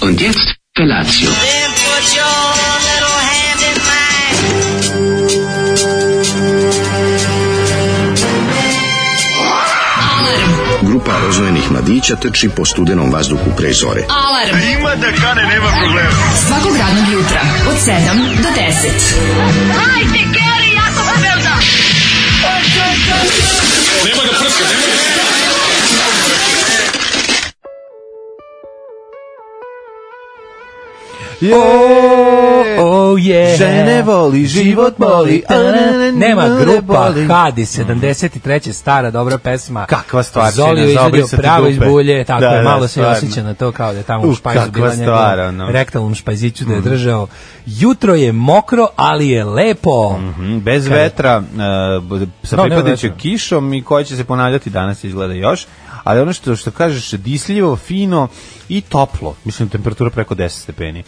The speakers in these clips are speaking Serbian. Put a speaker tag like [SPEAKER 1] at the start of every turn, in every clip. [SPEAKER 1] Und jetzt Felatio.
[SPEAKER 2] Then put your little hand in mine.
[SPEAKER 3] Grupa rozvojenih mladića trči po studenom vazduhu pre zore.
[SPEAKER 4] Alarm. Ima da kane, nema problema. Svakog radnog jutra, od 7 do 10.
[SPEAKER 5] Oh yeah.
[SPEAKER 6] Žene voli, život boli, a ne, ne,
[SPEAKER 5] Nema
[SPEAKER 6] ne
[SPEAKER 5] grupa
[SPEAKER 6] boli.
[SPEAKER 5] Hadi 73. stara dobra pesma.
[SPEAKER 6] Kakva stvar,
[SPEAKER 5] Zolio
[SPEAKER 6] žena, za
[SPEAKER 5] izvedio
[SPEAKER 6] obrisati
[SPEAKER 5] pravo iz
[SPEAKER 6] dupe.
[SPEAKER 5] bulje, tako
[SPEAKER 6] Da,
[SPEAKER 5] je,
[SPEAKER 6] da,
[SPEAKER 5] malo se
[SPEAKER 6] stvarno.
[SPEAKER 5] osjeća na to kao da je tamo u
[SPEAKER 6] Uh,
[SPEAKER 5] špajzu
[SPEAKER 6] kakva
[SPEAKER 5] bila
[SPEAKER 6] stvar,
[SPEAKER 5] njegova
[SPEAKER 6] ono. Mhm.
[SPEAKER 5] rektalnom špajziću da je držao. Jutro je mokro, ali je lepo.
[SPEAKER 6] Mhm, Bez vetra, e, b- sa
[SPEAKER 5] Da, nema
[SPEAKER 6] pripadajućom
[SPEAKER 5] vetra.
[SPEAKER 6] kišom i koja će se ponavljati danas izgleda još, ali ono što, što kažeš, disljivo, fino i toplo. Mislim, temperatura preko 10 stepeni.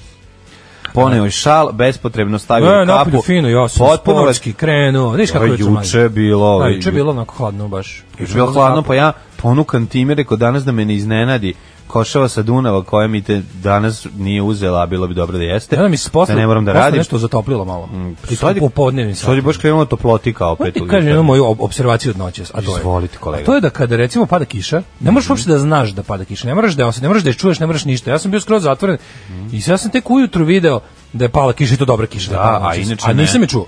[SPEAKER 6] Poneo je šal, bespotrebno stavio
[SPEAKER 5] E,
[SPEAKER 6] je
[SPEAKER 5] napolju
[SPEAKER 6] kapu.
[SPEAKER 5] fino, ja sam
[SPEAKER 6] Potpuno vas-
[SPEAKER 5] sportski krenuo. Znaš kako
[SPEAKER 6] Ovo
[SPEAKER 5] je
[SPEAKER 6] je
[SPEAKER 5] jutro mlađe?
[SPEAKER 6] juče bilo,
[SPEAKER 5] Da,
[SPEAKER 6] ovo je
[SPEAKER 5] juče je
[SPEAKER 6] ju-
[SPEAKER 5] bilo onako hladno baš.
[SPEAKER 6] Još bilo hladno, pa ja ponukan time, rekao danas da me ne iznenadi košava sa Dunava koja mi te danas nije uzela, a bilo bi dobro da jeste.
[SPEAKER 5] Ja da mi se posle,
[SPEAKER 6] da ne moram da
[SPEAKER 5] posle
[SPEAKER 6] radim. Mm,
[SPEAKER 5] nešto zatoplilo malo. I to
[SPEAKER 6] Sad je-
[SPEAKER 5] popodnevnim
[SPEAKER 6] Sad je baš krenula toplotika opet.
[SPEAKER 5] Ti
[SPEAKER 6] u
[SPEAKER 5] kažem
[SPEAKER 6] jutarnjem.
[SPEAKER 5] jednu moju ob- observaciju od noćas, a to je.
[SPEAKER 6] Izvolite, kolega. Mhm.
[SPEAKER 5] A to je da kada recimo pada kiša, ne možeš uopšte da znaš da pada kiša, ne moraš da je osje- ne moraš da je čuješ, ne moraš ništa. Ja sam bio skroz zatvoren i sad ja sam tek ujutru video da je pala kiša i to dobra kiša. je
[SPEAKER 6] Da,
[SPEAKER 5] pala
[SPEAKER 6] a
[SPEAKER 5] noćas.
[SPEAKER 6] inače
[SPEAKER 5] a
[SPEAKER 6] ne.
[SPEAKER 5] nisam je čuo.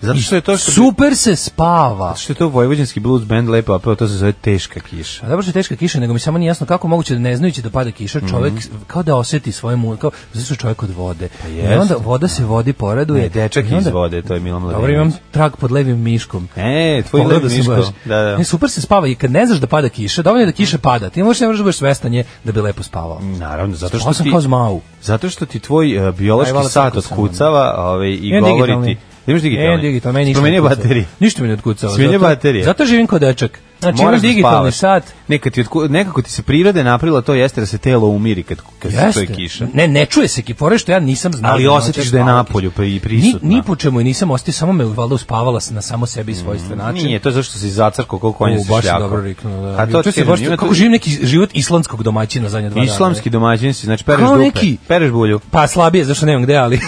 [SPEAKER 6] Zato što je to što bi-
[SPEAKER 5] Super se spava.
[SPEAKER 6] Što je to vojvođanski blues band lepo, a prvo to se zove teška kiša.
[SPEAKER 5] A dobro što je teška kiša, nego mi samo nije jasno kako moguće da ne znajući da pada kiša, čovjek
[SPEAKER 6] Mhm.
[SPEAKER 5] kao da osjeti svoje mu, kao zašto čovjek od vode. I
[SPEAKER 6] jest.
[SPEAKER 5] onda voda se vodi poraduje.
[SPEAKER 6] Pa Ne, dečak
[SPEAKER 5] I onda-
[SPEAKER 6] iz vode, to je Milan Mladenović.
[SPEAKER 5] Dobro, imam trag pod levim miškom.
[SPEAKER 6] E, tvoj
[SPEAKER 5] Pogledao
[SPEAKER 6] lev
[SPEAKER 5] sam
[SPEAKER 6] miško.
[SPEAKER 5] baš.
[SPEAKER 6] Da, da.
[SPEAKER 5] Ne, super se spava i kad ne znaš da pada kiša, dovoljno je da kiša pada. Ti možeš ne možeš da budeš svestan je da bi lepo spavao.
[SPEAKER 6] Naravno, zato
[SPEAKER 5] Spavao
[SPEAKER 6] što
[SPEAKER 5] sam
[SPEAKER 6] ti
[SPEAKER 5] kao zmau.
[SPEAKER 6] zato što ti tvoj e, biološki
[SPEAKER 5] Aj, vala
[SPEAKER 6] sat
[SPEAKER 5] sam kucao.
[SPEAKER 6] otkucava, ovaj i
[SPEAKER 5] Imam
[SPEAKER 6] govori
[SPEAKER 5] digitalni.
[SPEAKER 6] ti. Imaš digitalni?
[SPEAKER 5] Imam digitalni, meni ništa.
[SPEAKER 6] Promenio
[SPEAKER 5] ne otkucava.
[SPEAKER 6] baterije.
[SPEAKER 5] Ništa mi ne otkucava.
[SPEAKER 6] Smenio
[SPEAKER 5] zato-
[SPEAKER 6] baterije.
[SPEAKER 5] Zato živim kao dečak. Znači,
[SPEAKER 6] Moraš
[SPEAKER 5] imam
[SPEAKER 6] da
[SPEAKER 5] digitalni
[SPEAKER 6] spavaš.
[SPEAKER 5] sat.
[SPEAKER 6] Nekad ti otku- nekako ti se prirode napravila to jeste da se telo umiri kad kad se
[SPEAKER 5] Jeste.
[SPEAKER 6] stoji kiša.
[SPEAKER 5] Ne, ne čuje se kipore što ja nisam znao.
[SPEAKER 6] Ali
[SPEAKER 5] da
[SPEAKER 6] osjetiš
[SPEAKER 5] noćas
[SPEAKER 6] da je
[SPEAKER 5] spava
[SPEAKER 6] napolju
[SPEAKER 5] kiša.
[SPEAKER 6] pri- i prisutna. Mm,
[SPEAKER 5] Ni, ni po čemu i nisam ostio, samo me valjda uspavala s- na samo sebi i svojstven način.
[SPEAKER 6] Nije, to je zašto si zacarko kako konje
[SPEAKER 5] Znači- U,
[SPEAKER 6] sa
[SPEAKER 5] baš si
[SPEAKER 6] šljakom.
[SPEAKER 5] dobro riknuo, da.
[SPEAKER 6] A to
[SPEAKER 5] Juče
[SPEAKER 6] ti
[SPEAKER 5] se
[SPEAKER 6] kažem,
[SPEAKER 5] baš,
[SPEAKER 6] ima tu-
[SPEAKER 5] kako živim neki život islandskog domaćina zadnje dva dana.
[SPEAKER 6] Islamski domaćin si, znači pereš
[SPEAKER 5] Kao
[SPEAKER 6] dupe,
[SPEAKER 5] neki-
[SPEAKER 6] pereš bulju.
[SPEAKER 5] Pa slabije, zašto nemam gde, ali...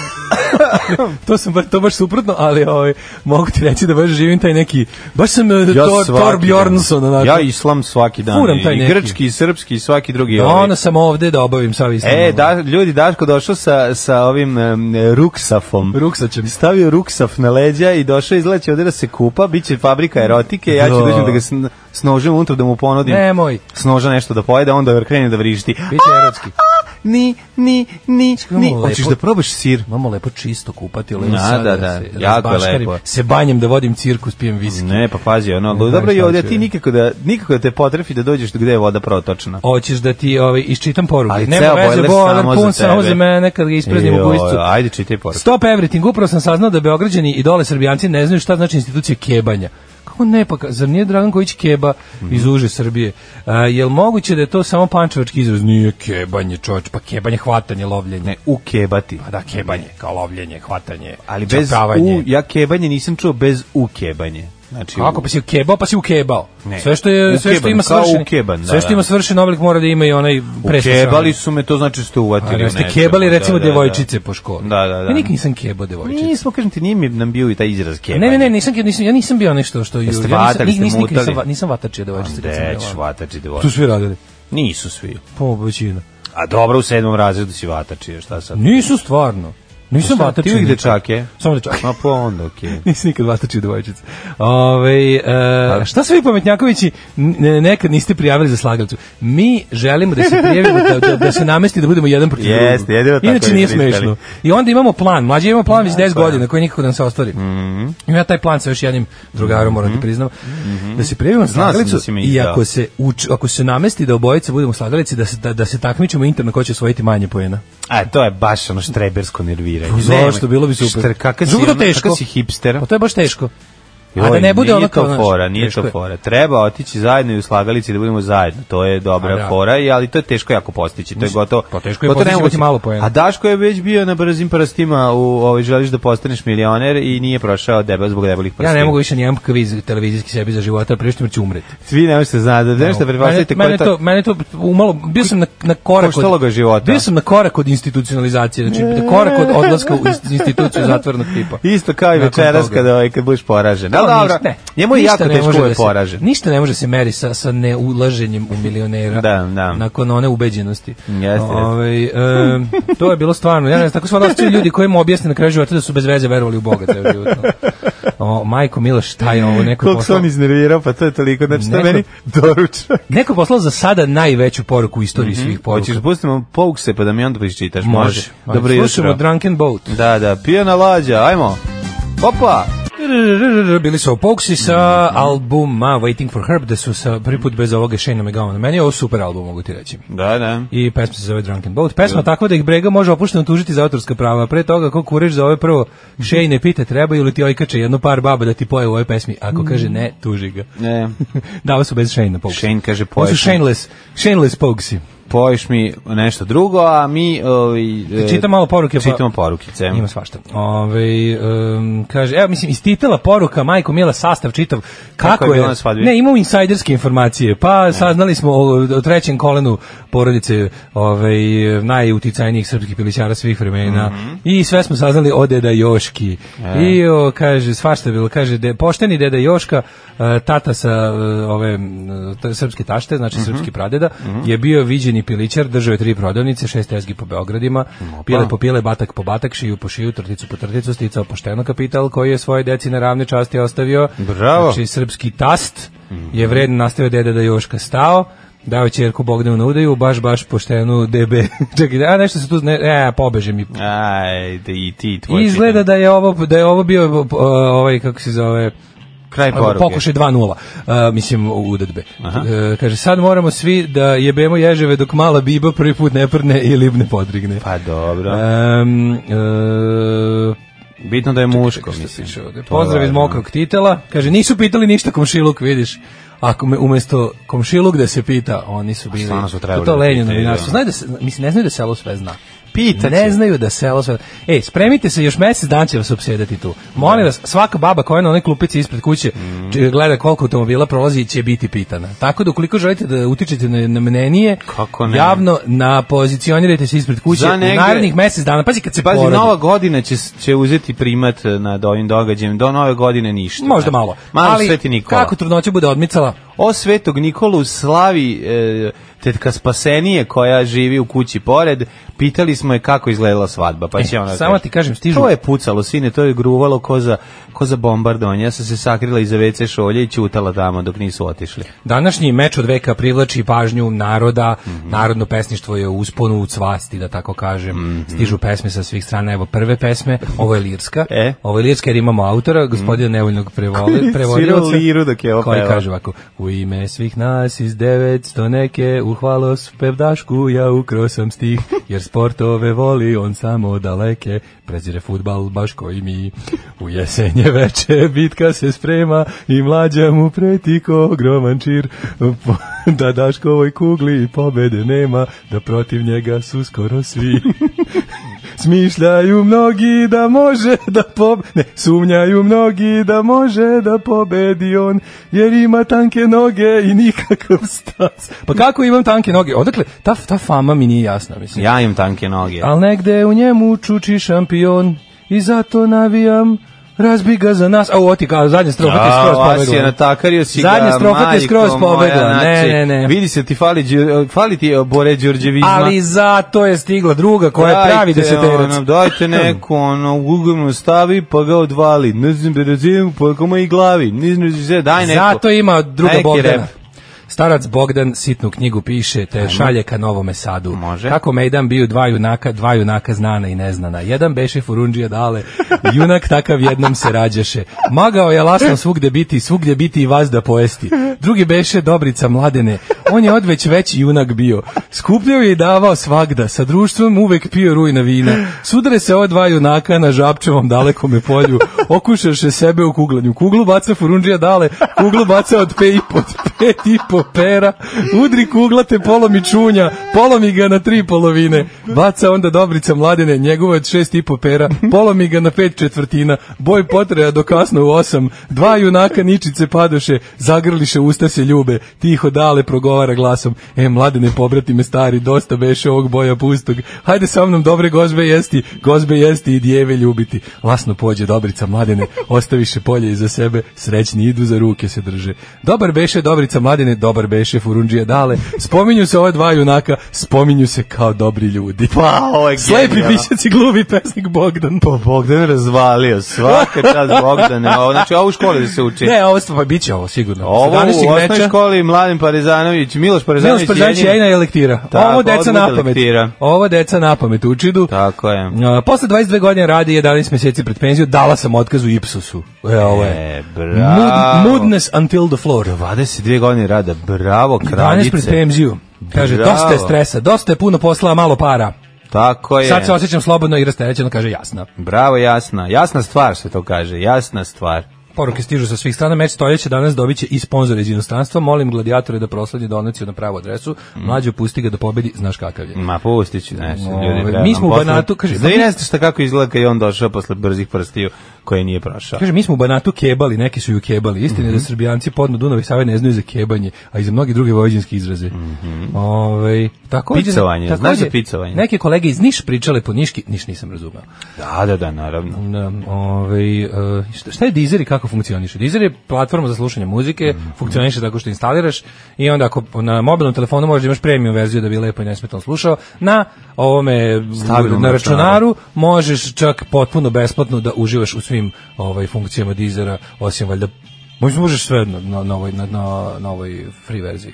[SPEAKER 5] to sam baš, to baš suprotno, ali ovaj, mogu ti reći da baš živim taj neki... Baš sam eh, Thor,
[SPEAKER 6] svaki
[SPEAKER 5] Thor
[SPEAKER 6] dan.
[SPEAKER 5] Bjornsson, onako.
[SPEAKER 6] Ja islam svaki dan.
[SPEAKER 5] Furam taj
[SPEAKER 6] I
[SPEAKER 5] neki.
[SPEAKER 6] grčki, i srpski, i svaki drugi.
[SPEAKER 5] Da,
[SPEAKER 6] ovaj.
[SPEAKER 5] ono sam ovde da obavim Ono, sa ovim
[SPEAKER 6] E, da, ljudi, Daško došao sa, sa ovim em, ruksafom.
[SPEAKER 5] Ruksaćem.
[SPEAKER 6] Stavio ruksaf na leđa i došao izleće ovde da se kupa, bit će fabrika erotike, ja ću
[SPEAKER 5] Da.
[SPEAKER 6] dođem da ga s, s nožem unutra da mu ponudim.
[SPEAKER 5] Nemoj.
[SPEAKER 6] S noža nešto da pojede, onda krene da vrišti.
[SPEAKER 5] Biće erotski.
[SPEAKER 6] Ni, ni, ni,
[SPEAKER 5] Čekamo
[SPEAKER 6] ni.
[SPEAKER 5] lepo.
[SPEAKER 6] Hoćeš da probaš sir?
[SPEAKER 5] Imamo lepo čisto kupati, lepo
[SPEAKER 6] Da,
[SPEAKER 5] sad
[SPEAKER 6] da, da,
[SPEAKER 5] se
[SPEAKER 6] jako je
[SPEAKER 5] razbaškarim,
[SPEAKER 6] lepo.
[SPEAKER 5] Se banjem da vodim cirkus, pijem viski.
[SPEAKER 6] Ne, pa pazi, ono,
[SPEAKER 5] znam
[SPEAKER 6] dobro je
[SPEAKER 5] šta
[SPEAKER 6] ovdje,
[SPEAKER 5] ću,
[SPEAKER 6] ti
[SPEAKER 5] ja.
[SPEAKER 6] nikako da, nikako da te potrefi da dođeš gde je voda protočna.
[SPEAKER 5] Hoćeš da ti ovaj, iščitam poruke.
[SPEAKER 6] Ali
[SPEAKER 5] Nema
[SPEAKER 6] ceo
[SPEAKER 5] veze,
[SPEAKER 6] bojler
[SPEAKER 5] boiler
[SPEAKER 6] samo
[SPEAKER 5] pun
[SPEAKER 6] za
[SPEAKER 5] samo za
[SPEAKER 6] tebe.
[SPEAKER 5] mene kad ga ispraznim u
[SPEAKER 6] Joj,
[SPEAKER 5] gujicu.
[SPEAKER 6] Ajde, čitaj poruku.
[SPEAKER 5] Stop everything, upravo sam saznao da Beograđani i dole Srbijanci ne znaju šta znači institucija kebanja. Kako ne, pa ka- zar nije Dragan Kojić keba
[SPEAKER 6] Mhm.
[SPEAKER 5] iz uže Srbije? A, jel moguće da je to samo pančevački izraz? Nije kebanje, čovječ, pa kebanje, hvatanje, lovljenje.
[SPEAKER 6] Ne, ukebati.
[SPEAKER 5] Pa da, kebanje, kao lovljenje, hvatanje,
[SPEAKER 6] Ali bez
[SPEAKER 5] čapavanje.
[SPEAKER 6] u, ja kebanje nisam čuo bez ukebanje. Znači,
[SPEAKER 5] Kako pa si ukebao, pa si ukebao.
[SPEAKER 6] Ne.
[SPEAKER 5] Sve što je sve što
[SPEAKER 6] Ukeban,
[SPEAKER 5] ima
[SPEAKER 6] kao
[SPEAKER 5] svršen.
[SPEAKER 6] ukeban, da,
[SPEAKER 5] sve što
[SPEAKER 6] da.
[SPEAKER 5] ima svršen oblik mora da ima i onaj presvršen.
[SPEAKER 6] Ukebali su me, to znači ste uvatili.
[SPEAKER 5] Ali
[SPEAKER 6] u
[SPEAKER 5] jeste
[SPEAKER 6] nečemu.
[SPEAKER 5] kebali
[SPEAKER 6] Da,
[SPEAKER 5] recimo
[SPEAKER 6] da, da.
[SPEAKER 5] devojčice po školi.
[SPEAKER 6] Da, da, da.
[SPEAKER 5] Ja nikad nisam kebao devojčice.
[SPEAKER 6] Nismo, kažem ti, nije mi nam bio i taj izraz kebanje.
[SPEAKER 5] Ne, ne, ne, nisam, nisam, ja nisam bio nešto što ju... Ja
[SPEAKER 6] E, pa Jeste
[SPEAKER 5] nisam,
[SPEAKER 6] vatali,
[SPEAKER 5] nis-
[SPEAKER 6] ste
[SPEAKER 5] nisam, nikad nisam,
[SPEAKER 6] mutali? Pa
[SPEAKER 5] va- nisam vatačio devojčice. kad sam
[SPEAKER 6] Deć,
[SPEAKER 5] bila.
[SPEAKER 6] vatači
[SPEAKER 5] Tu
[SPEAKER 6] devojčice.
[SPEAKER 5] svi radili,
[SPEAKER 6] Nisu svi.
[SPEAKER 5] po većina.
[SPEAKER 6] A dobro, u sedmom razredu si vatači, šta sad?
[SPEAKER 5] Nisu stvarno. Nisam
[SPEAKER 6] Pa Šta,
[SPEAKER 5] vatačio.
[SPEAKER 6] Ti uvijek
[SPEAKER 5] nikad.
[SPEAKER 6] dečake?
[SPEAKER 5] Samo dečake.
[SPEAKER 6] Ma pa onda, okej.
[SPEAKER 5] Nisi nikad vatačio devojčice. Ove, e, šta su vi pametnjakovići n- ne- nekad niste prijavili za slagalicu? Mi želimo da se prijavimo, da, da, da se namesti da budemo jedan protiv drugog.
[SPEAKER 6] Jeste, jedino tako
[SPEAKER 5] Inače
[SPEAKER 6] je
[SPEAKER 5] nije
[SPEAKER 6] izmislili.
[SPEAKER 5] smešno. I onda imamo plan, mlađe imamo plan već 10 godina koji nikako da nam se ostvari.
[SPEAKER 6] Mhm.
[SPEAKER 5] Imam ja taj plan sa još jednim drugarom, moram ti priznam, da se prijavimo za
[SPEAKER 6] Znao Mhm. sam da
[SPEAKER 5] slagalicu
[SPEAKER 6] si mi
[SPEAKER 5] i
[SPEAKER 6] izdao.
[SPEAKER 5] ako se, uč, ako se namesti da obojica budemo slagalici, da se, da, da se takmičimo interno ko će osvojiti manje poena.
[SPEAKER 6] A to je baš ono štrebersko nerviranje.
[SPEAKER 5] Pa Zašto, bilo bi super.
[SPEAKER 6] Štr, kakav si,
[SPEAKER 5] Drugo da
[SPEAKER 6] ono,
[SPEAKER 5] teško.
[SPEAKER 6] kakav si hipster.
[SPEAKER 5] Pa to je baš teško. A da ne bude
[SPEAKER 6] nije
[SPEAKER 5] ono kao,
[SPEAKER 6] to
[SPEAKER 5] znaš,
[SPEAKER 6] fora, nije
[SPEAKER 5] teško
[SPEAKER 6] to
[SPEAKER 5] je.
[SPEAKER 6] fora. Treba otići zajedno i u slagalici da budemo zajedno. To je dobra
[SPEAKER 5] A da.
[SPEAKER 6] fora, i- ali to je teško jako postići. To je
[SPEAKER 5] Mislim,
[SPEAKER 6] gotovo.
[SPEAKER 5] pa teško je
[SPEAKER 6] gotovo
[SPEAKER 5] postići,
[SPEAKER 6] nemoguće.
[SPEAKER 5] imati malo poena.
[SPEAKER 6] A Daško je već bio na brzim prstima u ovaj želiš da postaneš milioner i nije prošao debel zbog debelih prstima.
[SPEAKER 5] Ja ne mogu više nijedan kviz televizijski sebi za života, prištim jer ću umreti.
[SPEAKER 6] Svi ne možete znati da nešto pretpostavite ko
[SPEAKER 5] mene,
[SPEAKER 6] je
[SPEAKER 5] mene to,
[SPEAKER 6] to.
[SPEAKER 5] mene to umalo, bio sam na, na korak
[SPEAKER 6] Koštalo ga života.
[SPEAKER 5] Bio sam na korak od institucionalizacije, znači na korak od odlaska u ist- instituciju zatvornog tipa.
[SPEAKER 6] Isto kao i
[SPEAKER 5] Nakon
[SPEAKER 6] večeras
[SPEAKER 5] toga.
[SPEAKER 6] kada, ovaj, kad budeš poražen.
[SPEAKER 5] To
[SPEAKER 6] Ali dobro,
[SPEAKER 5] ništa- ne,
[SPEAKER 6] njemu je
[SPEAKER 5] ništa
[SPEAKER 6] jako
[SPEAKER 5] ne
[SPEAKER 6] teško
[SPEAKER 5] može
[SPEAKER 6] da je
[SPEAKER 5] da se-
[SPEAKER 6] poražen.
[SPEAKER 5] Ništa ne može se meri sa, sa neulaženjem u milionera
[SPEAKER 6] Da, da.
[SPEAKER 5] nakon one ubeđenosti.
[SPEAKER 6] Jeste, jeste.
[SPEAKER 5] Ovaj, e, to je bilo stvarno, ja ne znam, tako sva da ljudi koji mu objasne na kraju života da su bez veze verovali u Boga ceo život. O, majko Milo, šta je ovo? Neko je
[SPEAKER 6] Koliko se
[SPEAKER 5] poslao,
[SPEAKER 6] on iznervirao, pa to je toliko. Znači, to
[SPEAKER 5] Neko-
[SPEAKER 6] meni doručak.
[SPEAKER 5] neko je poslao za sada najveću poruku u istoriji svih poruka.
[SPEAKER 6] Mhm. Hoćeš pustimo pouk se pa da mi onda pročitaš, može.
[SPEAKER 5] Može. Ajde,
[SPEAKER 6] Dobro jutro.
[SPEAKER 5] Slušamo Drunken Boat.
[SPEAKER 6] Da, da, pijana lađa, ajmo. Opa!
[SPEAKER 5] Bili su Poxi sa
[SPEAKER 6] Mhm.
[SPEAKER 5] albuma Waiting for Herb, da su sa prvi put bez ovoga Shane McGowan. Meni je ovo super album, mogu ti reći.
[SPEAKER 6] Da, da.
[SPEAKER 5] I pesma se zove Drunken Boat. Pesma takva da ih brega može opušteno tužiti za autorska prava. Pre toga, ko kureš za ove prvo, Shane ne pita, trebaju li ti ojkače jedno par baba da ti poje u ovoj pesmi. Ako kaže ne, tuži ga.
[SPEAKER 6] Ne,
[SPEAKER 5] Dava su bez Shane na Poxi.
[SPEAKER 6] Shane kaže
[SPEAKER 5] Ovo su
[SPEAKER 6] poješ, mi-
[SPEAKER 5] Shaneless, Shaneless Poxi.
[SPEAKER 6] poješ mi nešto drugo, a mi... Ovi, e,
[SPEAKER 5] Čitam malo poruke, pa-
[SPEAKER 6] Čitamo porukice.
[SPEAKER 5] Ima svašta. Ove, um, kaže, evo, mislim, iz titela poruka, majko Mila, sastav čitav, kako,
[SPEAKER 6] Kako je
[SPEAKER 5] je,
[SPEAKER 6] bila na svadbi?
[SPEAKER 5] ne, imamo insajderske informacije, pa saznali smo o, o trećem kolenu porodice ove, najuticajnijih srpskih pilićara svih vremena i sve smo saznali o deda Joški. I, o, kaže, svašta je bilo, kaže, de, pošteni deda Joška, e, tata sa e, ove m, t- srpske tašte, znači srpski pradeda, je bio viđeni pilićar, držao je tri prodavnice, šest tezgi po Beogradima, pile po pile, batak po batak, šiju po šiju, trticu po trticu, sticao pošteno kapital koji je svoje deci na ravne časti ostavio.
[SPEAKER 6] Bravo.
[SPEAKER 5] Znači, srpski tast je vredno nastavio deda da je Joška stao, dao je čerku Bogdanu na udaju, baš, baš poštenu DB. Čekaj, a nešto se tu, ne, e, pobeže mi.
[SPEAKER 6] Ajde, i ti tvoj
[SPEAKER 5] Izgleda
[SPEAKER 6] čitam.
[SPEAKER 5] da je ovo, da je ovo bio, uh, ovaj, kako se zove, e,
[SPEAKER 6] Kraj poruke.
[SPEAKER 5] Pokušaj 2-0, uh, mislim, u udadbe. Uh, kaže, sad moramo svi da jebemo ježeve dok mala biba prvi put ne prne ili ne podrigne.
[SPEAKER 6] Pa dobro.
[SPEAKER 5] Um, uh,
[SPEAKER 6] Bitno da je muško,
[SPEAKER 5] Šta se
[SPEAKER 6] mislim.
[SPEAKER 5] piše ovde?
[SPEAKER 6] To je
[SPEAKER 5] Pozdrav iz
[SPEAKER 6] važno.
[SPEAKER 5] mokrog titela. Kaže, nisu pitali ništa komšiluk, vidiš. Ako me umesto komšiluk da se pita, oni su bili...
[SPEAKER 6] stvarno su trebali
[SPEAKER 5] to
[SPEAKER 6] da
[SPEAKER 5] lenje
[SPEAKER 6] pitaju, da.
[SPEAKER 5] novinarstvo. Znaju da se, mislim, ne znaju da selo sve zna.
[SPEAKER 6] Pitaće.
[SPEAKER 5] Ne znaju da selo sve... E, spremite se, još mesec dan će vas obsedati tu. Molim vas, svaka baba koja je na onoj klupici ispred kuće
[SPEAKER 6] Mm.
[SPEAKER 5] či- gleda koliko automobila prolazi će biti pitana. Tako da ukoliko želite da utičete na, na mnenije,
[SPEAKER 6] Kako ne?
[SPEAKER 5] javno na pozicionirajte se ispred kuće
[SPEAKER 6] Za
[SPEAKER 5] u
[SPEAKER 6] negde-
[SPEAKER 5] narednih mesec dana. Pazi kad se
[SPEAKER 6] Pazi,
[SPEAKER 5] porodi.
[SPEAKER 6] nova godina će, će uzeti primat nad ovim događajem. Do nove godine ništa.
[SPEAKER 5] Možda malo.
[SPEAKER 6] Malo
[SPEAKER 5] Ali
[SPEAKER 6] Sveti Nikola.
[SPEAKER 5] Kako trudnoća bude odmicala?
[SPEAKER 6] O Svetog Nikolu slavi e, tetka Spasenije koja živi u kući pored. Pitali smo je kako izgledala svadba, pa će ona.
[SPEAKER 5] E, samo
[SPEAKER 6] kaže,
[SPEAKER 5] ti kažem, stižu-
[SPEAKER 6] To je pucalo, sine, to je gruvalo ko za, ko za bombardovanje. Ja sam se sakrila iza WC šolje i ćutala tamo dok nisu otišli.
[SPEAKER 5] Današnji meč od veka privlači pažnju naroda,
[SPEAKER 6] Mhm.
[SPEAKER 5] narodno pesništvo je u usponu u cvasti, da tako kažem.
[SPEAKER 6] Mhm.
[SPEAKER 5] Stižu pesme sa svih strana, evo prve pesme, ovo je lirska,
[SPEAKER 6] E? Mhm.
[SPEAKER 5] ovo je lirska jer imamo autora, gospodina nevoljnog
[SPEAKER 6] Koji
[SPEAKER 5] prevoli,
[SPEAKER 6] je
[SPEAKER 5] prevodilaca,
[SPEAKER 6] svirao liru dok je ovo
[SPEAKER 5] koji
[SPEAKER 6] pevao.
[SPEAKER 5] kaže ovako, u ime svih nas iz 900 neke, u hvalos pevdašku ja ukro sam stih, jer sportove voli on samo daleke, prezire futbal baš koji mi, u jesenje veče bitka se sprema i mlađa mu preti ko ogroman čir, Po- da Daškovoj kugli pobede nema, da protiv njega su skoro svi. Smišljaju mnogi da može da pob... Ne, sumnjaju mnogi da može da pobedi on, jer ima tanke noge i nikakav stas. Pa kako imam tanke noge? Odakle, ta, ta fama mi nije jasna, mislim.
[SPEAKER 6] Ja im tanke noge.
[SPEAKER 5] Al negde u njemu čuči šampion i zato navijam razbi ga za nas. A u oti, kao zadnja strofa ti je skroz
[SPEAKER 6] A, vas je
[SPEAKER 5] pobegla.
[SPEAKER 6] natakario si ga,
[SPEAKER 5] Zadnja strofa ti je
[SPEAKER 6] majko moja,
[SPEAKER 5] skroz pobegla. Ne,
[SPEAKER 6] znači,
[SPEAKER 5] ne, ne.
[SPEAKER 6] Vidi se ti fali, Đu- fali ti e, Bore Đorđevizma.
[SPEAKER 5] Ali zato je stigla druga koja je pravi
[SPEAKER 6] Dajte,
[SPEAKER 5] deseterac.
[SPEAKER 6] Ono, dajte neku, ono, ugugnu stavi, pa ga odvali. Ne znam, da razim, pa ga i glavi. Ne znam, da se- daj neko.
[SPEAKER 5] Zato ima druga
[SPEAKER 6] neki
[SPEAKER 5] Bogdana.
[SPEAKER 6] rep.
[SPEAKER 5] Starac Bogdan sitnu knjigu piše, te šalje ka Novome Sadu.
[SPEAKER 6] Može.
[SPEAKER 5] Kako Mejdan bio dva junaka, dva junaka znana i neznana. Jedan beše Furundžija dale, junak takav jednom se rađaše. Magao je lasno svugde biti, svugde biti i vas da poesti. drugi beše Dobrica Mladene. On je odveć veći junak bio. Skupljao je i davao svagda, sa društvom uvek pio rujna vina. Sudare se ova dva junaka na Žabčevom dalekome polju. Okušaše sebe u kuglanju. Kuglu baca Furundžija dale, kuglu baca od pe i pod pet i po pera. Udri kuglate polomi čunja, polomi ga na tri polovine. Baca onda Dobrica Mladene, njegova od šest i po pera, polomi ga na pet četvrtina. Boj potreja do kasno u osam. Dva junaka ničice padoše, zagrliše usta se ljube. Tiho dale progovara glasom. E, Mladene, pobrati me stari, dosta beše ovog boja pustog. Hajde sa mnom dobre gozbe jesti, gozbe jesti i djeve ljubiti. Lasno pođe Dobrica Mladene, ostaviše polje iza sebe, srećni idu za ruke se drže. Dobar beše Dobrica Mladene, dobar beše Furundžija Dale. Spominju se ova dva junaka, spominju se kao dobri ljudi.
[SPEAKER 6] Pa, ovo je
[SPEAKER 5] Slepi
[SPEAKER 6] genijalno.
[SPEAKER 5] pisac i gluvi pesnik Bogdan.
[SPEAKER 6] Pa Bogdan je razvalio, svaka čast Bogdane. Ovo, znači, ovo u školi da se uči.
[SPEAKER 5] Ne, ovo stvo, pa biće ovo sigurno.
[SPEAKER 6] Ovo u
[SPEAKER 5] 17.
[SPEAKER 6] osnovnoj
[SPEAKER 5] meča.
[SPEAKER 6] školi Mladen Parizanović, Miloš Parizanović,
[SPEAKER 5] Miloš Parzanić
[SPEAKER 6] jedini-
[SPEAKER 5] jajna elektira.
[SPEAKER 6] Tako,
[SPEAKER 5] ovo deca
[SPEAKER 6] odmah
[SPEAKER 5] na pamet.
[SPEAKER 6] elektira.
[SPEAKER 5] Ovo deca na pamet učidu.
[SPEAKER 6] Tako je.
[SPEAKER 5] A, posle 22 godine radi 11 meseci pred penziju, dala sam otkaz u Ipsosu. E, ovo je.
[SPEAKER 6] E, bravo.
[SPEAKER 5] Mood, moodness until the floor.
[SPEAKER 6] 22 godine rada, bravo,
[SPEAKER 5] 12
[SPEAKER 6] kraljice.
[SPEAKER 5] pred penziju. Kaže,
[SPEAKER 6] Bravo.
[SPEAKER 5] dosta je stresa, dosta je puno posla, a malo para.
[SPEAKER 6] Tako je.
[SPEAKER 5] Sad se osjećam slobodno i rasterećeno, kaže jasna.
[SPEAKER 6] Bravo, jasna. Jasna stvar se to kaže, jasna stvar.
[SPEAKER 5] Poruke stižu sa svih strana, meč stoljeća danas dobit će i sponzore iz inostranstva. Molim gladijatore da prosledi donaciju na pravu adresu.
[SPEAKER 6] Mm.
[SPEAKER 5] Mlađo, pusti ga da pobedi, znaš kakav je.
[SPEAKER 6] Ma pustit ću, znaš,
[SPEAKER 5] Ove,
[SPEAKER 6] ljudi.
[SPEAKER 5] mi
[SPEAKER 6] treba nam
[SPEAKER 5] smo u
[SPEAKER 6] posle-
[SPEAKER 5] Banatu, kaže,
[SPEAKER 6] Zna vi
[SPEAKER 5] mi-
[SPEAKER 6] ne znate šta kako izgleda kad je on došao posle brzih prstiju koje nije prošao.
[SPEAKER 5] Kaže, mi smo u Banatu kebali, neki su ju kebali. Istina
[SPEAKER 6] Mhm.
[SPEAKER 5] je da Srbijanci podno Dunav i Save ne znaju za kebanje, a i za mnoge druge vojvođanske izraze. Mm takođe,
[SPEAKER 6] Mhm. Picovanje, znaš
[SPEAKER 5] takođe,
[SPEAKER 6] za picovanje?
[SPEAKER 5] Neke kolege iz Niš pričale po Niški, Niš nisam razumeo.
[SPEAKER 6] Da, da, da, naravno.
[SPEAKER 5] Da, ovaj, e, šta- šta je Deezer i kako funkcioniše? Deezer je platforma za slušanje muzike,
[SPEAKER 6] Mhm.
[SPEAKER 5] funkcioniše tako što instaliraš i onda ako na mobilnom telefonu možeš da imaš premium verziju da bi lepo i nesmetano slušao, na ovome
[SPEAKER 6] Stabilnom
[SPEAKER 5] na
[SPEAKER 6] računaru.
[SPEAKER 5] računaru možeš čak potpuno besplatno da uživaš u svim ovaj funkcijama Deezera, osim valjda Možda možeš sve na, na, na, ovoj, na, na, na ovoj free verziji.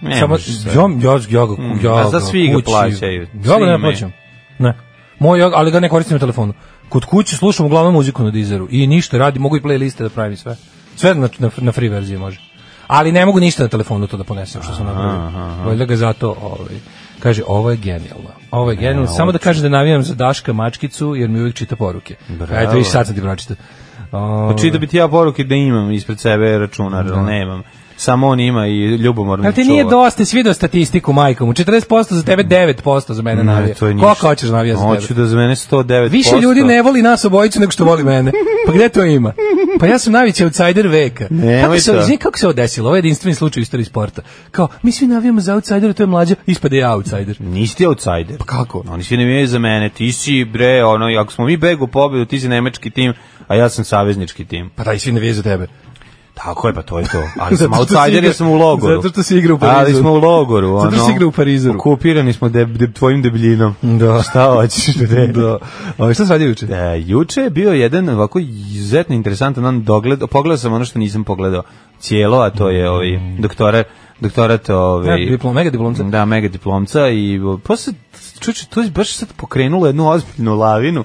[SPEAKER 6] Ne
[SPEAKER 5] Samo,
[SPEAKER 6] možeš sve.
[SPEAKER 5] ja, ja, ja, ga-
[SPEAKER 6] Mm,
[SPEAKER 5] ja
[SPEAKER 6] a za
[SPEAKER 5] ga
[SPEAKER 6] svi ga
[SPEAKER 5] kući-
[SPEAKER 6] plaćaju,
[SPEAKER 5] Ja
[SPEAKER 6] svi
[SPEAKER 5] ga ne
[SPEAKER 6] imaju.
[SPEAKER 5] plaćam. Ne. Moj, ja- ali ga ne koristim na telefonu. Kod kuće slušam uglavnom muziku na Deezeru i ništa radi, mogu i playliste da pravim i sve. Sve na, na, na free verziji može. Ali ne mogu ništa na telefonu to da ponesem što sam napravio. Valjda ga zato, ovaj, kaže, ovo je genijalno. Ovo
[SPEAKER 6] E,
[SPEAKER 5] je genijalno. Samo da kažem da navijam za Daška Mačkicu, jer mi uvijek čita poruke.
[SPEAKER 6] Bravo. Pa
[SPEAKER 5] Eto, viš sad sam ti pročitao. Ovaj, O,
[SPEAKER 6] Oči da bi ti ja poruke da imam ispred sebe računar, ali nemam. Samo on ima i ljubomorno
[SPEAKER 5] Jel
[SPEAKER 6] čuva.
[SPEAKER 5] ti nije dosta, svi video statistiku, majkom. 40% za tebe, 9% za mene navija.
[SPEAKER 6] Ne, to je ništa.
[SPEAKER 5] Koliko hoćeš navija za tebe?
[SPEAKER 6] Hoću da za mene 109%.
[SPEAKER 5] Više ljudi ne voli nas obojicu nego što voli mene. Pa gde to ima? Pa ja sam najveći outsider veka.
[SPEAKER 6] Nemoj
[SPEAKER 5] Kako se,
[SPEAKER 6] to.
[SPEAKER 5] izvini, kako se ovo desilo? Ovo je jedinstveni slučaj u istoriji sporta. Kao, mi svi navijamo za outsider, to je mlađa, ispade ja outsider.
[SPEAKER 6] Nisi ti outsider. Pa
[SPEAKER 5] kako?
[SPEAKER 6] Oni svi navijaju za mene. Ti si, bre, ono, i ako smo mi begu pobedu, ti si nemački tim, a ja sam saveznički tim.
[SPEAKER 5] Pa daj, svi navijaju za tebe.
[SPEAKER 6] Tako je, pa to je to. Ali sam
[SPEAKER 5] Zato što si
[SPEAKER 6] outsider
[SPEAKER 5] igra-
[SPEAKER 6] jer sam u logoru.
[SPEAKER 5] zato što si igra u
[SPEAKER 6] Ali
[SPEAKER 5] Parizu.
[SPEAKER 6] smo u logoru.
[SPEAKER 5] Zato što
[SPEAKER 6] ono.
[SPEAKER 5] si igra u Parizu.
[SPEAKER 6] Okupirani smo deb, deb, tvojim debljinom.
[SPEAKER 5] Da.
[SPEAKER 6] Šta hoćeš, bre?
[SPEAKER 5] Da. Ovo, šta se radi juče?
[SPEAKER 6] E, juče je bio jedan ovako izuzetno interesantan on dogled, pogledao sam ono što nisam pogledao cijelo, a to je ovaj doktorat, doktorat ovaj,
[SPEAKER 5] Ja, diplom, mega diplomca.
[SPEAKER 6] Da, mega diplomca i o, posle, čuče, to je baš sad pokrenulo jednu ozbiljnu lavinu,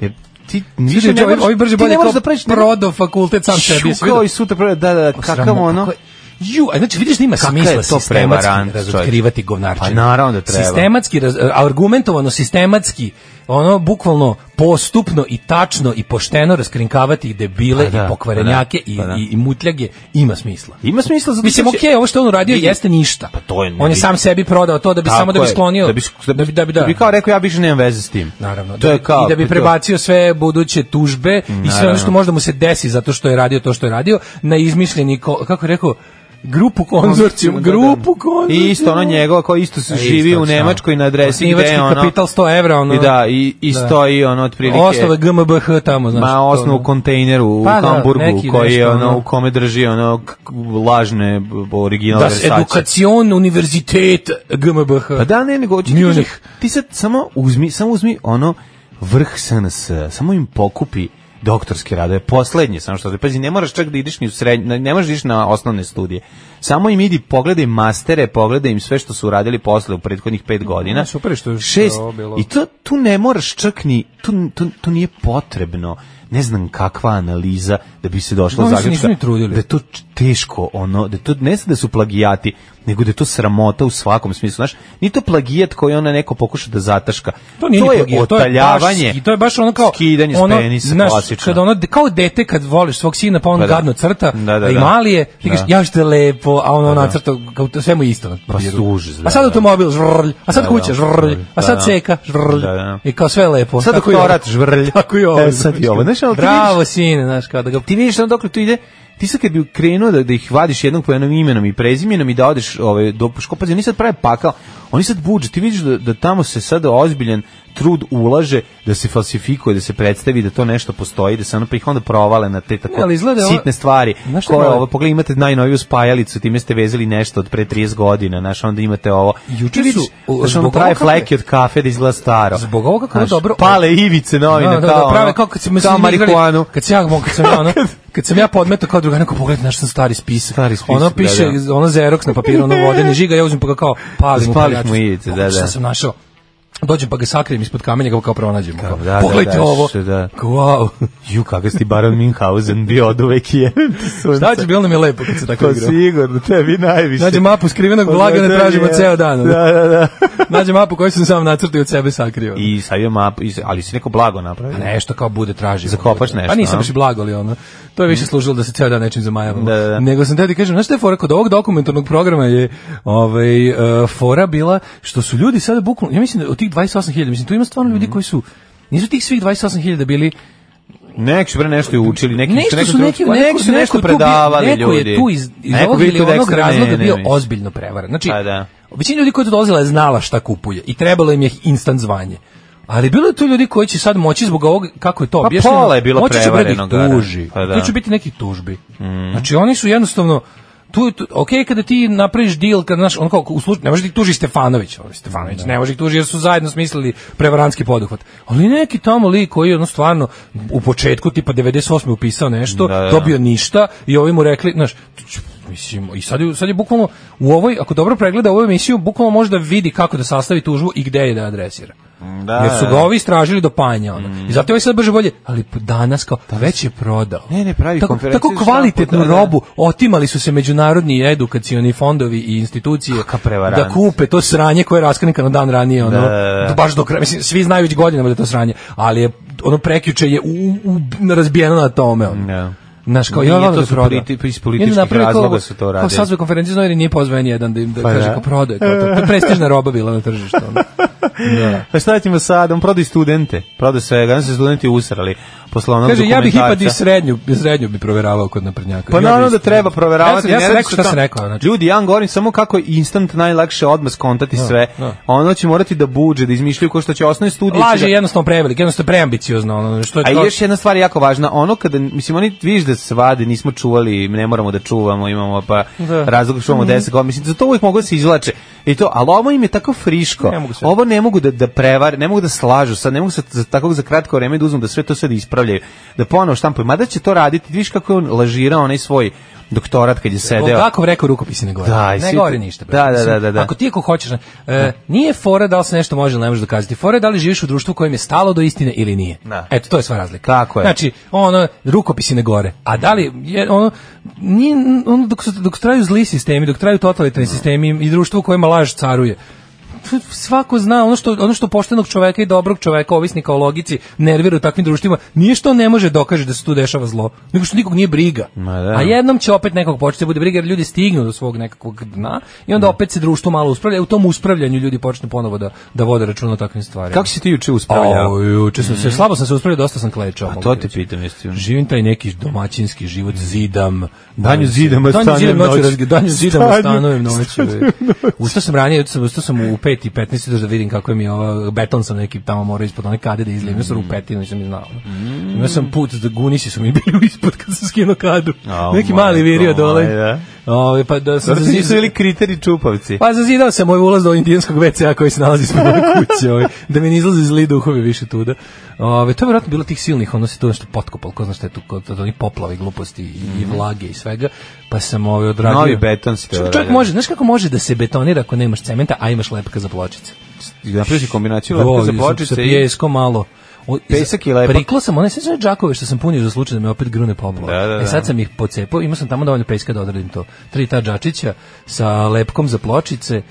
[SPEAKER 6] jer ti više ne
[SPEAKER 5] Ovi,
[SPEAKER 6] možeš,
[SPEAKER 5] ovi brže bolje kao
[SPEAKER 6] da praviš, ne-
[SPEAKER 5] prodo fakultet sam sebi. Svi
[SPEAKER 6] Šukao i sutra, pravi- da, da, da, kakav
[SPEAKER 5] Sramno,
[SPEAKER 6] ono,
[SPEAKER 5] Pa kako je- Ju, a znači vidiš da ima
[SPEAKER 6] Kakav je
[SPEAKER 5] smisla
[SPEAKER 6] to
[SPEAKER 5] sistematski
[SPEAKER 6] prevarant,
[SPEAKER 5] razotkrivati govnarčine.
[SPEAKER 6] Pa naravno da treba.
[SPEAKER 5] Sistematski, raz, argumentovano, sistematski, ono bukvalno postupno i tačno i pošteno raskrinkavati i debile
[SPEAKER 6] Pa da,
[SPEAKER 5] i pokvarenjake
[SPEAKER 6] pa da, pa da.
[SPEAKER 5] i, i, i mutljage ima smisla.
[SPEAKER 6] ima smisla zato
[SPEAKER 5] Mislim,
[SPEAKER 6] što će-
[SPEAKER 5] okej, ovo što je on uradio
[SPEAKER 6] Vidi,
[SPEAKER 5] jeste ništa.
[SPEAKER 6] Pa to je
[SPEAKER 5] on je sam sebi prodao to da bi
[SPEAKER 6] Tako
[SPEAKER 5] samo da bi
[SPEAKER 6] je,
[SPEAKER 5] sklonio.
[SPEAKER 6] da bi, da bi, da bi, da. bi kao rekao, ja više nemam veze s tim.
[SPEAKER 5] Naravno.
[SPEAKER 6] To je kao,
[SPEAKER 5] I da bi
[SPEAKER 6] to-
[SPEAKER 5] prebacio sve buduće tužbe i sve ono što možda mu se desi zato što je radio to što je radio na izmišljeni, ko, kako je rekao, grupu konzorcijum, grupu konzorcijum.
[SPEAKER 6] I isto ono njegova koja isto se
[SPEAKER 5] E,
[SPEAKER 6] živi
[SPEAKER 5] isto,
[SPEAKER 6] u
[SPEAKER 5] šta?
[SPEAKER 6] Nemačkoj na adresi gde
[SPEAKER 5] Osnivački
[SPEAKER 6] je ono...
[SPEAKER 5] kapital 100 evra, ono.
[SPEAKER 6] I da, i, i
[SPEAKER 5] Da.
[SPEAKER 6] stoji ono otprilike...
[SPEAKER 5] Osnove GmbH tamo, znaš.
[SPEAKER 6] Ma
[SPEAKER 5] to,
[SPEAKER 6] osnov
[SPEAKER 5] ono.
[SPEAKER 6] u kontejneru u
[SPEAKER 5] Pa da,
[SPEAKER 6] Hamburgu
[SPEAKER 5] neki
[SPEAKER 6] koji je
[SPEAKER 5] nešto,
[SPEAKER 6] ono
[SPEAKER 5] ono.
[SPEAKER 6] u kome drži ono k- k- lažne b- originalne
[SPEAKER 5] Das Edukacion Univerzitet GmbH.
[SPEAKER 6] Pa da, ne, nego hoću ti
[SPEAKER 5] Munich.
[SPEAKER 6] kažem, ti sad samo uzmi, samo uzmi ono vrh SNS, samo im pokupi doktorske radove, poslednje, samo što pazi, ne moraš čak da ideš ni u srednje, ne možeš da ideš na osnovne studije. Samo im idi, pogledaj mastere, pogledaj im sve što su uradili posle u prethodnih pet godina.
[SPEAKER 5] super je što je
[SPEAKER 6] Šest,
[SPEAKER 5] ovo bilo.
[SPEAKER 6] i to, tu ne moraš čak ni, tu, tu, tu nije potrebno ne znam kakva analiza da bi se došlo
[SPEAKER 5] No,
[SPEAKER 6] no,
[SPEAKER 5] oni se nisu
[SPEAKER 6] zaključka
[SPEAKER 5] ni trudili.
[SPEAKER 6] da je to č- teško ono da je to ne znam da su plagijati nego da je to sramota u svakom smislu znaš ni to plagijat koji ona neko pokuša da zataška
[SPEAKER 5] To nije
[SPEAKER 6] to je
[SPEAKER 5] plagijat, To je
[SPEAKER 6] otaljavanje
[SPEAKER 5] baš, ski- to je baš ono kao
[SPEAKER 6] skidanje s penisa
[SPEAKER 5] znaš,
[SPEAKER 6] klasično.
[SPEAKER 5] Kad ono kao dete kad voliš svog sina pa on
[SPEAKER 6] Pa da.
[SPEAKER 5] gadno crta,
[SPEAKER 6] Da, da,
[SPEAKER 5] a i
[SPEAKER 6] da.
[SPEAKER 5] mali je, ti
[SPEAKER 6] Da.
[SPEAKER 5] kažeš ja što je lepo, a ono nacrta kao to sve mu je isto na
[SPEAKER 6] Pa
[SPEAKER 5] papiru.
[SPEAKER 6] užas, da,
[SPEAKER 5] a sad
[SPEAKER 6] da.
[SPEAKER 5] automobil, žvrlj, a sad
[SPEAKER 6] Da,
[SPEAKER 5] kuća,
[SPEAKER 6] da.
[SPEAKER 5] žvrlj, a
[SPEAKER 6] Da,
[SPEAKER 5] sad
[SPEAKER 6] da.
[SPEAKER 5] seka, žvrlj.
[SPEAKER 6] Da, da.
[SPEAKER 5] I kao sve je lepo.
[SPEAKER 6] Sad
[SPEAKER 5] Tako i ovo.
[SPEAKER 6] doktorat, žvrlj.
[SPEAKER 5] Tako i ovo.
[SPEAKER 6] E, sad i ovo. Znaš, ali ti
[SPEAKER 5] Bravo sine, znaš, kao da ga
[SPEAKER 6] ti vidiš ono dokle tu ide ti sad kad bi krenuo da, da ih vadiš jednog po jednom imenom i prezimenom i da odeš ovaj, do Škopazi, oni sad prave pakao, oni sad buđe, ti vidiš da, da tamo se sad ozbiljan trud ulaže da se falsifikuje, da se predstavi da to nešto postoji, da se ono prih onda provale na te
[SPEAKER 5] Ne,
[SPEAKER 6] tako
[SPEAKER 5] ali izgleda ovo-
[SPEAKER 6] sitne stvari.
[SPEAKER 5] Znaš šta je
[SPEAKER 6] Koje,
[SPEAKER 5] problem?
[SPEAKER 6] ovo, pogledaj, imate najnoviju spajalicu, time ste vezali nešto od pre 30 godina, znaš, onda imate ovo.
[SPEAKER 5] Juče
[SPEAKER 6] Ti vidiš,
[SPEAKER 5] su, o,
[SPEAKER 6] znaš, ono
[SPEAKER 5] zbog
[SPEAKER 6] prave
[SPEAKER 5] ovoga kako je-
[SPEAKER 6] fleke od kafe da izgleda staro.
[SPEAKER 5] Zbog ovoga kako je
[SPEAKER 6] Znaš,
[SPEAKER 5] dobro-
[SPEAKER 6] Pale ivice novine,
[SPEAKER 5] Da, da,
[SPEAKER 6] kao,
[SPEAKER 5] da, prave
[SPEAKER 6] ono,
[SPEAKER 5] kao kad smo se
[SPEAKER 6] kao
[SPEAKER 5] mi igrali-
[SPEAKER 6] marihuanu.
[SPEAKER 5] Kad se ja mog kad sam ja ono, kad sam ja podmetao kao druga neko pogled na što sam stari spisak.
[SPEAKER 6] Stari spisak,
[SPEAKER 5] Ono
[SPEAKER 6] da,
[SPEAKER 5] piše
[SPEAKER 6] da.
[SPEAKER 5] ono Xerox na papiru, ono vodeni žiga, ja uzmem pa ga kao palim u
[SPEAKER 6] Spališ
[SPEAKER 5] paljaču.
[SPEAKER 6] mu ivice, da,
[SPEAKER 5] Pogledaj Šta
[SPEAKER 6] da.
[SPEAKER 5] sam našao? Dođem pa ga sakrijem ispod kamenja, ga kao pronađemo. Kao,
[SPEAKER 6] da, da,
[SPEAKER 5] Pogledajte
[SPEAKER 6] da,
[SPEAKER 5] ovo.
[SPEAKER 6] što da.
[SPEAKER 5] Kao, Wow.
[SPEAKER 6] Ju, kakav si ti Baron Minhausen bio od uvek i jebem ti sunce.
[SPEAKER 5] Šta će bilo nam je lepo kad se tako
[SPEAKER 6] To
[SPEAKER 5] igra.
[SPEAKER 6] sigurno, tebi najviše.
[SPEAKER 5] Nađe mapu skrivenog
[SPEAKER 6] Pa
[SPEAKER 5] blaga,
[SPEAKER 6] da,
[SPEAKER 5] ne
[SPEAKER 6] da,
[SPEAKER 5] tražimo
[SPEAKER 6] je.
[SPEAKER 5] ceo dan. ono.
[SPEAKER 6] Da, da, da.
[SPEAKER 5] Nađe mapu koju sam sam nacrtao i od sebe sakrio. ono.
[SPEAKER 6] I savio mapu, i- ali si neko blago napravio.
[SPEAKER 5] Pa nešto kao bude tražio.
[SPEAKER 6] Zakopaš
[SPEAKER 5] Pa
[SPEAKER 6] nešto,
[SPEAKER 5] nisam
[SPEAKER 6] a? Mm.
[SPEAKER 5] baš i blago ali ono. To je više služilo da se ceo dan nečim zamajavamo.
[SPEAKER 6] Da, da, da.
[SPEAKER 5] Nego sam tebi kažem, znaš šta je fora kod ovog dokumentarnog programa je ovaj e, fora bila što su ljudi sada bukvalno, ja mislim da od tih 28.000, mislim tu ima stvarno
[SPEAKER 6] Mhm.
[SPEAKER 5] ljudi koji su Nisu tih svih 28.000 bili
[SPEAKER 6] Neki su bre nešto i učili, neki
[SPEAKER 5] nešto
[SPEAKER 6] neki
[SPEAKER 5] su neki,
[SPEAKER 6] pa
[SPEAKER 5] neko,
[SPEAKER 6] neki su
[SPEAKER 5] neko
[SPEAKER 6] nešto
[SPEAKER 5] je tu
[SPEAKER 6] predavali
[SPEAKER 5] bio, neko
[SPEAKER 6] ljudi.
[SPEAKER 5] je tu iz, iz
[SPEAKER 6] Neko
[SPEAKER 5] ovog
[SPEAKER 6] bio
[SPEAKER 5] ili
[SPEAKER 6] tu da
[SPEAKER 5] onog
[SPEAKER 6] ekstra, ne,
[SPEAKER 5] razloga
[SPEAKER 6] ne,
[SPEAKER 5] bio
[SPEAKER 6] ne.
[SPEAKER 5] ozbiljno prevaran. Znači,
[SPEAKER 6] Pa da.
[SPEAKER 5] većina ljudi koja je tu dolazila je znala šta kupuje i trebalo im je instant zvanje. Ali bilo je tu ljudi koji će sad moći zbog ovog, kako je to
[SPEAKER 6] Pa
[SPEAKER 5] objašnjeno,
[SPEAKER 6] pola je bilo
[SPEAKER 5] moći će bre da ih
[SPEAKER 6] prevareno, Gara.
[SPEAKER 5] tuži.
[SPEAKER 6] Pa da.
[SPEAKER 5] Tu će biti neki tužbi. Znači oni su jednostavno, tu, tu ok, kada ti napraviš deal, kada, znaš, on kao, u slučaju, ne može da ih tuži Stefanović, ovaj Stefanović, ne može da ih tuži jer su zajedno smislili prevarantski poduhvat. Ali neki tamo lik koji je, ono, stvarno, u početku, tipa 98. upisao nešto,
[SPEAKER 6] Da, da, da.
[SPEAKER 5] dobio ništa i ovi mu rekli, znaš, tu ću- mislim, i sad, je- sad je bukvalno, u ovoj, ako dobro pregleda ovu emisiju, bukvalno može da vidi kako da sastavi tužbu i gde je da adresira.
[SPEAKER 6] Da,
[SPEAKER 5] Jer su
[SPEAKER 6] da. Mm.
[SPEAKER 5] ga ovi istražili do panja. Ono. I zato je ovaj sad brže bolje, ali po- danas kao, već je prodao.
[SPEAKER 6] Ne, ne, pravi
[SPEAKER 5] tako,
[SPEAKER 6] konferenciju
[SPEAKER 5] Tako
[SPEAKER 6] za
[SPEAKER 5] kvalitetnu
[SPEAKER 6] štampu, da, da.
[SPEAKER 5] robu, otimali su se međunarodni edukacioni fondovi i institucije
[SPEAKER 6] Kakav prevarant.
[SPEAKER 5] da kupe to sranje koje je raskanikano dan ranije.
[SPEAKER 6] Da,
[SPEAKER 5] Ono,
[SPEAKER 6] da, da.
[SPEAKER 5] Baš do kraja, mislim, svi znaju već godinama da je to sranje, ali je, ono prekjuče je u, u, razbijeno na tome. Ono.
[SPEAKER 6] Da.
[SPEAKER 5] Znaš, kao,
[SPEAKER 6] Nije,
[SPEAKER 5] ja volim
[SPEAKER 6] to
[SPEAKER 5] da
[SPEAKER 6] su
[SPEAKER 5] proda.
[SPEAKER 6] politi- iz političkih
[SPEAKER 5] Ili napravi
[SPEAKER 6] razloga
[SPEAKER 5] kao-
[SPEAKER 6] su to radili.
[SPEAKER 5] Kao sazve konferenciju znovi, nije pozvao ni jedan da, im- da
[SPEAKER 6] Pa
[SPEAKER 5] kaže
[SPEAKER 6] da.
[SPEAKER 5] kao prodaje. To, to, to je prestižna roba bila na tržištu. Ono. Da.
[SPEAKER 6] Pa šta ćemo sad, on prodaj studente, prodaj svega, on se studenti usrali posle onog
[SPEAKER 5] Kaže, ja bih ipak i
[SPEAKER 6] dokumentarca.
[SPEAKER 5] srednju, srednju bi proveravao kod naprednjaka.
[SPEAKER 6] Pa
[SPEAKER 5] Ja bi
[SPEAKER 6] naravno da
[SPEAKER 5] isto-
[SPEAKER 6] treba proveravati.
[SPEAKER 5] Ja sam, ja
[SPEAKER 6] ne
[SPEAKER 5] sam
[SPEAKER 6] radi
[SPEAKER 5] rekao
[SPEAKER 6] se
[SPEAKER 5] šta
[SPEAKER 6] to-
[SPEAKER 5] sam rekao. Znači,
[SPEAKER 6] Ljudi, ja vam govorim samo kako je instant najlakše odmah skontati sve.
[SPEAKER 5] da.
[SPEAKER 6] Ono će morati da buđe, da izmišljaju ko što će osnovne studije. će
[SPEAKER 5] laž
[SPEAKER 6] da-
[SPEAKER 5] je jednostavno prevelik, jednostavno preambiciozno. Ono, što je
[SPEAKER 6] A i
[SPEAKER 5] to-
[SPEAKER 6] još jedna stvar jako važna, ono kada, mislim, oni vidiš da se vade, nismo čuvali, ne moramo da čuvamo, imamo pa
[SPEAKER 5] Da. Mhm.
[SPEAKER 6] razlog čuvamo 10 godina, mislim, za to uvijek mogu da se izvlače. I to, ali ovo im je tako friško,
[SPEAKER 5] Ne mogu sve.
[SPEAKER 6] ovo ne mogu da, da prevare, ne mogu da slažu, sad ne mogu se za, tako za kratko vreme da uzmu da sve to sad ispravljaju, da ponovo štampaju, mada će to raditi, vidiš kako je on lažirao onaj svoj doktorat kad je sedeo.
[SPEAKER 5] Kako rekao rukopisi ne govori.
[SPEAKER 6] Da, i
[SPEAKER 5] ne
[SPEAKER 6] svi
[SPEAKER 5] govori
[SPEAKER 6] ti-
[SPEAKER 5] ništa. bre.
[SPEAKER 6] Da, da,
[SPEAKER 5] Mislim,
[SPEAKER 6] da, da, da.
[SPEAKER 5] Ako ti ako hoćeš, e, nije fora da li se nešto može ili ne može dokazati. Fora je da li živiš u društvu kojem je stalo do istine ili nije.
[SPEAKER 6] Da.
[SPEAKER 5] Eto, to je sva razlika.
[SPEAKER 6] Tako je.
[SPEAKER 5] Znači, ono, rukopisi ne gore. A da li, je, ono, nije, ono, dok, su- dok traju zli sistemi, dok traju totalitarni sistemi i društvo u kojima laž caruje, svako zna ono što ono što poštenog čoveka i dobrog čoveka ovisnika o logici nervira u takvim društvima nije što on ne može dokaže da se tu dešava zlo nego što nikog nije briga
[SPEAKER 6] Ma da.
[SPEAKER 5] a jednom će opet nekog početi da bude briga jer ljudi stignu do svog nekakvog dna i onda opet se društvo malo uspravlja u tom uspravljanju ljudi počnu ponovo da da vode računa o takvim stvarima
[SPEAKER 6] Kako si ti juče
[SPEAKER 5] Au,
[SPEAKER 6] uspravljao? Mm.
[SPEAKER 5] juče sam se slabo sam se uspravio dosta sam klečao
[SPEAKER 6] A
[SPEAKER 5] mogu
[SPEAKER 6] to
[SPEAKER 5] ti
[SPEAKER 6] te
[SPEAKER 5] reći.
[SPEAKER 6] pitam, jesi
[SPEAKER 5] živim taj neki domaćinski život zidam
[SPEAKER 6] Danju zidam, a
[SPEAKER 5] Danju
[SPEAKER 6] stanujem
[SPEAKER 5] zidam noću
[SPEAKER 6] noću.
[SPEAKER 5] razg- danju zidam a
[SPEAKER 6] Stanju-
[SPEAKER 5] stanujem noću ustao sam ranije ustao sam, ustao sam u 5 i 15 da vidim kako je mi ova beton sam neki tamo morao ispod one kade da izlijem ja sam
[SPEAKER 6] Mm.
[SPEAKER 5] rupetinu nisam ni znao imao sam put da gunisi su mi bili ispod kad sam skinuo kadu
[SPEAKER 6] Au,
[SPEAKER 5] neki mali
[SPEAKER 6] majko
[SPEAKER 5] virio dole
[SPEAKER 6] moja.
[SPEAKER 5] Ove, pa da sam
[SPEAKER 6] Zato ti nisu
[SPEAKER 5] zazidao-
[SPEAKER 6] bili kriteri čupavci.
[SPEAKER 5] pa zazidao sam moj ulaz do indijanskog WC-a koji se nalazi ispod moje kuće, ovaj, da mi ne izlaze zli duhovi više tuda. Ove, to je vjerojatno bilo tih silnih, ono se to nešto potkopalo, ko zna šta je tu, kod od onih poplava i gluposti i, i vlage i svega, pa sam ove odradio.
[SPEAKER 6] Mhm. Novi beton si
[SPEAKER 5] Čo-
[SPEAKER 6] treba
[SPEAKER 5] Čovjek
[SPEAKER 6] raditi.
[SPEAKER 5] može, znaš kako može da se betonira ako nemaš cementa, a imaš lepka za pločice?
[SPEAKER 6] napravio si kombinaciju
[SPEAKER 5] Do,
[SPEAKER 6] lepka za
[SPEAKER 5] sa
[SPEAKER 6] pločice i...
[SPEAKER 5] pijesko malo. O,
[SPEAKER 6] Pesak
[SPEAKER 5] za-
[SPEAKER 6] i lepak.
[SPEAKER 5] Priklo sam one sve sve džakove što sam punio za slučaj da me opet grune poplava.
[SPEAKER 6] Da, da, da.
[SPEAKER 5] E sad sam ih pocepao, imao sam tamo dovoljno peska da odradim to. Tri ta džačića sa lepkom za pločice.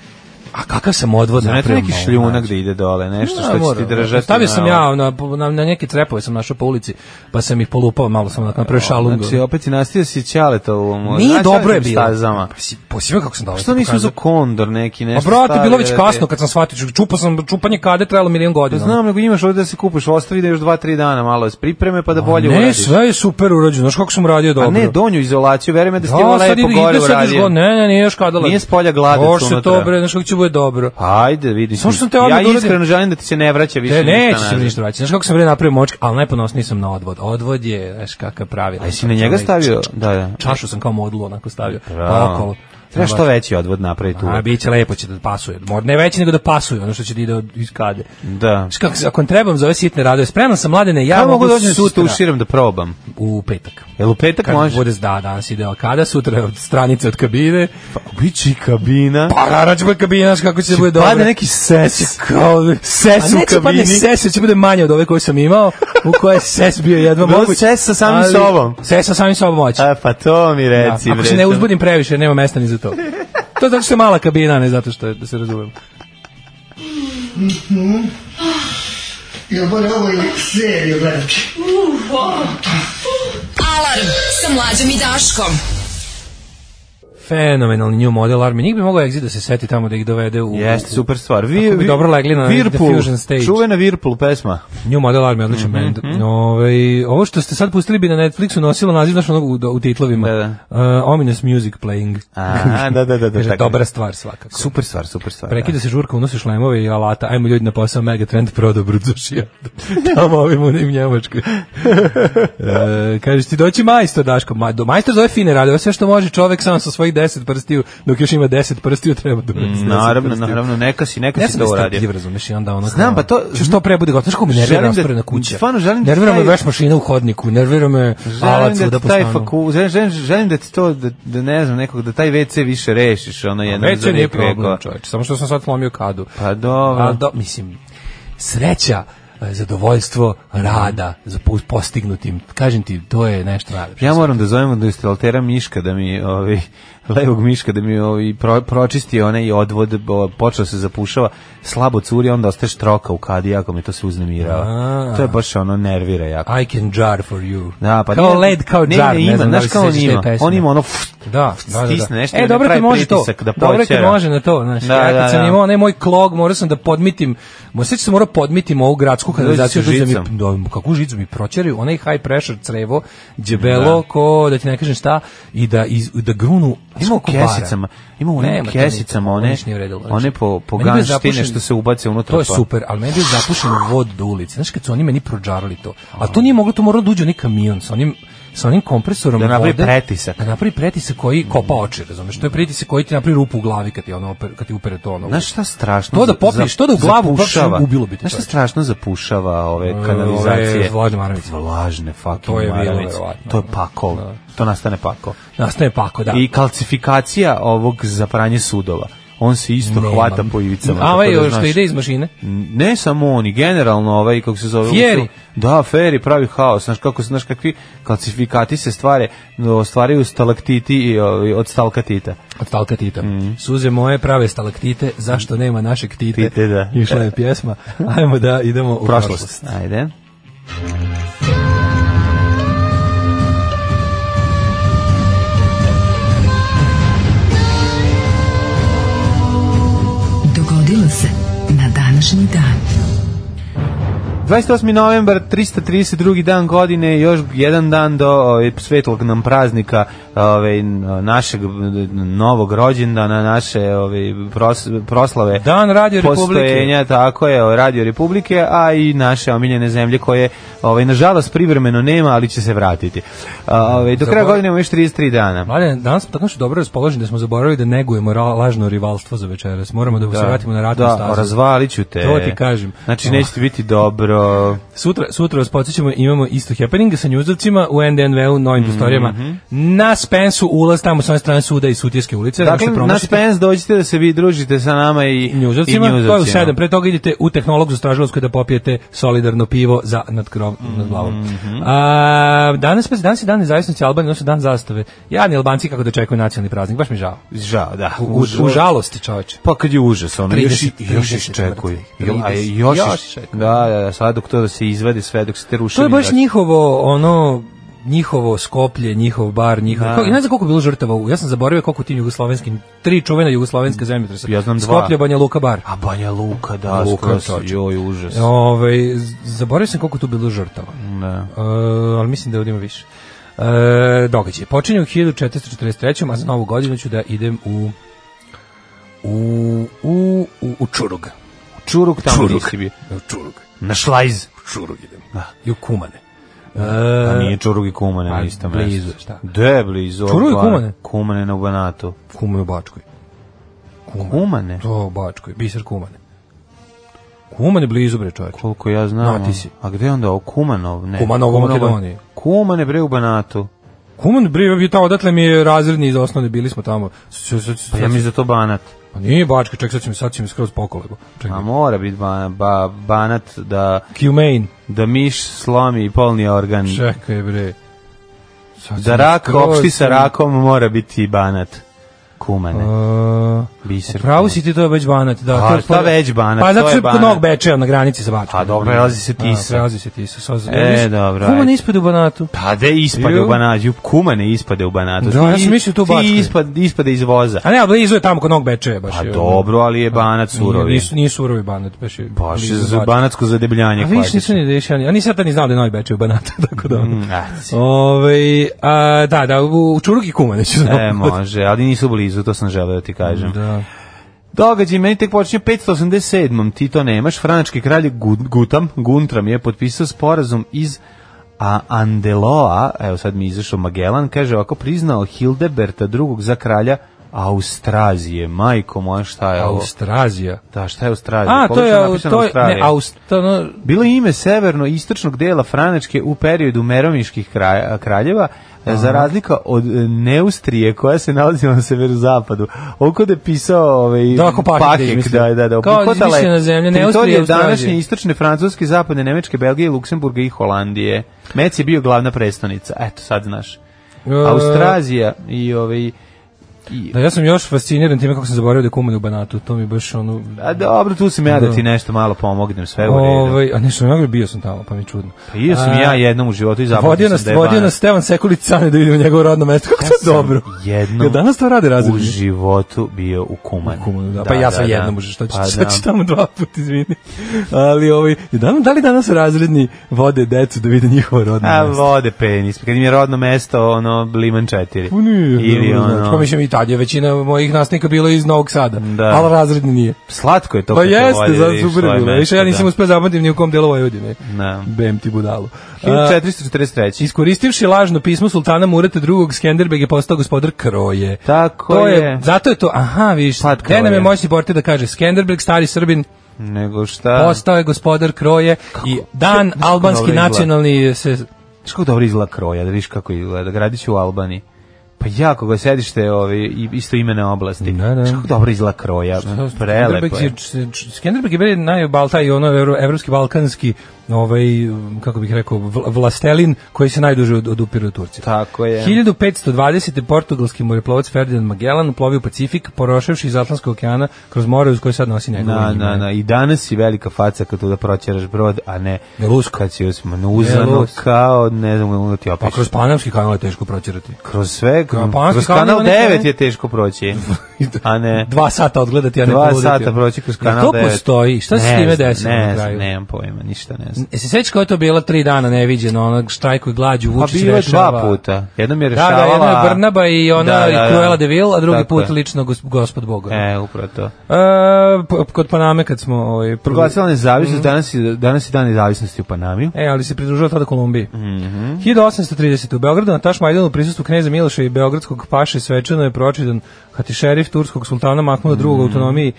[SPEAKER 5] A kakav sam odvod
[SPEAKER 6] Zna, ne treba
[SPEAKER 5] napravio,
[SPEAKER 6] neki
[SPEAKER 5] molim,
[SPEAKER 6] šljunak da
[SPEAKER 5] znači.
[SPEAKER 6] ide dole, nešto
[SPEAKER 5] Da,
[SPEAKER 6] što će
[SPEAKER 5] moram.
[SPEAKER 6] ti držati.
[SPEAKER 5] Stavio sam
[SPEAKER 6] na-
[SPEAKER 5] ja na, na, na neke trepove sam našao po ulici, pa sam ih polupao, malo sam onako napravio šalungo.
[SPEAKER 6] Znači, opet si nastio si ćaleta u ovom...
[SPEAKER 5] Nije
[SPEAKER 6] Znaš,
[SPEAKER 5] dobro je
[SPEAKER 6] ćaletom
[SPEAKER 5] bilo.
[SPEAKER 6] Stazama.
[SPEAKER 5] Pa si- Posebno kako sam dao.
[SPEAKER 6] Što nisam za kondor neki,
[SPEAKER 5] A
[SPEAKER 6] nešto
[SPEAKER 5] Pa, brate, bilo već
[SPEAKER 6] stavio,
[SPEAKER 5] kasno
[SPEAKER 6] da
[SPEAKER 5] ono.
[SPEAKER 6] Pa
[SPEAKER 5] kad sam shvatio, čupao sam, čupanje kade trajalo milion godina.
[SPEAKER 6] Znam, nego imaš ovde da se kupiš, ostavi da još 2-3 dana malo iz pripreme pa da bolje
[SPEAKER 5] Ne,
[SPEAKER 6] uradiš.
[SPEAKER 5] sve je super urađeno. Znaš kako sam radio dobro.
[SPEAKER 6] A ne, donju izolaciju, verujem da si ti
[SPEAKER 5] Da,
[SPEAKER 6] ovo
[SPEAKER 5] sad
[SPEAKER 6] lepo
[SPEAKER 5] ide- ide
[SPEAKER 6] gore
[SPEAKER 5] sad još
[SPEAKER 6] uradio.
[SPEAKER 5] god- Ne, ne, nije još kadala.
[SPEAKER 6] Nije s polja gladac
[SPEAKER 5] Još se
[SPEAKER 6] unutra.
[SPEAKER 5] to bre, znaš kako će bude dobro.
[SPEAKER 6] Pa Ajde, vidi.
[SPEAKER 5] Samo što sam te
[SPEAKER 6] Ja
[SPEAKER 5] odmah da uradim.
[SPEAKER 6] iskreno želim da ti se ne vraća više.
[SPEAKER 5] Ne, neće
[SPEAKER 6] ništa
[SPEAKER 5] se mi
[SPEAKER 6] nazad.
[SPEAKER 5] ništa vraćati. Znaš kako sam bre napravio močka, ali najponosniji sam na odvod. Odvod je, znaš kakav pravi.
[SPEAKER 6] A si na njega stavio? Da, da.
[SPEAKER 5] Čašu sam kao modulu onako stavio. Pa
[SPEAKER 6] Bravo.
[SPEAKER 5] okolo.
[SPEAKER 6] Treba što veći odvod napraviti
[SPEAKER 5] A
[SPEAKER 6] uvek.
[SPEAKER 5] biće lepo će da pasuje. Mor- Ne veći nego da pasuje, ono što će da ide od- iz kade.
[SPEAKER 6] Da.
[SPEAKER 5] Znaš kako, se- ako trebam za ove sitne radove, spreman sam mladene, ja
[SPEAKER 6] Ja
[SPEAKER 5] mogu
[SPEAKER 6] mogu dođem
[SPEAKER 5] sutra
[SPEAKER 6] sutra u širam da probam.
[SPEAKER 5] u petak.
[SPEAKER 6] Jel u petak
[SPEAKER 5] Kad
[SPEAKER 6] može?
[SPEAKER 5] bude da, danas ide kada, sutra od stranice od kabine,
[SPEAKER 6] Pa, biće i kabina.
[SPEAKER 5] Pa naravno će bude kabina, znaš kako će, da bude dobro.
[SPEAKER 6] Pade neki ses.
[SPEAKER 5] kao
[SPEAKER 6] ses
[SPEAKER 5] A
[SPEAKER 6] u
[SPEAKER 5] neće padne
[SPEAKER 6] kabini.
[SPEAKER 5] ses, će bude manje od ove koje sam imao, u kojoj je ses bio jedva
[SPEAKER 6] Bro,
[SPEAKER 5] moguć.
[SPEAKER 6] ses sa samim sobom.
[SPEAKER 5] Ses sa samim sobom moći.
[SPEAKER 6] A, pa to mi reci.
[SPEAKER 5] Ako se ne
[SPEAKER 6] bre.
[SPEAKER 5] uzbudim previše, jer nema mesta ni za to. To je zato što je mala kabina, a ne zato što je, da se razumemo.
[SPEAKER 4] Alarm sa mlađom i Daškom.
[SPEAKER 5] Fenomenalni new model armi. Njih bi mogao exit da se seti tamo da ih dovede u...
[SPEAKER 6] Jeste, super stvar. Vi,
[SPEAKER 5] Kako bi dobro legli na Diffusion stage.
[SPEAKER 6] Čuvena Whirlpool pesma.
[SPEAKER 5] New Model Army, odličan
[SPEAKER 6] Mhm,
[SPEAKER 5] band. Ovaj, ovo što ste sad pustili bi na Netflixu nosilo naziv znaš onog u, u titlovima.
[SPEAKER 6] Da, da.
[SPEAKER 5] Uh, ominous Music Playing.
[SPEAKER 6] A, da, da, da, da,
[SPEAKER 5] Kaže,
[SPEAKER 6] tako.
[SPEAKER 5] dobra stvar svakako.
[SPEAKER 6] Super stvar, super stvar.
[SPEAKER 5] Prekida se žurka, unosiš lemove i alata, ajmo ljudi na posao, Megatrend prodao brudzošija. Tamo ovim u Njemačkoj. e, kažeš ti doći majstor, Daško. Ma, do, majstor zove fine rade, ovo sve što može čovek sam sa svojih deset prstiju, dok još ima deset prstiju, treba da uradi s
[SPEAKER 6] Da.
[SPEAKER 5] deset
[SPEAKER 6] Mm, Naravno,
[SPEAKER 5] prstiju.
[SPEAKER 6] naravno, neka si, neka
[SPEAKER 5] Ja
[SPEAKER 6] si
[SPEAKER 5] sam
[SPEAKER 6] to uradio.
[SPEAKER 5] nestrpljiv, razumeš, i onda ono...
[SPEAKER 6] Znam,
[SPEAKER 5] kao,
[SPEAKER 6] pa to-
[SPEAKER 5] Što, što pre bude gotovo, što me nervira
[SPEAKER 6] Želim da-
[SPEAKER 5] rastorena kuća.
[SPEAKER 6] stvarno želim da
[SPEAKER 5] Nervira me
[SPEAKER 6] taj-
[SPEAKER 5] veš mašina u hodniku, nervira me alac
[SPEAKER 6] Želim da
[SPEAKER 5] da
[SPEAKER 6] ti taj
[SPEAKER 5] postanu.
[SPEAKER 6] faku, želim, želim, želim da ti to, da, da ne znam, nekog, da taj WC više rešiš, ono jedno
[SPEAKER 5] Već
[SPEAKER 6] za
[SPEAKER 5] je nije
[SPEAKER 6] nekog.
[SPEAKER 5] problem, čoveče, samo što sam sad slomio kadu.
[SPEAKER 6] Pa dobro.
[SPEAKER 5] A do, mislim, sreća, e, zadovoljstvo rada za po- postignutim. Kažem ti, to je nešto najlepše.
[SPEAKER 6] Ja moram da zovem do instalatera Miška da mi ovi levog Miška da mi ovi pro, pročisti onaj odvod bo, počeo se zapušava slabo curi onda ostaje štroka u kadi jako me to se uznemirava.
[SPEAKER 5] A.
[SPEAKER 6] To je baš ono nervira jako.
[SPEAKER 5] I can jar for you.
[SPEAKER 6] Da, pa
[SPEAKER 5] kao
[SPEAKER 6] ne-
[SPEAKER 5] led, kao
[SPEAKER 6] ne, ne,
[SPEAKER 5] jar, ne,
[SPEAKER 6] ima,
[SPEAKER 5] znam da
[SPEAKER 6] znaš
[SPEAKER 5] li se
[SPEAKER 6] kao on
[SPEAKER 5] sećaš te
[SPEAKER 6] ima,
[SPEAKER 5] pesme.
[SPEAKER 6] on ima ono fut,
[SPEAKER 5] Da, da, da, da.
[SPEAKER 6] stisne nešto i
[SPEAKER 5] e,
[SPEAKER 6] ne
[SPEAKER 5] dobro kad
[SPEAKER 6] pravi
[SPEAKER 5] može to.
[SPEAKER 6] pritisak da
[SPEAKER 5] dobro kad
[SPEAKER 6] počera.
[SPEAKER 5] može na to, znaš.
[SPEAKER 6] Da,
[SPEAKER 5] ja kad
[SPEAKER 6] da,
[SPEAKER 5] sam
[SPEAKER 6] da.
[SPEAKER 5] imao onaj moj klog, morao sam da podmitim, mo sećam se morao podmitim ovu gradsku kanalizaciju
[SPEAKER 6] sa
[SPEAKER 5] da mi
[SPEAKER 6] žicom.
[SPEAKER 5] da, kakvu žicu mi proćeraju, onaj high pressure crevo, đebelo, ko da ti ne kažem šta i da iz, da grunu
[SPEAKER 6] Ima u
[SPEAKER 5] skoko para.
[SPEAKER 6] kesicama, ima u
[SPEAKER 5] Nema
[SPEAKER 6] onim
[SPEAKER 5] to
[SPEAKER 6] kesicama
[SPEAKER 5] ni-
[SPEAKER 6] one,
[SPEAKER 5] ništa nije vredilo, znači.
[SPEAKER 6] one po, po
[SPEAKER 5] Meni je bio
[SPEAKER 6] ganštine
[SPEAKER 5] zapušen-
[SPEAKER 6] što se ubace unutra.
[SPEAKER 5] To je
[SPEAKER 6] pa-
[SPEAKER 5] super, ali meni je bio zapušen vod do ulice. Znaš kad su oni meni prođarali to. A to nije moglo, to morao da uđe onaj kamion sa onim sa onim kompresorom
[SPEAKER 6] Da napravi
[SPEAKER 5] vode,
[SPEAKER 6] pretisak.
[SPEAKER 5] Da napravi pretisak koji kopa oči, razumeš? To je pretisak koji ti napravi rupu u glavi kad ti ono oper- kad ti upere to ono.
[SPEAKER 6] Znaš šta strašno?
[SPEAKER 5] To da
[SPEAKER 6] za-
[SPEAKER 5] popiješ, to da u glavu
[SPEAKER 6] zapušava?
[SPEAKER 5] ubaciš, ubilo bi te,
[SPEAKER 6] Znaš šta
[SPEAKER 5] čoveče.
[SPEAKER 6] strašno zapušava ove kanalizacije?
[SPEAKER 5] ove vlažne maravice.
[SPEAKER 6] Vlažne fucking
[SPEAKER 5] To je bilo
[SPEAKER 6] maravice.
[SPEAKER 5] verovatno.
[SPEAKER 6] To je pakol. To nastane pakol.
[SPEAKER 5] Nastaje pako, da.
[SPEAKER 6] I kalcifikacija ovog za pranje sudova. On se isto
[SPEAKER 5] Nemam.
[SPEAKER 6] hvata po ivicama.
[SPEAKER 5] A ovaj
[SPEAKER 6] tako da
[SPEAKER 5] što
[SPEAKER 6] znaš.
[SPEAKER 5] ide iz mašine.
[SPEAKER 6] Ne samo oni, generalno ovaj, kako se zove...
[SPEAKER 5] Fieri.
[SPEAKER 6] Da, Fieri pravi haos. Znaš, kako, se- znaš kakvi kalcifikati se stvare, ostvaraju stalaktiti i, ovi, od stalkatita.
[SPEAKER 5] od Talkatita.
[SPEAKER 6] Mhm.
[SPEAKER 5] Suze moje prave stalaktite, zašto nema našeg tite?
[SPEAKER 6] Tite, da.
[SPEAKER 5] Išla je pjesma. Ajmo da idemo u prošlost.
[SPEAKER 6] Prošlost. Ajde.
[SPEAKER 4] Dogodilo se na današnji dan.
[SPEAKER 6] 28. novembar, 332. dan godine, još jedan dan do ovaj, svetlog nam praznika ovaj, n- našeg n- novog rođendana, naše ovaj, pros, proslave
[SPEAKER 5] Dan Radio
[SPEAKER 6] postojenja, tako je, ovaj, Radio Republike, a i naše omiljene zemlje koje, ovaj, nažalost, privremeno nema, ali će se vratiti. A, Ovaj, do kraja
[SPEAKER 5] Zaborav-
[SPEAKER 6] godine imamo još 33 dana.
[SPEAKER 5] Mladen, danas smo tako što dobro raspoloženi da smo zaboravili da negujemo ra- lažno rivalstvo za večeras. Moramo da, se vratimo na ratnu
[SPEAKER 6] da,
[SPEAKER 5] stazu.
[SPEAKER 6] razvalit ću te.
[SPEAKER 5] To ti kažem.
[SPEAKER 6] Znači,
[SPEAKER 5] Oh.
[SPEAKER 6] neće ti biti dobro. Mhm.
[SPEAKER 5] Sutra, sutra vas podsjećamo, imamo isto happening sa njuzovcima u NDNV-u, novim prostorijama. Nas Spence ulaz tamo sa one strane suda i Sutjeske ulice.
[SPEAKER 6] Dakle,
[SPEAKER 5] možete
[SPEAKER 6] na
[SPEAKER 5] promašiti.
[SPEAKER 6] Spence dođite da se vi družite sa nama i
[SPEAKER 5] Njuzovcima,
[SPEAKER 6] i
[SPEAKER 5] to Pa, je u
[SPEAKER 6] njuzovcima.
[SPEAKER 5] 7. Pre toga idete u tehnolog za Stražilovskoj da popijete solidarno pivo za nad krov, nad glavom.
[SPEAKER 6] Mhm.
[SPEAKER 5] A, danas, pa, danas je dan nezavisnosti Albanije, odnosno dan zastave. Jadni Albanci kako dočekuju nacionalni praznik, baš mi žao.
[SPEAKER 6] Žao, da.
[SPEAKER 5] U, u, u žalosti, čoveče.
[SPEAKER 6] Pa kad je užas, ono, još, i-
[SPEAKER 5] 30,
[SPEAKER 6] još
[SPEAKER 5] 30
[SPEAKER 6] iščekuju.
[SPEAKER 5] mrtvih,
[SPEAKER 6] Jo- a
[SPEAKER 5] 30,
[SPEAKER 6] Još,
[SPEAKER 5] još
[SPEAKER 6] iš-
[SPEAKER 5] iščekuju.
[SPEAKER 6] Da, da, da, sad dok to da se izvadi sve, dok se te ruševi...
[SPEAKER 5] To je baš
[SPEAKER 6] vrati.
[SPEAKER 5] njihovo, ono, njihovo skoplje, njihov bar, njihov...
[SPEAKER 6] Da.
[SPEAKER 5] Ko- Ja ne znam koliko je bilo žrtava, u- ja sam zaboravio koliko u tim jugoslovenskim, tri čuvena jugoslovenska zemljotresa.
[SPEAKER 6] Ja znam dva.
[SPEAKER 5] Skoplje, Banja Luka, bar.
[SPEAKER 6] A Banja Luka, da,
[SPEAKER 5] Luka,
[SPEAKER 6] skroz,
[SPEAKER 5] tačno.
[SPEAKER 6] joj, užas.
[SPEAKER 5] Ove, Ovaj, z- zaboravio sam koliko tu bilo žrtava.
[SPEAKER 6] Da.
[SPEAKER 5] E, ali mislim da ovdje ima više. E, događaj. Počinje u 1443. A za novu godinu ću da idem u u, u, u, u Čurug.
[SPEAKER 6] Čuruk tamo
[SPEAKER 5] Čuruk.
[SPEAKER 6] nisi bio.
[SPEAKER 5] U Čurug.
[SPEAKER 6] Na šlajz.
[SPEAKER 5] U Čurug idem. I u Kumane. E,
[SPEAKER 6] A Pa nije Čuruk i Kumane na
[SPEAKER 5] pa
[SPEAKER 6] istom
[SPEAKER 5] blizu
[SPEAKER 6] mjestu.
[SPEAKER 5] je, šta?
[SPEAKER 6] De, blizu.
[SPEAKER 5] Čuruk i
[SPEAKER 6] Obana.
[SPEAKER 5] Kumane?
[SPEAKER 6] Kumane na Banatu.
[SPEAKER 5] Kume u Bačkoj. Kume.
[SPEAKER 6] Kumane?
[SPEAKER 5] To u Bačkoj. Biser Kumane. Kumane blizu bre čovječe.
[SPEAKER 6] Koliko ja znam.
[SPEAKER 5] No, ti si.
[SPEAKER 6] A gde je onda ovo? Kumanov? Ne.
[SPEAKER 5] Kumanovo,
[SPEAKER 6] Kumanovo-
[SPEAKER 5] Makedoniji.
[SPEAKER 6] Kumane bre u Banatu.
[SPEAKER 5] Kuman bre bio tamo, odatle mi je razredni iz osnovne, bili smo tamo. S- s- s-
[SPEAKER 6] Pa ja mi za to Banat.
[SPEAKER 5] Pa nije Bačka, ček sad ćemo, sad ćemo skroz pokolego. Čekaj.
[SPEAKER 6] A mora biti ba, ba, Banat da,
[SPEAKER 5] Q-Main.
[SPEAKER 6] da miš slomi i polni organ.
[SPEAKER 5] Čekaj bre. Sad
[SPEAKER 6] Da
[SPEAKER 5] sam
[SPEAKER 6] rak
[SPEAKER 5] skroz
[SPEAKER 6] opšti sa
[SPEAKER 5] sam-
[SPEAKER 6] rakom mora biti Banat. Kumane.
[SPEAKER 5] A,
[SPEAKER 6] Biser.
[SPEAKER 5] Pravo Pa, si ti to je već banat, da.
[SPEAKER 6] A,
[SPEAKER 5] to je
[SPEAKER 6] šta već banat,
[SPEAKER 5] Pa
[SPEAKER 6] to
[SPEAKER 5] zato
[SPEAKER 6] je
[SPEAKER 5] što je kod
[SPEAKER 6] banat.
[SPEAKER 5] Novog Bečeja na granici sa Bačkom.
[SPEAKER 6] A, dobro, prelazi se Tisa.
[SPEAKER 5] A, prelazi se Tisa. Sad,
[SPEAKER 6] E, dobro,
[SPEAKER 5] Kuman
[SPEAKER 6] ajde.
[SPEAKER 5] ispred u banatu.
[SPEAKER 6] Pa da ispade
[SPEAKER 5] Ju.
[SPEAKER 6] u Banatu, kumane ispade u Banatu.
[SPEAKER 5] Da, ja
[SPEAKER 6] Ti-
[SPEAKER 5] sam mislio tu u Bačkoj.
[SPEAKER 6] Ti ispad, ispade iz voza.
[SPEAKER 5] A ne, a blizu je tamo kod Novog Bečeja baš.
[SPEAKER 6] Pa
[SPEAKER 5] je.
[SPEAKER 6] dobro, ali je Banat surovi.
[SPEAKER 5] ono, Nije, nije surovi banat, baš je.
[SPEAKER 6] Baš je
[SPEAKER 5] blizu
[SPEAKER 6] za
[SPEAKER 5] Bačke.
[SPEAKER 6] banatsko zadebljanje.
[SPEAKER 5] A viš nisam
[SPEAKER 6] klasično.
[SPEAKER 5] ni dešao, a nisam tad ni znao da je Novi Bečej u banatu, tako da... ono.
[SPEAKER 6] Mm, a, c-
[SPEAKER 5] Ove, a, da, da, u, u Čuruk i Kumane ću
[SPEAKER 6] E, može, ali nisu blizu, to sam želeo da ti kažem.
[SPEAKER 5] Da.
[SPEAKER 6] Događaj meni tek počinje 587. Ti to nemaš. Franački kralj Gu- Gutam, Guntram je potpisao sporazum iz a Andeloa, evo sad mi je izašao Magellan, kaže ovako, priznao Hildeberta drugog za kralja Australije. Majko moja, šta je ovo?
[SPEAKER 5] Australija.
[SPEAKER 6] Da, šta je Australija?
[SPEAKER 5] A, to
[SPEAKER 6] Pogrešno
[SPEAKER 5] je, au-
[SPEAKER 6] napisano
[SPEAKER 5] to je, ne,
[SPEAKER 6] Australija.
[SPEAKER 5] Australija,
[SPEAKER 6] Bilo je ime severno-istočnog dela Franačke u periodu meromiških kraja, kraljeva, e, za razlika od e, Neustrije koja se nalazila na severozapadu. Ovo kod je pisao ovaj,
[SPEAKER 5] Da, ako Pahek da izmislio.
[SPEAKER 6] da, da, da.
[SPEAKER 5] Kao
[SPEAKER 6] obuhvatala je
[SPEAKER 5] izmišljena zemlja, Neustrija i
[SPEAKER 6] teritorije
[SPEAKER 5] Australije.
[SPEAKER 6] današnje istočne Francuske, zapadne Nemečke, Belgije, Luksemburga i Holandije. Mec je bio glavna prestonica. Eto, sad znaš.
[SPEAKER 5] E,
[SPEAKER 6] Australija i ovaj... I,
[SPEAKER 5] ono, Da, ja sam još fasciniran time kako sam zaboravio da je Kuman u Banatu, to mi je baš ono...
[SPEAKER 6] A dobro, tu sam ja da ti nešto malo pomognem, sve u redu.
[SPEAKER 5] Ovaj, a nešto mi bio sam tamo, pa mi je čudno.
[SPEAKER 6] Pa Bio sam
[SPEAKER 5] A,
[SPEAKER 6] ja jednom u životu i zapamtio
[SPEAKER 5] Vodio
[SPEAKER 6] sam
[SPEAKER 5] nas,
[SPEAKER 6] da je
[SPEAKER 5] vodio
[SPEAKER 6] Banat.
[SPEAKER 5] nas Stevan Sekulić Cane da vidimo njegovo radno mesto, kako to je
[SPEAKER 6] sam
[SPEAKER 5] dobro.
[SPEAKER 6] jednom
[SPEAKER 5] Ja danas to rade
[SPEAKER 6] u
[SPEAKER 5] razredni.
[SPEAKER 6] životu bio u Kumanu.
[SPEAKER 5] U Kumanu, da. Pa ja sam
[SPEAKER 6] da,
[SPEAKER 5] jednom
[SPEAKER 6] da.
[SPEAKER 5] može, što ću,
[SPEAKER 6] Pa
[SPEAKER 5] šta ću
[SPEAKER 6] da.
[SPEAKER 5] tamo dva puta, izvini. Ali ovaj, da, da li danas razredni vode decu da vide njihovo rodno
[SPEAKER 6] A
[SPEAKER 5] mesto?
[SPEAKER 6] vode penis, kad im je rodno mesto, ono, Liman 4.
[SPEAKER 5] Pa nije,
[SPEAKER 6] Ili
[SPEAKER 5] dobro, znači, Pa
[SPEAKER 6] ono,
[SPEAKER 5] mislim i tad je većina mojih nastavnika bila iz Novog Sada,
[SPEAKER 6] Da.
[SPEAKER 5] ali razredni nije.
[SPEAKER 6] slatko je to.
[SPEAKER 5] Pa
[SPEAKER 6] kad te
[SPEAKER 5] jeste,
[SPEAKER 6] vode,
[SPEAKER 5] za
[SPEAKER 6] vidiš,
[SPEAKER 5] super
[SPEAKER 6] to
[SPEAKER 5] je
[SPEAKER 6] je
[SPEAKER 5] bilo.
[SPEAKER 6] mesto,
[SPEAKER 5] Više ja nisam
[SPEAKER 6] da.
[SPEAKER 5] uspeo zapamtiti ni u kom delu Vojvodine.
[SPEAKER 6] Da.
[SPEAKER 5] Bem ti budalo. A,
[SPEAKER 6] 1443.
[SPEAKER 5] iskoristivši lažno pismo sultana Murata II, Skenderbeg je postao gospodar Kroje.
[SPEAKER 6] Tako
[SPEAKER 5] to
[SPEAKER 6] je.
[SPEAKER 5] Zato je to, aha, vidiš,
[SPEAKER 6] Pad
[SPEAKER 5] gde nam je
[SPEAKER 6] Kroje.
[SPEAKER 5] moćni portir da kaže Skenderbeg, stari Srbin,
[SPEAKER 6] Nego šta?
[SPEAKER 5] postao je gospodar Kroje i dan
[SPEAKER 6] Pa. Kako
[SPEAKER 5] albanski
[SPEAKER 6] dobro izgleda.
[SPEAKER 5] nacionalni se...
[SPEAKER 6] Znaš kako dobro izgleda kroja, da vidiš kako izgleda, gradić u Albaniji. Pa jako ga sedište ovi, i- isto imene oblasti.
[SPEAKER 5] Da, da.
[SPEAKER 6] Znaš kako dobro izgleda kroja, prelepo je.
[SPEAKER 5] Skenderbeg je- Skenderbeg je bio najbal taj ono evro, evropski balkanski ovaj kako bih rekao vl- vlastelin koji se najduže od, odupiru Turci.
[SPEAKER 6] Tako je.
[SPEAKER 5] 1520. portugalski moreplovac Ferdinand Magellan uplovio u Pacifik, poroševši iz Atlantskog okeana kroz more uz koje sad nosi njegovo
[SPEAKER 6] Na,
[SPEAKER 5] ime.
[SPEAKER 6] na, na, i danas si velika faca kad tu da proćeraš brod, a ne
[SPEAKER 5] Belusko.
[SPEAKER 6] kad si uzmano
[SPEAKER 5] Belusko.
[SPEAKER 6] kao, ne znam kako da ti opišem.
[SPEAKER 5] Pa kroz Panamski kanal je teško proćerati.
[SPEAKER 6] kroz sve, kroz,
[SPEAKER 5] Panamski
[SPEAKER 6] kroz
[SPEAKER 5] kanal
[SPEAKER 6] kanal
[SPEAKER 5] ima neke-
[SPEAKER 6] 9 je teško proći, a ne...
[SPEAKER 5] Dva sata odgledati, a ne
[SPEAKER 6] Dva
[SPEAKER 5] poluditi.
[SPEAKER 6] sata proći kroz
[SPEAKER 5] Jel
[SPEAKER 6] kanal 9.
[SPEAKER 5] To postoji. Šta se s
[SPEAKER 6] Ne
[SPEAKER 5] time
[SPEAKER 6] znam,
[SPEAKER 5] desilo na
[SPEAKER 6] Ne
[SPEAKER 5] kraju?
[SPEAKER 6] znam, nemam pojma, ništa ne znam.
[SPEAKER 5] E, se sećaš kako je to bilo tri dana neviđeno, onog štrajku i glađu,
[SPEAKER 6] Pa
[SPEAKER 5] Vučić
[SPEAKER 6] bilo je
[SPEAKER 5] rešava.
[SPEAKER 6] dva puta. Jednom je
[SPEAKER 5] Da,
[SPEAKER 6] rešavala...
[SPEAKER 5] da, jedna je Brnaba i ona
[SPEAKER 6] Da, da, da.
[SPEAKER 5] i Cruella de Vil, a drugi
[SPEAKER 6] Tako
[SPEAKER 5] put
[SPEAKER 6] je.
[SPEAKER 5] lično gos- gospod Boga. E.
[SPEAKER 6] E, upravo to.
[SPEAKER 5] p- kod Paname kad smo... Ovaj, prvi-
[SPEAKER 6] Proglasila
[SPEAKER 5] Mhm.
[SPEAKER 6] nezavisnost, danas, je, danas je dan nezavisnosti u Panamiju.
[SPEAKER 5] E, ali se pridružila tada Kolumbiji. Mm
[SPEAKER 6] Mhm.
[SPEAKER 5] 1830. U Beogradu na Tašmajdanu u prisustvu kneza Miloša i
[SPEAKER 6] Mhm.
[SPEAKER 5] beogradskog paše svečano je pročidan hatišerif turskog sultana Mahmuda II. autonomiji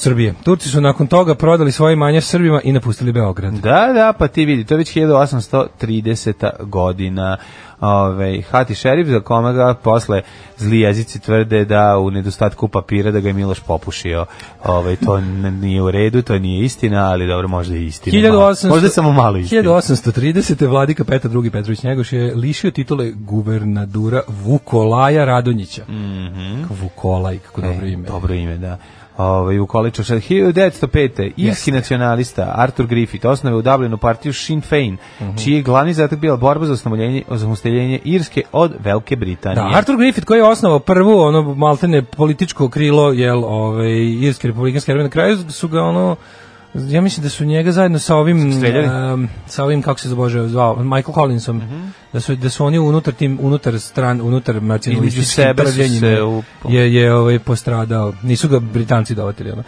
[SPEAKER 5] Srbije. Turci su nakon toga prodali svoje imanje Srbima i napustili Beograd.
[SPEAKER 6] Da, da, pa ti vidi, to je već 1830. godina. Ove, Hati šerif za komaga posle zli jezici tvrde da u nedostatku papira da ga je Miloš popušio. Ove, to n- nije u redu, to nije istina, ali dobro, možda je istina. Malo.
[SPEAKER 5] 1800
[SPEAKER 6] Možda je samo malo istina.
[SPEAKER 5] 1830. vladika Petar II. Petrović Njegoš je lišio titule guvernadura Vukolaja Radonjića. Mm Vukolaj, kako dobro
[SPEAKER 6] E,
[SPEAKER 5] ime.
[SPEAKER 6] Mhm, Dobro ime, da. Ovaj u Količu 1905. Irski nacionalista Arthur Griffith osnove u Dublinu partiju Sinn Féin, čiji je glavni zadatak bila borba za osnovljenje, za samostaljenje Irske od Velike Britanije.
[SPEAKER 5] Da, Arthur Griffith koji je osnovao prvu ono maltene političko krilo jel ovaj irske republikanske armije na kraju su ga ono ja mislim da su njega zajedno sa ovim
[SPEAKER 6] Streljali? Mhm.
[SPEAKER 5] em, sa ovim kako se zbože zvao Michael Collinsom da su da su oni unutar tim unutar stran unutar nacionalističkim
[SPEAKER 6] sebe su se
[SPEAKER 5] trvljenjima
[SPEAKER 6] u-
[SPEAKER 5] je je ovaj postradao nisu ga Britanci dovatili ono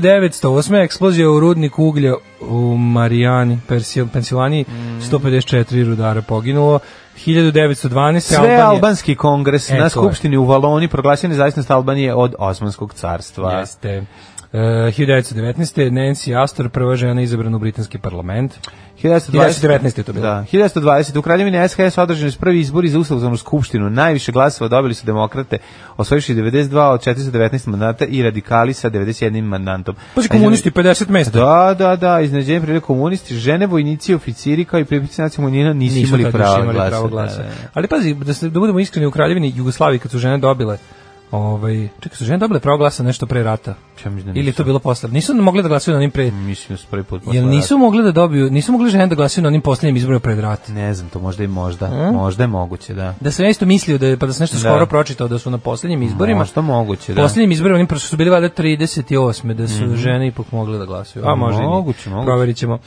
[SPEAKER 5] 1908 eksplozija u rudniku uglja u Marijani Persil- Pensilvaniji
[SPEAKER 6] Mhm.
[SPEAKER 5] 154 rudara poginulo 1912
[SPEAKER 6] Sve
[SPEAKER 5] Albanija-
[SPEAKER 6] albanski kongres
[SPEAKER 5] E, to
[SPEAKER 6] na
[SPEAKER 5] je.
[SPEAKER 6] skupštini u Valoni proglasio nezavisnost Albanije od Osmanskog carstva.
[SPEAKER 5] Jeste. Uh, 1919. Nancy Astor, prva žena izabrana u britanski parlament. 1919 je to bilo.
[SPEAKER 6] Da, 1920. U Kraljevini SHS održani su prvi izbori za ustavnu skupštinu. Najviše glasova dobili su demokrate, osvojivši 92 od 419 mandata i radikali sa 91 mandatom.
[SPEAKER 5] Pa će komunisti 50 mesta.
[SPEAKER 6] E, Da, da, da, iznenađenje prilike komunisti, žene, vojnici, oficiri kao i pripadnici nacionalnih manjina nisu,
[SPEAKER 5] Nisu
[SPEAKER 6] imali
[SPEAKER 5] tad
[SPEAKER 6] pravo
[SPEAKER 5] još imali
[SPEAKER 6] glasa.
[SPEAKER 5] pravo
[SPEAKER 6] Da,
[SPEAKER 5] glasa.
[SPEAKER 6] da, da.
[SPEAKER 5] Ali pazi, da, se, da budemo iskreni, u Kraljevini Jugoslaviji kad su žene dobile Ovaj, čekaj, su žene dobile pravo glasa nešto pre rata?
[SPEAKER 6] Ja mislim da
[SPEAKER 5] Ili je to
[SPEAKER 6] nisu.
[SPEAKER 5] bilo posle? Nisu mogli da glasaju na onim pre...
[SPEAKER 6] Mislim da su prvi put
[SPEAKER 5] Jel
[SPEAKER 6] posle
[SPEAKER 5] nisu mogli da dobiju, nisu mogli žene da glasaju na onim posljednjim izborima pred rat?
[SPEAKER 6] rata. Ne znam, to možda i možda. Možda je moguće, da.
[SPEAKER 5] Da sam ja isto mislio da je, pa da sam nešto
[SPEAKER 6] Da.
[SPEAKER 5] skoro pročitao da su na posljednjim izborima.
[SPEAKER 6] Možda moguće, da.
[SPEAKER 5] Posljednjim izborima oni prosto su bili valjda 38. da su žene ipak mogle da glasuju. Mhm. A možda i nije.
[SPEAKER 6] Moguće, moguće.
[SPEAKER 5] Proverit ćemo. Uh,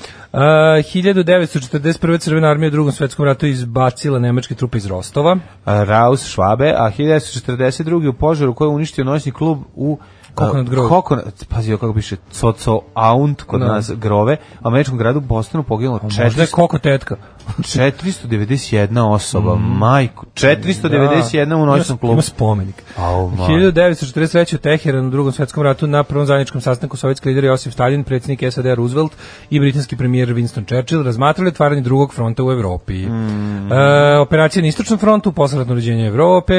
[SPEAKER 5] 1941. Crvena armija u drugom svetskom ratu izbacila nemačke trupe iz Rostova.
[SPEAKER 6] Raus Švabe, a 1942. u požaru koji je uništio noćni klub u
[SPEAKER 5] Coconut Grove.
[SPEAKER 6] Coconut, pazio kako piše Coco Aunt kod
[SPEAKER 5] Da.
[SPEAKER 6] nas Grove, američkom gradu Bostonu poginulo
[SPEAKER 5] Možda je
[SPEAKER 6] 400,
[SPEAKER 5] koko tetka.
[SPEAKER 6] 491 osoba, majku, 491 u noćnom
[SPEAKER 5] Mm. Ima- Ima
[SPEAKER 6] klubu. ovaj.
[SPEAKER 5] spomenik.
[SPEAKER 6] Au, ma.
[SPEAKER 5] 1943. u Teheranu u drugom svetskom ratu na prvom zajedničkom sastanku sovjetski lider Josif Stalin, predsjednik SAD Roosevelt i britanski premijer Winston Churchill razmatrali otvaranje drugog fronta u Evropi.
[SPEAKER 6] Mm.
[SPEAKER 5] E, operacije na istočnom frontu, posredno uređenje Evrope,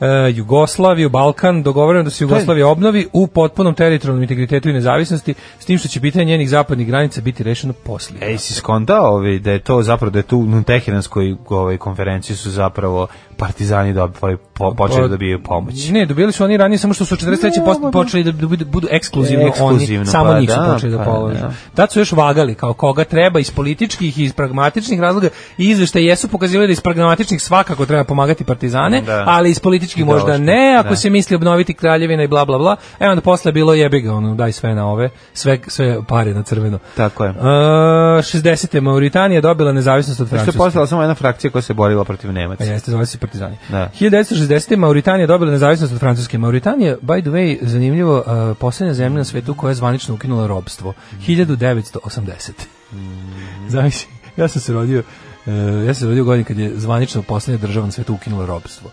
[SPEAKER 5] e, Jugoslaviju, Balkan, dogovoreno da se Jugoslavija obnovi u potpunom teritorijalnom integritetu i nezavisnosti, s tim što će pitanje njenih zapadnih granica biti rešeno poslije.
[SPEAKER 6] Ej, si skontao ovaj, da je to zapravo, da je tu u Teheranskoj ovaj, konferenciji su zapravo partizani dobili, ovaj, po,
[SPEAKER 5] Pa,
[SPEAKER 6] počeli da dobiju pomoć.
[SPEAKER 5] Ne, dobili su oni ranije samo što su 43.
[SPEAKER 6] Ne,
[SPEAKER 5] post,
[SPEAKER 6] pa da.
[SPEAKER 5] počeli da, da budu, budu ekskluzivno,
[SPEAKER 6] Ekskluzivno,
[SPEAKER 5] oni, samo
[SPEAKER 6] pa
[SPEAKER 5] njih su
[SPEAKER 6] da,
[SPEAKER 5] počeli da
[SPEAKER 6] pa
[SPEAKER 5] položu.
[SPEAKER 6] da.
[SPEAKER 5] Tad su još vagali kao koga treba iz političkih i iz pragmatičnih razloga i izveštaje jesu pokazivali da iz pragmatičnih svakako treba pomagati partizane,
[SPEAKER 6] Da.
[SPEAKER 5] ali iz političkih možda
[SPEAKER 6] Ideološki,
[SPEAKER 5] ne, ako
[SPEAKER 6] da.
[SPEAKER 5] se misli obnoviti kraljevina i bla bla bla. E onda posle je bilo jebi ga, ono, daj sve na ove, sve, sve pare na crveno.
[SPEAKER 6] Tako je.
[SPEAKER 5] E, 60. Mauritanija dobila nezavisnost od
[SPEAKER 6] Što Znači, je
[SPEAKER 5] Francuske.
[SPEAKER 6] postala samo jedna frakcija koja se borila protiv Nemaca.
[SPEAKER 5] Pa jeste, zvali su se partizani.
[SPEAKER 6] Da.
[SPEAKER 5] 1960. Mauritanija dobila nezavisnost od Francuske. Mauritanija, by the way, zanimljivo, uh, posljednja zemlja na svetu koja je zvanično ukinula robstvo.
[SPEAKER 6] Mm.
[SPEAKER 5] 1980. Zamisli, ja sam se rodio... uh, ja sam se rodio godin kad je zvanično posljednja država na svetu ukinula robstvo.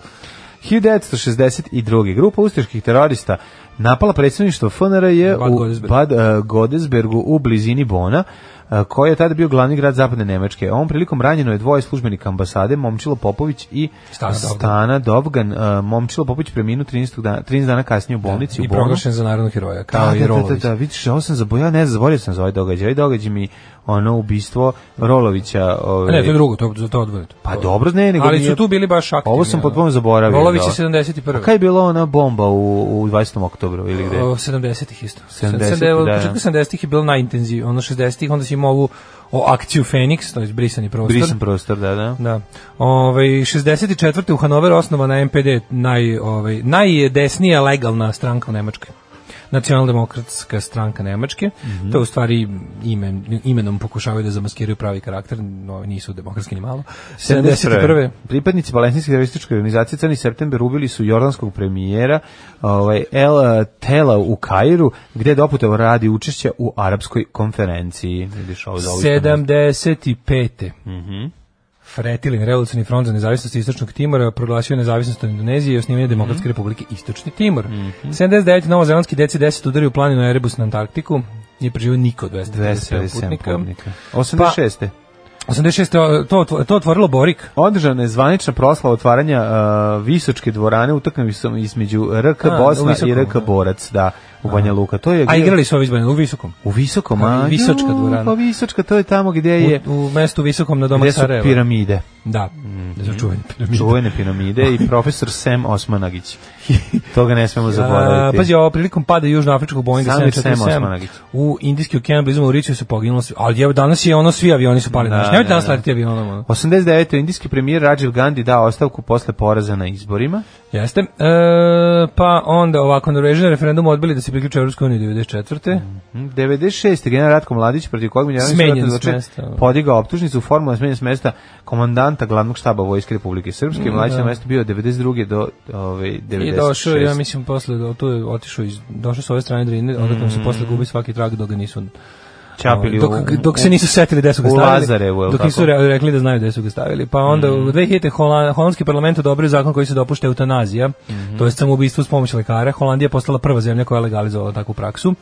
[SPEAKER 6] 1962. grupa ustaških terorista napala predsjedništvo FNRJ
[SPEAKER 5] Bad
[SPEAKER 6] u
[SPEAKER 5] Godesberg.
[SPEAKER 6] Bad eh, Godesbergu u blizini Bona, eh, koji je tada bio glavni grad zapadne Nemačke. Ovom prilikom ranjeno je dvoje službenika ambasade, Momčilo Popović i
[SPEAKER 5] Stana Dovgan.
[SPEAKER 6] Stana Dovgan. Eh, Momčilo Popović preminuo 13 dana, 13 dana kasnije u bolnici
[SPEAKER 5] I
[SPEAKER 6] u Bonu.
[SPEAKER 5] proglašen za narodnog heroja, kao
[SPEAKER 6] Da,
[SPEAKER 5] i
[SPEAKER 6] da, da, da,
[SPEAKER 5] Rolović.
[SPEAKER 6] da, vidiš, ovo sam zaboravio, ne, zaboravio sam za ovaj događaj. Ovaj događaj mi, ono, ubistvo Rolovića. Ovaj,
[SPEAKER 5] Ne, to je drugo, to, to, to odvojeno.
[SPEAKER 6] Pa dobro, ne, nego
[SPEAKER 5] Ali
[SPEAKER 6] nije-
[SPEAKER 5] su tu bili baš aktivni.
[SPEAKER 6] Ovo sam
[SPEAKER 5] ono.
[SPEAKER 6] potpuno zaboravio.
[SPEAKER 5] Rolović
[SPEAKER 6] da.
[SPEAKER 5] je 71.
[SPEAKER 6] A Kaj je bilo ona bomba u, u 20. oktobru ili gde?
[SPEAKER 5] O, 70-ih isto.
[SPEAKER 6] 70-ih,
[SPEAKER 5] 70-ih, da.
[SPEAKER 6] da.
[SPEAKER 5] Početku 70-ih je bilo najintenzivnije. Ono 60-ih, onda si imao ovu o, akciju Fenix, to je brisani prostor.
[SPEAKER 6] Brisan prostor, da, da.
[SPEAKER 5] Da. Ovaj 64. u Hanoveru osnovana MPD, naj ovaj najdesnija legalna stranka u Nemačkoj. Nacionaldemokratska stranka Nemačke. To je u stvari ime, imenom pokušavaju da zamaskiraju pravi karakter, no nisu demokratski ni malo. 71.
[SPEAKER 6] Pripadnici palestinske terorističke organizacije Crni september ubili su jordanskog premijera ovaj, El eh, Tela u Kairu, gde je doputao radi učešća u arapskoj konferenciji. Vidiš ovo za ovo isto
[SPEAKER 5] 75. Mhm. Fretilin, revolucionarni front za nezavisnost istočnog Timora, proglasio je nezavisnost od Indonezije i osnivanje
[SPEAKER 6] Mhm.
[SPEAKER 5] Demokratske republike Istočni Timor. 79. novozelandski DC-10 udari u planinu Erebus na Antarktiku, nije preživio niko od 257
[SPEAKER 6] 257
[SPEAKER 5] putnika.
[SPEAKER 6] putnika. 86.
[SPEAKER 5] 86. To, otvo- to otvorilo Borik.
[SPEAKER 6] Održana je zvanična proslava otvaranja uh, Visočke dvorane utakmicom između RK
[SPEAKER 5] A, u
[SPEAKER 6] Bosna
[SPEAKER 5] Visokom,
[SPEAKER 6] i RK
[SPEAKER 5] da.
[SPEAKER 6] Borac, da, u Banja Luka. To je
[SPEAKER 5] A
[SPEAKER 6] bio-
[SPEAKER 5] igrali su ovi izbani u Visokom.
[SPEAKER 6] u Visokom,
[SPEAKER 5] A,
[SPEAKER 6] a?
[SPEAKER 5] Visočka
[SPEAKER 6] Ju,
[SPEAKER 5] dvorana.
[SPEAKER 6] Pa Visočka, to je tamo gdje je
[SPEAKER 5] U, u mestu Visokom na domu
[SPEAKER 6] gdje su Mhm.
[SPEAKER 5] Sarajeva.
[SPEAKER 6] piramide.
[SPEAKER 5] Da, gde su čuvene piramide.
[SPEAKER 6] Čuvene piramide i profesor Sam Osmanagić. Toga ne smemo
[SPEAKER 5] A,
[SPEAKER 6] zaboraviti.
[SPEAKER 5] pazi, ovo prilikom pada južnoafričkog Boeinga
[SPEAKER 6] Samir Sem
[SPEAKER 5] 747
[SPEAKER 6] Osmanagić.
[SPEAKER 5] u indijski okean blizu Mauricio se poginulo svi. Ali evo danas je ono svi avioni su pali.
[SPEAKER 6] Da,
[SPEAKER 5] Da, Nemojte
[SPEAKER 6] da,
[SPEAKER 5] danas
[SPEAKER 6] da.
[SPEAKER 5] letiti avionom. Ono.
[SPEAKER 6] 89. indijski premijer Rajiv Gandhi dao ostavku posle poraza na izborima.
[SPEAKER 5] Jeste. E, pa onda ovako, Norvežani na referendumu odbili da se priključe Evropskoj uniji 94.
[SPEAKER 6] Mm, 96. general Ratko Mladić protiv kojeg Miljanović
[SPEAKER 5] Smenjen
[SPEAKER 6] vjerojatno
[SPEAKER 5] s
[SPEAKER 6] zvuče
[SPEAKER 5] mesta, ono.
[SPEAKER 6] podigao optužnicu formalno smenjen s mesta komandanta glavnog štaba Vojske Republike Srpske. Mladić na mestu bio od 92. do ovaj, ove, 96.
[SPEAKER 5] Mm, I došao, ja mislim, posle, do- tu je otišao iz, došao s ove strane Drine, odakle
[SPEAKER 6] Mm.
[SPEAKER 5] mu se posle gubi svaki trag dok ga nisu
[SPEAKER 6] Čapili
[SPEAKER 5] dok,
[SPEAKER 6] u-
[SPEAKER 5] dok se nisu setili gde su ga
[SPEAKER 6] u
[SPEAKER 5] stavili.
[SPEAKER 6] Lazarevu, je li
[SPEAKER 5] dok
[SPEAKER 6] tako? Mm.
[SPEAKER 5] nisu re- rekli da znaju gde su ga stavili. Pa onda u 2000. Hola- holandski parlament odobrio zakon koji se dopušta eutanazija,
[SPEAKER 6] Mhm.
[SPEAKER 5] to je samoubistvo s pomoću lekara. Holandija je postala prva zemlja koja je legalizovala takvu praksu.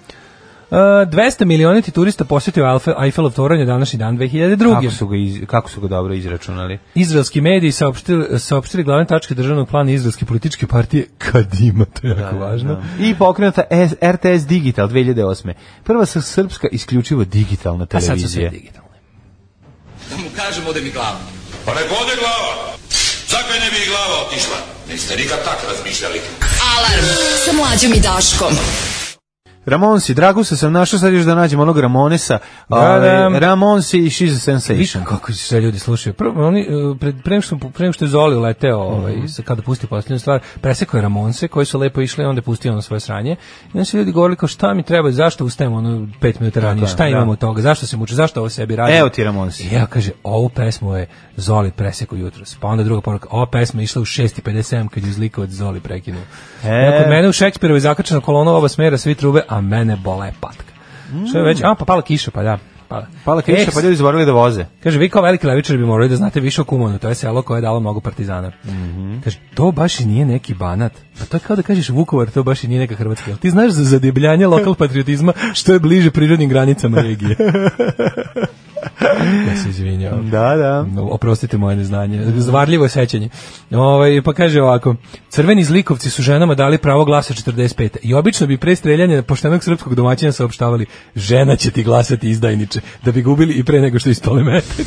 [SPEAKER 5] E, 200 milioniti turista posjetio Alfe- Eiffelov toranj je današnji dan 2002.
[SPEAKER 6] Kako su, ga iz, kako su ga dobro izračunali?
[SPEAKER 5] Izraelski mediji saopštili, saopštili glavne tačke državnog plana izraelske političke partije Kadima, to je jako važno.
[SPEAKER 6] I pokrenuta S- RTS Digital 2008. Prva sa srpska isključivo digitalna
[SPEAKER 5] A sad su sve
[SPEAKER 6] televizija.
[SPEAKER 5] digitalne.
[SPEAKER 1] Da mu kažem ode mi glava.
[SPEAKER 7] Pa nek ode glava. Zakaj ne bi i glava otišla? Niste nikad tak razmišljali.
[SPEAKER 4] Alarm sa mlađom i Daškom.
[SPEAKER 6] Ramonsi, Dragusa sam našao, sad još da nađem onog Ramonesa.
[SPEAKER 5] da.
[SPEAKER 6] Ove, Ramonsi i She's a
[SPEAKER 5] Više
[SPEAKER 6] Sensation.
[SPEAKER 5] kako se sve ljudi slušaju. Prvo oni eh, pred pre nego što pre nego što je Zoli leteo, ovaj
[SPEAKER 6] Mhm.
[SPEAKER 5] sa- kada pusti poslednju stvar, presekao je Ramonse koji su lepo išli, onda je pustio ono svoje sranje. I onda su ljudi govorili kao šta mi treba, zašto ustajemo ono 5 minuta ranije,
[SPEAKER 6] Tako je,
[SPEAKER 5] šta
[SPEAKER 6] da.
[SPEAKER 5] imamo od toga, zašto se muči, zašto ovo sebi radi.
[SPEAKER 6] Evo ti Ramonsi.
[SPEAKER 5] I ja kaže, ovu pesmu je Zoli presekao jutros. Pa onda druga poruka, ova pesma je išla u 6.57 kad je zlika od Zoli prekinuo.
[SPEAKER 6] E.
[SPEAKER 5] E. Kod mene u Šekspirovi zakačena kolona u oba smera, svi trube, a mene bole patka. Što je već, a pa pala kiša, pa da. Pala,
[SPEAKER 6] Mm. Pala kriša,
[SPEAKER 5] E,
[SPEAKER 6] pa ljudi zaboravili da voze.
[SPEAKER 5] Kaže, vi kao veliki levičari bi morali da znate više o Kumanu, to je selo koje je dalo mnogo partizana. Kaže, to baš i nije neki banat. Pa to je kao da kažeš Vukovar, to baš i nije neka Hrvatska. Jel Ti znaš za zadebljanje lokal patriotizma što je bliže prirodnim granicama regije. ja se izvinjavam.
[SPEAKER 6] Da, da.
[SPEAKER 5] No, Oprostite moje neznanje, zvarljivo je sećanje. Ovaj, pa kaže ovako, crveni zlikovci su ženama dali pravo glasa 45. I obično bi pre streljanja poštenog srpskog domaćina saopštavali žena će ti glasati izdajniče, da bi gubili i pre nego što istole metak.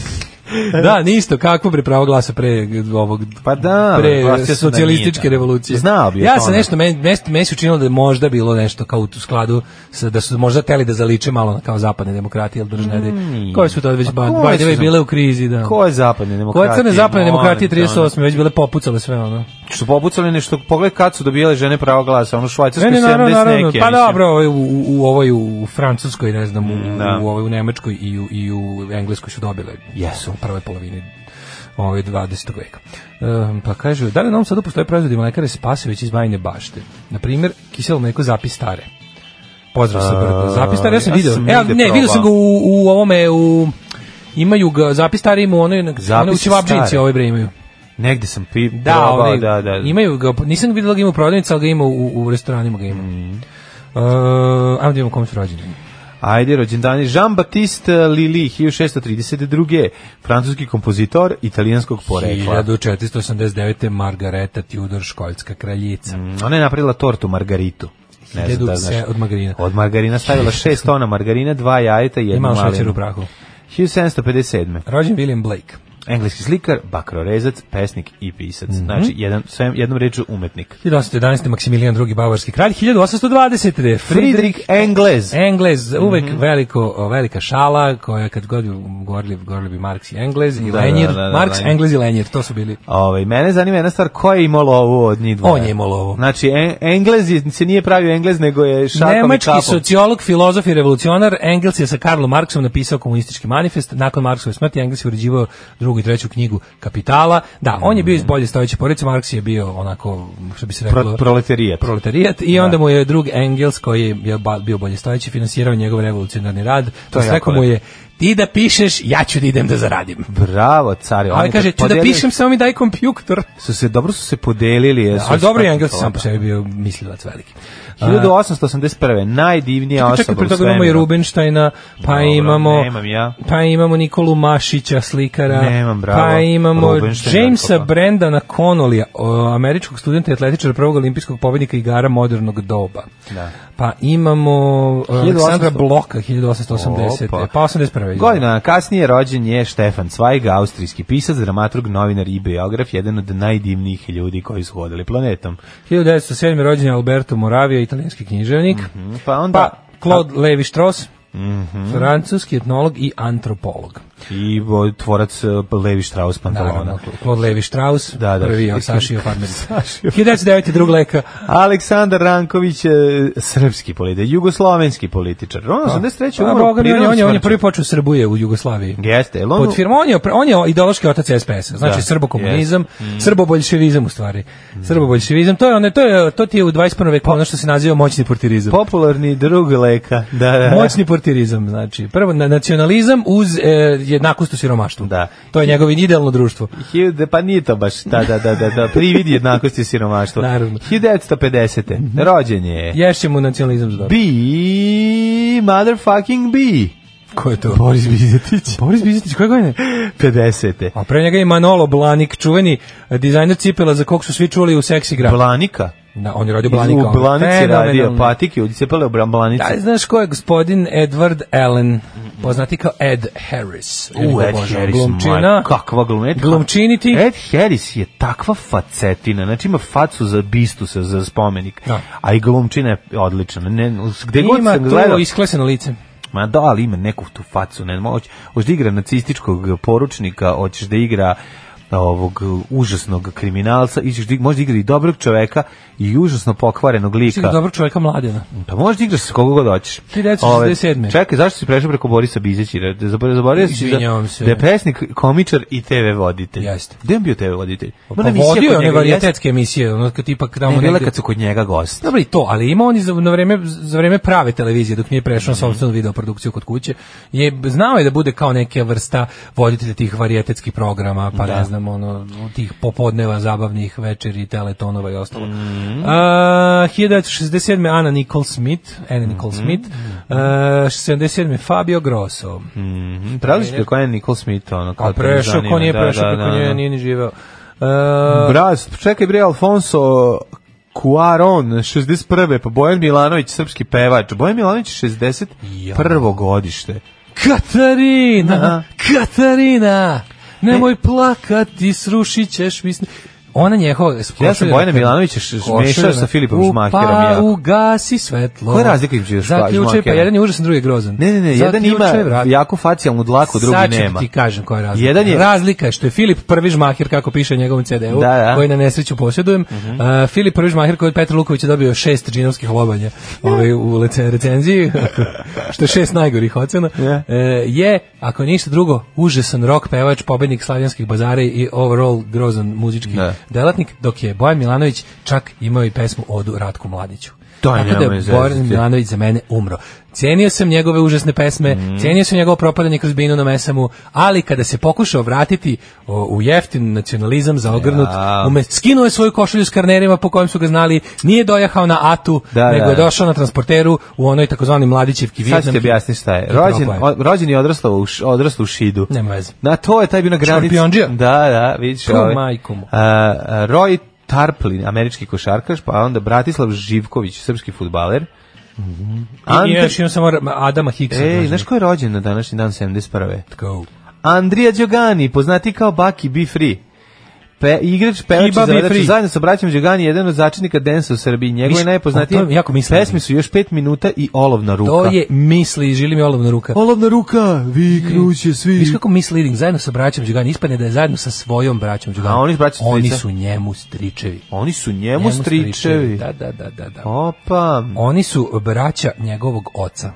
[SPEAKER 5] da, nisto, kakvo pre pravo glasa pre ovog
[SPEAKER 6] Pa da,
[SPEAKER 5] pre
[SPEAKER 6] glasio sam da
[SPEAKER 5] socijalističke
[SPEAKER 6] nije, da.
[SPEAKER 5] revolucije.
[SPEAKER 6] Znao bi ono. o
[SPEAKER 5] Ja sam
[SPEAKER 6] tome.
[SPEAKER 5] nešto meni mes- meni se učinilo da je možda bilo nešto kao u skladu sa, da su možda teli da zaliče malo na kao zapadne demokratije, al držne mm, koje su tad već
[SPEAKER 6] Pa
[SPEAKER 5] ba,
[SPEAKER 6] koje
[SPEAKER 5] by the way,
[SPEAKER 6] su-
[SPEAKER 5] bile u krizi, da.
[SPEAKER 6] Ko je zapadne
[SPEAKER 5] Koje
[SPEAKER 6] demokratije?
[SPEAKER 5] crne zapadne
[SPEAKER 6] Molim
[SPEAKER 5] demokratije
[SPEAKER 6] te, ono.
[SPEAKER 5] 38. već bile popucale sve ono.
[SPEAKER 6] Što popucali nešto, pogled kad su dobijale žene pravo glasa, ono švajcarsko 70 neke.
[SPEAKER 5] Pa
[SPEAKER 6] mislim.
[SPEAKER 5] dobro, ovaj, u, u, u ovoj u Francuskoj, ne znam, u,
[SPEAKER 6] da.
[SPEAKER 5] u, ovoj u Nemačkoj i u, i u Engleskoj su dobile.
[SPEAKER 6] Jesu.
[SPEAKER 5] u prvoj polovini ovaj 20. veka. Ehm, pa kažu, da li u Novom Sadu postoje proizvodi mlekare Spasović iz Bajne bašte? Na primjer, kiselo mleko zapis stare. Pozdrav sa brda. Zapis stare, ja sam
[SPEAKER 6] Ehm, ja
[SPEAKER 5] video.
[SPEAKER 6] sam
[SPEAKER 5] Evo,
[SPEAKER 6] negde
[SPEAKER 5] ne, video sam ga
[SPEAKER 6] probao.
[SPEAKER 5] u, u ovome, u... Imaju ga, zapis stari ima onoj, onoj u
[SPEAKER 6] Zapis
[SPEAKER 5] Čevapčinci
[SPEAKER 6] stare.
[SPEAKER 5] ovaj bre imaju.
[SPEAKER 6] Negde sam pi,
[SPEAKER 5] Da,
[SPEAKER 6] probao,
[SPEAKER 5] onaj,
[SPEAKER 6] da, da.
[SPEAKER 5] Imaju ga, nisam videla ga ima u prodavnici, ali ga ima u, u restoranima ga ima.
[SPEAKER 6] Mhm.
[SPEAKER 5] Mm. Uh, ajmo da imamo komis rođendan.
[SPEAKER 6] Ajde, rođendani Jean-Baptiste Lili, 1632. Francuski kompozitor italijanskog porekla.
[SPEAKER 5] 1489. Margareta Tudor, školjska kraljica. Mm.
[SPEAKER 6] Ona je napravila tortu margaritu. Ne znam da znaš.
[SPEAKER 5] od margarina.
[SPEAKER 6] Od margarina stavila 6 tona margarina, dva jajeta i jednu
[SPEAKER 5] Imao
[SPEAKER 6] malinu.
[SPEAKER 5] šećer u prahu.
[SPEAKER 6] 1757.
[SPEAKER 5] Rođen William Blake.
[SPEAKER 6] Engleski slikar, bakrorezac, pesnik i pisac.
[SPEAKER 5] Mhm.
[SPEAKER 6] Znači, jedan, svem, jednom reču umetnik.
[SPEAKER 5] 1811. Maksimilijan II. Bavarski kralj. 1820. Friedrich
[SPEAKER 6] Friedrich Mhm. Engles.
[SPEAKER 5] Englez, uvek veliko, velika šala koja kad god bi govorili, govorili bi Marks i Englez i
[SPEAKER 6] Da,
[SPEAKER 5] Lenjir.
[SPEAKER 6] da, da, da,
[SPEAKER 5] Marks,
[SPEAKER 6] Lenjir.
[SPEAKER 5] Englez i Lenjir, to su bili.
[SPEAKER 6] Ovaj mene zanima jedna stvar ko je imao lovu od njih dvoje.
[SPEAKER 5] On je imao lovu.
[SPEAKER 6] Znači en, Englez je- se nije pravio Englez nego je šakom i
[SPEAKER 5] Nemački
[SPEAKER 6] kapom.
[SPEAKER 5] sociolog, filozof i revolucionar Engels je sa Karlom Marksom napisao komunistički manifest. Nakon Marksove smrti Engels je uređivao drugu i treću knjigu Kapitala. Da, on je bio iz bolje stojeće porodice, Marks je bio onako, što bi se reklo,
[SPEAKER 6] Mm. Pro, proletarijat.
[SPEAKER 5] proletarijat i onda mu je drug Engels koji je ba- bio bolje stojeći finansirao njegov revolucionarni rad. To
[SPEAKER 6] je jako
[SPEAKER 5] rekao mu je ti da pišeš, ja ću da idem da zaradim.
[SPEAKER 6] Bravo, cari.
[SPEAKER 5] Ali kaže, ću da pišem, samo mi daj kompjuktor.
[SPEAKER 6] Su se, dobro su se podelili. Jesu
[SPEAKER 5] Ali dobro je
[SPEAKER 6] shvatili
[SPEAKER 5] Engel sam
[SPEAKER 6] kolana.
[SPEAKER 5] po sebi bio mislilac veliki.
[SPEAKER 6] 1881. Najdivnija
[SPEAKER 5] A,
[SPEAKER 6] osoba
[SPEAKER 5] čekaj, pre
[SPEAKER 6] u
[SPEAKER 5] toga imamo i
[SPEAKER 6] svemiru.
[SPEAKER 5] Rubenštajna, pa
[SPEAKER 6] Dobro,
[SPEAKER 5] imamo
[SPEAKER 6] nemam ja.
[SPEAKER 5] pa imamo Nikolu Mašića slikara,
[SPEAKER 6] Nemam, bravo.
[SPEAKER 5] pa imamo
[SPEAKER 6] Rubinštajna,
[SPEAKER 5] Jamesa
[SPEAKER 6] kako?
[SPEAKER 5] Brendana Connolly, američkog studenta i atletičara prvog olimpijskog pobednika igara modernog doba. Da. Pa imamo e,
[SPEAKER 6] 1800.
[SPEAKER 5] Aleksandra Bloka 1880.
[SPEAKER 6] Opa.
[SPEAKER 5] Pa 81.
[SPEAKER 6] Godina kasnije rođen je Štefan Cvajg, austrijski pisac, dramaturg, novinar i biograf, jedan od najdivnijih ljudi koji su hodali planetom.
[SPEAKER 5] 1907. rođen je Alberto Moravia, italijanski književnik.
[SPEAKER 6] Pa onda Mhm.
[SPEAKER 5] Pa Claude Levi Strauss, francuski etnolog i antropolog.
[SPEAKER 6] i o, tvorac e, Levi Strauss pantalona.
[SPEAKER 5] Naravno, Claude Levi Strauss,
[SPEAKER 6] ono. Da, da.
[SPEAKER 5] prvi od Sašio Farmerica. 1909. drug leka.
[SPEAKER 6] Aleksandar Ranković, e, srpski političar, jugoslovenski političar. On 83.
[SPEAKER 5] A,
[SPEAKER 6] umro
[SPEAKER 5] Pa. Boga mi, on, je, on, je, on je
[SPEAKER 6] ono, prirodno
[SPEAKER 5] prvi počeo Srbuje u Jugoslaviji.
[SPEAKER 6] Jeste, jel on-
[SPEAKER 5] Pod firmom, on je, on je ideološki otac SPS-a, znači
[SPEAKER 6] Da, Mm.
[SPEAKER 5] srbokomunizam, srboboljševizam u stvari. Srboboljševizam, to je, one, to je, to ti je u 21. veku ono što se naziva moćni portirizam.
[SPEAKER 6] Popularni drug leka. Da, da, da.
[SPEAKER 5] Moćni portirizam, znači, prvo na- nacionalizam uz e, jednakost u siromaštvu.
[SPEAKER 6] Da.
[SPEAKER 5] To je njegovo idealno društvo.
[SPEAKER 6] Hiljade- pa nije to baš, da, da, da, da, da privid jednakosti i siromaštva.
[SPEAKER 5] Naravno. Mhm.
[SPEAKER 6] 1950. Rođen je.
[SPEAKER 5] Ješće mu nacionalizam zdor.
[SPEAKER 6] B, motherfucking B.
[SPEAKER 5] Ko je to?
[SPEAKER 6] Boris Bizetić.
[SPEAKER 5] Boris Bizetić, koje godine?
[SPEAKER 6] 50.
[SPEAKER 5] A Pa pre njega je Manolo Blanik, čuveni e, dizajner cipela za kog su svi čuli u seksi grafu.
[SPEAKER 6] Blanika.
[SPEAKER 5] Da, on je radio Blanika.
[SPEAKER 6] U
[SPEAKER 5] ono,
[SPEAKER 6] Blanici radio
[SPEAKER 5] fenomenalno.
[SPEAKER 6] patike, ucepale u Bran- Blanici.
[SPEAKER 5] Da, znaš ko je gospodin Edward Allen, poznati kao Ed Harris. Ja
[SPEAKER 6] U,
[SPEAKER 5] ga
[SPEAKER 6] Ed
[SPEAKER 5] obožavam.
[SPEAKER 6] Harris,
[SPEAKER 5] glumčina.
[SPEAKER 6] moj, kakva glumčina. Ed-
[SPEAKER 5] Glumčini ti.
[SPEAKER 6] Ed Harris je takva facetina, znači ima facu za bistusa, za spomenik,
[SPEAKER 5] Da.
[SPEAKER 6] a i glumčina je odlična. Ne, gde god
[SPEAKER 5] Ima
[SPEAKER 6] sam gledao,
[SPEAKER 5] to iskleseno lice.
[SPEAKER 6] Ma da, ali ima neku tu facu, ne moć. Hoćeš da igra nacističkog poručnika, hoćeš da igra ovog užasnog kriminalca, ićeš da igra, možda igra i dobrog čoveka i užasno pokvarenog
[SPEAKER 5] Čekaj,
[SPEAKER 6] lika.
[SPEAKER 5] dobro čovjeka mladena.
[SPEAKER 6] Pa možeš da igraš sa koga god hoćeš.
[SPEAKER 5] 1967.
[SPEAKER 6] Ove, Čekaj, zašto si prešao preko Borisa Bizeći? Zaboravio zaboravio si da,
[SPEAKER 5] Izvinjavam se.
[SPEAKER 6] da je pesnik, komičar i TV voditelj.
[SPEAKER 5] Jeste.
[SPEAKER 6] Gde je on bio TV voditelj?
[SPEAKER 5] Pa
[SPEAKER 6] Ona emisija
[SPEAKER 5] vodio je
[SPEAKER 6] kod
[SPEAKER 5] one
[SPEAKER 6] njega,
[SPEAKER 5] varijetetske emisije, ono kad ipak
[SPEAKER 6] jeste?
[SPEAKER 5] tamo
[SPEAKER 6] Ne, bila
[SPEAKER 5] negde-
[SPEAKER 6] kad su kod njega gosti.
[SPEAKER 5] Dobro i to, ali ima on i za, na vreme, za vreme prave televizije, dok nije prešao na sopstvenu videoprodukciju kod kuće, je, znao je da bude kao neke vrsta voditelja tih varijetetskih programa, pa ne znam, ono, tih popodneva, zabavnih večeri, teletonova i ostalo.
[SPEAKER 6] Mhm.
[SPEAKER 5] A, 1967. Ana Nicole Smith, Anna Nicole Smith, a, 77. Fabio Grosso,
[SPEAKER 6] Mhm, Pravili ste koja je Nicole Smith, ono, kao
[SPEAKER 5] a E. Pa prešao, ko nije prešao,
[SPEAKER 6] da,
[SPEAKER 5] kako
[SPEAKER 6] da, da.
[SPEAKER 5] nije, nije ni živeo. A,
[SPEAKER 6] Braz, čekaj bre, Alfonso Cuaron, 61. Pa Bojan Milanović, srpski pevač. Bojan Milanović, 61. godište.
[SPEAKER 5] Katarina, Katarina,
[SPEAKER 6] E.
[SPEAKER 5] nemoj plakati, srušit ćeš mi snu. Ona njehova...
[SPEAKER 6] Ja sam Bojana Milanovića š- mešao sa Filipom Šmakerom.
[SPEAKER 5] Pa
[SPEAKER 6] jako.
[SPEAKER 5] ugasi svetlo.
[SPEAKER 6] Koja je razlika između Špa-
[SPEAKER 5] Zaključaj, pa
[SPEAKER 6] Šmakera?
[SPEAKER 5] jedan je užasan, drugi je grozan.
[SPEAKER 6] Ne, ne, ne, jedan ima
[SPEAKER 5] Zaključaj, vrat.
[SPEAKER 6] jako facijalnu dlaku, drugi
[SPEAKER 5] Sad ću
[SPEAKER 6] nema.
[SPEAKER 5] ti kažem koja je razlika.
[SPEAKER 6] Jedan je-
[SPEAKER 5] Razlika je što je Filip Prvi Žmaher, kako piše na njegovom CD-u,
[SPEAKER 6] Da, da. Mhm.
[SPEAKER 5] koji na nesreću posjedujem, uh, Filip Prvi Žmaher koji je od Petra Lukovića dobio šest džinovskih lobanja ovaj, u lecen- recenziji, što je šest najgorih ocena,
[SPEAKER 6] Ja.
[SPEAKER 5] e, je, ako ništa drugo, užasan rock pevač, pobednik slavijanskih bazara i overall grozan muzički
[SPEAKER 6] Da.
[SPEAKER 5] delatnik, dok je Bojan Milanović čak imao i pesmu Odu Ratku Mladiću.
[SPEAKER 6] To je
[SPEAKER 5] Tako da
[SPEAKER 6] nemoj
[SPEAKER 5] je
[SPEAKER 6] zezati.
[SPEAKER 5] Bojan Milanović za mene umro. Cijenio sam njegove užasne pesme,
[SPEAKER 6] Mhm.
[SPEAKER 5] cijenio sam njegovo propadanje kroz binu na mesamu, ali kada se pokušao vratiti o, u jeftin nacionalizam zaogrnut,
[SPEAKER 6] Ja.
[SPEAKER 5] ume, skinuo je svoju košulju s karnerima po kojim su ga znali, nije dojahao na atu,
[SPEAKER 6] Da,
[SPEAKER 5] nego
[SPEAKER 6] da.
[SPEAKER 5] je došao na transporteru u onoj takozvani mladićevki
[SPEAKER 6] Sad ću ti
[SPEAKER 5] vijetnamki
[SPEAKER 6] objasniti šta je.
[SPEAKER 5] i
[SPEAKER 6] Rođen,
[SPEAKER 5] propao je.
[SPEAKER 6] o- rođen je odrasla u, š- odrasla u Šidu.
[SPEAKER 5] Nema veze.
[SPEAKER 6] Na to je taj bio na granici.
[SPEAKER 5] Škorpionđija?
[SPEAKER 6] Da, da, vidiš.
[SPEAKER 5] Tu
[SPEAKER 6] ovaj.
[SPEAKER 5] majku mu.
[SPEAKER 6] A, a, Roy Tarplin, američki košarkaš, pa onda Bratislav Živković, srpski futbaler.
[SPEAKER 5] Mhm. I
[SPEAKER 6] Ante-
[SPEAKER 5] još imam samo Adama Hicksa.
[SPEAKER 6] Ej,
[SPEAKER 5] tražim.
[SPEAKER 6] znaš ko je rođen na današnji dan 71.
[SPEAKER 5] Go.
[SPEAKER 6] Andrija Đogani, poznati kao Baki Be Free. Pe, igrač, pevač i
[SPEAKER 5] Iba Be
[SPEAKER 6] zavodač,
[SPEAKER 5] Free.
[SPEAKER 6] zajedno sa braćom Đogani, jedan od začetnika Densa u Srbiji. Njegove
[SPEAKER 5] Viš-
[SPEAKER 6] najpoznatije
[SPEAKER 5] o, to jako mislim.
[SPEAKER 6] pesme su još 5 minuta i olovna ruka.
[SPEAKER 5] To je misli, žili mi olovna ruka.
[SPEAKER 6] Olovna ruka, vi kruće svi.
[SPEAKER 5] Viš kako misleading, zajedno sa braćom Đugani, ispadne da je zajedno sa svojom braćom Đugani.
[SPEAKER 6] A oni su braća
[SPEAKER 5] Oni
[SPEAKER 6] strica.
[SPEAKER 5] su njemu stričevi.
[SPEAKER 6] Oni su njemu, stričevi.
[SPEAKER 5] Da, da, da, da. da.
[SPEAKER 6] Opa,
[SPEAKER 5] Oni su braća njegovog oca.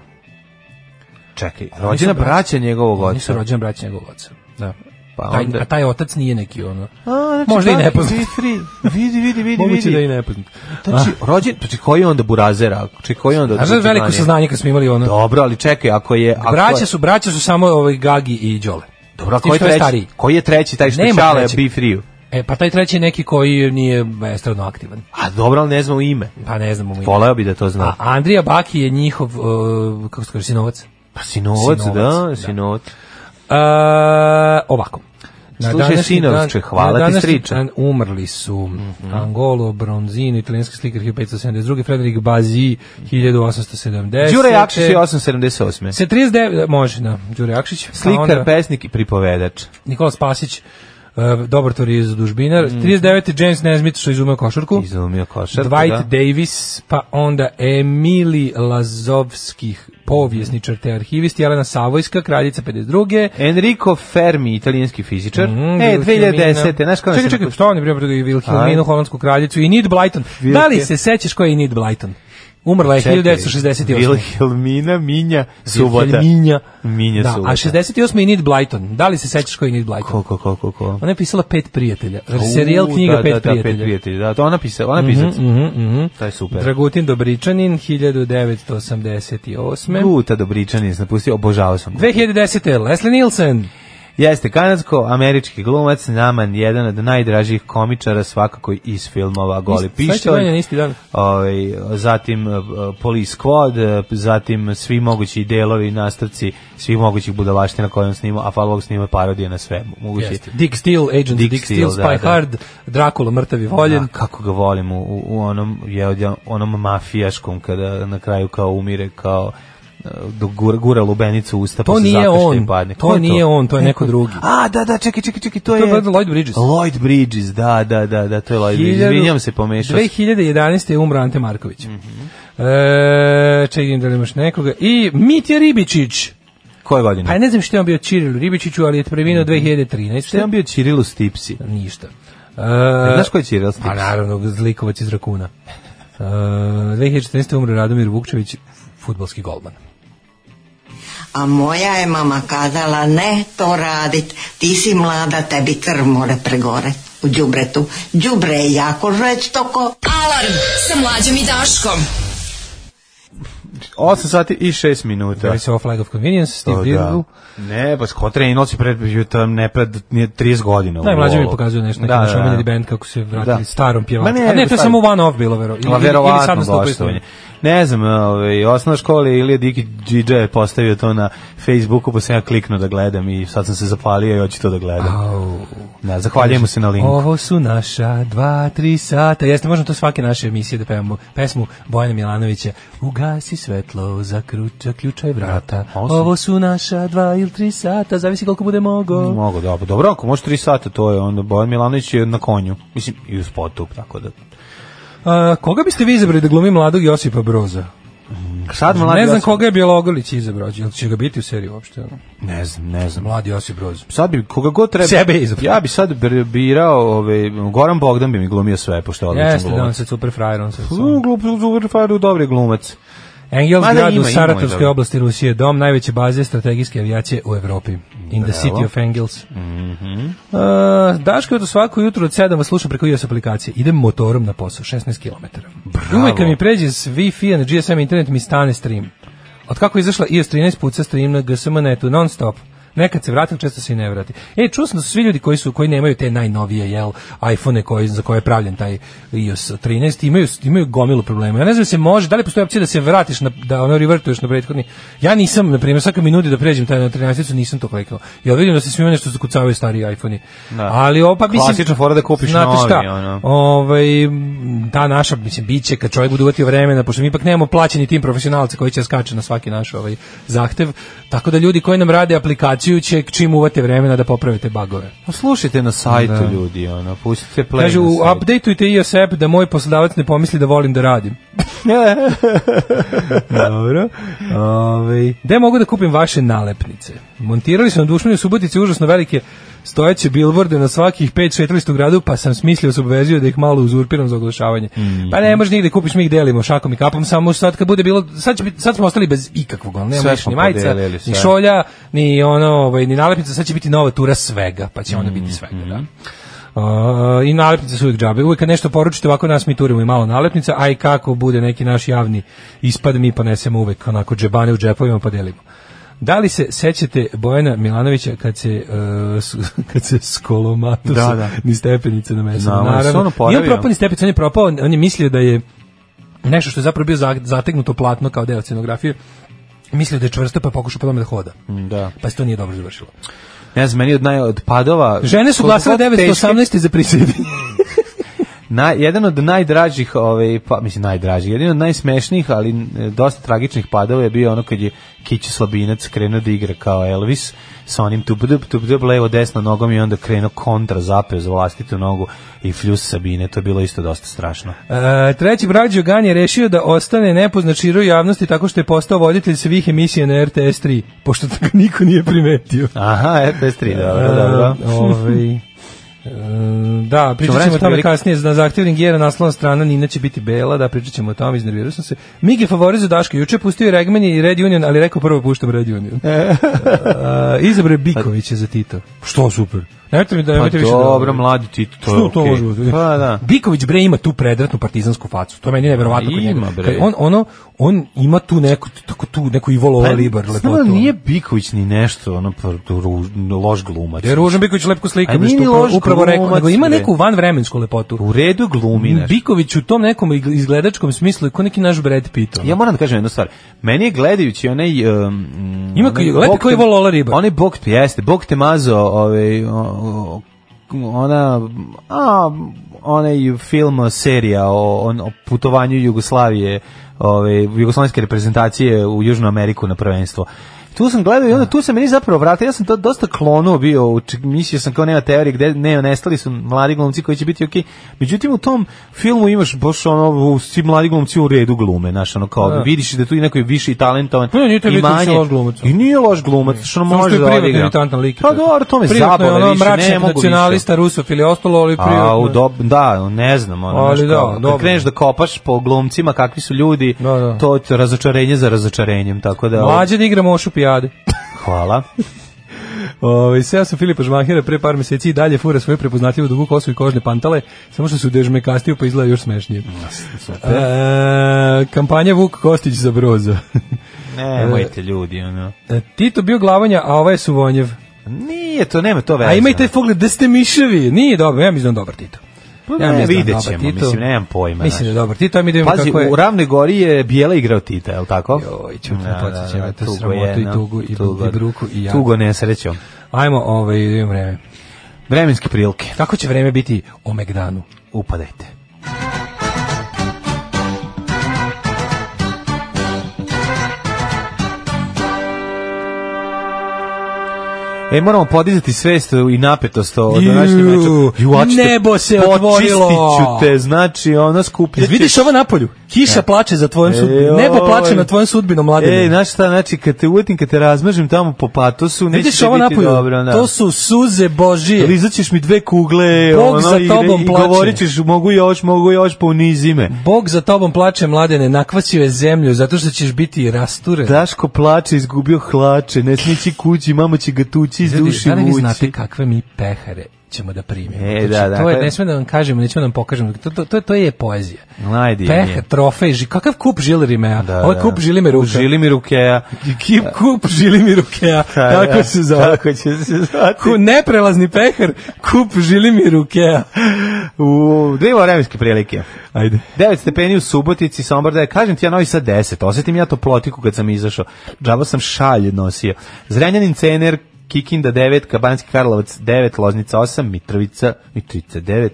[SPEAKER 6] čekaj, rođena
[SPEAKER 5] braća.
[SPEAKER 6] braća njegovog
[SPEAKER 5] Oni su
[SPEAKER 6] oca.
[SPEAKER 5] rođeni braća njegovog oca. Da.
[SPEAKER 6] Pa
[SPEAKER 5] taj,
[SPEAKER 6] onda-
[SPEAKER 5] a taj otac nije neki ono.
[SPEAKER 6] A, znači,
[SPEAKER 5] Možda i
[SPEAKER 6] pa,
[SPEAKER 5] nepoznat.
[SPEAKER 6] Vidi, vidi, vidi, vidi.
[SPEAKER 5] Moguće
[SPEAKER 6] vidi.
[SPEAKER 5] da i nepoznat.
[SPEAKER 6] Znači, rođen, pa čekaj, koji je onda burazera? Čekaj, koji je onda...
[SPEAKER 5] Znaš da je veliko saznanje kad smo imali ono?
[SPEAKER 6] Dobro, ali čekaj, ako je... Ako
[SPEAKER 5] Braća su, braća su samo ovaj Gagi i Đole.
[SPEAKER 6] Dobro, a
[SPEAKER 5] S tim
[SPEAKER 6] koji je
[SPEAKER 5] što je
[SPEAKER 6] treći?
[SPEAKER 5] stariji.
[SPEAKER 6] Koji je treći, taj što
[SPEAKER 5] Nema
[SPEAKER 6] čale
[SPEAKER 5] trećeg.
[SPEAKER 6] Be Free-u?
[SPEAKER 5] E, pa taj treći je neki koji nije estradno aktivan.
[SPEAKER 6] A dobro, ali ne znamo ime.
[SPEAKER 5] Pa ne znamo mu ime.
[SPEAKER 6] Voleo bi da to zna.
[SPEAKER 5] A Andrija Baki je njihov, uh, kako se kaže, sinovac.
[SPEAKER 6] Pa sinovac,
[SPEAKER 5] Sinovac, da.
[SPEAKER 6] da, sinovac.
[SPEAKER 5] Uh, ovako. Na
[SPEAKER 6] E, Slušaj,
[SPEAKER 5] današnji
[SPEAKER 6] sinovče,
[SPEAKER 5] dan-
[SPEAKER 6] hvala
[SPEAKER 5] na
[SPEAKER 6] ti, Mhm.
[SPEAKER 5] današnji
[SPEAKER 6] striče.
[SPEAKER 5] dan umrli su mm -hmm. Angolo Bronzini, italijanski slikar 1572, Frederik Bazi 1870.
[SPEAKER 6] Đure Jakšić je 878.
[SPEAKER 5] Se 39, može, da, Đure Jakšić. Pa
[SPEAKER 6] Slikar,
[SPEAKER 5] onda
[SPEAKER 6] pesnik i pripovedač.
[SPEAKER 5] Nikola Spasić, uh, dobar toriz zadužbinar. Mm -hmm. 39. James Nesmith, što je izumeo košarku.
[SPEAKER 6] Izumio Mhm. košarku,
[SPEAKER 5] Dwight
[SPEAKER 6] da.
[SPEAKER 5] Davis, pa onda Emili Lazovskih, povjesničar te arhivist, Jelena Savojska, kraljica 52.
[SPEAKER 6] Enrico Fermi, italijanski fizičar.
[SPEAKER 5] Mm,
[SPEAKER 6] e,
[SPEAKER 5] Wilhelmina.
[SPEAKER 6] 2010. Znaš kada
[SPEAKER 5] čekaj, čekaj, što on je bio pred Wilhelminu,
[SPEAKER 6] Ajde.
[SPEAKER 5] holandsku kraljicu i Nid Blyton. Da li se sećaš ko je Nid Blyton? Umrla je 1968.
[SPEAKER 6] Wilhelmina Minja Subota.
[SPEAKER 5] Minja.
[SPEAKER 6] Minja
[SPEAKER 5] da,
[SPEAKER 6] Subota.
[SPEAKER 5] a 68. je Nid Blyton. Da li se sećaš ko je Nid Blyton?
[SPEAKER 6] Ko, ko, ko, ko, ko?
[SPEAKER 5] Ona je pisala Pet prijatelja. Znači, serijal
[SPEAKER 6] U,
[SPEAKER 5] knjiga
[SPEAKER 6] da,
[SPEAKER 5] Pet
[SPEAKER 6] da, da,
[SPEAKER 5] prijatelja.
[SPEAKER 6] pet prijatelja. Da, to ona pisala, ona pisac.
[SPEAKER 5] Mhm, mhm.
[SPEAKER 6] To je super.
[SPEAKER 5] Dragutin Dobričanin, 1988.
[SPEAKER 6] Guta Dobričan je napustio, obožavao sam. ga.
[SPEAKER 5] 2010. Leslie Nielsen.
[SPEAKER 6] Jeste kanadsko-američki glumac, naman jedan od najdražih komičara svakako iz filmova Goli
[SPEAKER 5] Isti- sledeće
[SPEAKER 6] pištolj.
[SPEAKER 5] godine, isti dan.
[SPEAKER 6] Ovaj, zatim eh, Police Squad, eh, zatim svi mogući delovi, nastavci svih mogućih budalaština koje on snima, a hvala Bogu snima parodije na sve moguće.
[SPEAKER 5] Jeste. Dick Steele, Agent Dick,
[SPEAKER 6] Dick
[SPEAKER 5] Dick Steele,
[SPEAKER 6] Steele,
[SPEAKER 5] Spy
[SPEAKER 6] da, da.
[SPEAKER 5] Hard, Dracula, Mrtav i Voljen.
[SPEAKER 6] A, kako ga volim u, u- u onom, je, od- onom mafijaškom kada na kraju kao umire kao eh, do gura, gura lubenicu u usta pa
[SPEAKER 5] To
[SPEAKER 6] se
[SPEAKER 5] nije
[SPEAKER 6] zakašlje
[SPEAKER 5] on,
[SPEAKER 6] i padne.
[SPEAKER 5] to
[SPEAKER 6] Ko je
[SPEAKER 5] nije on, to je neko drugi.
[SPEAKER 6] A, da, da, čekaj, čekaj, čekaj, to,
[SPEAKER 5] To je brother Lloyd Bridges.
[SPEAKER 6] Lloyd Bridges, da, da, da, da, to je Lloyd Bridges. Izvinjam se, pomešao. sam.
[SPEAKER 5] 2011. je umro Ante Marković. Mm -hmm. e, čekaj, vidim da li imaš nekoga. I Mitja Ribičić.
[SPEAKER 6] Koje godine?
[SPEAKER 5] Pa ja ne znam što je on bio Čirilu Ribičiću, ali je preminuo 2013.
[SPEAKER 6] Šta Mhm. je on bio Cirilu Stipsi?
[SPEAKER 5] Ništa. E,
[SPEAKER 6] Znaš ko je Ciril
[SPEAKER 5] Pa
[SPEAKER 6] Stipsi?
[SPEAKER 5] naravno, zlikovac iz Rakuna. E, 2014. umro Radomir Vukčević, futbalski golman.
[SPEAKER 2] A moja je mama kazala, ne to radit, ti si mlada, tebi krv more pregore u džubretu. Džubre je jako žestoko.
[SPEAKER 4] Alarm sa mlađom i Daškom.
[SPEAKER 6] 8 sati i 6 minuta.
[SPEAKER 5] Da. se ovo Flag of Convenience, Steve
[SPEAKER 6] To
[SPEAKER 5] Dirgu.
[SPEAKER 6] da. Ne, pa skoro trenirao si pred jutra, ne pred nije 30 godina. u
[SPEAKER 5] Najmlađe mi
[SPEAKER 6] volu.
[SPEAKER 5] pokazuje nešto, neki
[SPEAKER 6] Da,
[SPEAKER 5] naš
[SPEAKER 6] da, da.
[SPEAKER 5] omiljeni band kako se vratili
[SPEAKER 6] Da.
[SPEAKER 5] starom pjevaču.
[SPEAKER 6] Ma ne,
[SPEAKER 5] A ne, to je
[SPEAKER 6] stari-
[SPEAKER 5] samo one off bilo, vero.
[SPEAKER 6] Pa
[SPEAKER 5] Ili, ili sad
[SPEAKER 6] verovatno
[SPEAKER 5] nastupaju
[SPEAKER 6] gostovanje.
[SPEAKER 5] sami.
[SPEAKER 6] Ne znam, ovaj, osnovna škola je Ilija Diki Džidža je postavio to na Facebooku, pa sam ja kliknuo da gledam i sad sam se zapalio i hoću to da gledam.
[SPEAKER 5] Au.
[SPEAKER 6] Da, zahvaljujemo se na linku.
[SPEAKER 5] Ovo su naša dva, tri sata. Jeste, možemo to svake naše emisije da pevamo pesmu Bojana Milanovića. Ugasi svetlo, zaključa ključaj vrata.
[SPEAKER 6] A ovo su-
[SPEAKER 5] Ovo su naša dva ili tri sata, zavisi koliko bude mogo.
[SPEAKER 6] Mogu, da, pa dobro, ako može 3 sata, to je onda Bojan Milanović je na konju. Mislim, i u spotu, tako da.
[SPEAKER 5] A, koga biste vi izabrali da glumi mladog Josipa Broza?
[SPEAKER 6] Sad mladi
[SPEAKER 5] ne znam
[SPEAKER 6] Josip-
[SPEAKER 5] koga je Bjelogolić izabrao, jel će ga biti u seriji uopšte? ono?
[SPEAKER 6] Ne znam, ne znam.
[SPEAKER 5] Mladi Josip Broz.
[SPEAKER 6] Sad bi koga god treba.
[SPEAKER 5] Sebe je izabrao.
[SPEAKER 6] Ja bi sad br- birao, ovaj Goran Bogdan bi mi glumio sve, pošto je odličan
[SPEAKER 5] Jeste, da on
[SPEAKER 6] glumac.
[SPEAKER 5] se super frajer, on se...
[SPEAKER 6] U, glup, super faru, dobri glumac. Mada
[SPEAKER 5] Engelsgrad
[SPEAKER 6] ima,
[SPEAKER 5] u
[SPEAKER 6] ima,
[SPEAKER 5] Saratovskoj
[SPEAKER 6] ima.
[SPEAKER 5] oblasti Rusije, dom najveće baze strategijske avijacije u Evropi. In the city of Engels.
[SPEAKER 6] Mhm.
[SPEAKER 5] Mm -hmm. uh, Daško, eto svako jutro od 7 vas slušam preko iOS aplikacije. Idem motorom na posao, 16 km. Bravo. Uvijek kad mi pređe s Wi-Fi na GSM internet mi stane stream. Od kako je izašla iOS 13 puca stream na GSM netu non stop. Nekad se vratim, često se i ne vratim. E, čuo sam da su svi ljudi koji su koji nemaju te najnovije jel iPhone koji za koje je pravljen taj iOS 13 imaju imaju gomilu problema. Ja ne znam da se može, da li postoji opcija da se vratiš na da ono revertuješ na prethodni. Ja nisam na primjer svaka mi nudi da pređem taj na 13-icu, nisam to kliknuo. Ja vidim da se svima nešto zakucavaju stari iPhone.
[SPEAKER 6] Da.
[SPEAKER 5] Ali ovo pa mislim
[SPEAKER 6] Klasična fora da kupiš
[SPEAKER 5] znate
[SPEAKER 6] novi,
[SPEAKER 5] šta,
[SPEAKER 6] ono.
[SPEAKER 5] Ovaj ta naša mislim biće kad čovjek bude uvatio vremena, pošto mi ipak nemamo plaćeni tim profesionalca koji će skače na svaki naš ovaj zahtev, tako da ljudi koji nam rade aplikaciju će čim uvate vremena da poprave te bagove.
[SPEAKER 6] Pa slušajte na sajtu ljudi, ono, pustite play.
[SPEAKER 5] Kaže,
[SPEAKER 6] na
[SPEAKER 5] u
[SPEAKER 6] sajtu.
[SPEAKER 5] updateujte iOS app da moj poslodavac ne pomisli da volim da radim. Dobro.
[SPEAKER 6] Ovaj.
[SPEAKER 5] Ove, gde mogu da kupim vaše nalepnice? Montirali su na dušmani u Subotici užasno velike stojeće bilborde na svakih 5-14 u gradu, pa sam smislio se obvezio da ih malo uzurpiram za oglašavanje.
[SPEAKER 6] Mhm.
[SPEAKER 5] Pa ne možeš nigde kupiš, mi ih delimo šakom i kapom, samo sad kad bude bilo, sad, će biti, sad smo ostali bez ikakvog, ono, nema
[SPEAKER 6] Sve
[SPEAKER 5] više
[SPEAKER 6] smo
[SPEAKER 5] ni majica,
[SPEAKER 6] podelili, sve.
[SPEAKER 5] ni šolja, ni ono, ovaj, ni nalepnica, sad će biti nova tura svega, pa će onda
[SPEAKER 6] Mhm,
[SPEAKER 5] biti svega, da. Uh, I nalepnice su uvijek džabe. Uvijek kad nešto poručite, ovako nas mi turimo i malo nalepnica, a i kako bude neki naš javni ispad, mi ponesemo uvijek onako džebane u džepovima pa delimo. Da li se sećate Bojana Milanovića kad se, uh, s- kad se skolomato
[SPEAKER 6] Da, da.
[SPEAKER 5] ni stepenice na meso?
[SPEAKER 6] Znamo, jer se on
[SPEAKER 5] Naravno. Nije on
[SPEAKER 6] oporavio.
[SPEAKER 5] propao ni stepenice, on je propao, on je mislio da je nešto što je zapravo bio za- zategnuto platno kao deo scenografije, mislio da je čvrsto pa je pokušao po tome da hoda.
[SPEAKER 6] Da.
[SPEAKER 5] Pa se to nije dobro završilo.
[SPEAKER 6] Ne znam, meni od naj od padova.
[SPEAKER 5] Žene su
[SPEAKER 6] koliko
[SPEAKER 5] glasale
[SPEAKER 6] god teški-
[SPEAKER 5] 918. za prisjedinje.
[SPEAKER 6] Na, jedan od najdražih, ovaj, pa, mislim najdražih, jedan od najsmešnijih, ali e, dosta tragičnih padova je bio ono kad je Kić Slabinac krenuo da igra kao Elvis sa onim tubdup, tubdup, levo, desno nogom i onda krenuo kontra, zapeo za vlastitu nogu i fljus Sabine, to je bilo isto dosta strašno.
[SPEAKER 5] E, treći brat Đogan je rešio da ostane nepoznat široj javnosti tako što je postao voditelj svih emisija na RTS3, pošto to niko nije primetio.
[SPEAKER 6] Aha, RTS3, dobro, dobro.
[SPEAKER 5] E, ovaj, e, da, pričat ćemo o
[SPEAKER 6] vremenski
[SPEAKER 5] tome
[SPEAKER 6] prilike.
[SPEAKER 5] kasnije. Na zahtjev Ringera naslovna strana Nina će biti bela, da pričat ćemo o tome, iznervirao sam se. Migi favori za Daška, juče je pustio Regman i Red Union, ali rekao prvo puštam Red Union. E, Izabre Bikovića za Tito. Što super. Nemojte mi
[SPEAKER 6] Pa
[SPEAKER 5] da nemojte više da-
[SPEAKER 6] dobro, mladi ti, to je
[SPEAKER 5] Što to
[SPEAKER 6] okej.
[SPEAKER 5] može biti?
[SPEAKER 6] Pa da.
[SPEAKER 5] Biković bre ima tu predratnu partizansku facu. To meni je neverovatno kod
[SPEAKER 6] Ima,
[SPEAKER 5] njega.
[SPEAKER 6] bre.
[SPEAKER 5] Kad On ono on ima tu neku tako tu neku Ivolova libar
[SPEAKER 6] Znamo,
[SPEAKER 5] lepotu.
[SPEAKER 6] Pa, nije Biković ni nešto, ono, pa, ruž, loš glumac.
[SPEAKER 5] Da je Ružan Biković lepko slika,
[SPEAKER 6] A
[SPEAKER 5] bre, što
[SPEAKER 6] nije
[SPEAKER 5] upravo,
[SPEAKER 6] loš
[SPEAKER 5] upravo rekao,
[SPEAKER 6] glumac,
[SPEAKER 5] nego ima
[SPEAKER 6] bre.
[SPEAKER 5] neku vanvremensku lepotu.
[SPEAKER 6] U redu glumi nešto.
[SPEAKER 5] Biković u tom nekom ig- izgledačkom smislu je ko neki naš Brad Pitt. ono.
[SPEAKER 6] Ja moram da kažem jednu stvar. Meni je gledajući onaj... Um,
[SPEAKER 5] Ima koji- gledaj koji je Volola riba.
[SPEAKER 6] Onaj Bog te jeste. Bog te mazo, ovaj, o- o- ona... A, onaj film, serija o, on, o putovanju Jugoslavije, ovaj, jugoslovenske reprezentacije u Južnu Ameriku na prvenstvo. Tu sam gledao i onda tu sam meni zapravo vratio, ja sam to dosta klonuo bio, uči- mislio sam kao nema teorije gde ne, nestali su mladi glumci koji će biti okej. Međutim u tom filmu imaš baš ono u- svi mladi glumci u redu glume, znaš, ono kao vidiš da tu i neko je više i talentovan.
[SPEAKER 5] Pa ne, nije taj
[SPEAKER 6] i
[SPEAKER 5] Biković
[SPEAKER 6] manje.
[SPEAKER 5] loš glumac. ono.
[SPEAKER 6] I nije loš glumac, što ono
[SPEAKER 5] Samo što
[SPEAKER 6] može
[SPEAKER 5] je
[SPEAKER 6] da
[SPEAKER 5] privatno
[SPEAKER 6] odigra.
[SPEAKER 5] iritantan lik.
[SPEAKER 6] Pa dobro, to me
[SPEAKER 5] Privatno je
[SPEAKER 6] zabole
[SPEAKER 5] ono
[SPEAKER 6] više, ne
[SPEAKER 5] mračnjak,
[SPEAKER 6] mogu više.
[SPEAKER 5] nacionalista, rusofil i ostalo, ali
[SPEAKER 6] A, u
[SPEAKER 5] privatno.
[SPEAKER 6] dob, da, ne znam, ono,
[SPEAKER 5] Ali
[SPEAKER 6] znaš
[SPEAKER 5] da,
[SPEAKER 6] kao, kad
[SPEAKER 5] dobro.
[SPEAKER 6] kreneš da kopaš po glumcima kakvi su ljudi,
[SPEAKER 5] Da, da.
[SPEAKER 6] to je razočarenje za razočarenjem, tako da...
[SPEAKER 5] Mlađe da igramo ošu pijade.
[SPEAKER 6] Hvala.
[SPEAKER 5] Ovaj ja sam Filipa Žmahira pre par meseci i dalje fura svoje prepoznatljivo dugu kosu i kožne pantale, samo što su dežme kastio pa izgleda još smešnije. E, kampanja Vuk Kostić za broza.
[SPEAKER 6] Nemojte ljudi, ono.
[SPEAKER 5] E, Tito bio glavanja, a ovaj su vonjev.
[SPEAKER 6] Nije to, nema to veze.
[SPEAKER 5] A imajte pogled da ste miševi. Nije dobro, ja mislim da je dobar Tito.
[SPEAKER 6] Pa
[SPEAKER 5] ja
[SPEAKER 6] ne,
[SPEAKER 5] mislim da je
[SPEAKER 6] vidjet
[SPEAKER 5] dobar
[SPEAKER 6] ćemo,
[SPEAKER 5] Tito.
[SPEAKER 6] mislim, nemam pojma,
[SPEAKER 5] Mislim da je
[SPEAKER 6] znaš.
[SPEAKER 5] dobar Tito, a mi da vidimo
[SPEAKER 6] Pazi,
[SPEAKER 5] kako je.
[SPEAKER 6] u Ravnoj Gori je Bijela igrao Tita, je li tako?
[SPEAKER 5] Joj, ću te
[SPEAKER 6] Da, da,
[SPEAKER 5] podsjećam,
[SPEAKER 6] da,
[SPEAKER 5] eto,
[SPEAKER 6] tugo
[SPEAKER 5] sramotu
[SPEAKER 6] je,
[SPEAKER 5] i
[SPEAKER 6] no,
[SPEAKER 5] tugu i
[SPEAKER 6] tugo.
[SPEAKER 5] bruku i jadu.
[SPEAKER 6] Tugo nesrećom.
[SPEAKER 5] Ajmo, ovaj, idemo vreme.
[SPEAKER 6] Vremenske prilike.
[SPEAKER 5] Kako će vreme biti o Megdanu?
[SPEAKER 6] Upadajte. E, moramo podizati svest i napetost o današnjem
[SPEAKER 5] Ju,
[SPEAKER 6] meču. Ju, a ću te-
[SPEAKER 5] nebo se
[SPEAKER 6] Počistit
[SPEAKER 5] otvorilo.
[SPEAKER 6] ću te, znači, ono skuplje
[SPEAKER 5] Jel vidiš ovo napolju? Kiša plače za tvojom
[SPEAKER 6] E,
[SPEAKER 5] sudbinom. Nebo
[SPEAKER 6] oj.
[SPEAKER 5] plače na tvojom sudbinom, mladine.
[SPEAKER 6] Ej, znaš šta, znači, kad te uvetim, kad te razmažem tamo po patosu, neće
[SPEAKER 5] Vidiš
[SPEAKER 6] ti
[SPEAKER 5] ovo
[SPEAKER 6] biti
[SPEAKER 5] napolju?
[SPEAKER 6] dobro. Da.
[SPEAKER 5] To su suze Božije.
[SPEAKER 6] Lizat ćeš mi dve kugle,
[SPEAKER 5] Bog
[SPEAKER 6] ono,
[SPEAKER 5] za
[SPEAKER 6] i,
[SPEAKER 5] tobom
[SPEAKER 6] i
[SPEAKER 5] plače.
[SPEAKER 6] govorit ćeš, mogu još, mogu još, pa unizi me.
[SPEAKER 5] Bog za tobom plače, mladene, nakvasio je zemlju zato što ćeš biti rasturen.
[SPEAKER 6] Daško plače, izgubio hlače, ne smići kući, mama će ga tući iz
[SPEAKER 5] Ljudi,
[SPEAKER 6] duši
[SPEAKER 5] da li vi
[SPEAKER 6] vući.
[SPEAKER 5] znate kakve mi pehare ćemo da primimo?
[SPEAKER 6] E,
[SPEAKER 5] Znači,
[SPEAKER 6] da, da,
[SPEAKER 5] to je,
[SPEAKER 6] to je-
[SPEAKER 5] ne smemo da vam kažemo, nećemo da vam pokažemo. To, to, to, to je poezija.
[SPEAKER 6] Najdivnije.
[SPEAKER 5] Pehar, trofej, ži, kakav kup žilirimeja? Da,
[SPEAKER 6] Da,
[SPEAKER 5] Ovo je
[SPEAKER 6] da.
[SPEAKER 5] Ovaj kup žilimeruka.
[SPEAKER 6] Žili mi rukeja.
[SPEAKER 5] Kip, kup žilimirukea. Tako se zove.
[SPEAKER 6] Tako će se zvati.
[SPEAKER 5] Ku, neprelazni pehar, kup žilimirukea.
[SPEAKER 6] U, dve vremenske prilike.
[SPEAKER 5] Ajde.
[SPEAKER 6] 9 stepeni u Subotici, Sombor da je, kažem ti ja novi sad 10, osetim ja toplotiku kad sam izašao, džaba sam šalje nosio. Zrenjanin cener, Kikinda 9, Kabanski Karlovac 9, Loznica 8, Mitrovica, Mitrovica 9,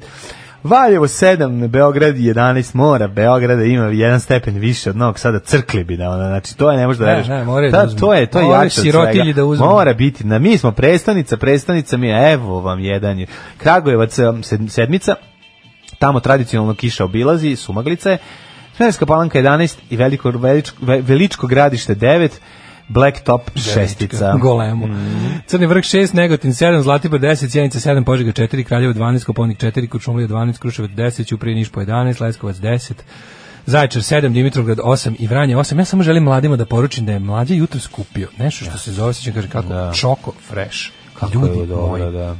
[SPEAKER 6] Valjevo 7, Beograd 11, mora Beograda ima jedan stepen više od Novog Sada, crkli bi da ona, znači to je ne može da
[SPEAKER 5] Ne,
[SPEAKER 6] veriš.
[SPEAKER 5] ne, moraju da
[SPEAKER 6] da,
[SPEAKER 5] uzmu.
[SPEAKER 6] to je, to je
[SPEAKER 5] Moraju
[SPEAKER 6] jače od
[SPEAKER 5] sirotilji
[SPEAKER 6] svega.
[SPEAKER 5] da uzmu.
[SPEAKER 6] Mora biti, na mi smo prestonica, prestonica mi je, evo vam jedan je. Kragujevac em, sedm- sedmica, tamo tradicionalno kiša obilazi, sumaglice. Smedenska palanka 11 i veliko, veličko, ve- veličko gradište 9. Blacktop šestica. Mhm.
[SPEAKER 5] Golemu. Crni vrh 6, Negotin 7, Zlatibor 10, Sjenica 7, Požega 4, Kraljevo 12, Koponik 4, Kučumlija 12, Kruševac 10, Ćuprije Niš po 11, Leskovac 10, Zaječar 7, Dimitrovgrad 8 i Vranje 8. Ja samo želim mladima da poručim da je mlađe jutro skupio nešto što se zove, sećam kaže kako,
[SPEAKER 6] Da.
[SPEAKER 5] Choco Fresh.
[SPEAKER 6] Kako
[SPEAKER 5] Ljudi
[SPEAKER 6] je dobro,
[SPEAKER 5] moji,
[SPEAKER 6] da.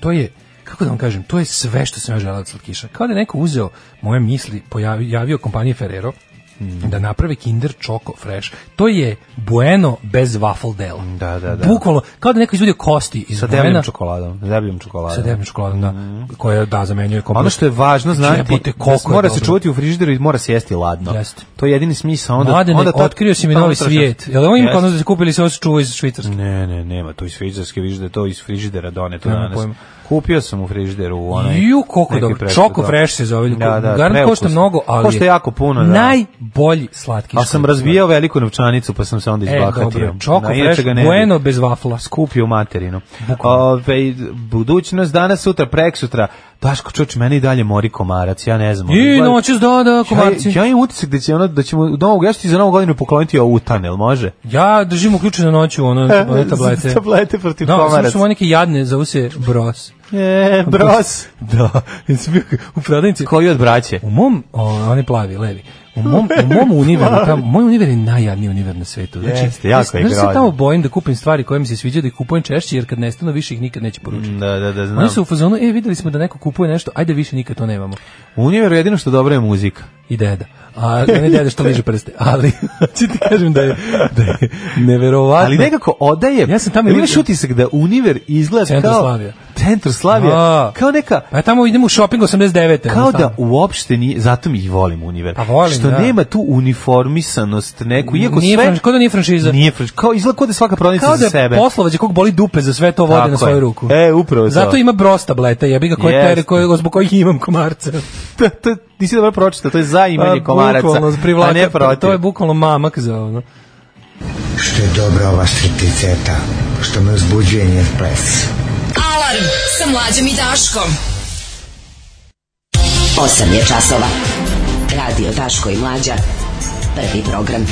[SPEAKER 5] to je kako da vam kažem, to je sve što sam ja želeo od slatkiša. Kao da je neko uzeo moje misli, pojavio javio kompanije Ferrero
[SPEAKER 6] Mhm.
[SPEAKER 5] da naprave Kinder Choco Fresh. To je bueno bez waffle dela.
[SPEAKER 6] Da, da, da.
[SPEAKER 5] Bukvalno, kao da je neko izvodio kosti iz
[SPEAKER 6] Sa
[SPEAKER 5] buena
[SPEAKER 6] debljom čokoladom. Sa debljom čokoladom.
[SPEAKER 5] sa debljom čokoladom, da, koja da zamenjuje komplet.
[SPEAKER 6] Ono što je važno znati,
[SPEAKER 5] Jebote, koliko
[SPEAKER 6] da
[SPEAKER 5] je
[SPEAKER 6] mora se
[SPEAKER 5] dobro.
[SPEAKER 6] čuvati u frižideru i mora se jesti ladno.
[SPEAKER 5] Jeste.
[SPEAKER 6] To je jedini smisao. Onda,
[SPEAKER 5] Mladene,
[SPEAKER 6] onda ta-
[SPEAKER 5] otkrio si mi
[SPEAKER 6] ta
[SPEAKER 5] novi
[SPEAKER 6] utrošnost.
[SPEAKER 5] svijet. Jel ovo ima
[SPEAKER 6] Jeste.
[SPEAKER 5] kod nas da se kupili se ovo se čuva iz Švicarske?
[SPEAKER 6] Ne, ne, nema, to iz frižiderske, vidiš da je to iz frižidera doneto
[SPEAKER 5] Nemam
[SPEAKER 6] danas.
[SPEAKER 5] pojma.
[SPEAKER 6] Kupio sam u frižideru u onaj...
[SPEAKER 5] Ju, koliko
[SPEAKER 6] neki
[SPEAKER 5] dobro.
[SPEAKER 6] preko,
[SPEAKER 5] Choco
[SPEAKER 6] da.
[SPEAKER 5] Fresh se zove.
[SPEAKER 6] Da, da,
[SPEAKER 5] Garant košta
[SPEAKER 6] preukusno.
[SPEAKER 5] mnogo, ali
[SPEAKER 6] Košta
[SPEAKER 5] je
[SPEAKER 6] jako puno, da.
[SPEAKER 5] Najbolji slatkiš.
[SPEAKER 6] Ali sam
[SPEAKER 5] koji postoji.
[SPEAKER 6] razbijao veliku novčanicu, pa sam se onda
[SPEAKER 5] E,
[SPEAKER 6] izbahatio.
[SPEAKER 5] dobro, Choco
[SPEAKER 6] Na, inače
[SPEAKER 5] Fresh,
[SPEAKER 6] ga ne bi.
[SPEAKER 5] bueno bez vafla.
[SPEAKER 6] skupio materinu. Ove, budućnost danas, sutra, prek sutra. Daško, čuč, meni i dalje mori komarac, ja ne znam.
[SPEAKER 5] I
[SPEAKER 6] Gledaj,
[SPEAKER 5] noćas da, da, komarci.
[SPEAKER 6] Ja, ja imam utisak da će ono, da ćemo u novu, ja ću ti za novu godinu pokloniti ovutan, jel može?
[SPEAKER 5] Ja držim uključeno noću ono, one tablete.
[SPEAKER 6] E, tablete protiv
[SPEAKER 5] Da,
[SPEAKER 6] komaraca.
[SPEAKER 5] samo su one neke jadne, zove se bros.
[SPEAKER 6] E, bros.
[SPEAKER 5] Da, jesi bio u prodavnici.
[SPEAKER 6] Koji od braće?
[SPEAKER 5] U mom, o, on je plavi, levi. U mom, u mom univeru, tamo, moj univer je najjadniji univer na svetu. Znači,
[SPEAKER 6] Jeste, jako je
[SPEAKER 5] znaš se
[SPEAKER 6] grozan.
[SPEAKER 5] tamo bojim da kupim stvari koje mi se sviđaju da ih kupujem češće, jer kad nestanu više ih nikad neće poručiti.
[SPEAKER 6] Da, da, Mm, da, znam.
[SPEAKER 5] Oni su u fazonu, e, videli smo da neko kupuje nešto, ajde više nikad to nemamo.
[SPEAKER 6] U univeru jedino što dobro je muzika.
[SPEAKER 5] i deda. A ne deda što liže prste, ali ću ti kažem da je, da je neverovatno.
[SPEAKER 6] Ali nekako odaje.
[SPEAKER 5] Pa Ja sam tamo
[SPEAKER 6] ili
[SPEAKER 5] i-
[SPEAKER 6] imaš utisak da univer izgleda
[SPEAKER 5] Centroslavija.
[SPEAKER 6] kao Centroslavija.
[SPEAKER 5] A.
[SPEAKER 6] Kao neka
[SPEAKER 5] Pa ja tamo idem u shopping 89.
[SPEAKER 6] kao
[SPEAKER 5] ono,
[SPEAKER 6] da
[SPEAKER 5] tamo.
[SPEAKER 6] uopšte nije, zato mi i volim univer.
[SPEAKER 5] Pa volim,
[SPEAKER 6] što
[SPEAKER 5] da.
[SPEAKER 6] nema tu uniformisanost neku, iako
[SPEAKER 5] Nije
[SPEAKER 6] sve...
[SPEAKER 5] franš- kao da nije franšiza.
[SPEAKER 6] Nije franš- kao izgleda kao da je svaka prodavnica
[SPEAKER 5] Kao da
[SPEAKER 6] za
[SPEAKER 5] je
[SPEAKER 6] sebe.
[SPEAKER 5] poslovađa kog boli dupe za sve to vode
[SPEAKER 6] Tako
[SPEAKER 5] na svoju
[SPEAKER 6] je.
[SPEAKER 5] ruku.
[SPEAKER 6] E, upravo to.
[SPEAKER 5] Zato ima bros tableta, jebi ga koje
[SPEAKER 6] Jeste. Pa,
[SPEAKER 5] tere, koje, zbog kojih imam komarca.
[SPEAKER 6] to, to, nisi dobro pročitao, to je za imanje
[SPEAKER 5] Pa,
[SPEAKER 6] komaraca,
[SPEAKER 5] bukvalno,
[SPEAKER 6] a
[SPEAKER 5] privlače-
[SPEAKER 6] ne protiv.
[SPEAKER 5] To je bukvalno mamak za ono.
[SPEAKER 8] Što je dobra ova stripticeta, što me uzbuđuje njen ples.
[SPEAKER 4] Alarm sa mlađom i Daškom.
[SPEAKER 9] 8 je časova. Radio Daško i Mlađa. Prvi program.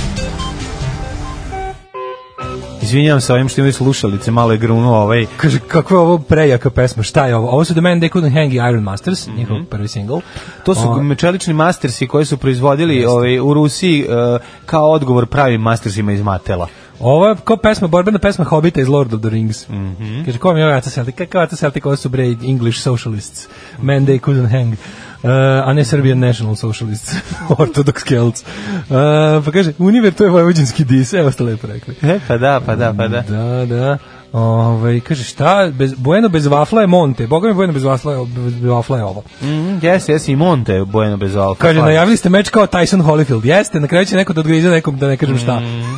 [SPEAKER 6] Izvinjavam se ovim što imaju slušalice, malo je grunuo ovaj...
[SPEAKER 5] Kaže, kako je ovo prejaka pesma, šta je ovo? Ovo su The Man They Couldn't Hang i Iron Masters,
[SPEAKER 6] Mhm.
[SPEAKER 5] njihov prvi single.
[SPEAKER 6] To su
[SPEAKER 5] O,
[SPEAKER 6] čelični mastersi koji su proizvodili ovaj, u Rusiji e, kao odgovor pravim mastersima iz Matela.
[SPEAKER 5] Ovo je kao pesma, borbena pesma Hobita iz Lord of the Rings.
[SPEAKER 6] Mhm.
[SPEAKER 5] Kaže, ko mi je ovo Ata Celtic? Kakav Ata Celtic? Ovo su bre English socialists. Man they couldn't hang. Uh, a ne Serbian national socialists. Orthodox Celts. Uh, pa kaže, univer to je vojvođanski dis. Evo ste lepo rekli.
[SPEAKER 6] E, pa da, pa da, pa da.
[SPEAKER 5] Da, da. Ove, kaže, šta? Bez, bueno bez vafla je Monte. Boga mi bueno bez vafla je, bez vafla je ovo.
[SPEAKER 6] Mm, Jes, jes, i Monte je bojeno bez alfa.
[SPEAKER 5] Kaže,
[SPEAKER 6] Hvala.
[SPEAKER 5] najavili ste meč kao Tyson Holyfield. Jeste, na kraju će neko da odgrize nekom, da ne kažem šta.
[SPEAKER 6] Mm.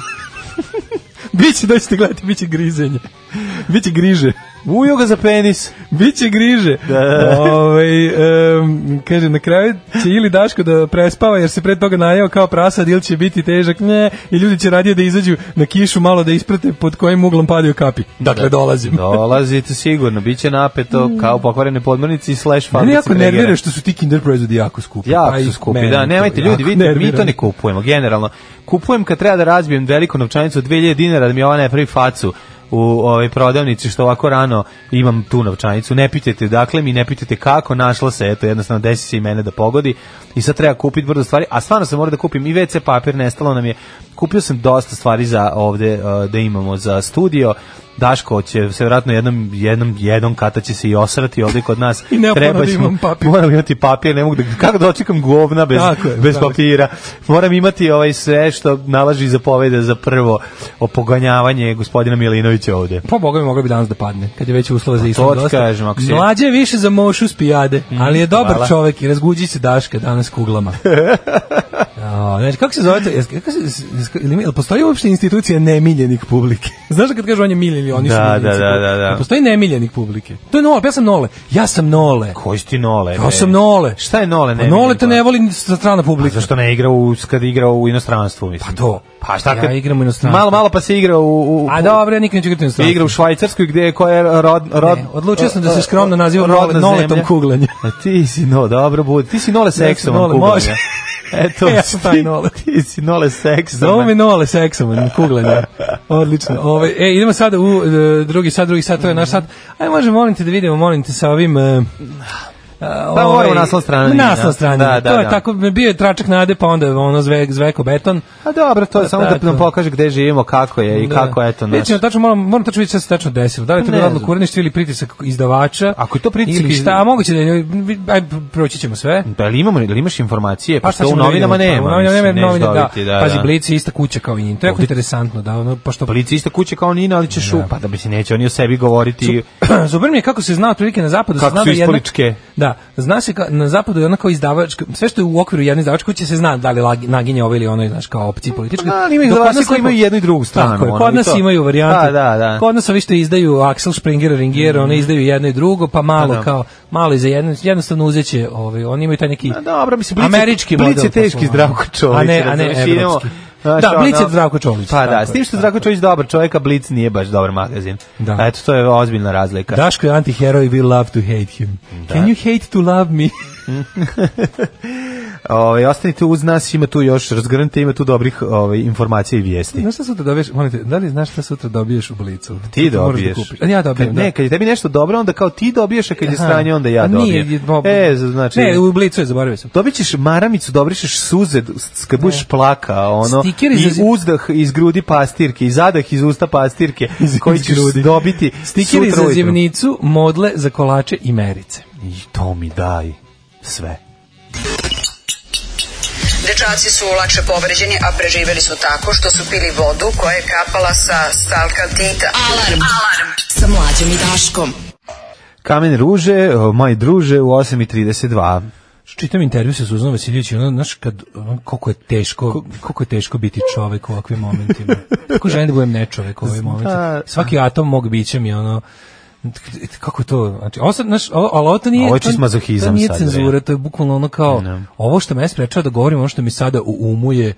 [SPEAKER 5] biće, da ćete gledati, biće grizenje. Biće griže.
[SPEAKER 6] Ujo ga za penis.
[SPEAKER 5] Biće griže.
[SPEAKER 6] da.
[SPEAKER 5] Ovaj, em, kaže, na kraju će ili Daško da prespava jer se pre toga najeo kao prasad ili će biti težak, ne, i ljudi će radije da izađu na kišu malo da isprate pod kojim uglom padaju kapi. Dakle, dolazim.
[SPEAKER 6] Dolazite sigurno, bit će napeto kao pokvarene podmornice i slash fabrice.
[SPEAKER 5] Mene Mm. jako
[SPEAKER 6] Bregera.
[SPEAKER 5] nervira što su ti kinder proizvodi jako skupi.
[SPEAKER 6] Jako
[SPEAKER 5] Pa i
[SPEAKER 6] su skupi,
[SPEAKER 5] mene
[SPEAKER 6] da,
[SPEAKER 5] to
[SPEAKER 6] nemojte
[SPEAKER 5] jako
[SPEAKER 6] ljudi, vidite, mi
[SPEAKER 5] nervira.
[SPEAKER 6] to ne kupujemo, generalno. Kupujem kad treba da razbijem veliku novčanicu od 2000 dinara da mi ova ne pravi facu u ovoj prodavnici što ovako rano imam tu novčanicu, ne pitajte dakle mi, ne pitajte kako, našla se, eto jednostavno desi se i mene da pogodi i sad treba kupiti brdo stvari, a stvarno sam morao da kupim i WC papir, nestalo nam je, kupio sam dosta stvari za ovde eh, da imamo za studio, Daško će se vjerojatno jednom, jednom, jednom kata će se i osrati ovde kod nas.
[SPEAKER 5] I neophodno da
[SPEAKER 6] Trebaće mu-
[SPEAKER 5] imam papir.
[SPEAKER 6] moram imati papir, ne mogu da, kako da očekam govna bez,
[SPEAKER 5] Tako je,
[SPEAKER 6] bez
[SPEAKER 5] tako je.
[SPEAKER 6] papira. Moram imati ovaj sve što nalaži za povede za prvo opoganjavanje gospodina Milinovića ovde.
[SPEAKER 5] Pa boga mi mogla bi danas da padne, kad je već uslova za
[SPEAKER 6] Pa, to
[SPEAKER 5] islam
[SPEAKER 6] ti
[SPEAKER 5] dosta.
[SPEAKER 6] kažem, ako si- Mhm,
[SPEAKER 5] Mlađe je više za mošu spijade, ali je dobar
[SPEAKER 6] hvala.
[SPEAKER 5] čovek i razguđi se Daška danas kuglama. A, znači, kako se zove to? Jes- Kako se, jes- ili ima- jel postoji uopšte institucija nemiljenih publike? Znaš da kad kažu on je miljen ili oni su
[SPEAKER 6] Da,
[SPEAKER 5] miljenici
[SPEAKER 6] da, da,
[SPEAKER 5] publike?
[SPEAKER 6] da, da.
[SPEAKER 5] Jel Postoji nemiljenih publike. To je nole, pa ja sam nole. Ja sam nole.
[SPEAKER 6] Koji si ti Nole?
[SPEAKER 5] Ja
[SPEAKER 6] ne?
[SPEAKER 5] sam nole.
[SPEAKER 6] Šta je Nole?
[SPEAKER 5] Pa nole te
[SPEAKER 6] vidim,
[SPEAKER 5] ne
[SPEAKER 6] pa?
[SPEAKER 5] voli ni sa strana
[SPEAKER 6] Pa
[SPEAKER 5] publika.
[SPEAKER 6] Zašto ne igra u, kad igra u inostranstvu, mislim?
[SPEAKER 5] Pa to.
[SPEAKER 6] Pa šta
[SPEAKER 5] Ja
[SPEAKER 6] kad...
[SPEAKER 5] igram u inostranstvu.
[SPEAKER 6] Malo, malo pa se igra u... u, u
[SPEAKER 5] A dobro, ja nikad neću igrati na stranu.
[SPEAKER 6] igra u Švajcarskoj gde je koja je rod, rod,
[SPEAKER 5] Ne, odlučio sam da se
[SPEAKER 6] ro-
[SPEAKER 5] skromno nazivam
[SPEAKER 6] rodna
[SPEAKER 5] Nole- Noletom
[SPEAKER 6] zemlja.
[SPEAKER 5] kuglanje.
[SPEAKER 6] A ti si no, dobro budi. Ti si nole seksom
[SPEAKER 5] Nole,
[SPEAKER 6] kuglanja.
[SPEAKER 5] može.
[SPEAKER 6] Eto,
[SPEAKER 5] Ja sam taj Nole.
[SPEAKER 6] Ti si nole seks.
[SPEAKER 5] Zovu me Nole seksom, kuglanje. Odlično. Ove, e, idemo sada u e, drugi sat, drugi sat, to je naš sat. Ajde, može, molim te da vidimo, molim te sa ovim... e, a,
[SPEAKER 6] Pa moramo naslov strane,
[SPEAKER 5] Ma,
[SPEAKER 6] da.
[SPEAKER 5] Naslov strane.
[SPEAKER 6] Da, da,
[SPEAKER 5] to je
[SPEAKER 6] da.
[SPEAKER 5] tako, bio je tračak nade, pa onda je ono zvek, zveko beton.
[SPEAKER 6] A dobro, to je samo da
[SPEAKER 5] Tako.
[SPEAKER 6] nam pokaže gde živimo, kako je i kako je to naš.
[SPEAKER 5] Vidjet ćemo tačno, moram, moram tačno vidjeti šta se tačno desilo. Da li je to
[SPEAKER 6] Ne
[SPEAKER 5] bilo
[SPEAKER 6] znam.
[SPEAKER 5] odlukurništvo ili pritisak izdavača?
[SPEAKER 6] Ako je to pritisak
[SPEAKER 5] Ili
[SPEAKER 6] iz-
[SPEAKER 5] šta, a moguće da je, ajde, proći ćemo sve.
[SPEAKER 6] Da li Pa imamo, da li imaš informacije? Pa što
[SPEAKER 5] sad
[SPEAKER 6] u
[SPEAKER 5] ćemo da
[SPEAKER 6] novinama
[SPEAKER 5] vidimo.
[SPEAKER 6] nema.
[SPEAKER 5] U novinama
[SPEAKER 6] mislim,
[SPEAKER 5] nema,
[SPEAKER 6] nećeš
[SPEAKER 5] novine, da.
[SPEAKER 6] dobiti,
[SPEAKER 5] Pazi, Blic je ista kuća kao i njim. To je jako interesantno, da, ono, pa što...
[SPEAKER 6] Blic je ista kuća kao Nina, ali ćeš da. pa da bi se neće oni o sebi govoriti.
[SPEAKER 5] Super mi je kako se zna otprilike na zapadu. se
[SPEAKER 6] Kako
[SPEAKER 5] zna
[SPEAKER 6] su
[SPEAKER 5] da jedna-
[SPEAKER 6] ispoličke.
[SPEAKER 5] Da, zna se ka, na zapadu je ona kao izdavačka, sve što je u okviru jedne izdavačke kuće se zna da li lagi- naginje ovo ili ono, znaš, kao opcije političke.
[SPEAKER 6] Pa da, ali ima ih
[SPEAKER 5] Dok kod
[SPEAKER 6] izdavači
[SPEAKER 5] nas
[SPEAKER 6] koji
[SPEAKER 5] lepo-
[SPEAKER 6] imaju jednu i drugu stranu,
[SPEAKER 5] Tako je,
[SPEAKER 6] ono,
[SPEAKER 5] kod
[SPEAKER 6] i
[SPEAKER 5] nas
[SPEAKER 6] to.
[SPEAKER 5] imaju varijante.
[SPEAKER 6] Da, da, da.
[SPEAKER 5] Kod nas ovi što izdaju Axel Springer, Ringer, one izdaju jedno i drugo, pa malo
[SPEAKER 6] Da, da.
[SPEAKER 5] kao, malo i za jedno, jednostavno uzeće, ovaj, oni imaju taj neki
[SPEAKER 6] A dobro, mislim, Blic je-
[SPEAKER 5] američki
[SPEAKER 6] Blic je
[SPEAKER 5] model
[SPEAKER 6] teški
[SPEAKER 5] poslovanja.
[SPEAKER 6] Zdravko Čolić,
[SPEAKER 5] A ne, a ne,
[SPEAKER 6] razumeš, idemo,
[SPEAKER 5] evropski.
[SPEAKER 6] znaš,
[SPEAKER 5] Da, Blic je
[SPEAKER 6] ono-
[SPEAKER 5] Zdravko Čolić.
[SPEAKER 6] Pa da,
[SPEAKER 5] tako
[SPEAKER 6] s
[SPEAKER 5] je.
[SPEAKER 6] tim što je Zdravko Čolić dobar čovjek, a Blic nije baš dobar magazin.
[SPEAKER 5] Da.
[SPEAKER 6] Eto, to je ozbiljna razlika.
[SPEAKER 5] Daško je anti-heroj, we love to hate him. Can you hate to love me?
[SPEAKER 6] Ovaj ostanite uz nas, ima tu još razgrnite, ima tu dobrih ovaj informacija i vijesti.
[SPEAKER 5] Znaš šta sutra dobiješ? Molim te, da li znaš šta sutra dobiješ u blicu?
[SPEAKER 6] Ti
[SPEAKER 5] Sutra moraš da
[SPEAKER 6] dobiješ.
[SPEAKER 5] kupiš. A ja dobijem,
[SPEAKER 6] Kad-
[SPEAKER 5] da.
[SPEAKER 6] Ne, kad je tebi nešto dobro, onda kao ti dobiješ, a kad je
[SPEAKER 5] Aha.
[SPEAKER 6] sranje, onda ja
[SPEAKER 5] A
[SPEAKER 6] dobijem.
[SPEAKER 5] Nije, bo-
[SPEAKER 6] E, znači...
[SPEAKER 5] Ne, u blicu je, zaboravio sam.
[SPEAKER 6] Dobit ćeš maramicu, dobrišeš suze s- kad budeš plaka, ono,
[SPEAKER 5] Stiker
[SPEAKER 6] i
[SPEAKER 5] iz-
[SPEAKER 6] uzdah iz grudi pastirke, i zadah iz usta pastirke, koji ćeš
[SPEAKER 5] grudi.
[SPEAKER 6] dobiti
[SPEAKER 5] Stikeri
[SPEAKER 6] sutra
[SPEAKER 5] za
[SPEAKER 6] ujutru.
[SPEAKER 5] zimnicu, modle za kolače i merice.
[SPEAKER 6] I to mi daj sve.
[SPEAKER 10] Dečaci su lakše povređeni, a preživeli su tako što su pili vodu koja je kapala sa stalka Tita.
[SPEAKER 9] Alarm. Alarm. Sa mlađom i Daškom.
[SPEAKER 6] Kamen ruže, o, moj druže, u 8.32.
[SPEAKER 5] Čitam intervju sa Suzanom Vasiljević i ono, znaš, kad, ono, koliko je teško, koliko je teško biti čovek u ovakvim momentima. Kako želim da budem nečovek u ovim momentima. Svaki atom mog bića mi, ono, kako je to, znači, ovo sad, znaš, ovo, ali ovo to nije,
[SPEAKER 6] Ovo je čist
[SPEAKER 5] to-
[SPEAKER 6] mazohizam
[SPEAKER 5] to nije
[SPEAKER 6] sad,
[SPEAKER 5] cenzura,
[SPEAKER 6] bre.
[SPEAKER 5] to je bukvalno ono kao, ovo što me sprečava da govorim, ono što mi sada u umu je,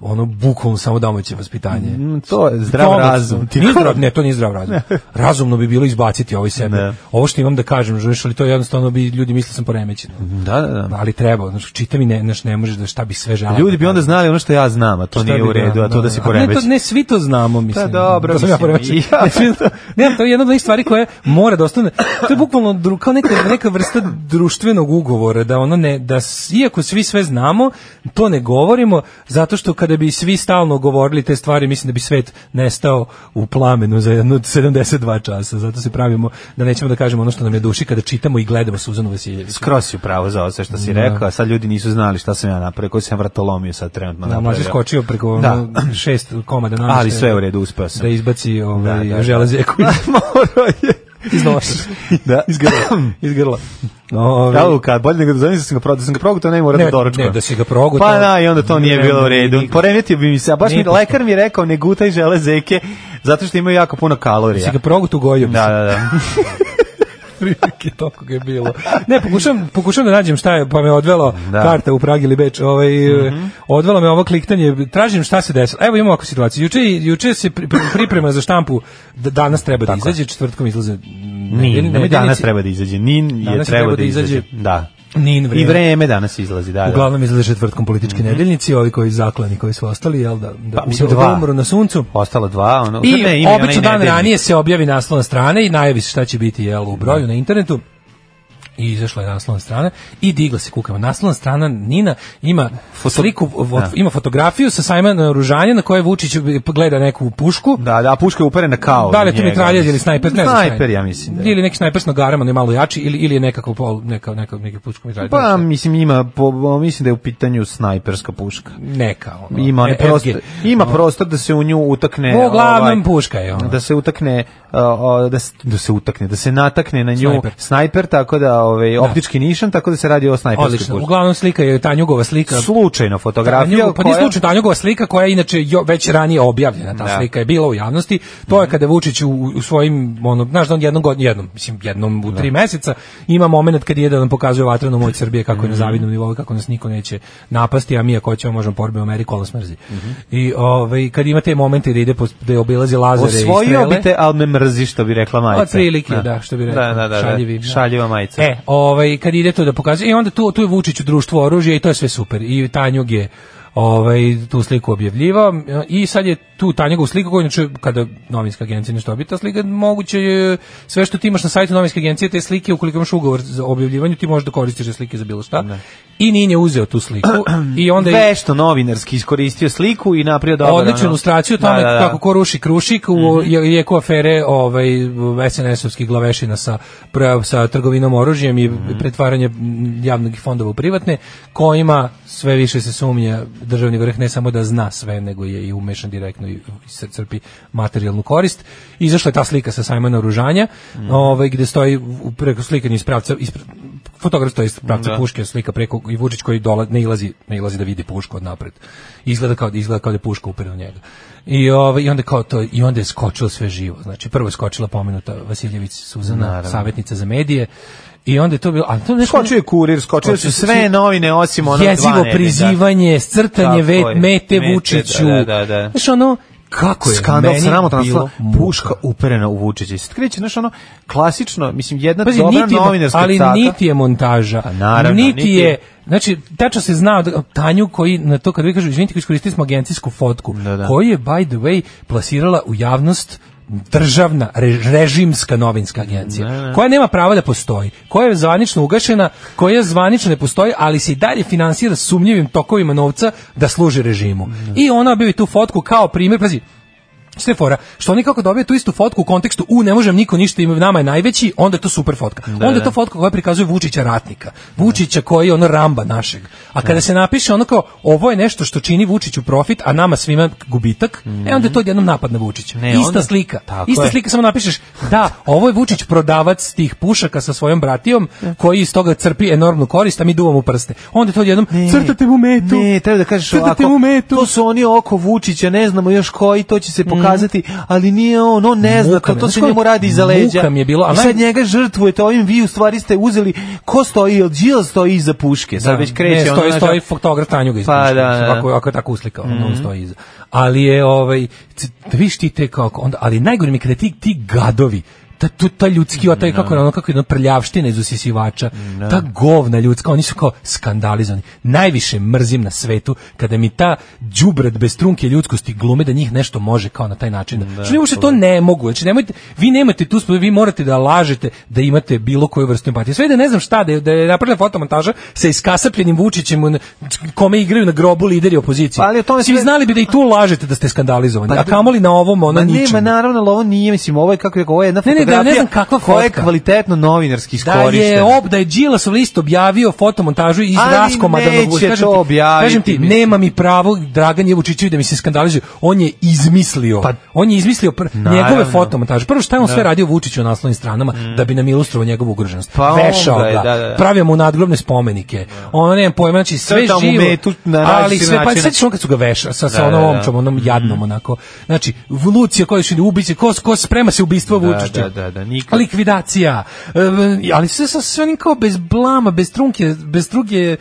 [SPEAKER 5] ono, bukvalno samo domaće vaspitanje.
[SPEAKER 6] Mm, To je zdrav
[SPEAKER 5] Komotno.
[SPEAKER 6] razum. Ti
[SPEAKER 5] Nije zdrav, ne, to nije zdrav razum. Razumno bi bilo izbaciti ovo iz sebe.
[SPEAKER 6] Ne.
[SPEAKER 5] Ovo što imam da kažem, žuješ, ali to je jednostavno bi ljudi mislili sam poremećen.
[SPEAKER 6] Da, da, da.
[SPEAKER 5] Ali treba, znači čitam i ne, znaš, ne možeš da šta bi sve želao.
[SPEAKER 6] Ljudi bi onda znali ono što ja znam, a to nije u redu, a to da si
[SPEAKER 5] Ne, to,
[SPEAKER 6] poremećen.
[SPEAKER 5] ne, svi to znamo, mislim.
[SPEAKER 6] Pa dobro,
[SPEAKER 5] da sam ja
[SPEAKER 6] mislim,
[SPEAKER 5] poremećen.
[SPEAKER 6] i ja.
[SPEAKER 5] Ne, svi to- ne, to je jedna od onih stvari koja mora da ostane. To je bukvalno dru, kao neka, neka vrsta društvenog ugovora, da ono ne, da s- iako svi sve znamo, to ne govorimo, zato što kada bi svi stalno govorili te stvari, mislim da bi svet nestao u plamenu za jedno 72 časa. Zato se pravimo da nećemo da kažemo ono što nam je duši kada čitamo i gledamo Suzanu Vasiljević.
[SPEAKER 6] Skroz si upravo za ovo sve što si rekao, a sad ljudi nisu znali šta sam ja napravio, koji sam vratolomio sad trenutno
[SPEAKER 5] Da,
[SPEAKER 6] napravio.
[SPEAKER 5] mlađe skočio preko
[SPEAKER 6] Da.
[SPEAKER 5] ono, šest komada namještaja.
[SPEAKER 6] Ali sve u redu, uspeo sam.
[SPEAKER 5] ono da izbaci ovaj
[SPEAKER 6] Da,
[SPEAKER 5] da,
[SPEAKER 6] da, da.
[SPEAKER 5] da, železje koji
[SPEAKER 6] Morao je.
[SPEAKER 5] iz nosa. Ovaj,
[SPEAKER 6] Da.
[SPEAKER 5] iz grla. Iz grla. Ove,
[SPEAKER 6] Ja, kad bolje nego da zamislim da sam ga prodao, da sam ga progutao, ne mora da
[SPEAKER 5] Ne,
[SPEAKER 6] doručka.
[SPEAKER 5] ne, da si ga progutao.
[SPEAKER 6] Pa da, i onda to nije
[SPEAKER 5] Ne,
[SPEAKER 6] bilo u
[SPEAKER 5] ne,
[SPEAKER 6] redu.
[SPEAKER 5] nikako.
[SPEAKER 6] Poremetio bi mi se, a baš mi
[SPEAKER 5] Nikako.
[SPEAKER 6] lekar mi je rekao ne gutaj železeke zato što imaju jako puno kalorija.
[SPEAKER 5] si ga progut ugojio bi
[SPEAKER 6] Da,
[SPEAKER 5] se.
[SPEAKER 6] da, da.
[SPEAKER 5] Prilike toliko ga je bilo. Ne, pokušam, pokušam da nađem šta je, pa me odvelo
[SPEAKER 6] Da. Mhm.
[SPEAKER 5] karta u Pragi ili Beč. Ovaj, Odvelo me ovo kliktanje. Tražim šta se desilo. Evo imamo ovakvu situaciju. Juče, juče se pri- pri- priprema za štampu. da- Danas treba da izađe, četvrtkom izlaze.
[SPEAKER 6] Nije,
[SPEAKER 5] nedelj-
[SPEAKER 6] nemoj danas
[SPEAKER 5] nedeljnici.
[SPEAKER 6] treba da izađe. Nin je
[SPEAKER 5] Danas
[SPEAKER 6] trebao
[SPEAKER 5] je trebao
[SPEAKER 6] da
[SPEAKER 5] da
[SPEAKER 6] izađe.
[SPEAKER 5] izađe.
[SPEAKER 6] Da.
[SPEAKER 5] Nin
[SPEAKER 6] I
[SPEAKER 5] vreme.
[SPEAKER 6] vreme danas izlazi, da, da.
[SPEAKER 5] Uglavnom izlaze Mhm. četvrtkom političke nedeljnici, ovi koji zaklani, koji su ostali, jel da, da,
[SPEAKER 6] Pa, mislim,
[SPEAKER 5] da
[SPEAKER 6] dva.
[SPEAKER 5] umru na suncu.
[SPEAKER 6] Ostala dva, ono.
[SPEAKER 5] I
[SPEAKER 6] ne, ima i onaj
[SPEAKER 5] obično dan
[SPEAKER 6] nedeljni.
[SPEAKER 5] ranije se objavi naslovna strana i najavi se šta će biti jel, u broju na internetu. I izašla je naslovna strana i digla se kukama. Naslovna strana Nina ima sliku, vo-
[SPEAKER 6] Da.
[SPEAKER 5] ima fotografiju sa sajma naoružanja na kojoj Vučić gleda neku pušku.
[SPEAKER 6] Da, da, a puška je uperena kao.
[SPEAKER 5] Da li je
[SPEAKER 6] u
[SPEAKER 5] to
[SPEAKER 6] njega,
[SPEAKER 5] mitraljez ili
[SPEAKER 6] mislim.
[SPEAKER 5] snajper, ne znam. šta je.
[SPEAKER 6] Snajper, ja mislim. Da. je.
[SPEAKER 5] Ili neki snajper s nogarama, ne malo jači, ili, ili je nekako pol, neka, neka, neki pučko mitraljez. ne
[SPEAKER 6] Pa,
[SPEAKER 5] znam šta je.
[SPEAKER 6] mislim, ima, po, mislim da je u pitanju snajperska puška.
[SPEAKER 5] neka. ono,
[SPEAKER 6] ima onaj
[SPEAKER 5] FG.
[SPEAKER 6] prostor, ima prostor da se u nju utakne ovaj,
[SPEAKER 5] Uglavnom puška je ona.
[SPEAKER 6] da se utakne uh, o, da, s- da se utakne da se natakne na nju snajper,
[SPEAKER 5] Snajper.
[SPEAKER 6] tako da ovaj optički nišan tako da se radi o snajperskoj
[SPEAKER 5] Odlično.
[SPEAKER 6] pušci
[SPEAKER 5] Uglavnom slika je Tanjugova slika.
[SPEAKER 6] slučajno fotografija
[SPEAKER 5] Tanjugov- pa nije
[SPEAKER 6] koja-
[SPEAKER 5] slučajno Tanjugova slika koja je inače jo, već ranije objavljena,
[SPEAKER 6] Da.
[SPEAKER 5] ta
[SPEAKER 6] Mhm.
[SPEAKER 5] slika je bila u javnosti. To je kada Vučić u, u svojim, ono, znaš da on jednom, god- jednom, mislim, jednom u tri meseca ima moment kad je da nam pokazuje vatrenu moć Srbije kako
[SPEAKER 6] Mhm.
[SPEAKER 5] je na zavidnom nivou, kako nas niko neće napasti, a mi ako ćemo možemo porbiti u Ameriku, ali nas mrzi.
[SPEAKER 6] Mhm.
[SPEAKER 5] I ovaj, kad ima te momente da ide, po, da obilazi lazere i
[SPEAKER 6] osvojio
[SPEAKER 5] strele,
[SPEAKER 6] bi te ali me mrzi što bi rekla majica
[SPEAKER 5] Otprilike, da, što bi rekla,
[SPEAKER 6] da, da, da, da.
[SPEAKER 5] šaljivi, da.
[SPEAKER 6] šaljiva majica
[SPEAKER 5] E, E, ovaj, kad ide to da pokazuje, i onda tu, tu je Vučić u društvu oružja i to je sve super. I Tanjug je ovaj, tu sliku objavljivao i sad je tu Tanjugovu sliku koju, inače, kada novinska agencija nešto obje, ta slika moguće je, sve što ti imaš na sajtu novinske agencije, te slike, ukoliko imaš ugovor za objavljivanje, ti možeš da koristiš te slike za bilo šta. I Nin je uzeo tu sliku i onda je
[SPEAKER 6] Vešto novinarski iskoristio sliku i napravio dobro.
[SPEAKER 5] odličnu
[SPEAKER 6] ono.
[SPEAKER 5] ilustraciju o tome
[SPEAKER 6] Da, Mhm. da, da.
[SPEAKER 5] kako ko ruši krušik u je- jeku afere ovaj, SNS-ovskih glavešina sa, pra- sa trgovinom oružjem i
[SPEAKER 6] Mhm.
[SPEAKER 5] pretvaranje m, javnog fondova u privatne, kojima sve više se sumnja državni vrh ne samo da zna sve, nego je i umešan direktno i i cr- crpi materijalnu korist. Izašla je ta slika sa sajma naoružanja,
[SPEAKER 6] Mhm.
[SPEAKER 5] ovaj, gde stoji u- preko slika iz pravca, ispred- fotograf stoji iz pravca puške, slika preko i Vučić koji dola, ne, ilazi, ne ilazi da vidi pušku od napred. Izgleda kao, izgleda kao da je puška uperila u njega. I, ovaj, I onda kao to, i onda je skočilo sve živo. Znači, prvo je skočila pomenuta Vasiljević Suzana, savjetnica za medije, I onda je to bilo, ali to neko
[SPEAKER 6] Skočio je kurir, skočio su sve novine osim ono dva
[SPEAKER 5] jezivo
[SPEAKER 6] nedelja.
[SPEAKER 5] prizivanje,
[SPEAKER 6] Tako
[SPEAKER 5] scrtanje ve,
[SPEAKER 6] je.
[SPEAKER 5] mete
[SPEAKER 6] Mete,
[SPEAKER 5] Vučiću.
[SPEAKER 6] da, da, da.
[SPEAKER 5] Znaš ono, kako je
[SPEAKER 6] skandal
[SPEAKER 5] meni
[SPEAKER 6] sramotno
[SPEAKER 5] bilo
[SPEAKER 6] bilo
[SPEAKER 5] muka.
[SPEAKER 6] puška uperena u Vučića. I sad kreće, znaš, ono, klasično, mislim, jedna
[SPEAKER 5] Pazi,
[SPEAKER 6] dobra
[SPEAKER 5] niti, je-
[SPEAKER 6] novinarska
[SPEAKER 5] ali
[SPEAKER 6] caka.
[SPEAKER 5] niti je montaža,
[SPEAKER 6] A naravno,
[SPEAKER 5] niti,
[SPEAKER 6] niti-
[SPEAKER 5] je, znači, tačno se znao, da, Tanju koji, na to kad vi kažu, izvinite, koji iskoristili smo agencijsku fotku,
[SPEAKER 6] Da, da.
[SPEAKER 5] koju je, by the way, plasirala u javnost državna, re- režimska novinska agencija, koja nema prava da postoji, koja je zvanično ugašena, koja zvanično ne postoji, ali se i dalje finansira sumnjivim tokovima novca da služi režimu. I ona objavi tu fotku kao primjer, pazi, Šta je fora? Što oni kako dobiju tu istu fotku u kontekstu u ne možem niko ništa ima nama je najveći, onda je to super fotka. onda je to fotka koja prikazuje Vučića ratnika. Vučića koji je ono ramba našeg. A kada se napiše ono kao ovo je nešto što čini Vučiću profit, a nama svima gubitak, e onda je to jednom napad na Vučića.
[SPEAKER 6] Ne,
[SPEAKER 5] ista
[SPEAKER 6] onda-
[SPEAKER 5] slika.
[SPEAKER 6] Tako
[SPEAKER 5] ista
[SPEAKER 6] je.
[SPEAKER 5] slika samo napišeš da, ovo je Vučić prodavac tih pušaka sa svojom bratijom koji iz toga crpi enormnu korist, a mi duvamo u prste. Onda je to jednom
[SPEAKER 6] Ne,
[SPEAKER 5] crtate mu metu.
[SPEAKER 6] Ne, treba da kažeš
[SPEAKER 5] crtate
[SPEAKER 6] ovako,
[SPEAKER 5] mu metu.
[SPEAKER 6] to su oni oko Vučića, ne znamo još koji, to će se pokazati, ali nije on, on ne zna,
[SPEAKER 5] Mhm. Muka
[SPEAKER 6] to,
[SPEAKER 5] me,
[SPEAKER 6] to
[SPEAKER 5] znaš
[SPEAKER 6] se
[SPEAKER 5] kako-
[SPEAKER 6] njemu radi iza leđa.
[SPEAKER 5] muka mi je bilo, a
[SPEAKER 6] I
[SPEAKER 5] naj-
[SPEAKER 6] sad njega žrtvujete, ovim vi u stvari ste uzeli, ko stoji, jel Đil stoji iza puške, sad već kreće.
[SPEAKER 5] Ne,
[SPEAKER 6] ono,
[SPEAKER 5] stoji,
[SPEAKER 6] znaš,
[SPEAKER 5] stoji fotograf Tanjuga
[SPEAKER 6] Pa,
[SPEAKER 5] pa, da,
[SPEAKER 6] da, Mhm. da.
[SPEAKER 5] Ako, ako je tako uslikao, mm on stoji iza. Ali je, ovaj, c- da vidiš ti te kako, onda, ali najgore mi je kada ti, ti gadovi, ta, tu, ta ljudski, otaj, kako, ono, kako je jedna prljavština iz usisivača, ta govna ljudska, oni su kao skandalizani. Najviše mrzim na svetu kada mi ta đubred bez trunke ljudskosti glume da njih nešto može kao na taj način. Da, što ne uopšte to ne mogu. Znači, nemojte, vi nemate tu, sp- vi morate da lažete da imate bilo koju vrstu empatije. Sve i da ne znam šta, da je, da je napravila fotomontaža sa iskasapljenim Vučićem on- kome igraju na grobu lideri opozicije.
[SPEAKER 6] Pa, ali o tome
[SPEAKER 5] Svi
[SPEAKER 6] sve-
[SPEAKER 5] znali bi da i tu lažete da ste skandalizovani.
[SPEAKER 6] Pa,
[SPEAKER 5] a kamoli na ovom ono
[SPEAKER 6] Ma
[SPEAKER 5] ničemu.
[SPEAKER 6] nema, naravno, ali ovo nije, mislim, ovo je, kako je, ovo je jedna
[SPEAKER 5] Ne, ne, da, ne
[SPEAKER 6] fotografija
[SPEAKER 5] znam kakva
[SPEAKER 6] koja je
[SPEAKER 5] fotka.
[SPEAKER 6] kvalitetno novinarski
[SPEAKER 5] Da
[SPEAKER 6] iskorištena.
[SPEAKER 5] je ob, da je Đilasov list objavio fotomontažu iz
[SPEAKER 6] Ali
[SPEAKER 5] raskoma da
[SPEAKER 6] neće to objaviti,
[SPEAKER 5] Kažem ti,
[SPEAKER 6] mislim.
[SPEAKER 5] nema mi pravo Dragan Jevučićevi da mi se skandalizuje. On je izmislio.
[SPEAKER 6] Pa-
[SPEAKER 5] on je izmislio pr-
[SPEAKER 6] Naravno. Mm.
[SPEAKER 5] njegove fotomontaže. Prvo šta je on sve radio Vučiću na naslovnim stranama da bi nam ilustrovao njegovu ugroženost.
[SPEAKER 6] Pa on
[SPEAKER 5] Vešao
[SPEAKER 6] ga je,
[SPEAKER 5] ga,
[SPEAKER 6] da, da.
[SPEAKER 5] pravio mu nadgrobne spomenike. Ono nema pojma, znači sve
[SPEAKER 6] Crtao mu
[SPEAKER 5] živo.
[SPEAKER 6] metu na
[SPEAKER 5] ali
[SPEAKER 6] različite
[SPEAKER 5] sve pa
[SPEAKER 6] načine.
[SPEAKER 5] sećaš on kad su ga veša sa, sa
[SPEAKER 6] Da,
[SPEAKER 5] onom
[SPEAKER 6] da, Mm. da.
[SPEAKER 5] omčom, onom jadnom onako. Znači, Lucija koji su ubice, ko, ko sprema se ubistvo
[SPEAKER 6] Da, da,
[SPEAKER 5] Vučića
[SPEAKER 6] da, da, nikad.
[SPEAKER 5] Pa likvidacija. E, ali sve sa sve onim kao bez blama, bez trunke, bez druge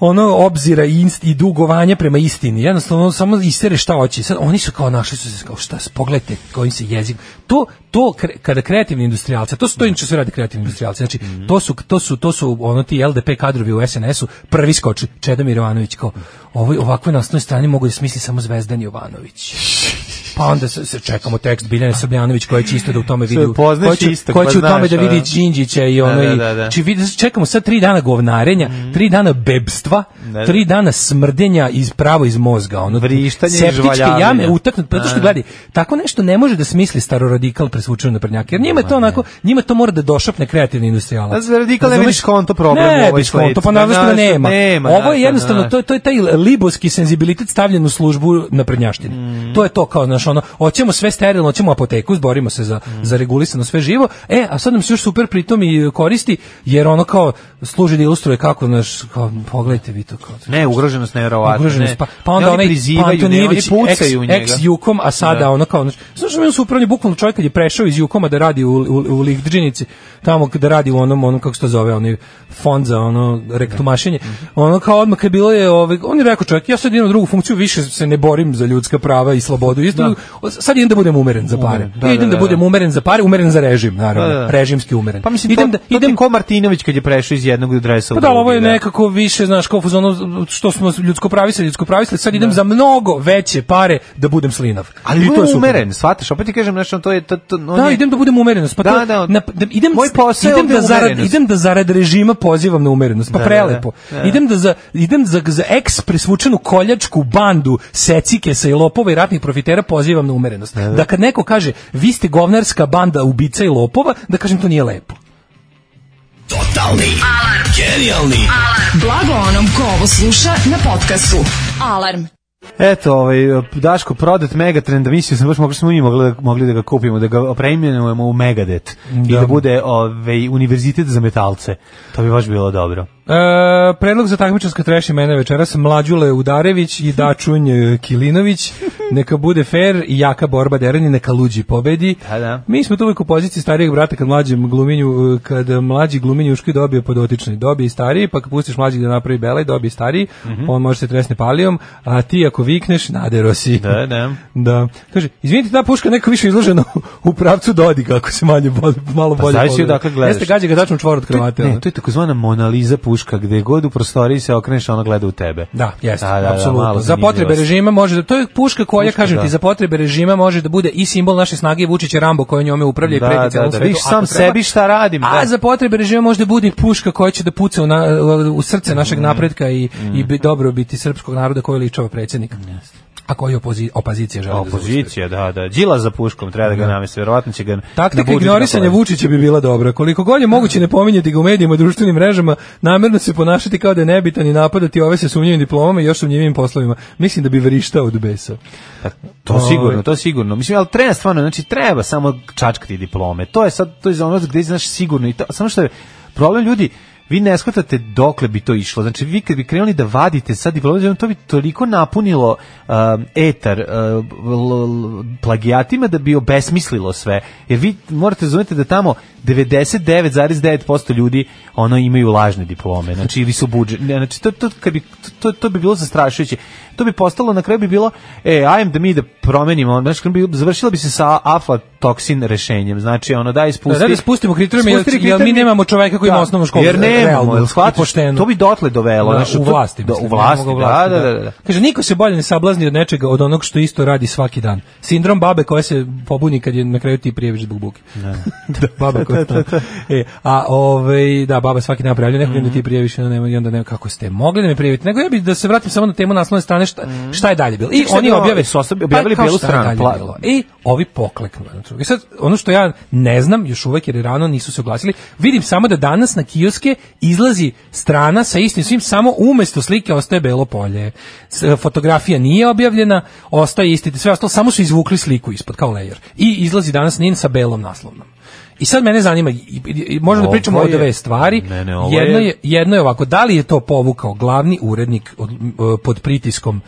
[SPEAKER 5] ono obzira i, inst, i dugovanja prema istini. Jednostavno samo isere šta hoće. Sad oni su kao našli su se kao šta, pogledajte kojim se jezik. To to kre- kada kreativni industrijalci, to su to inače sve radi kreativni industrijalci. Znači to su to su to su ono ti LDP kadrovi u SNS-u prvi skoči Čedomir Jovanović kao ovoj ovakvoj nasnoj strani mogu da smisli samo Zvezdan Jovanović. Pa onda se, se čekamo tekst Biljane Srbljanović koja će isto da u tome vidi
[SPEAKER 6] Sve, poznaš
[SPEAKER 5] koja će,
[SPEAKER 6] istok,
[SPEAKER 5] koja
[SPEAKER 6] pa
[SPEAKER 5] će u tome
[SPEAKER 6] znaš,
[SPEAKER 5] da vidi
[SPEAKER 6] ono.
[SPEAKER 5] Đinđića i ono
[SPEAKER 6] da,
[SPEAKER 5] i
[SPEAKER 6] da, Mhm. da.
[SPEAKER 5] či vidi čekamo sad tri dana govnarenja, tri dana bebstva,
[SPEAKER 6] da.
[SPEAKER 5] tri dana smrdenja iz pravo iz mozga, ono
[SPEAKER 6] Vrištanje i
[SPEAKER 5] septičke
[SPEAKER 6] žvaljavanja.
[SPEAKER 5] jame utaknut, zato što
[SPEAKER 6] Da.
[SPEAKER 5] gledaj, tako nešto ne može da smisli staroradikal presvučeno na prednjake. Jer njima je to onako, njima to mora da došapne kreativni
[SPEAKER 6] A
[SPEAKER 5] industrialac.
[SPEAKER 6] za radikale
[SPEAKER 5] Razumeš?
[SPEAKER 6] vidiš konto problem u
[SPEAKER 5] Ne,
[SPEAKER 6] ovoj
[SPEAKER 5] vidiš konto,
[SPEAKER 6] slici.
[SPEAKER 5] pa naravno da
[SPEAKER 6] Naravno,
[SPEAKER 5] nema.
[SPEAKER 6] nema,
[SPEAKER 5] Ovo je
[SPEAKER 6] naravno,
[SPEAKER 5] jednostavno,
[SPEAKER 6] da.
[SPEAKER 5] to je to je taj libovski senzibilitet stavljen u službu na prednjaštini. To je to kao znaš ono, hoćemo sve sterilno, hoćemo apoteku, borimo se za za regulisano sve živo. E, a sad nam se još super pritom i koristi jer ono kao služi da ilustruje kako naš kao pogledajte vi to kao.
[SPEAKER 6] Ne, ugroženost nevjerovatna.
[SPEAKER 5] Ugroženost,
[SPEAKER 6] ne.
[SPEAKER 5] pa, pa onda
[SPEAKER 6] Ne, oni
[SPEAKER 5] onaj
[SPEAKER 6] prizivaju,
[SPEAKER 5] Antonijević,
[SPEAKER 6] ne, oni pucaju u njega.
[SPEAKER 5] ex, ex Jukom, a sada
[SPEAKER 6] Da.
[SPEAKER 5] ono kao, znači, znaš što mi je on super, on je bukvalno čovjek kad je prešao iz Jukoma da radi u, u, u Lihdžinici, tamo kada radi u onom, onom kako se to zove, onaj fond za ono rektumašenje,
[SPEAKER 6] Mhm.
[SPEAKER 5] ono kao odmah kad bilo je, ovaj, on je rekao čovjek, ja sad idem na drugu funkciju, više se ne borim za ljudska prava i slobodu, isto, od- sad idem da budem umeren za pare.
[SPEAKER 6] Umeren, da,
[SPEAKER 5] ja idem
[SPEAKER 6] da,
[SPEAKER 5] da,
[SPEAKER 6] da,
[SPEAKER 5] budem
[SPEAKER 6] da.
[SPEAKER 5] umeren za pare, umeren za režim, naravno.
[SPEAKER 6] Da, da.
[SPEAKER 5] Režimski umeren.
[SPEAKER 6] Pa mislim, to,
[SPEAKER 5] idem da,
[SPEAKER 6] to ti je
[SPEAKER 5] idem,
[SPEAKER 6] ko Martinović kad je prešao iz jednog dresa u
[SPEAKER 5] pa da, ali ovo je
[SPEAKER 6] drugi,
[SPEAKER 5] nekako više, znaš, kao u fazonu što smo ljudsko pravisali, ljudsko pravisali, sad idem za mnogo veće pare da budem slinav.
[SPEAKER 6] Ali
[SPEAKER 5] I to je
[SPEAKER 6] on je
[SPEAKER 5] super.
[SPEAKER 6] umeren, shvataš, opet ti kažem, znaš, on to je... To, to, on
[SPEAKER 5] Da,
[SPEAKER 6] je,
[SPEAKER 5] idem da budem umeren. Pa
[SPEAKER 6] Da,
[SPEAKER 5] to,
[SPEAKER 6] da.
[SPEAKER 5] na, da idem,
[SPEAKER 6] Moj posao je
[SPEAKER 5] idem
[SPEAKER 6] ovde
[SPEAKER 5] da zarad,
[SPEAKER 6] umerenost.
[SPEAKER 5] idem da zarad režima pozivam na umerenost. Pa
[SPEAKER 6] Da, da,
[SPEAKER 5] prelepo.
[SPEAKER 6] da, da.
[SPEAKER 5] Idem da za idem za za eks presvučenu koljačku bandu secike sa i lopova i ratnih profitera pozivam na umerenost. Da, kad neko kaže vi ste govnarska banda ubica i lopova, da kažem to nije lepo.
[SPEAKER 4] Blago onom ko ovo sluša na podcastu. Alarm.
[SPEAKER 6] Eto, ovaj, Daško, prodat Megatrend, mislio sam baš mogli smo mi mogli, da- mogli da ga kupimo, da ga preimenujemo u Megadet i da bude ovaj, univerzitet za metalce. To bi baš bilo dobro.
[SPEAKER 5] E, predlog za takmičarska treši mene večeras Mlađule Udarević i Dačunj e, Kilinović. Neka bude fair i jaka borba derani, neka luđi pobedi.
[SPEAKER 6] Da, da.
[SPEAKER 5] Mi smo tu uvijek u poziciji starijeg brata kad mlađem gluminju, e, kad mlađi gluminjuški dobije podotični, dobije i stariji, pa kad pustiš mlađi da napravi belaj, dobije i stariji,
[SPEAKER 6] Mhm.
[SPEAKER 5] on može se tresne palijom, a ti ako vikneš, nadero si.
[SPEAKER 6] Da, da.
[SPEAKER 5] Da. Kaže, izvinite, ta puška neko više izložena u pravcu Dodika, ako se manje, bo- malo bolje
[SPEAKER 6] zavisi
[SPEAKER 5] pogleda.
[SPEAKER 6] Pa odakle gledaš.
[SPEAKER 5] Jeste gađe ga tačno u čvor od
[SPEAKER 6] To je-
[SPEAKER 5] kravate. ono.
[SPEAKER 6] ne, to je takozvana Mona Lisa puška, gde god u prostoriji se okreneš, ona gleda u tebe.
[SPEAKER 5] Da, jeste,
[SPEAKER 6] Da, da, da,
[SPEAKER 5] apsolutno.
[SPEAKER 6] malo
[SPEAKER 5] za potrebe
[SPEAKER 6] zanimljivost.
[SPEAKER 5] režima može da to je puška koja
[SPEAKER 6] Puška,
[SPEAKER 5] kažem
[SPEAKER 6] da.
[SPEAKER 5] ti za potrebe režima može da bude i simbol naše snage i Vučića Rambo koji njome upravlja
[SPEAKER 6] Da,
[SPEAKER 5] i preti
[SPEAKER 6] da,
[SPEAKER 5] celom
[SPEAKER 6] da,
[SPEAKER 5] svetu,
[SPEAKER 6] vidiš
[SPEAKER 5] ako
[SPEAKER 6] sam
[SPEAKER 5] treba.
[SPEAKER 6] sebi šta radim,
[SPEAKER 5] A
[SPEAKER 6] da.
[SPEAKER 5] za potrebe režima može da bude i puška koja će da puca u, na, u srce
[SPEAKER 6] Mm.
[SPEAKER 5] našeg napretka i i bi dobro biti srpskog naroda koji ličava predsjednika. A koji opozi, opozicija želi da zaustavi.
[SPEAKER 6] Opozicija, da, da. Đila za puškom treba da ga namesti, verovatno će ga
[SPEAKER 5] Taktika
[SPEAKER 6] nabuditi na
[SPEAKER 5] ignorisanja
[SPEAKER 6] kolen.
[SPEAKER 5] Vučića bi bila dobra. Koliko god je moguće ne pominjati ga u medijima i društvenim mrežama, namjerno se ponašati kao da je nebitan i napadati ove sa sumnjivim diplomama i još sumnjivim poslovima. Mislim da bi vrištao od besa.
[SPEAKER 6] To sigurno, to sigurno. Mislim, ali treba stvarno, znači treba samo čačkati diplome. To je sad, to je za ono gde znaš sigurno i to, samo što je problem ljudi, vi ne shvatate dokle bi to išlo. Znači, vi kad bi krenuli da vadite sad diplome, znači, to bi toliko napunilo um, etar um, l- l- plagijatima da bi obesmislilo sve. Jer vi morate razumjeti da tamo 99,9% ljudi ono imaju lažne diplome. Znači, ili su budžet. ne, Znači, to, to, kad bi, to, to bi bilo zastrašujuće. To bi postalo, na kraju bi bilo, e, ajem da mi da promenimo, znači, kad bi, završilo bi se sa aflatoksin rešenjem. Znači, ono, daj, spusti.
[SPEAKER 5] Da, da, da spustimo kriterijume, jer-
[SPEAKER 6] Spusti
[SPEAKER 5] jer mi
[SPEAKER 6] kriterijume.
[SPEAKER 5] nemamo čoveka koji ima osnovnu školu,
[SPEAKER 6] Jer nemamo,
[SPEAKER 5] realno,
[SPEAKER 6] jel
[SPEAKER 5] i
[SPEAKER 6] shvataš?
[SPEAKER 5] pošteno.
[SPEAKER 6] To bi dotle dovelo.
[SPEAKER 5] Da,
[SPEAKER 6] znači,
[SPEAKER 5] u
[SPEAKER 6] to-
[SPEAKER 5] vlasti,
[SPEAKER 6] da,
[SPEAKER 5] mislim,
[SPEAKER 6] u vlasti,
[SPEAKER 5] nemamo ga
[SPEAKER 6] da, da, da, da.
[SPEAKER 5] Kaže, niko se bolje ne sablazni od nečega od onog što isto radi svaki dan. Sindrom babe koja se pobuni kad je na kraju ti prijeviš zbog buke. da, baba koja E, a ovaj, da, baba svaki dan prijavlja nekog, onda
[SPEAKER 6] Mhm.
[SPEAKER 5] ti prijeviš i onda nema, i onda nema kako ste mogli da me prijavite. Nego ja bih da se vratim samo na temu naslovne strane šta,
[SPEAKER 6] Mhm.
[SPEAKER 5] šta je dalje bilo. I
[SPEAKER 6] Šta je
[SPEAKER 5] oni
[SPEAKER 6] bilo?
[SPEAKER 5] objave
[SPEAKER 6] Su osobi- objavili
[SPEAKER 5] Pa, kao
[SPEAKER 6] bijelu
[SPEAKER 5] šta je
[SPEAKER 6] stranu,
[SPEAKER 5] dalje
[SPEAKER 6] pla-
[SPEAKER 5] bilo? I ovi pokleknu. jedan drugom. I sad, ono što ja ne znam, još uvek jer je rano nisu se oglasili, vidim samo da danas na kioske izlazi strana sa istim svim, samo umesto slike ostaje belo polje. S- e, Fotografija nije objavljena, ostaje isti, sve ostalo, samo su izvukli sliku ispod, kao layer. I izlazi danas nin sa belom naslovnom. I sad mene zanima, i- i- i možemo da
[SPEAKER 6] Ovo
[SPEAKER 5] pričamo o
[SPEAKER 6] je-
[SPEAKER 5] dve stvari.
[SPEAKER 6] Ne, ne, ovo
[SPEAKER 5] jedno,
[SPEAKER 6] je-
[SPEAKER 5] je, jedno je ovako, da li je to povukao glavni urednik od- m, e, pod pritiskom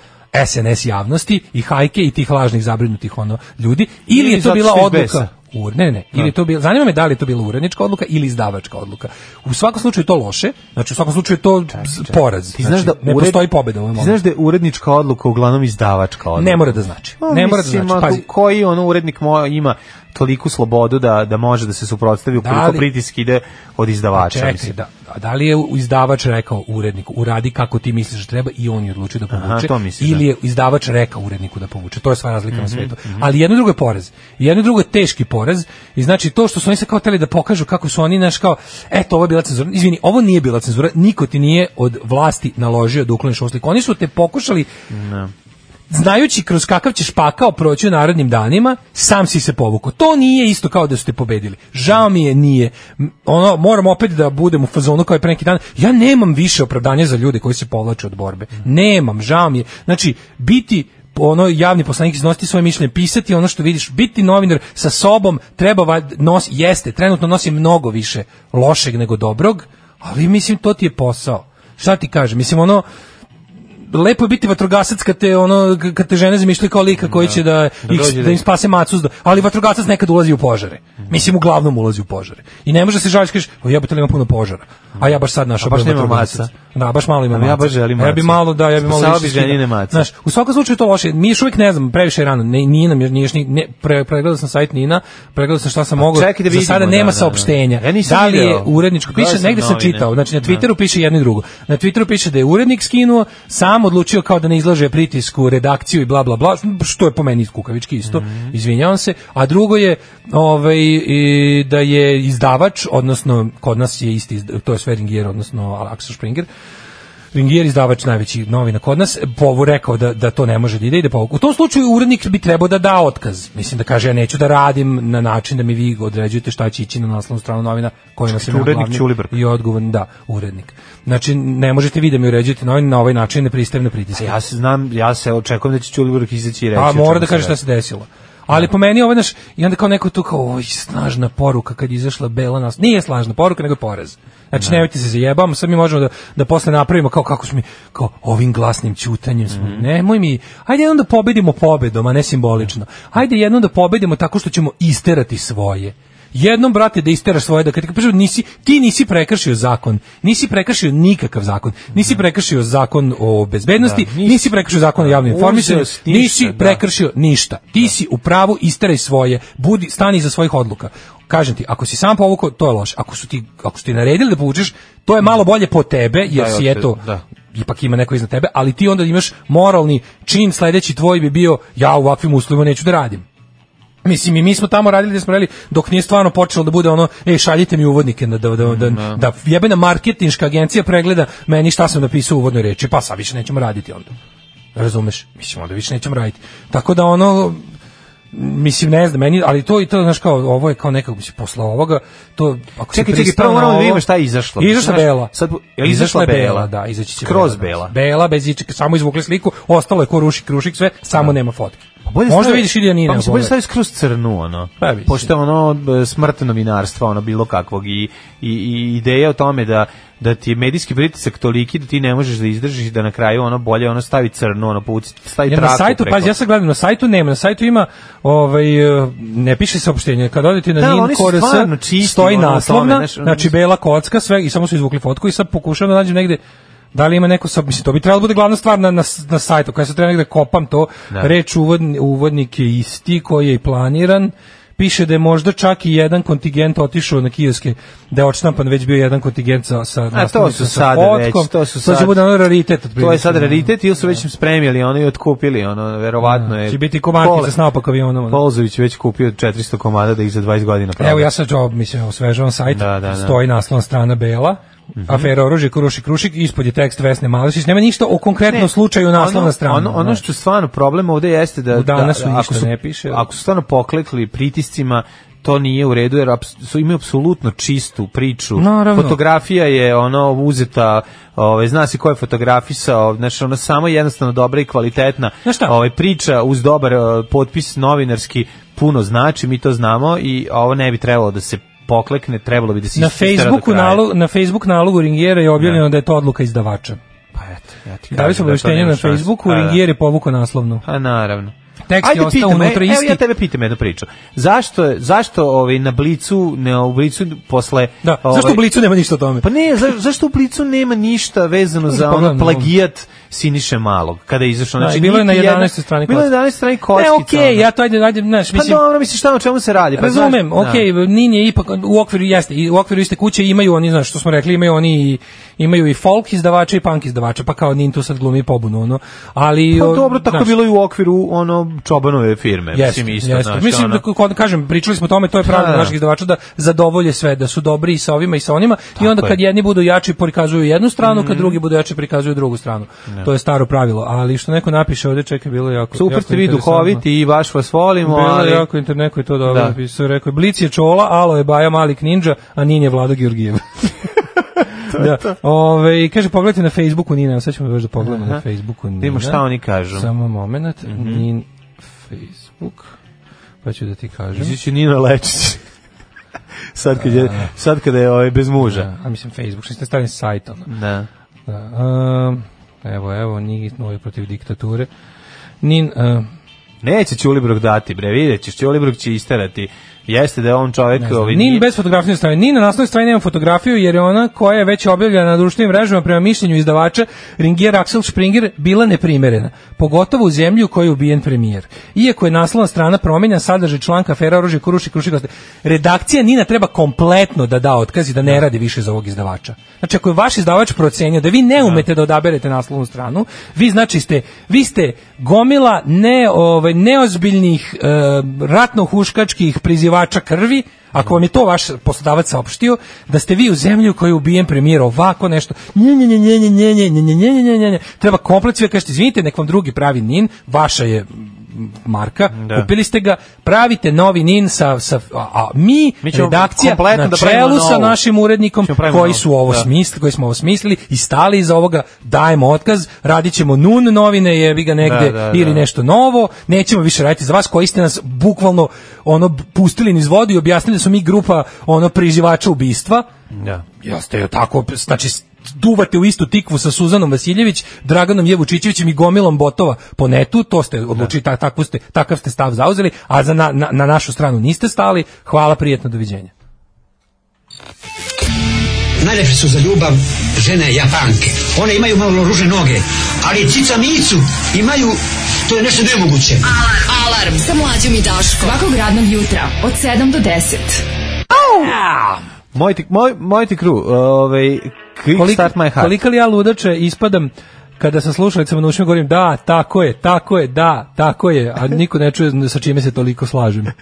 [SPEAKER 5] SNS javnosti i hajke i tih lažnih zabrinutih ono ljudi ili
[SPEAKER 6] Ili
[SPEAKER 5] je to
[SPEAKER 6] zato
[SPEAKER 5] bila
[SPEAKER 6] što iz
[SPEAKER 5] odluka
[SPEAKER 6] besa.
[SPEAKER 5] Ur, ne, ne, ili je to bila, zanima me da li je to bila urednička odluka ili izdavačka odluka. U svakom slučaju je to loše, znači u svakom slučaju je to s- poraz.
[SPEAKER 6] Ti znaš
[SPEAKER 5] znači,
[SPEAKER 6] da
[SPEAKER 5] ne
[SPEAKER 6] ured-
[SPEAKER 5] postoji pobeda u ovom
[SPEAKER 6] Ti
[SPEAKER 5] momentu.
[SPEAKER 6] znaš da je urednička odluka uglavnom izdavačka odluka.
[SPEAKER 5] Ne mora da znači.
[SPEAKER 6] Pa,
[SPEAKER 5] Ne mora da
[SPEAKER 6] mislim,
[SPEAKER 5] znači.
[SPEAKER 6] ako-
[SPEAKER 5] Pazi.
[SPEAKER 6] koji ono urednik mo, ima toliku slobodu da, da može da se suprotstavi ukoliko
[SPEAKER 5] Da Pa li-
[SPEAKER 6] pritisk ide od izdavača.
[SPEAKER 5] Čekaj,
[SPEAKER 6] mislim.
[SPEAKER 5] da, da- da li je izdavač rekao uredniku, uradi kako ti misliš da treba i on je odlučio da povuče,
[SPEAKER 6] to misliš,
[SPEAKER 5] ili
[SPEAKER 6] da. Mhm,
[SPEAKER 5] je izdavač rekao uredniku da povuče, to je sva razlika na svetu. Ali jedno i drugo je porez, I jedno i drugo je teški porez i znači to što su oni se kao teli da pokažu kako su oni, naš kao, eto ovo je bila cenzura, izvini, ovo nije bila cenzura, niko ti nije od vlasti naložio da ukloniš ovu sliku. Oni su te pokušali znajući kroz kakav ćeš pakao proći u narednim danima, sam si se povukao. To nije isto kao da ste pobedili. Žao mi je, nije. M, Ono, moram opet da budem u fazonu kao i pre neki dan. Ja nemam više opravdanja za ljude koji se povlače od borbe. Nemam, žao mi je. Znači, biti ono javni poslanik iznositi svoje mišljenje, pisati ono što vidiš, biti novinar sa sobom treba va- nos jeste, trenutno nosi mnogo više lošeg nego dobrog, ali mislim to ti je posao. Šta ti kažem? Mislim ono lepo je biti vatrogasac kad te ono kad te žene zamišljaju kao lika koji će da, ih,
[SPEAKER 6] dođe
[SPEAKER 5] da
[SPEAKER 6] da-
[SPEAKER 5] im spase macu, s- ali vatrogasac nekad ulazi u požare. Mislim uglavnom ulazi u požare. I ne može se žaliti kažeš, o jebote, ali ima puno požara. A ja baš sad našao
[SPEAKER 6] A baš
[SPEAKER 5] broj
[SPEAKER 6] nema
[SPEAKER 5] vatrogasaca."
[SPEAKER 6] maca.
[SPEAKER 5] Da, baš malo ima
[SPEAKER 6] Ali
[SPEAKER 5] maca.
[SPEAKER 6] ja baš želim
[SPEAKER 5] Ja bi
[SPEAKER 6] mace.
[SPEAKER 5] malo, da, ja bi malo
[SPEAKER 6] Spasao
[SPEAKER 5] više
[SPEAKER 6] bi
[SPEAKER 5] skidao.
[SPEAKER 6] ženine mace.
[SPEAKER 5] Znaš, u svakom slučaju je to loše. Mi još uvijek ne znam, previše je rano. Ne, nije nam, još- nije, još ni- ne, pre, pregledao sam sajt Nina, pregledao sam šta sam mogao.
[SPEAKER 6] čekaj da
[SPEAKER 5] Za sada
[SPEAKER 6] vidimo, da,
[SPEAKER 5] nema
[SPEAKER 6] da, da.
[SPEAKER 5] saopštenja.
[SPEAKER 6] Ja nisam
[SPEAKER 5] da li je
[SPEAKER 6] video.
[SPEAKER 5] uredničko
[SPEAKER 6] Gledao
[SPEAKER 5] piše,
[SPEAKER 6] sam
[SPEAKER 5] negde sam
[SPEAKER 6] novine.
[SPEAKER 5] čitao. Znači, na Twitteru piše jedno i drugo. Na Twitteru piše da je urednik skinuo, sam odlučio kao da ne izlaže pritisku, redakciju i bla, bla, bla, što je po meni kukavički isto, izvinjavam se. A drugo je ovaj, i da je izdavač, odnosno, kod nas je isti, izda- to je sve Ringier, odnosno Alexander Springer, Ringier izdavač najveći novina kod nas, povu rekao da, da to ne može da ide, ide povuk. U tom slučaju urednik bi trebao da da otkaz. Mislim da kaže ja neću da radim na način da mi vi određujete šta će ići na naslovnu stranu novina kojima sam ja
[SPEAKER 6] urednik
[SPEAKER 5] glavni
[SPEAKER 6] Ćulibrk.
[SPEAKER 5] i odgovoran, da, urednik. Znači, ne možete vi da mi uređujete novine na ovaj način, ne pristajem na pritisak.
[SPEAKER 6] E, Ja se znam, ja se očekujem da će Ćulibrk izaći i reći.
[SPEAKER 5] Pa
[SPEAKER 6] o čemu
[SPEAKER 5] mora da
[SPEAKER 6] se
[SPEAKER 5] kaže
[SPEAKER 6] radi.
[SPEAKER 5] šta se desilo. Ali po meni ovo, znaš, i onda kao neko tu kao, oj, snažna poruka kad je izašla Bela nas. Nije snažna poruka, nego je porez. Znači, nemojte se zajebamo, sad mi možemo da, da posle napravimo kao kako smo mi, kao ovim glasnim ćutanjem smo.
[SPEAKER 6] Mhm.
[SPEAKER 5] Nemoj mi, ajde jednom da pobedimo pobedom, a ne simbolično. Ajde jednom da pobedimo tako što ćemo isterati svoje. Jednom, brate, da isteraš svoje, da kad ti kažu, nisi, ti nisi prekršio zakon, nisi prekršio nikakav zakon, nisi
[SPEAKER 6] Mhm.
[SPEAKER 5] prekršio zakon o bezbednosti, nisi prekršio zakon o javnom
[SPEAKER 6] Uzeo
[SPEAKER 5] informisanju,
[SPEAKER 6] si ništa,
[SPEAKER 5] nisi
[SPEAKER 6] da.
[SPEAKER 5] prekršio prekršio ništa. Ti si u pravu, isteraj svoje, budi stani iza svojih odluka. Kažem ti, ako si sam povukao, to je loše. Ako su ti ako su ti naredili da povučeš, to je malo bolje po tebe, jer
[SPEAKER 6] Da,
[SPEAKER 5] si
[SPEAKER 6] ja te-
[SPEAKER 5] eto
[SPEAKER 6] da.
[SPEAKER 5] ipak ima neko iznad tebe, ali ti onda imaš moralni čin sledeći tvoj bi bio ja u ovakvim uslovima neću da radim. Mislim, i mi smo tamo radili gde smo radili, dok nije stvarno počelo da bude ono, ej, šaljite mi uvodnike, da, da, da, da, da jebena marketinška agencija pregleda meni šta sam napisao u uvodnoj reči, pa sad više nećemo raditi onda. Razumeš? Mislim, onda više nećemo raditi. Tako da ono, mislim, ne znam, meni, ali to i to, znaš, kao, ovo je kao nekako, mislim, posla ovoga, to, ako
[SPEAKER 6] Čekaj,
[SPEAKER 5] se
[SPEAKER 6] čekaj, prvo moramo da vidimo šta je izašlo.
[SPEAKER 5] Izašla
[SPEAKER 6] Znaš,
[SPEAKER 5] Bela.
[SPEAKER 6] sad- je li
[SPEAKER 5] izašla
[SPEAKER 6] izašla
[SPEAKER 5] je Bela,
[SPEAKER 6] Bela?
[SPEAKER 5] da, izaći će
[SPEAKER 6] Skroz Bela.
[SPEAKER 5] Bela. Bela, bez ičega, samo izvukli sliku, ostalo je ko rušik, krušik, sve, samo nema fotke.
[SPEAKER 6] Pa bolje
[SPEAKER 5] Možda
[SPEAKER 6] stavi-
[SPEAKER 5] vidiš ili ja nije.
[SPEAKER 6] Pa mislim, bolje stavi skroz crnu, ono.
[SPEAKER 5] Pa mislim.
[SPEAKER 6] Pošto je ono b- smrt novinarstva, ono bilo kakvog i, i, i ideja o tome da da ti je medijski pritisak toliki da ti ne možeš da izdržiš i da na kraju ono bolje ono stavi crnu, ono povuci, stavi
[SPEAKER 5] Jer
[SPEAKER 6] traku
[SPEAKER 5] na sajtu,
[SPEAKER 6] preko.
[SPEAKER 5] pazi, ja sad gledam, na sajtu nema, na sajtu ima, ovaj, e, ne piše saopštenje, kad odete na
[SPEAKER 6] Da,
[SPEAKER 5] Nin
[SPEAKER 6] oni su
[SPEAKER 5] Kores,
[SPEAKER 6] stvarno čisti,
[SPEAKER 5] stoji
[SPEAKER 6] ono, o tome,
[SPEAKER 5] naslovna,
[SPEAKER 6] znaš, ono,
[SPEAKER 5] znači bela kocka, sve, i samo su izvukli fotku i sad pokušavam da nađem negde, da li ima neko, sa, mislim, to bi trebalo da bude glavna stvar na, na, na sajtu, kada se treba negde kopam to,
[SPEAKER 6] Da.
[SPEAKER 5] reč uvodni, uvodnik je isti, koji je i planiran, piše da je možda čak i jedan kontingent otišao na kioske, da je odštampan već bio jedan kontingent sa, sa
[SPEAKER 6] A to
[SPEAKER 5] naslovnicom,
[SPEAKER 6] su
[SPEAKER 5] sa
[SPEAKER 6] sad već,
[SPEAKER 5] fotkom.
[SPEAKER 6] to su
[SPEAKER 5] To će
[SPEAKER 6] sad-
[SPEAKER 5] bude ono raritet.
[SPEAKER 6] To je
[SPEAKER 5] otprilike,
[SPEAKER 6] sad
[SPEAKER 5] ono.
[SPEAKER 6] raritet ili su već im spremili ono i otkupili ono, verovatno je.
[SPEAKER 5] Će biti komarkica
[SPEAKER 6] Pole-
[SPEAKER 5] s naopak avionom. ono.
[SPEAKER 6] Polzović je već kupio 400 komada da ih za 20 godina proda.
[SPEAKER 5] Evo ja sad job, mislim, osvežavam sajt,
[SPEAKER 6] Da, Mhm. da, da.
[SPEAKER 5] stoji naslovna strana Bela, afera oružje, krušik, krušik, ispod je tekst Vesne Malešić, nema ništa o konkretnom
[SPEAKER 6] Ne,
[SPEAKER 5] slučaju naslovna
[SPEAKER 6] ono-
[SPEAKER 5] strana.
[SPEAKER 6] Ono, ono
[SPEAKER 5] znaš.
[SPEAKER 6] što je stvarno problem ovde jeste da,
[SPEAKER 5] U danas
[SPEAKER 6] da
[SPEAKER 5] su
[SPEAKER 6] ako
[SPEAKER 5] ništa
[SPEAKER 6] su
[SPEAKER 5] ne piše.
[SPEAKER 6] Ako su stvarno poklekli pritiscima to nije u redu jer aps, su imaju apsolutno čistu priču.
[SPEAKER 5] Naravno.
[SPEAKER 6] Fotografija je ono uzeta, ovaj zna se ko je fotografisao, znači ona samo jednostavno dobra i kvalitetna.
[SPEAKER 5] Znaš šta?
[SPEAKER 6] Ovaj priča uz dobar eh, potpis novinarski puno znači, mi to znamo i ovo ne bi trebalo da se poklekne, trebalo bi da se
[SPEAKER 5] na
[SPEAKER 6] istera do
[SPEAKER 5] Facebooku
[SPEAKER 6] kraja.
[SPEAKER 5] nalogu, na Facebook nalogu Ringiera je objavljeno da je to odluka izdavača.
[SPEAKER 6] Pa eto, ja ti
[SPEAKER 5] Dali
[SPEAKER 6] kažem
[SPEAKER 5] smo
[SPEAKER 6] da to
[SPEAKER 5] obaveštenje
[SPEAKER 6] nema
[SPEAKER 5] na
[SPEAKER 6] šanse.
[SPEAKER 5] Facebooku,
[SPEAKER 6] Pa da.
[SPEAKER 5] Ringier je povukao naslovnu.
[SPEAKER 6] Pa naravno.
[SPEAKER 5] Tekst je ostao
[SPEAKER 6] pitam,
[SPEAKER 5] unutra
[SPEAKER 6] e,
[SPEAKER 5] isti.
[SPEAKER 6] Evo ja tebe pitam jednu priču. Zašto, je- zašto ovaj, na Blicu, ne, u Blicu posle...
[SPEAKER 5] Da,
[SPEAKER 6] ovaj,
[SPEAKER 5] zašto u Blicu nema ništa o tome?
[SPEAKER 6] Pa ne, za, zašto u Blicu nema ništa vezano za
[SPEAKER 5] Problem,
[SPEAKER 6] ono plagijat Siniše Malog, kada je izašao.
[SPEAKER 5] Da,
[SPEAKER 6] Znači,
[SPEAKER 5] i bilo je na
[SPEAKER 6] niti jedna-
[SPEAKER 5] 11. strani
[SPEAKER 6] Bilo je
[SPEAKER 5] kockica.
[SPEAKER 6] na 11. strani
[SPEAKER 5] Ne,
[SPEAKER 6] kockica.
[SPEAKER 5] okej,
[SPEAKER 6] ono.
[SPEAKER 5] ja to ajde, ajde, znaš,
[SPEAKER 6] Pa
[SPEAKER 5] mislim,
[SPEAKER 6] dobro, mislim, šta o čemu se radi? Pa,
[SPEAKER 5] E, Razumem,
[SPEAKER 6] znaš, da.
[SPEAKER 5] ok, Nin je ipak u okviru jeste, i u okviru iste kuće imaju oni, znaš, što smo rekli, imaju oni i- imaju i folk izdavača i punk izdavača, pa kao Nin tu sad glumi pobunu, ono. Ali
[SPEAKER 6] Pa
[SPEAKER 5] o,
[SPEAKER 6] dobro, tako je
[SPEAKER 5] znaš,
[SPEAKER 6] bilo i u okviru ono Čobanove firme. mislim, isto,
[SPEAKER 5] jeste.
[SPEAKER 6] znaš,
[SPEAKER 5] mislim
[SPEAKER 6] ono.
[SPEAKER 5] da kod- kažem, pričali smo o tome, to je pravilo
[SPEAKER 6] Da, da.
[SPEAKER 5] naših izdavača da zadovolje sve, da su dobri i sa ovima i sa onima i onda
[SPEAKER 6] je. Mhm.
[SPEAKER 5] kad jedni budu jači prikazuju jednu stranu, kad drugi budu jači prikazuju drugu stranu. To je staro pravilo, ali što neko napiše ovde, čekaj, bilo je jako
[SPEAKER 6] Super
[SPEAKER 5] jako
[SPEAKER 6] ste vi
[SPEAKER 5] interesantno.
[SPEAKER 6] duhoviti i baš vas volimo,
[SPEAKER 5] Bilo
[SPEAKER 6] ali...
[SPEAKER 5] je jako inter, neko je to dobro
[SPEAKER 6] Da.
[SPEAKER 5] napisao, rekao je, Blic je čola, Alo je Baja Malik Ninja, a Nin je Vlado Georgijev. da. Ove, i kaže, pogledajte na Facebooku Nina, evo sad ćemo baš da pogledamo na
[SPEAKER 6] Aha.
[SPEAKER 5] Facebooku Nina.
[SPEAKER 6] Da vidimo šta oni kažu. Mhm.
[SPEAKER 5] Samo moment, Nin Facebook, pa ću da ti kažem.
[SPEAKER 6] Izići Nina Lečić. sad kad je sad kada je ovaj bez muža.
[SPEAKER 5] A mislim Facebook, što ste stavili sajt, ono.
[SPEAKER 6] Da.
[SPEAKER 5] Da, um, evo, evo, Nin novi protiv diktature. Nin, um,
[SPEAKER 6] Neće Ćulibrok dati, bre, vidjet ćeš, Ćulibrok će isterati Jeste da je on čovjek... Ovaj,
[SPEAKER 5] Ni bez fotografije strane. Ni na naslovnoj strani nemam fotografiju jer je ona koja je već objavljena na društvenim mrežama prema mišljenju izdavača Ringier Axel Springer bila neprimerena, pogotovo u zemlji u kojoj je ubijen premijer. Iako je naslovna strana promenja sadržaj članka Fera oružje kuruši kruši kosti. Redakcija Nina treba kompletno da da otkaz i da ne radi više za ovog izdavača. Znači ako je vaš izdavač procenio da vi ne umete da odaberete naslovnu stranu, vi znači ste vi ste gomila ne ovaj neozbiljnih e, ratno huškačkih prizivača krvi Ako vam je to vaš poslodavac saopštio, da ste vi u zemlji u kojoj je ubijen premijer ovako nešto, nje, nje, nje, nje, nje, nje, nje, nje, nje, nje, nje, nje, nje, treba komplet sve kažete, izvinite, nek vam drugi pravi nin, vaša je m, marka,
[SPEAKER 6] Da.
[SPEAKER 5] kupili ste ga, pravite novi nin sa, sa a, a mi,
[SPEAKER 6] Mi ćemo
[SPEAKER 5] redakcija,
[SPEAKER 6] kompletno
[SPEAKER 5] na
[SPEAKER 6] da
[SPEAKER 5] čelu
[SPEAKER 6] pravimo
[SPEAKER 5] sa
[SPEAKER 6] novu.
[SPEAKER 5] našim urednikom
[SPEAKER 6] Ćemo pravimo
[SPEAKER 5] koji
[SPEAKER 6] novu,
[SPEAKER 5] su ovo
[SPEAKER 6] da.
[SPEAKER 5] smislili, koji smo ovo smislili i stali iza ovoga, dajemo otkaz, radit ćemo nun novine, jebi ga negde,
[SPEAKER 6] Da, da,
[SPEAKER 5] ili
[SPEAKER 6] da.
[SPEAKER 5] nešto novo, nećemo više raditi za vas koji ste nas bukvalno ono pustili niz vodu i objasnili da smo mi grupa ono priživača ubistva.
[SPEAKER 6] Da.
[SPEAKER 5] Ja ste joj tako, znači duvate u istu tikvu sa Suzanom Vasiljević, Draganom Jevučićevićem i gomilom botova po netu, to ste odlučili, ta, takvu ste, takav ste stav zauzeli, a za na, na, na našu stranu niste stali. Hvala, prijetno, doviđenja.
[SPEAKER 11] Najlepše su za ljubav žene japanke. One imaju malo ruže noge, ali cica micu imaju, to je nešto nemoguće.
[SPEAKER 4] Alarm sa mlađom i Daškom. Svakog radnog jutra od 7 do 10.
[SPEAKER 6] Moj ti, moj, moj ti kru, ovaj, quick
[SPEAKER 5] Koliko-
[SPEAKER 6] start my heart.
[SPEAKER 5] Kolika li ja ludače ispadam kada sa slušalicama na ušima govorim da, tako je, tako je, da, tako je, a niko ne čuje sa čime se toliko slažem.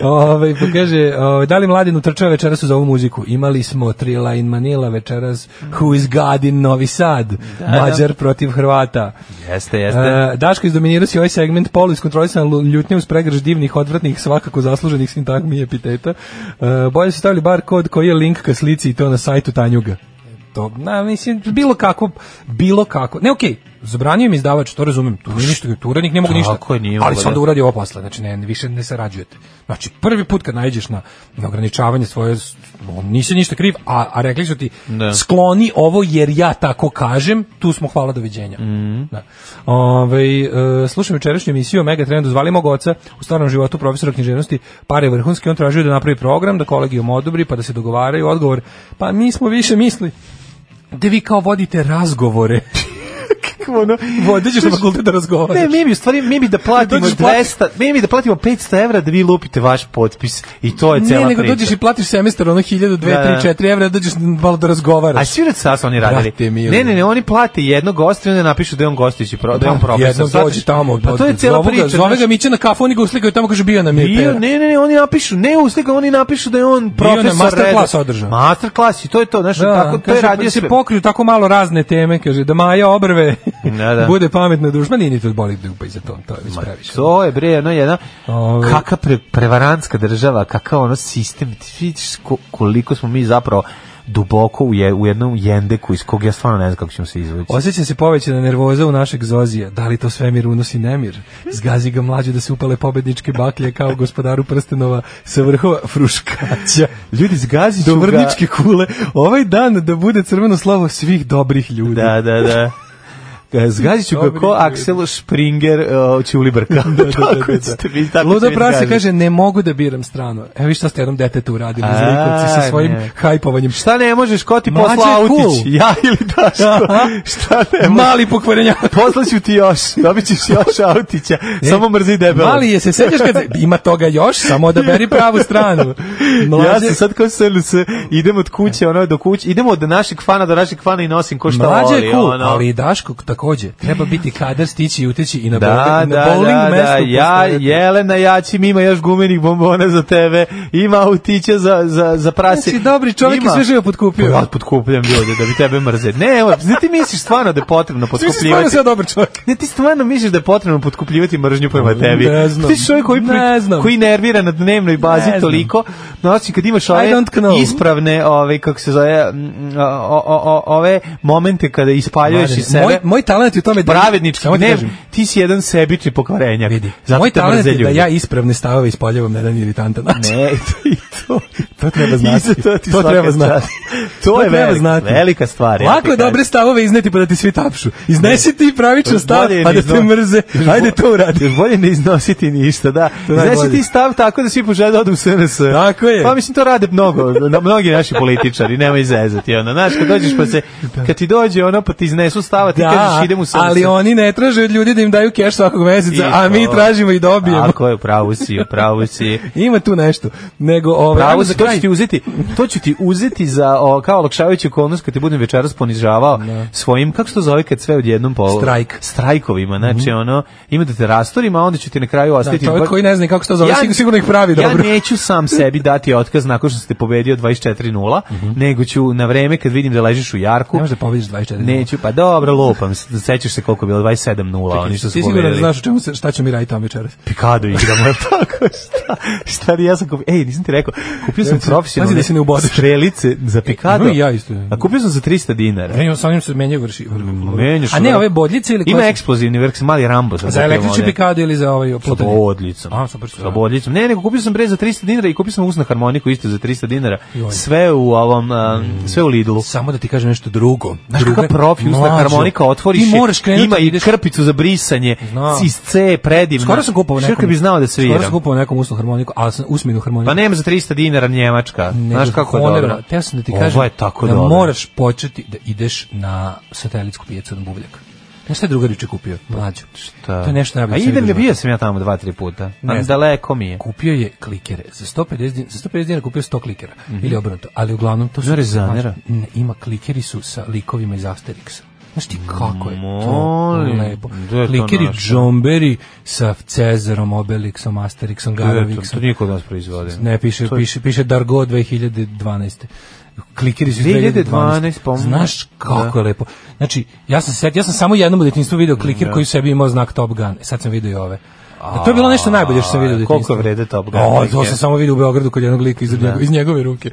[SPEAKER 5] Ove, pa kaže, ove, da li mladin utrčava večeras uz ovu muziku? Imali smo Trila in Manila večeras, Who is God in Novi Sad, Mađar protiv Hrvata.
[SPEAKER 6] Jeste, jeste.
[SPEAKER 5] E, Daško izdominirao si ovaj segment polu iskontrolisan ljutnje uz pregrž divnih, odvratnih, svakako zasluženih sintagmi i epiteta. E, bolje su stavili bar kod koji je link ka slici i to na sajtu Tanjuga. To, na, mislim, bilo kako, bilo kako. Ne, okej, zabranio im izdavač, to razumem, tu nije ništa, tu urednik ne mogu ništa.
[SPEAKER 6] Tako je, nije
[SPEAKER 5] ali
[SPEAKER 6] mogao,
[SPEAKER 5] se onda
[SPEAKER 6] da.
[SPEAKER 5] uradi ovo posle, znači ne, više ne sarađujete. Znači, prvi put kad najđeš na, na ograničavanje svoje, s- on nisi ništa kriv, a, a rekli su ti,
[SPEAKER 6] Da.
[SPEAKER 5] skloni ovo jer ja tako kažem, tu smo hvala doviđenja.
[SPEAKER 6] Mhm.
[SPEAKER 5] Da. Ove, e, slušam jučerašnju emisiju o Megatrendu, zvali mog oca u stvarnom životu profesora književnosti Pare Vrhunski, on tražio da napravi program, da kolegijom odobri, pa da se dogovaraju, odgovor, pa mi smo više misli da vi kao vodite razgovore. Kako ono? Vodećeš na fakultet da razgovaraš.
[SPEAKER 6] Ne, mi bi u stvari, mi bi da platimo
[SPEAKER 5] Dođeš plati-
[SPEAKER 6] 200, mi bi da platimo 500 evra da vi lupite vaš potpis i to je cela
[SPEAKER 5] ne, nego
[SPEAKER 6] priča.
[SPEAKER 5] dođeš i platiš semestar ono 1000, 2,
[SPEAKER 6] Da, da.
[SPEAKER 5] 3, 4 evra, dođeš malo da razgovaraš.
[SPEAKER 6] A svi red sad su oni radili.
[SPEAKER 5] Brate mili.
[SPEAKER 6] ne, ne, ne, oni plate jednog gosta i onda napišu da je on gostići, pro, da je on profesor.
[SPEAKER 5] Jednom
[SPEAKER 6] Sad-
[SPEAKER 5] dođi tamo.
[SPEAKER 6] Pa to je
[SPEAKER 5] od-
[SPEAKER 6] cela
[SPEAKER 5] zove ga-
[SPEAKER 6] priča.
[SPEAKER 5] Zove
[SPEAKER 6] znaš.
[SPEAKER 5] ga Miće na kafu, oni ga uslikaju tamo, kaže bio nam je
[SPEAKER 6] Bio,
[SPEAKER 5] pera.
[SPEAKER 6] ne, ne, ne, oni napišu, ne uslika, oni napišu da je on profesor.
[SPEAKER 5] masterclass
[SPEAKER 6] reda.
[SPEAKER 5] održao.
[SPEAKER 6] Masterclass i to je to, znaš,
[SPEAKER 5] Da,
[SPEAKER 6] tako, to je
[SPEAKER 5] kaže,
[SPEAKER 6] radio
[SPEAKER 5] pa se
[SPEAKER 6] sve.
[SPEAKER 5] pokriju tako malo razne teme, kaže, da Maja obrve
[SPEAKER 6] Da, da.
[SPEAKER 5] bude pametna dušma, nije ni to boli dupa i za to, to je već previše.
[SPEAKER 6] To je bre, ono jedna
[SPEAKER 5] Ove-
[SPEAKER 6] kaka pre, prevarantska država, kakav ono sistem, ti vidiš ko- koliko smo mi zapravo duboko u, je, u jednom jendeku iz kog ja stvarno ne znam kako ćemo se izvući.
[SPEAKER 5] Osjeća se povećana nervoza u našeg Zozija. Da li to svemir unosi nemir? Zgazi ga mlađe da se upale pobedničke baklje kao gospodaru prstenova sa vrhova fruškaća.
[SPEAKER 6] Ljudi, zgazi
[SPEAKER 5] Do vrničke kule. Ovaj dan da bude crveno slavo svih dobrih ljudi.
[SPEAKER 6] Da, da, da. Zgazit ću ga
[SPEAKER 5] Dobri
[SPEAKER 6] ko
[SPEAKER 5] ljudi.
[SPEAKER 6] Aksel Springer uh, Ćulibrka. da, da, tako ćete biti, tako
[SPEAKER 5] Luda
[SPEAKER 6] ćete mi
[SPEAKER 5] prase
[SPEAKER 6] zgaziti.
[SPEAKER 5] kaže, ne mogu da biram strano. Evo vi šta ste jednom detetu uradili,
[SPEAKER 6] A,
[SPEAKER 5] zlikovci sa svojim
[SPEAKER 6] ne.
[SPEAKER 5] hajpovanjem.
[SPEAKER 6] Šta ne možeš, ko ti
[SPEAKER 5] Mlađe
[SPEAKER 6] posla
[SPEAKER 5] je cool.
[SPEAKER 6] autić? Ja ili Daško? Šta ne možeš?
[SPEAKER 5] Mali pokvarenja.
[SPEAKER 6] Poslaću ti još, dobit ćeš još autića, samo mrzi debelo.
[SPEAKER 5] E, Mali je se sećaš kad ima toga još, samo da beri pravu stranu.
[SPEAKER 6] Ja sam sad kao SLS, idem od kuće, ono, do kuće, idemo od našeg fana do našeg fana i nosim ko šta
[SPEAKER 5] Mlađe
[SPEAKER 6] voli.
[SPEAKER 5] je cool,
[SPEAKER 6] ono.
[SPEAKER 5] ali i Daško takođe. Treba biti kadar stići i uteći i na
[SPEAKER 6] Da,
[SPEAKER 5] bowling,
[SPEAKER 6] da,
[SPEAKER 5] na bowling
[SPEAKER 6] da, da,
[SPEAKER 5] mestu
[SPEAKER 6] ja,
[SPEAKER 5] postojati.
[SPEAKER 6] Jelena Jačim ima još gumenih bombona za tebe, ima autića za, za, za prase.
[SPEAKER 5] Znači, dobri čovjek je sve živo potkupio.
[SPEAKER 6] Ja podkupljam ljude da bi tebe mrze. Ne, evo, znači ti misliš stvarno da je potrebno
[SPEAKER 5] Svi se stvarno
[SPEAKER 6] potkupljivati?
[SPEAKER 5] sve dobar čovjek.
[SPEAKER 6] Ne, ti stvarno misliš da je potrebno potkupljivati mržnju prema tebi?
[SPEAKER 5] Ne znam.
[SPEAKER 6] Ti si čovjek koji, pri-
[SPEAKER 5] Ne znam.
[SPEAKER 6] koji nervira na dnevnoj bazi
[SPEAKER 5] Ne znam.
[SPEAKER 6] toliko. Znači, kad imaš ove
[SPEAKER 5] don't know.
[SPEAKER 6] ispravne, ove, kako se zove, mm, o, o, o, ove momente kada ispaljuješ
[SPEAKER 5] Mlađe,
[SPEAKER 6] iz sebe.
[SPEAKER 5] Moj, moj talent je u tome da...
[SPEAKER 6] Pravednički,
[SPEAKER 5] Samo ti
[SPEAKER 6] ne,
[SPEAKER 5] kažem.
[SPEAKER 6] ti si jedan sebični pokvarenjak.
[SPEAKER 5] Vidi,
[SPEAKER 6] Zato
[SPEAKER 5] moj
[SPEAKER 6] te
[SPEAKER 5] talent
[SPEAKER 6] mrze
[SPEAKER 5] je da
[SPEAKER 6] ljudi.
[SPEAKER 5] ja ispravne stavove ispoljavam na jedan iritantan način.
[SPEAKER 6] Ne, i to,
[SPEAKER 5] To treba
[SPEAKER 6] i
[SPEAKER 5] znati.
[SPEAKER 6] za to, ti
[SPEAKER 5] To
[SPEAKER 6] svaka
[SPEAKER 5] treba znati.
[SPEAKER 6] čast. To je
[SPEAKER 5] treba
[SPEAKER 6] velika, velika stvar. ja ti
[SPEAKER 5] Lako je
[SPEAKER 6] kažem.
[SPEAKER 5] dobre stavove izneti pa da ti svi tapšu. Iznesi ti pravičan
[SPEAKER 6] Još
[SPEAKER 5] stav,
[SPEAKER 6] bolje
[SPEAKER 5] pa da
[SPEAKER 6] ne
[SPEAKER 5] te
[SPEAKER 6] izno-
[SPEAKER 5] mrze.
[SPEAKER 6] još bo-
[SPEAKER 5] Ajde to uradi.
[SPEAKER 6] Još bolje ne iznositi ništa, da.
[SPEAKER 5] To je
[SPEAKER 6] Znači
[SPEAKER 5] najbolje.
[SPEAKER 6] ti stav tako da svi požele da odu u SNS.
[SPEAKER 5] Tako je.
[SPEAKER 6] Pa mislim to rade mnogo, na mnogi naši političari, nemoj zezati ono. Znaš, kad dođeš pa se, kad ti dođe ono pa ti iznesu stava, ti kažeš idem u SNS.
[SPEAKER 5] ali oni ne traže od ljudi da im daju keš svakog meseca,
[SPEAKER 6] I
[SPEAKER 5] a mi
[SPEAKER 6] to.
[SPEAKER 5] tražimo i dobijemo.
[SPEAKER 6] Tako je, u pravu si, u pravu si.
[SPEAKER 5] Ima tu nešto. Nego, ovaj, ajmo
[SPEAKER 6] Pravo
[SPEAKER 5] za
[SPEAKER 6] si, to
[SPEAKER 5] kraj.
[SPEAKER 6] ću ti uzeti, to ću ti uzeti za o, kao olakšavajuću okolnost kad te budem večeras ponižavao svojim, kako se to zove kad sve odjednom po
[SPEAKER 5] Strajk. Mhm.
[SPEAKER 6] strajkovima, znači ono, ima da te rastorima, a onda ću ti na kraju
[SPEAKER 5] Da,
[SPEAKER 6] ostaviti.
[SPEAKER 5] čovjek
[SPEAKER 6] bar-
[SPEAKER 5] koji ne zna ni kako se to zove, sig- sigurno ih pravi
[SPEAKER 6] ja
[SPEAKER 5] dobro.
[SPEAKER 6] neću sam sebi dati otkaz nakon što ste pobedio 24:0, nego ću na vreme kad vidim da ležiš u jarku.
[SPEAKER 5] Mhm. Ne možeš da pobediš 24.
[SPEAKER 6] Neću, pa dobro, lopam. se. Sećaš se koliko je bilo 27:0, oni što su
[SPEAKER 5] Ti sigurno
[SPEAKER 6] pobedili.
[SPEAKER 5] znaš o čemu se, šta ćemo mi raditi tamo večeras.
[SPEAKER 6] Pikado igramo, je li tako šta? Šta li ja sam kupio? Ej, nisam ti rekao, kupio sam
[SPEAKER 5] Ja sam-
[SPEAKER 6] profesionalne
[SPEAKER 5] pazi da se ne ubodeš.
[SPEAKER 6] strelice za Pikado.
[SPEAKER 5] Imam i ja isto.
[SPEAKER 6] A kupio sam za 300 dinara.
[SPEAKER 5] Ne, sa njim se menjaju vrši.
[SPEAKER 6] Menjaš,
[SPEAKER 5] A ne,
[SPEAKER 6] ono.
[SPEAKER 5] ove bodljice ili
[SPEAKER 6] Ima
[SPEAKER 5] koje-
[SPEAKER 6] eksplozivni vrh, mali Rambo. sam
[SPEAKER 5] Za
[SPEAKER 6] kupio
[SPEAKER 5] električni
[SPEAKER 6] one.
[SPEAKER 5] pikado ili za ovaj
[SPEAKER 6] Sa
[SPEAKER 5] plutanje?
[SPEAKER 6] bodljicom.
[SPEAKER 5] A, super, super.
[SPEAKER 6] Sa bodljicom. Ne, nego kupio sam bre za 300 dinara i kupio sam usna harmoniku isto za 300 dinara. Sve u ovom, a, sve u Lidlu.
[SPEAKER 5] Samo da ti kažem nešto drugo.
[SPEAKER 6] Znaš
[SPEAKER 5] Druga-
[SPEAKER 6] kakav profi usna
[SPEAKER 5] Mlađo,
[SPEAKER 6] harmonika otvoriš
[SPEAKER 5] Ti
[SPEAKER 6] je,
[SPEAKER 5] moraš krenuti.
[SPEAKER 6] ima
[SPEAKER 5] da
[SPEAKER 6] i
[SPEAKER 5] ideš-
[SPEAKER 6] krpicu za brisanje,
[SPEAKER 5] Znam.
[SPEAKER 6] cis C, predivna.
[SPEAKER 5] Skoro sam kupovao
[SPEAKER 6] Što
[SPEAKER 5] nekom.
[SPEAKER 6] kad bi znao da
[SPEAKER 5] Skoro sam
[SPEAKER 6] sviram?
[SPEAKER 5] kupovao nekom usnu harmoniku, ali sam usmenu harmoniku.
[SPEAKER 6] Pa nema za 300 dinara Njemačka. Znaš kako je dobro.
[SPEAKER 5] Te sam da ti kažem
[SPEAKER 6] Ovo je tako
[SPEAKER 5] da
[SPEAKER 6] dobro.
[SPEAKER 5] moraš početi da ideš na satelitsku pijacu na buvljak. Znaš šta je drugariče kupio? Mlađo.
[SPEAKER 6] Da.
[SPEAKER 5] To je nešto najbolje.
[SPEAKER 6] A
[SPEAKER 5] što sam
[SPEAKER 6] idem
[SPEAKER 5] vidio
[SPEAKER 6] ga,
[SPEAKER 5] u životu.
[SPEAKER 6] bio sam ja tamo dva, tri puta.
[SPEAKER 5] Ne
[SPEAKER 6] Ne
[SPEAKER 5] znam.
[SPEAKER 6] daleko mi je.
[SPEAKER 5] Kupio je klikere. Za 150 dinara, za 150 dinara kupio 100 klikera. Ili obrnuto. Ali uglavnom to su...
[SPEAKER 6] Mhm. Zar je zanera?
[SPEAKER 5] Ne, ima klikeri su sa likovima iz Asterixa. Znaš ti kako je to
[SPEAKER 6] Molim,
[SPEAKER 5] lepo.
[SPEAKER 6] gde je to
[SPEAKER 5] Klikeri
[SPEAKER 6] našao?
[SPEAKER 5] džomberi sa Cezarom, Obelixom, Asterixom,
[SPEAKER 6] To,
[SPEAKER 5] Garavixom.
[SPEAKER 6] to niko od nas proizvode.
[SPEAKER 5] Ne, piše,
[SPEAKER 6] To je-
[SPEAKER 5] piše, piše Dargo 2012. Klikeri su iz
[SPEAKER 6] 2012,
[SPEAKER 5] 2012.
[SPEAKER 6] pa-
[SPEAKER 5] Znaš kako
[SPEAKER 6] Da.
[SPEAKER 5] je lepo. Znači, ja sam se setio, ja sam samo jednom u detinjstvu video klikir koji u sebi imao znak Top Gun. E, sad sam video i ove. A to je bilo nešto najbolje što sam video u
[SPEAKER 6] Koliko
[SPEAKER 5] detinjstvu.
[SPEAKER 6] vrede Top Gun
[SPEAKER 5] O, to
[SPEAKER 6] klikeri?
[SPEAKER 5] sam samo video u Beogradu kod jednog lika iz, njegove, iz njegove ruke.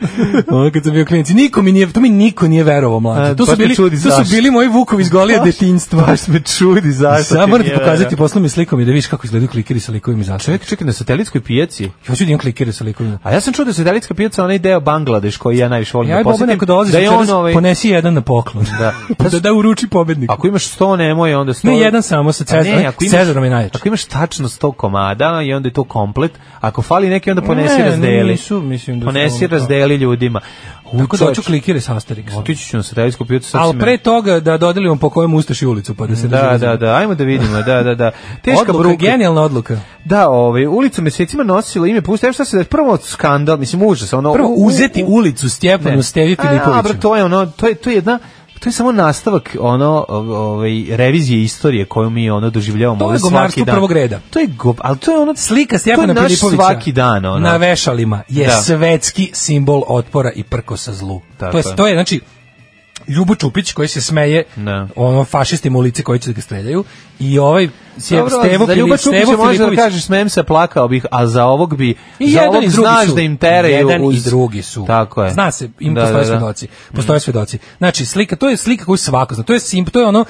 [SPEAKER 5] Ono kad sam bio klinac. Niko mi nije, to mi niko nije verovao,
[SPEAKER 6] A,
[SPEAKER 5] mlađe. To
[SPEAKER 6] baš
[SPEAKER 5] su
[SPEAKER 6] me
[SPEAKER 5] bili,
[SPEAKER 6] čudi
[SPEAKER 5] to
[SPEAKER 6] zašto.
[SPEAKER 5] su bili moji vukovi iz golija detinjstva.
[SPEAKER 6] Baš me čudi zašto.
[SPEAKER 5] Sada moram ti
[SPEAKER 6] nije
[SPEAKER 5] pokazati,
[SPEAKER 6] vero.
[SPEAKER 5] posla mi slikom i da vidiš kako izgledaju klikeri sa likovima iz Asterixa.
[SPEAKER 6] Čekaj, čekaj, na satelitskoj pijaci.
[SPEAKER 5] Hoću da imam klikere sa likovima.
[SPEAKER 6] A ja sam čuo da je satelitska pijaca onaj deo Bangladeš koji ja najviše volim
[SPEAKER 5] Ja
[SPEAKER 6] da
[SPEAKER 5] i Boban
[SPEAKER 6] posjetim.
[SPEAKER 5] ako dolazi
[SPEAKER 6] da je on ovaj...
[SPEAKER 5] ponesi jedan na poklon.
[SPEAKER 6] Da.
[SPEAKER 5] Pa da, da uruči pobedniku.
[SPEAKER 6] Ako imaš 100 nemoj, onda 100...
[SPEAKER 5] Ne, jedan samo sa
[SPEAKER 6] Pa ne,
[SPEAKER 5] Cezarom.
[SPEAKER 6] ako imaš-
[SPEAKER 5] Cezarom je najjači.
[SPEAKER 6] Ako imaš tačno 100 komada i onda je to komplet, ako fali neki onda ponesi
[SPEAKER 5] Ne,
[SPEAKER 6] razdeli.
[SPEAKER 5] nisu, mislim da su
[SPEAKER 6] ponesi
[SPEAKER 5] ono kao-
[SPEAKER 6] razdeli ljudima. U,
[SPEAKER 5] Tako da hoću
[SPEAKER 6] čoveče,
[SPEAKER 5] klikire sa Asterixom.
[SPEAKER 6] Otići ću na satelitsku pijacu sad si
[SPEAKER 5] Ali
[SPEAKER 6] me-
[SPEAKER 5] pre toga da dodelimo po kojem ustaš i ulicu pa da se
[SPEAKER 6] Da, da, da, ajmo da vidimo, da, da, da. Teška
[SPEAKER 5] odluka,
[SPEAKER 6] bruka.
[SPEAKER 5] genijalna odluka.
[SPEAKER 6] Da, ovaj, ulicu mesecima nosilo ime puste, evo šta se da prvo skandal, mislim, užas, ono...
[SPEAKER 5] Prvo
[SPEAKER 6] u- u-
[SPEAKER 5] uzeti ulicu
[SPEAKER 6] ono,
[SPEAKER 5] Stjepanu Stevi
[SPEAKER 6] E, A, bro,
[SPEAKER 5] Filipoviću.
[SPEAKER 6] to je ono, to je, to je jedna to je samo nastavak ono o- ovaj revizije istorije koju mi ono doživljavamo
[SPEAKER 5] To je
[SPEAKER 6] ovde svaki
[SPEAKER 5] govnarstvo
[SPEAKER 6] dan.
[SPEAKER 5] prvog reda.
[SPEAKER 6] To je gob, al to je ono
[SPEAKER 5] Slika Stjepana
[SPEAKER 6] to je naš
[SPEAKER 5] Filipovića
[SPEAKER 6] svaki dan ono.
[SPEAKER 5] na vešalima je
[SPEAKER 6] Da.
[SPEAKER 5] svetski simbol otpora i prkosa zlu.
[SPEAKER 6] Tako
[SPEAKER 5] to,
[SPEAKER 6] je.
[SPEAKER 5] je, to je, znači, Ljubo Čupić koji se smeje
[SPEAKER 6] Da.
[SPEAKER 5] ono fašistima u lice koji će da ga streljaju i ovaj Stevo,
[SPEAKER 6] Dobro,
[SPEAKER 5] Stevo,
[SPEAKER 6] za Ljuba
[SPEAKER 5] Fili-
[SPEAKER 6] Čupića
[SPEAKER 5] Stevo
[SPEAKER 6] možeš da
[SPEAKER 5] Filipović.
[SPEAKER 6] kažeš smem se plakao bih, a za ovog bi
[SPEAKER 5] I
[SPEAKER 6] za
[SPEAKER 5] jedan
[SPEAKER 6] ovog
[SPEAKER 5] i drugi
[SPEAKER 6] znaš
[SPEAKER 5] su.
[SPEAKER 6] da im teraju
[SPEAKER 5] Jedan
[SPEAKER 6] uz-
[SPEAKER 5] i drugi su.
[SPEAKER 6] Tako je.
[SPEAKER 5] Zna se, im
[SPEAKER 6] Da, da,
[SPEAKER 5] postoje
[SPEAKER 6] Mhm. da.
[SPEAKER 5] svedoci. Postoje svedoci. Znači, slika, to je slika koju svako zna. To je simp, to je ono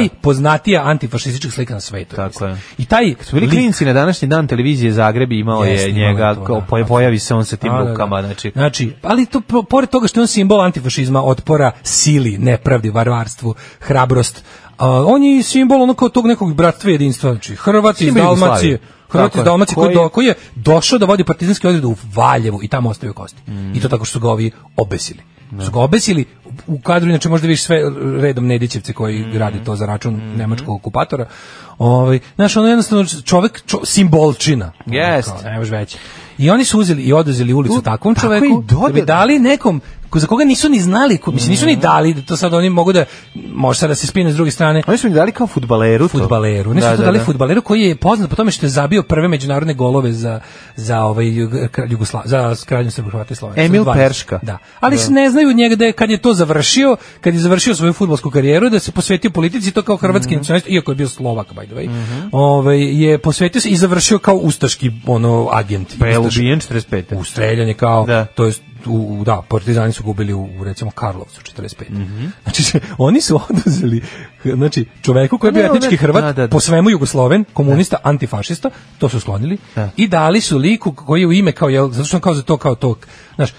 [SPEAKER 5] najpoznatija antifašistička slika na svetu.
[SPEAKER 6] Tako
[SPEAKER 5] mislim.
[SPEAKER 6] je.
[SPEAKER 5] I taj
[SPEAKER 6] Su bili
[SPEAKER 5] lik-
[SPEAKER 6] klinci na današnji dan televizije Zagreb i imao
[SPEAKER 5] Jeste,
[SPEAKER 6] je
[SPEAKER 5] imao je
[SPEAKER 6] njega,
[SPEAKER 5] to,
[SPEAKER 6] kao,
[SPEAKER 5] da.
[SPEAKER 6] poja- pojavi se on sa tim
[SPEAKER 5] Da, da, da.
[SPEAKER 6] rukama, znači...
[SPEAKER 5] Znači, ali to po- pored toga što je on simbol antifašizma, otpora, sili, nepravdi, varvarstvu, hrabrost, a, on je i simbol ono kao tog nekog bratstva i jedinstva, znači Hrvat iz
[SPEAKER 6] Simbol Jugoslavije.
[SPEAKER 5] Dalmacije, Hrvat
[SPEAKER 6] Tako
[SPEAKER 5] iz
[SPEAKER 6] je.
[SPEAKER 5] Dalmacije koji,
[SPEAKER 6] Koji-
[SPEAKER 5] do- koji je došao da vodi partizanski odred u Valjevu i tamo ostavio kosti.
[SPEAKER 6] Mm.
[SPEAKER 5] I to tako što su ga ovi obesili. Su ga obesili u kadru, inače možda vidiš sve redom Nedićevce koji
[SPEAKER 6] Mm.
[SPEAKER 5] rade to za račun nemačkog okupatora. Ovaj, znaš, ono jednostavno čovek, čo, simbolčina. Ono
[SPEAKER 6] Jest.
[SPEAKER 5] kao, Ne može veći. I oni su uzeli i oduzeli ulicu
[SPEAKER 6] Tu-
[SPEAKER 5] takvom
[SPEAKER 6] tako i
[SPEAKER 5] čoveku da bi
[SPEAKER 6] dodali.
[SPEAKER 5] dali nekom ko- za koga nisu ni znali, ko, mislim nisu ni dali, da to sad oni mogu da može sad da se spine s druge strane
[SPEAKER 6] Oni su mi dali kao futbaleru to.
[SPEAKER 5] fudbaleru. Oni su
[SPEAKER 6] Da,
[SPEAKER 5] to
[SPEAKER 6] da,
[SPEAKER 5] dali
[SPEAKER 6] da.
[SPEAKER 5] fudbaleru koji je poznat po tome što je zabio prve međunarodne golove za za ovaj Jugosla za kraljevinu Srba Hrvata i Slovenaca.
[SPEAKER 6] Emil
[SPEAKER 5] 12.
[SPEAKER 6] Perška.
[SPEAKER 5] Da. Ali se ne znaju od njega da je kad je to završio, kad je završio svoju fudbalsku karijeru da se posvetio politici to kao hrvatski
[SPEAKER 6] Mhm.
[SPEAKER 5] nacionalist, iako je bio Slovak by the way. Ovaj je posvetio se i završio kao ustaški ono agent.
[SPEAKER 6] Pa je
[SPEAKER 5] Ustaš-
[SPEAKER 6] ubijen 45.
[SPEAKER 5] u streljanje kao
[SPEAKER 6] Da.
[SPEAKER 5] to je u, da, partizani su gubili u, u, recimo Karlovcu 45.
[SPEAKER 6] Mhm.
[SPEAKER 5] Znači, oni su oduzeli znači, čoveku koji je
[SPEAKER 6] Ne,
[SPEAKER 5] bio
[SPEAKER 6] ne,
[SPEAKER 5] etnički
[SPEAKER 6] ne,
[SPEAKER 5] Hrvat,
[SPEAKER 6] da, da, da.
[SPEAKER 5] po svemu Jugosloven, komunista, antifašista, to su sklonili,
[SPEAKER 6] Da.
[SPEAKER 5] i dali su liku koji je u ime, kao, jel, zato što on kao za to, kao to, znaš,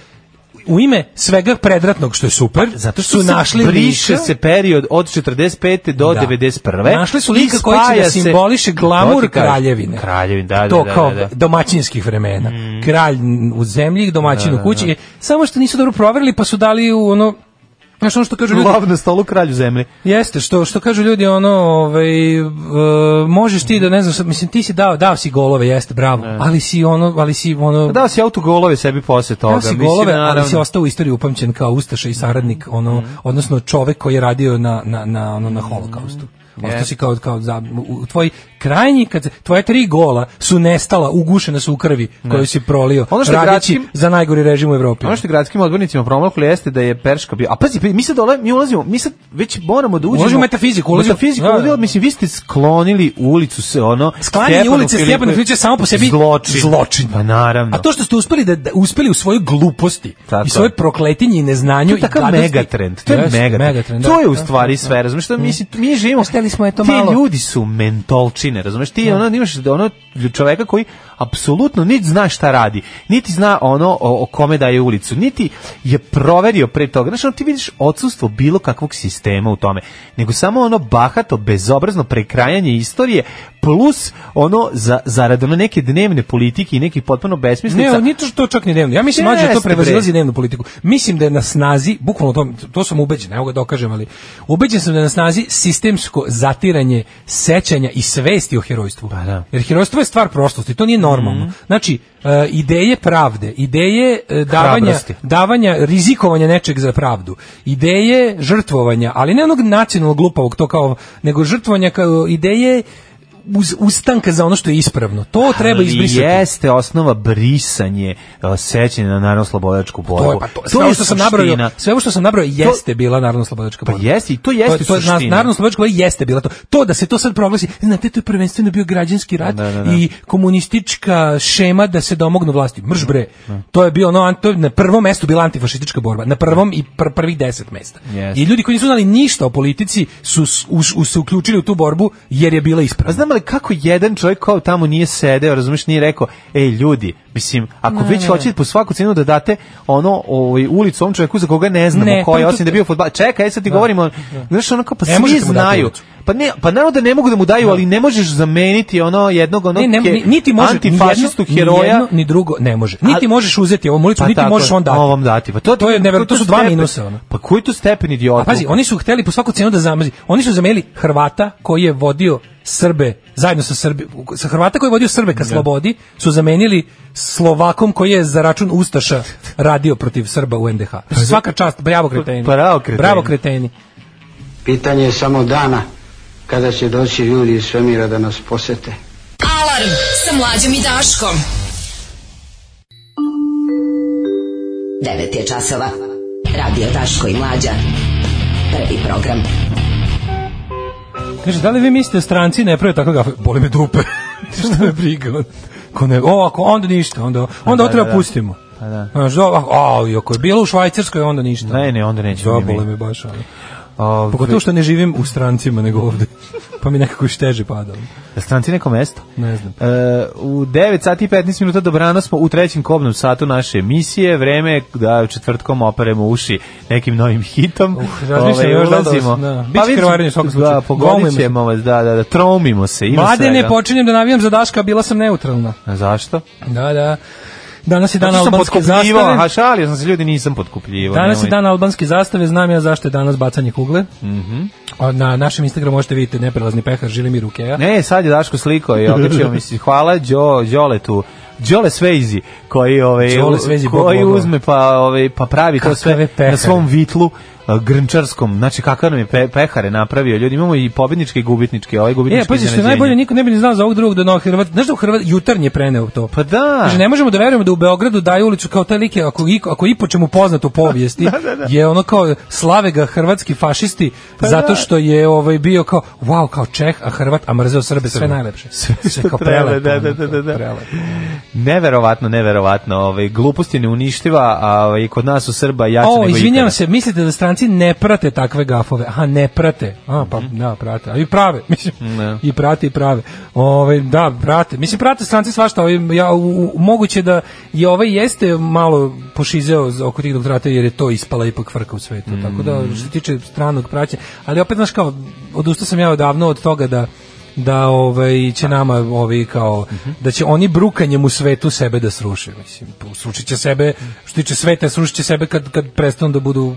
[SPEAKER 5] u ime svega predratnog što je super,
[SPEAKER 6] Pa, Zato što
[SPEAKER 5] su našli
[SPEAKER 6] briše
[SPEAKER 5] lika-
[SPEAKER 6] se period od 45. do
[SPEAKER 5] Da.
[SPEAKER 6] 91.
[SPEAKER 5] Našli su
[SPEAKER 6] i
[SPEAKER 5] lika koji će
[SPEAKER 6] spaja
[SPEAKER 5] da
[SPEAKER 6] se-
[SPEAKER 5] simboliše
[SPEAKER 6] To
[SPEAKER 5] glamur
[SPEAKER 6] ti kažem.
[SPEAKER 5] kraljevine.
[SPEAKER 6] Kraljevin, da, da,
[SPEAKER 5] to
[SPEAKER 6] da,
[SPEAKER 5] kao
[SPEAKER 6] da, da. Mhm.
[SPEAKER 5] domaćinskih vremena. Kralj u zemlji, domaćin
[SPEAKER 6] Da, da,
[SPEAKER 5] u kući. E, Samo što nisu dobro proverili, pa su dali u ono Znaš ono što kažu ljudi,
[SPEAKER 6] Lov na stolu kralju zemlje.
[SPEAKER 5] jeste, što, što kažu ljudi, ono, ovaj, e, možeš ti da, ne znam, sad, mislim, ti si dao, dao si golove, jeste, bravo, ali si ono, ali si ono,
[SPEAKER 6] Dao si autogolove sebi posle toga.
[SPEAKER 5] Dao si
[SPEAKER 6] mislim,
[SPEAKER 5] golove, ali si
[SPEAKER 6] naravno. Mhm.
[SPEAKER 5] ostao u istoriji upamćen kao ustaša i saradnik, ono, odnosno čovek koji je radio na, na, na, ono, na holokaustu.
[SPEAKER 6] Mhm.
[SPEAKER 5] Ostao si kao, kao za, u, tvoj krajnji, kad, se- tvoje tri gola su nestala, ugušena su u krvi koju si prolio,
[SPEAKER 6] Ono što je
[SPEAKER 5] radeći
[SPEAKER 6] gradskim-
[SPEAKER 5] za najgori režim u Evropi.
[SPEAKER 6] Ono što je gradskim odbornicima promoklo jeste da je Perška bio. A pazi, pa mi sad dole, mi ulazimo, mi sad već moramo da uđemo.
[SPEAKER 5] Ulazimo u metafiziku, ulazimo-
[SPEAKER 6] Metafiziku,
[SPEAKER 5] Da, da.
[SPEAKER 6] ulazimo, mislim, vi ste sklonili ulicu se, ono...
[SPEAKER 5] Sklanjanje
[SPEAKER 6] Stjepanu
[SPEAKER 5] ulice
[SPEAKER 6] Filipoviću-
[SPEAKER 5] Stjepanu Filipoviću je samo po sebi
[SPEAKER 6] zločin.
[SPEAKER 5] zločin.
[SPEAKER 6] Pa naravno.
[SPEAKER 5] A to što ste uspeli da, da uspeli u svojoj gluposti
[SPEAKER 6] Tako
[SPEAKER 5] i svoje
[SPEAKER 6] je.
[SPEAKER 5] prokletinje i
[SPEAKER 6] To
[SPEAKER 5] neznanju
[SPEAKER 6] je takav
[SPEAKER 5] i gadosti-
[SPEAKER 6] megatrend, to je
[SPEAKER 5] Jeste,
[SPEAKER 6] megatrend. Mm.
[SPEAKER 5] da,
[SPEAKER 6] to je u
[SPEAKER 5] da,
[SPEAKER 6] stvari
[SPEAKER 5] da,
[SPEAKER 6] sve, razumeš, to mi si- mi živimo.
[SPEAKER 5] Hteli smo, eto,
[SPEAKER 6] ti
[SPEAKER 5] malo-
[SPEAKER 6] ljudi su mentolčine, razumeš, ti ono imaš ono čoveka koji apsolutno niti zna šta radi, niti zna ono o, o kome daje ulicu, niti je proverio pre toga. Znaš, ono, ti vidiš odsustvo bilo kakvog sistema u tome, nego samo ono bahato, bezobrazno prekrajanje istorije plus ono za zarad ono neke dnevne politike i neki potpuno besmislica.
[SPEAKER 5] Ne, niti to čak ni dnevno. Ja mislim mlađe da to
[SPEAKER 6] Jeste,
[SPEAKER 5] prevazilazi
[SPEAKER 6] bre.
[SPEAKER 5] dnevnu politiku. Mislim da je na snazi, bukvalno to, to sam ubeđen, evo ga dokažem, ali ubeđen sam da je na snazi sistemsko zatiranje sećanja i svesti o herojstvu.
[SPEAKER 6] Pa da. Mhm.
[SPEAKER 5] Jer herojstvo je stvar prošlosti, to nije normalno. Znači, e, ideje pravde, ideje e, davanja,
[SPEAKER 6] Hrabrosti.
[SPEAKER 5] davanja, rizikovanja nečeg za pravdu, ideje žrtvovanja, ali ne onog nacionalnog glupavog, to kao, nego žrtvovanja kao ideje uz, ustanka za ono što je ispravno. To treba
[SPEAKER 6] Ali
[SPEAKER 5] izbrisati.
[SPEAKER 6] jeste osnova brisanje uh, sećanja na narodno slobodačku borbu.
[SPEAKER 5] To je, pa to, sve ovo što sam
[SPEAKER 6] suština.
[SPEAKER 5] nabrojao, sve ovo što sam nabrojao jeste bila narodno slobodačka
[SPEAKER 6] Pa
[SPEAKER 5] borba.
[SPEAKER 6] jeste, i to jeste
[SPEAKER 5] to, to,
[SPEAKER 6] suština.
[SPEAKER 5] narodno slobodačka borba jeste bila to. To da se to sad proglasi, znate, to je prvenstveno bio građanski rat
[SPEAKER 6] Da, da, da.
[SPEAKER 5] i komunistička šema da se domognu vlasti. Mrš bre. To je bio ono, an- to je na prvom mestu bila antifašistička borba, na prvom i pr- prvih deset mesta.
[SPEAKER 6] Jeste.
[SPEAKER 5] I ljudi koji nisu znali ništa o politici su s- uš- u- se uključili u tu borbu jer je bila
[SPEAKER 6] Pa
[SPEAKER 5] ispravna.
[SPEAKER 6] znam li kako jedan čovjek kao tamo nije sedeo, razumeš, nije rekao, ej ljudi, mislim, ako već hoćete po svaku cenu da date ono ovaj, ulicu ovom čovjeku za koga ne znamo
[SPEAKER 5] Ne,
[SPEAKER 6] ko
[SPEAKER 5] to je
[SPEAKER 6] je,
[SPEAKER 5] to-
[SPEAKER 6] osim da je bio fudbal. Čekaj, aj sad ti govorimo, znaš, ono kao, pa
[SPEAKER 5] Ne
[SPEAKER 6] svi
[SPEAKER 5] možete mu dati
[SPEAKER 6] znaju.
[SPEAKER 5] ulicu.
[SPEAKER 6] Pa ne, pa naravno da ne mogu da mu daju, ali ne možeš zameniti ono jednog onog
[SPEAKER 5] Ne, ne,
[SPEAKER 6] ke-
[SPEAKER 5] ni- niti može
[SPEAKER 6] antifašistu
[SPEAKER 5] ni jedno,
[SPEAKER 6] heroja.
[SPEAKER 5] Ni jedno, ni drugo, ne može. Niti
[SPEAKER 6] Ali-
[SPEAKER 5] možeš uzeti ovom ulicu,
[SPEAKER 6] Pa
[SPEAKER 5] niti
[SPEAKER 6] tako
[SPEAKER 5] možeš
[SPEAKER 6] je,
[SPEAKER 5] on dati.
[SPEAKER 6] ovo vam dati. Pa to,
[SPEAKER 5] To je neverovatno, to su dva
[SPEAKER 6] stepen-
[SPEAKER 5] minusa, ono.
[SPEAKER 6] Pa koji tu stepen idiota?
[SPEAKER 5] A pazi, oni su hteli po svaku cenu da zamrzi. Oni su zamenili Hrvata koji je vodio Srbe zajedno sa Srbi, sa Hrvata koji je vodio Srbe ka slobodi, su zamenili Slovakom koji je za račun ustaša radio protiv Srba u NDH. Svaka čast, bravo kreteni.
[SPEAKER 6] Pa Bravo kreteni.
[SPEAKER 5] Bravo kreteni.
[SPEAKER 12] Pitanje je samo dana kada će doći ljudi iz svemira da nas posete.
[SPEAKER 4] Alarm sa mlađom i Daškom.
[SPEAKER 9] 9 je časova. Radio Daško i Mlađa. Prvi program.
[SPEAKER 5] Kaže, da li vi mislite da stranci ne prave tako gafe? Boli me dupe. Šta me briga? Ko ne, o, ako, onda ništa, onda, onda
[SPEAKER 6] da,
[SPEAKER 5] ovo treba
[SPEAKER 6] da, da.
[SPEAKER 5] pustimo.
[SPEAKER 6] Pa da.
[SPEAKER 5] Znaš, do- ako- a, ako je bilo u Švajcarskoj, onda ništa.
[SPEAKER 6] Ne, ne, onda Ovaj. nećemo ni mi.
[SPEAKER 5] Zabole me baš, ali.
[SPEAKER 6] Ove,
[SPEAKER 5] Pogotovo što ne živim u strancima nego ovde. Pa mi nekako još teže padalo.
[SPEAKER 6] Stranci neko mesto?
[SPEAKER 5] Ne znam.
[SPEAKER 6] E, u 9 sati i 15 minuta dobrano smo u trećem kobnom satu naše emisije. Vreme je da u četvrtkom operemo uši nekim novim hitom.
[SPEAKER 5] Uh, razmišljam
[SPEAKER 6] Ovaj,
[SPEAKER 5] još da li da
[SPEAKER 6] ulazimo.
[SPEAKER 5] vas- da.
[SPEAKER 6] Pa
[SPEAKER 5] Biće
[SPEAKER 6] vidit-
[SPEAKER 5] krvarenje u svakom slučaju.
[SPEAKER 6] Da,
[SPEAKER 5] Glomimo
[SPEAKER 6] pogodit
[SPEAKER 5] se.
[SPEAKER 6] ćemo vas, da, da, da, tromimo se. Ima
[SPEAKER 5] Mlade ne
[SPEAKER 6] svega.
[SPEAKER 5] počinjem da navijam za Daška, a bila sam neutralna.
[SPEAKER 6] A Zašto?
[SPEAKER 5] Da, da. Danas je dan
[SPEAKER 6] Zato što sam
[SPEAKER 5] albanske
[SPEAKER 6] potkupljivao,
[SPEAKER 5] zastave.
[SPEAKER 6] aha, šalio sam se, ljudi, nisam potkupljivao.
[SPEAKER 5] Danas je
[SPEAKER 6] nemoj.
[SPEAKER 5] dan albanske zastave, znam ja zašto je danas bacanje kugle.
[SPEAKER 6] Mhm.
[SPEAKER 5] A Na našem Instagramu možete vidjeti neprelazni pehar Žilimir Ukeja.
[SPEAKER 6] Ne, sad je Daško slikao i okačio mi se. Hvala Đo, Đole tu. Đole Svejzi koji ovaj
[SPEAKER 5] Đole Svejzi, Bog
[SPEAKER 6] koji
[SPEAKER 5] Bogova.
[SPEAKER 6] uzme pa ovaj pa pravi to
[SPEAKER 5] Kakve
[SPEAKER 6] sve
[SPEAKER 5] pehare.
[SPEAKER 6] na svom vitlu a, grnčarskom, znači kakav nam je pe, pehare napravio, ljudi, imamo i pobedničke i gubitničke, ovaj gubitnički
[SPEAKER 5] E, pa što je najbolje, niko ne bi ni znao za ovog drugog do Novog Hrvata. Znaš da u Hrvat, jutarnje preneo to?
[SPEAKER 6] Pa da.
[SPEAKER 5] Kaže, ne možemo da verujemo da u Beogradu daju ulicu kao taj like, ako, i- ako i po čemu poznat u povijesti, je ono kao slave ga hrvatski fašisti
[SPEAKER 6] Pa da.
[SPEAKER 5] zato što je ovaj bio kao, wow, kao Čeh, a Hrvat, a mrzeo Srbe, sve
[SPEAKER 6] Srbe.
[SPEAKER 5] najlepše.
[SPEAKER 6] Sve što
[SPEAKER 5] kao
[SPEAKER 6] treba,
[SPEAKER 5] prelepo,
[SPEAKER 6] da, da,
[SPEAKER 5] ono,
[SPEAKER 6] da, da, da.
[SPEAKER 5] prelepo.
[SPEAKER 6] Neverovatno, neverovatno, ovaj, glupost je neuništiva, a ovaj, kod nas u Srba jače
[SPEAKER 5] O,
[SPEAKER 6] nego
[SPEAKER 5] izvinjavam se, mislite da stranci ne prate takve gafove? Aha, ne prate. A, pa,
[SPEAKER 6] Mhm.
[SPEAKER 5] da, prate. A i prave, mislim.
[SPEAKER 6] Ne.
[SPEAKER 5] I prate, i prave. Ove, da, prate. Mislim, prate stranci svašta. Ovi, ja, u, u- moguće da je ovaj jeste malo pošizeo za- oko tih doktorata, jer je to ispala ipak frka u svetu. Tako da, što se tiče stranog praćenja. Ali opet, znaš, kao, odustao sam ja odavno od toga da da ovaj će nama ovi kao da će oni brukanjem u svetu sebe da sruše mislim srušit će sebe što se tiče sveta srušit će sebe kad kad prestanu da budu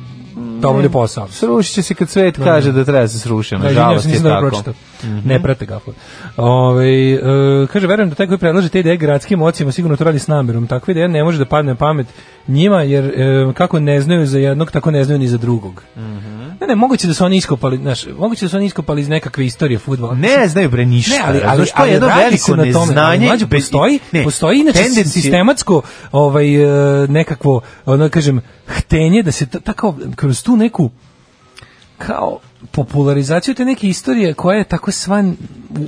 [SPEAKER 5] dobili posao
[SPEAKER 6] Srušit će se kad svet
[SPEAKER 5] Da,
[SPEAKER 6] kaže
[SPEAKER 5] da.
[SPEAKER 6] da treba da se sruši,
[SPEAKER 5] Da, izvinjavam
[SPEAKER 6] nažalost
[SPEAKER 5] se,
[SPEAKER 6] je
[SPEAKER 5] nisam
[SPEAKER 6] tako. Mhm.
[SPEAKER 5] dobro pročitao. Ne prate gafle. Ove, e, kaže, verujem da taj koji predlaže te ideje gradskim ocijima sigurno to radi s namerom. Takva ideja ne može da padne na pamet njima, jer e, kako ne znaju za jednog, tako ne znaju ni za drugog.
[SPEAKER 6] Mhm.
[SPEAKER 5] Ne, ne, moguće da su oni iskopali, znaš, moguće da su oni iskopali iz nekakve istorije fudbala.
[SPEAKER 6] Ne znaju bre ništa.
[SPEAKER 5] Ne, ali, ali,
[SPEAKER 6] razumeš, to je jedno
[SPEAKER 5] radi
[SPEAKER 6] veliko
[SPEAKER 5] se na tome,
[SPEAKER 6] neznanje.
[SPEAKER 5] ali mlađe,
[SPEAKER 6] bez-
[SPEAKER 5] postoji,
[SPEAKER 6] ne,
[SPEAKER 5] postoji inače
[SPEAKER 6] tendencije-
[SPEAKER 5] sistematsko ovaj, e, nekakvo, ono kažem, htenje da se t- tako kroz tu neku kao popularizaciju te neke istorije koja je tako sva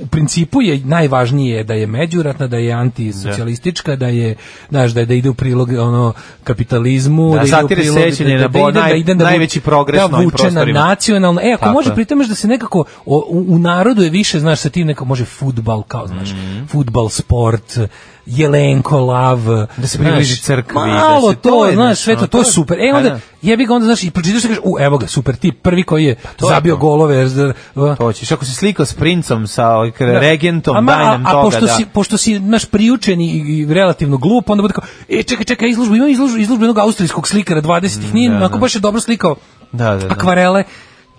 [SPEAKER 5] u principu je najvažnije da je međuratna, da je antisocijalistička, da je znaš da je da ide u prilog ono kapitalizmu,
[SPEAKER 6] Da,
[SPEAKER 5] da, ide u
[SPEAKER 6] satire
[SPEAKER 5] prilog
[SPEAKER 6] sećanja na bo- naj-
[SPEAKER 5] vu-
[SPEAKER 6] najveći progres na
[SPEAKER 5] da
[SPEAKER 6] ovim
[SPEAKER 5] vuče na
[SPEAKER 6] prostorima.
[SPEAKER 5] nacionalno. E, ako
[SPEAKER 6] Tako
[SPEAKER 5] može
[SPEAKER 6] je.
[SPEAKER 5] pri tome da se nekako o- u, u narodu je više znaš sa tim neko može fudbal kao znaš,
[SPEAKER 6] Mhm.
[SPEAKER 5] fudbal sport Jelenko, lav, da
[SPEAKER 6] se približi crkvi, da se-
[SPEAKER 5] Malo to,
[SPEAKER 6] to je,
[SPEAKER 5] znaš,
[SPEAKER 6] znaš,
[SPEAKER 5] sve to,
[SPEAKER 6] ono,
[SPEAKER 5] to je
[SPEAKER 6] to je-
[SPEAKER 5] super. E,
[SPEAKER 6] Pa
[SPEAKER 5] onda,
[SPEAKER 6] da.
[SPEAKER 5] jebi ga onda, znaš, i pročitaš i kažeš, u, evo ga, super tip, prvi koji je
[SPEAKER 6] Pa to je
[SPEAKER 5] zabio
[SPEAKER 6] to.
[SPEAKER 5] golove. zr- v-
[SPEAKER 6] To ćeš, ako si slikao s princom, sa ovaj, k-
[SPEAKER 5] Da.
[SPEAKER 6] regentom,
[SPEAKER 5] Ama,
[SPEAKER 6] daj nam
[SPEAKER 5] a, a
[SPEAKER 6] toga,
[SPEAKER 5] pošto
[SPEAKER 6] da.
[SPEAKER 5] si, pošto si naš priučeni i i relativno glup, onda bude kao, e, čekaj, čekaj, izlužbu, imam izlužbu, izlužbu jednog austrijskog slikara 20-ih, nije,
[SPEAKER 6] da,
[SPEAKER 5] onako
[SPEAKER 6] da.
[SPEAKER 5] baš je dobro slikao
[SPEAKER 6] Da, da, da.
[SPEAKER 5] akvarele,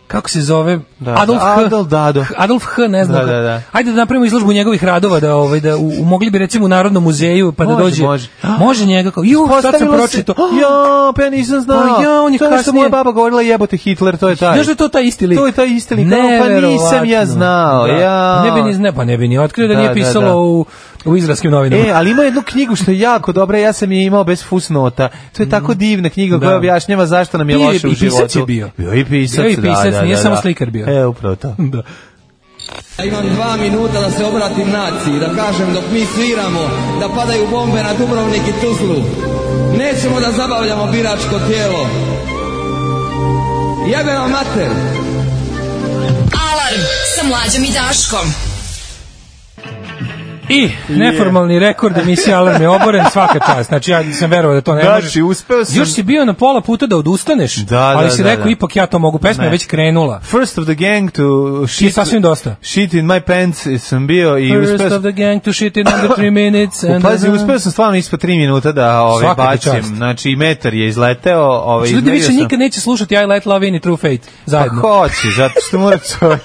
[SPEAKER 5] kako se zove,
[SPEAKER 6] Da,
[SPEAKER 5] Adolf
[SPEAKER 6] da,
[SPEAKER 5] H.
[SPEAKER 6] Adolf Dado.
[SPEAKER 5] Adolf H, ne znam.
[SPEAKER 6] Da,
[SPEAKER 5] kako.
[SPEAKER 6] da, da.
[SPEAKER 5] Ajde da napravimo izložbu njegovih radova da ovaj da u, u- mogli bi recimo u Narodnom muzeju pa da
[SPEAKER 6] Može,
[SPEAKER 5] dođe.
[SPEAKER 6] može.
[SPEAKER 5] može njega kao. Ju, sad sam
[SPEAKER 6] Postavilo se-
[SPEAKER 5] pročitao.
[SPEAKER 6] Ja, pa ja nisam znao.
[SPEAKER 5] Pa ja, on je
[SPEAKER 6] to ono što
[SPEAKER 5] kasnije-
[SPEAKER 6] moja baba govorila, jebote Hitler, to je taj.
[SPEAKER 5] Znaš da je to taj isti lik?
[SPEAKER 6] To je taj isti lik. Kao, Pa nisam ja
[SPEAKER 5] Neverovatno.
[SPEAKER 6] znao.
[SPEAKER 5] Da.
[SPEAKER 6] Ja.
[SPEAKER 5] Ne bi ni zna, pa ne bi ni otkrio da,
[SPEAKER 6] Da,
[SPEAKER 5] nije
[SPEAKER 6] da,
[SPEAKER 5] pisalo
[SPEAKER 6] da.
[SPEAKER 5] u u izraelskim novinama.
[SPEAKER 6] E, ali ima jednu knjigu što je jako dobra, ja sam je imao bez fusnota. To je tako divna knjiga koja
[SPEAKER 5] Mm. Da.
[SPEAKER 6] objašnjava zašto nam je
[SPEAKER 5] Bio je
[SPEAKER 6] loše
[SPEAKER 5] i
[SPEAKER 6] u
[SPEAKER 5] pisac
[SPEAKER 6] životu.
[SPEAKER 5] je bio.
[SPEAKER 6] Bio je i pisac,
[SPEAKER 5] Bio je i
[SPEAKER 6] da,
[SPEAKER 5] pisac,
[SPEAKER 6] da,
[SPEAKER 5] nije
[SPEAKER 6] da,
[SPEAKER 5] samo
[SPEAKER 6] da.
[SPEAKER 5] slikar bio.
[SPEAKER 6] E, upravo to.
[SPEAKER 5] da.
[SPEAKER 13] Ja imam dva minuta da se obratim naciji, da kažem dok mi sviramo, da padaju bombe na Dubrovnik i Tuzlu. Nećemo da zabavljamo biračko tijelo. Jebe vam mater!
[SPEAKER 4] Alarm sa mlađom i Daškom.
[SPEAKER 5] I neformalni rekord emisije Alarm je oboren svaka čast. Znači ja sam verovao da to ne
[SPEAKER 6] Znači,
[SPEAKER 5] možeš.
[SPEAKER 6] uspeo sam-
[SPEAKER 5] Još si bio na pola puta da odustaneš,
[SPEAKER 6] Da,
[SPEAKER 5] ali
[SPEAKER 6] da,
[SPEAKER 5] si
[SPEAKER 6] da,
[SPEAKER 5] rekao
[SPEAKER 6] da.
[SPEAKER 5] ipak ja to mogu. Pesma je
[SPEAKER 6] Ne.
[SPEAKER 5] već krenula.
[SPEAKER 6] First of the gang to shit.
[SPEAKER 5] Ti je sasvim dosta.
[SPEAKER 6] Shit in my pants sam bio i
[SPEAKER 5] First
[SPEAKER 6] uspeo
[SPEAKER 5] of the gang to shit in under three minutes.
[SPEAKER 6] U,
[SPEAKER 5] and-
[SPEAKER 6] Pazi, uspeo sam stvarno ispod 3 minuta da ovaj
[SPEAKER 5] Svaka ti
[SPEAKER 6] bacim.
[SPEAKER 5] čast.
[SPEAKER 6] Znači i metar je izleteo, ovaj
[SPEAKER 5] Znači, Ljudi
[SPEAKER 6] izmerio
[SPEAKER 5] više
[SPEAKER 6] sam.
[SPEAKER 5] nikad neće slušati I Light Love In i True Fate
[SPEAKER 6] Pa
[SPEAKER 5] zajedno.
[SPEAKER 6] hoće, zato što mora čovjek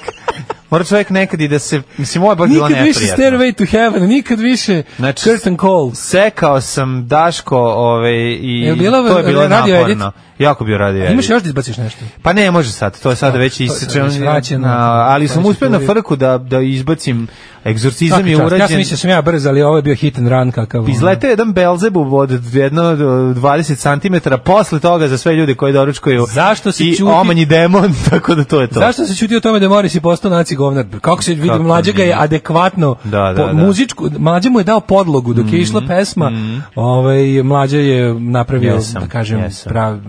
[SPEAKER 6] mora čovjek nekad i da se mislim ovo je baš bilo
[SPEAKER 5] Nikad više
[SPEAKER 6] neprijatno.
[SPEAKER 5] Stairway to Heaven, nikad više
[SPEAKER 6] Znači,
[SPEAKER 5] Curtain Call.
[SPEAKER 6] Sekao sam Daško ovaj i
[SPEAKER 5] Je li bilo
[SPEAKER 6] to je bilo
[SPEAKER 5] radio edit?
[SPEAKER 6] naporno. Jako bio radio edit.
[SPEAKER 5] Imaš još da izbaciš nešto?
[SPEAKER 6] Pa ne, može sad, to je sada već
[SPEAKER 5] to je sad
[SPEAKER 6] isečeno.
[SPEAKER 5] već vraćeno. Pa
[SPEAKER 6] A, Ali sam
[SPEAKER 5] Vraćaš
[SPEAKER 6] uspeo na
[SPEAKER 5] uvijek.
[SPEAKER 6] frku da, da izbacim, egzorcizam
[SPEAKER 5] Svaka
[SPEAKER 6] je
[SPEAKER 5] čast.
[SPEAKER 6] urađen.
[SPEAKER 5] Ja sam mislio da sam ja brz, ali ovo je bio hit and run kakav. ono.
[SPEAKER 6] Izlete Mm-hmm. jedan Belzebub od jedno 20 cm, posle toga za sve ljude koji doručkuju
[SPEAKER 5] Zašto si
[SPEAKER 6] i
[SPEAKER 5] ćuti?
[SPEAKER 6] omanji demon, tako da to je to.
[SPEAKER 5] Zašto se čuti o tome da Moris je postao naci govnar? Kako se vidi,
[SPEAKER 6] Kako
[SPEAKER 5] mlađa ga je
[SPEAKER 6] nije.
[SPEAKER 5] adekvatno
[SPEAKER 6] Da, da,
[SPEAKER 5] po-
[SPEAKER 6] da. Mm-hmm,
[SPEAKER 5] muzičku, mlađa mu je dao podlogu dok je išla pesma, ovaj, mlađa je napravio,
[SPEAKER 6] Jesam,
[SPEAKER 5] da kažem,
[SPEAKER 6] jesam.
[SPEAKER 5] prav-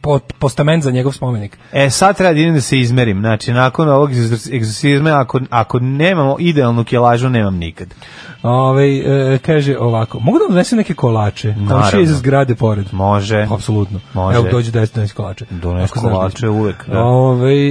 [SPEAKER 5] po- postament za njegov spomenik.
[SPEAKER 6] E, sad treba da idem da se izmerim. Znači, nakon ovog egzor- egzorcizma, ako, ako nemamo idealnu kjelažu, nemam nikad.
[SPEAKER 5] Ovaj, e, kaže ovako, mogu da vam donesem neke kolače? Komšija iz
[SPEAKER 6] Naravno.
[SPEAKER 5] zgrade pored.
[SPEAKER 6] Može.
[SPEAKER 5] Apsolutno.
[SPEAKER 6] Može.
[SPEAKER 5] Evo dođe 10 donesi kolače.
[SPEAKER 6] Dones
[SPEAKER 5] Ako znaš
[SPEAKER 6] kolače
[SPEAKER 5] da-
[SPEAKER 6] uvek, da.
[SPEAKER 5] Ovaj,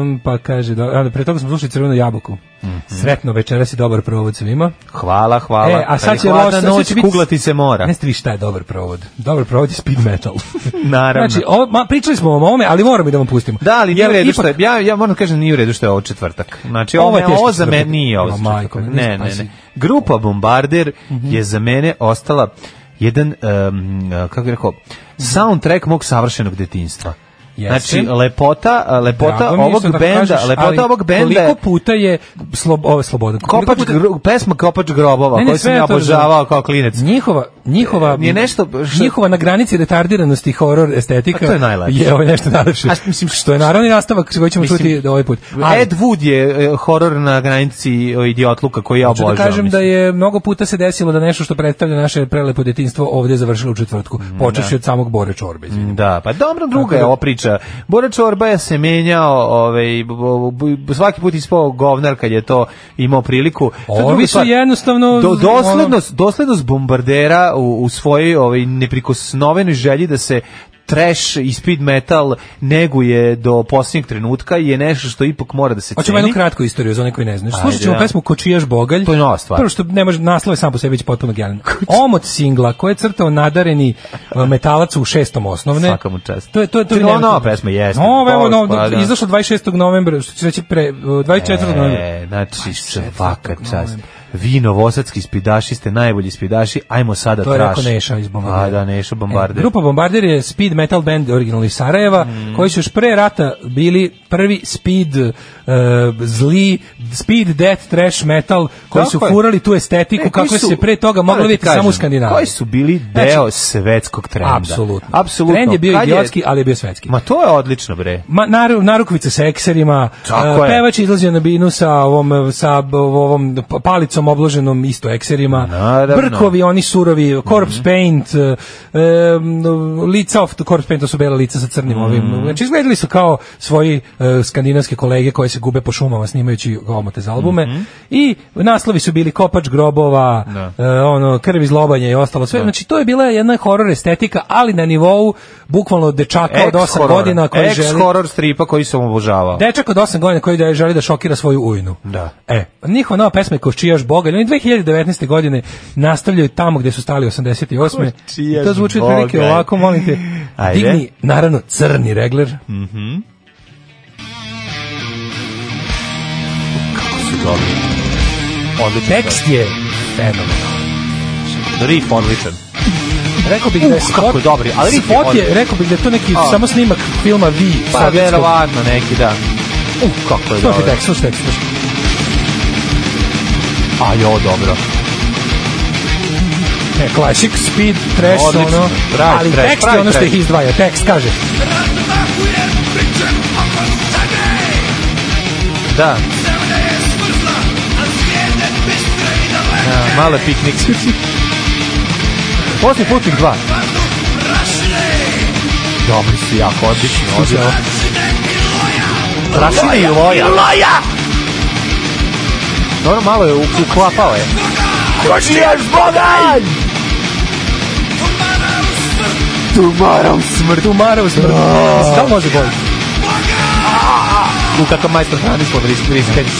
[SPEAKER 5] em, pa kaže, da, a, pre toga smo slušali Crvenu jabuku.
[SPEAKER 6] Mhm.
[SPEAKER 5] Sretno večeras i dobar provod svima.
[SPEAKER 6] Hvala, hvala.
[SPEAKER 5] E, a
[SPEAKER 6] Kad
[SPEAKER 5] sad
[SPEAKER 6] je
[SPEAKER 5] će
[SPEAKER 6] hladna
[SPEAKER 5] loš, sad će
[SPEAKER 6] noć,
[SPEAKER 5] biti-
[SPEAKER 6] kuglati se mora.
[SPEAKER 5] Ne ste vi šta je dobar provod. Dobar provod je speed metal.
[SPEAKER 6] Naravno.
[SPEAKER 5] znači, ovo, ma, pričali smo o ovome, ali moramo i da vam pustimo.
[SPEAKER 6] da, ali nije
[SPEAKER 5] Jer
[SPEAKER 6] u redu
[SPEAKER 5] ipak-
[SPEAKER 6] što je, ja, ja moram da kažem nije u redu što je ovo četvrtak. Znači,
[SPEAKER 5] Ovo
[SPEAKER 6] ovo,
[SPEAKER 5] je
[SPEAKER 6] me-
[SPEAKER 5] teški
[SPEAKER 6] ovo za mene
[SPEAKER 5] četvrtak.
[SPEAKER 6] nije ovo za
[SPEAKER 5] Ma, majko,
[SPEAKER 6] četvrtak.
[SPEAKER 5] ne, Mhm.
[SPEAKER 6] Ne, ne,
[SPEAKER 5] spasi.
[SPEAKER 6] ne. Grupa Bombarder je za mene ostala jedan, um, kako bih rekao, soundtrack mog savršenog detinjstva.
[SPEAKER 5] Jeste.
[SPEAKER 6] Znači, lepota, lepota
[SPEAKER 5] Drago mi je
[SPEAKER 6] ovog
[SPEAKER 5] što tako
[SPEAKER 6] benda,
[SPEAKER 5] kažeš, ali
[SPEAKER 6] lepota ovog benda je
[SPEAKER 5] Koliko puta je slob, ovo je slobodan. Koliko
[SPEAKER 6] Kopač
[SPEAKER 5] puta-
[SPEAKER 6] gro- pesma Kopač grobova,
[SPEAKER 5] Ne, ne,
[SPEAKER 6] koju
[SPEAKER 5] sve
[SPEAKER 6] Pa sam ja
[SPEAKER 5] ja to razumem.
[SPEAKER 6] obožavao kao klinec.
[SPEAKER 5] Njihova, njihova
[SPEAKER 6] je nešto što-
[SPEAKER 5] njihova na granici retardiranosti i horor estetika.
[SPEAKER 6] A to je najlepše.
[SPEAKER 5] Je, ovo je nešto najlepše.
[SPEAKER 6] A mislim,
[SPEAKER 5] što je naravni nastavak koji ćemo
[SPEAKER 6] Mislim, e,
[SPEAKER 5] čuti ovaj put. Ali,
[SPEAKER 6] Ed Wood je e, horor na granici e, idiotluka koji ja
[SPEAKER 5] Hoću da
[SPEAKER 6] obožavam.
[SPEAKER 5] kažem
[SPEAKER 6] mislim.
[SPEAKER 5] da je mnogo puta se desilo da nešto što predstavlja naše prelepo detinjstvo ovdje završilo u četvrtku, počevši
[SPEAKER 6] Mm, da.
[SPEAKER 5] od samog Bore Čorbe. izvini.
[SPEAKER 6] Da, pa dobro, druga je ova priča. Bora Čorba je se menjao, ovaj, b- b- b- svaki put ispao govnar kad je to imao priliku. To je
[SPEAKER 5] Ovi
[SPEAKER 6] druga
[SPEAKER 5] su
[SPEAKER 6] stvar.
[SPEAKER 5] jednostavno- ono-
[SPEAKER 6] Do, doslednost, doslednost bombardera u, u svojoj ovaj, neprikosnovenoj želji da se trash i speed metal neguje do posljednjeg trenutka je nešto što ipak mora da se ceni.
[SPEAKER 5] Hoćemo jednu kratku istoriju za one koji ne znaju.
[SPEAKER 6] Ajde,
[SPEAKER 5] Slušat ćemo
[SPEAKER 6] da.
[SPEAKER 5] pesmu Kočijaš Bogalj.
[SPEAKER 6] To je nova stvar.
[SPEAKER 5] Prvo što ne može, naslov je sam po sebi već potpuno genijalan. Omot singla koje je crtao nadareni uh, metalac u šestom osnovne.
[SPEAKER 6] Svaka mu čast.
[SPEAKER 5] To je to je to.
[SPEAKER 6] To je
[SPEAKER 5] je
[SPEAKER 6] nova
[SPEAKER 5] nevjerojatno.
[SPEAKER 6] pesma, jeste. pa
[SPEAKER 5] Nova, evo,
[SPEAKER 6] Pola
[SPEAKER 5] nova,
[SPEAKER 6] spada.
[SPEAKER 5] izašla 26. novembra, što će reći pre, uh, 24. novembra.
[SPEAKER 6] E, znači, svaka čast. Vi novosadski spidaši ste najbolji spidaši, ajmo sada
[SPEAKER 5] To je
[SPEAKER 6] trash.
[SPEAKER 5] rekao Neša iz Bombardera. E,
[SPEAKER 6] A, da, Neša Bombarder.
[SPEAKER 5] Grupa Bombarder je speed metal band originalni iz Sarajeva,
[SPEAKER 6] Mm.
[SPEAKER 5] koji su još pre rata bili prvi speed e, zli, speed death trash metal, koji
[SPEAKER 6] Tako
[SPEAKER 5] su
[SPEAKER 6] je.
[SPEAKER 5] furali tu estetiku
[SPEAKER 6] Ne,
[SPEAKER 5] kako
[SPEAKER 6] koji su-
[SPEAKER 5] se pre toga
[SPEAKER 6] moram
[SPEAKER 5] moglo
[SPEAKER 6] ti
[SPEAKER 5] vidjeti
[SPEAKER 6] kažem,
[SPEAKER 5] samo u Skandinaviji.
[SPEAKER 6] Koji su bili
[SPEAKER 5] Znači,
[SPEAKER 6] deo svetskog trenda?
[SPEAKER 5] Apsolutno.
[SPEAKER 6] Apsolutno.
[SPEAKER 5] Trend je bio
[SPEAKER 6] Kad
[SPEAKER 5] idiotski, ali je bio svetski.
[SPEAKER 6] Ma to je odlično, bre.
[SPEAKER 5] Ma, naru, narukvice sa ekserima,
[SPEAKER 6] Tako
[SPEAKER 5] e,
[SPEAKER 6] je.
[SPEAKER 5] pevač izlazio na binu sa ovom, e, sa b- ovom p- palicom obloženom isto ekserima,
[SPEAKER 6] Naravno. Mhm.
[SPEAKER 5] brkovi, oni surovi, corpse paint, e, em, lica, of, corpse paint, to su bela lica sa crnim
[SPEAKER 6] Mhm.
[SPEAKER 5] ovim. Znači, izgledali su kao svoji e, skandinavske kolege koje se gube po šumama snimajući omote za albume.
[SPEAKER 6] Mhm.
[SPEAKER 5] I naslovi su bili kopač grobova,
[SPEAKER 6] Da.
[SPEAKER 5] e, ono, krv iz lobanja i ostalo sve. Znači, to je bila jedna horor estetika, ali na nivou bukvalno dečaka od 8
[SPEAKER 6] Ex-horor.
[SPEAKER 5] godina koji želi...
[SPEAKER 6] Ex-horror stripa koji sam obožavao.
[SPEAKER 5] Dečak od 8 godina koji da želi da šokira svoju ujnu.
[SPEAKER 6] Da.
[SPEAKER 5] E, njihova nova pesma je Kočijaš Boga, oni 2019. godine nastavljaju tamo gdje su stali 88.
[SPEAKER 6] Kočijaš
[SPEAKER 5] I to zvuči
[SPEAKER 6] Bogalj.
[SPEAKER 5] otprilike ovako, molim te.
[SPEAKER 6] Ajde.
[SPEAKER 5] Digni, naravno, crni regler.
[SPEAKER 6] Mhm. Kako su dobri. Odličan
[SPEAKER 5] Tekst je fenomenal.
[SPEAKER 6] tekst. Riff odličan.
[SPEAKER 5] Rekao bih da je
[SPEAKER 6] Uh, kako
[SPEAKER 5] spot,
[SPEAKER 6] je dobri, ali riff je
[SPEAKER 5] spot je,
[SPEAKER 6] odličan.
[SPEAKER 5] rekao bih da je to neki
[SPEAKER 6] A.
[SPEAKER 5] samo snimak filma Vi.
[SPEAKER 6] Pa
[SPEAKER 5] sovjetskog.
[SPEAKER 6] verovatno neki, da. Uh, kako je
[SPEAKER 5] Slušaj
[SPEAKER 6] dobro.
[SPEAKER 5] tekst, slušaj tekst. slušaj.
[SPEAKER 6] A jo, dobro.
[SPEAKER 5] E, klasik, speed, trash,
[SPEAKER 6] Odlično,
[SPEAKER 5] ono.
[SPEAKER 6] pravi
[SPEAKER 5] ali
[SPEAKER 6] trash,
[SPEAKER 5] tekst je
[SPEAKER 6] pravi
[SPEAKER 5] ono što
[SPEAKER 6] trash.
[SPEAKER 5] ih izdvaja. Tekst kaže,
[SPEAKER 6] Da. Ja, male piknik. Poslije putnik 2. Dobri su jako, odlični, odlični. Prašine i loja. Loja! Dobro, malo je u- uklapao je. Kočijaš Bogalj! Tumarom smrt. Tumarom smrt.
[SPEAKER 5] da li može bolje?
[SPEAKER 6] U kakav majstor Hranislav Riskens.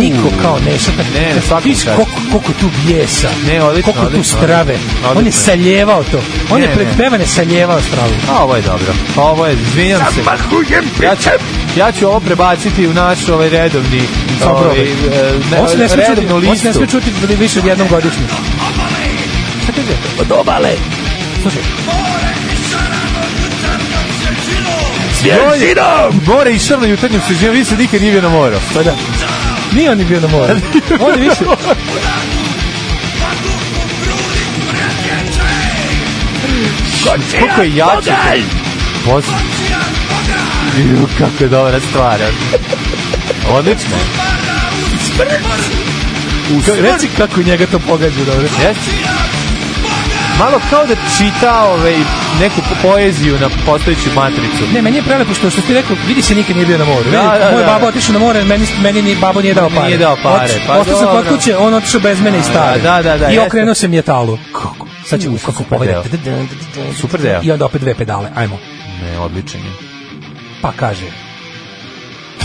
[SPEAKER 5] Niko kao Neša.
[SPEAKER 6] Ne, ne, svakom
[SPEAKER 5] Viš
[SPEAKER 6] čast.
[SPEAKER 5] koliko, koliko tu bijesa,
[SPEAKER 6] Ne, odlično,
[SPEAKER 5] koliko tu
[SPEAKER 6] odlično,
[SPEAKER 5] strave.
[SPEAKER 6] odlično.
[SPEAKER 5] On je
[SPEAKER 6] Odlično.
[SPEAKER 5] saljevao to. On
[SPEAKER 6] Ne,
[SPEAKER 5] je pred
[SPEAKER 6] ne.
[SPEAKER 5] pevane saljevao stravu.
[SPEAKER 6] A Pa ovo je dobro. A ovo je, izvinjam se. Ja ću, ja ću ovo prebaciti u naš ovaj redovni
[SPEAKER 5] Samo
[SPEAKER 6] ovaj,
[SPEAKER 5] probaj.
[SPEAKER 6] e, ne,
[SPEAKER 5] Ovo se ne smije čuti,
[SPEAKER 6] redovnu
[SPEAKER 5] ovo se ne
[SPEAKER 6] listu.
[SPEAKER 5] smije čuti da više od jednom godišnju. Šta kaže? Od obale. Slušaj.
[SPEAKER 6] Joj, More i šrno jutarnjom se živio, vi se nikad nije bio na moru.
[SPEAKER 5] Pa da. Nije on ni bio na moru. On je više.
[SPEAKER 6] Koliko je jače. Bozi. Ju, kako je dobra stvar. Odlično. U smrt.
[SPEAKER 5] Reci kako njega to pogađa, dobro.
[SPEAKER 6] Jeste. Malo kao da čita ovaj, neku poeziju na postojeću matricu.
[SPEAKER 5] Ne, meni je prelepo što, što ti rekao, vidi se nikad nije bio na moru. Vidi,
[SPEAKER 6] Da, da,
[SPEAKER 5] moj
[SPEAKER 6] da.
[SPEAKER 5] baba otišao na more, meni, meni ni babo nije dao
[SPEAKER 6] Nije
[SPEAKER 5] pare.
[SPEAKER 6] dao pare,
[SPEAKER 5] Otiš-
[SPEAKER 6] pa
[SPEAKER 5] Ostao sam kod
[SPEAKER 6] dobro.
[SPEAKER 5] kuće, on otišao bez mene i stare.
[SPEAKER 6] Da, da, da,
[SPEAKER 5] I
[SPEAKER 6] jeste.
[SPEAKER 5] okrenuo se mjetalu. Kako? Sad će,
[SPEAKER 6] U,
[SPEAKER 5] u, kako
[SPEAKER 6] super
[SPEAKER 5] povede.
[SPEAKER 6] deo. Super deo.
[SPEAKER 5] I onda opet dve pedale, ajmo.
[SPEAKER 6] Ne, odličan je.
[SPEAKER 5] Pa kaže,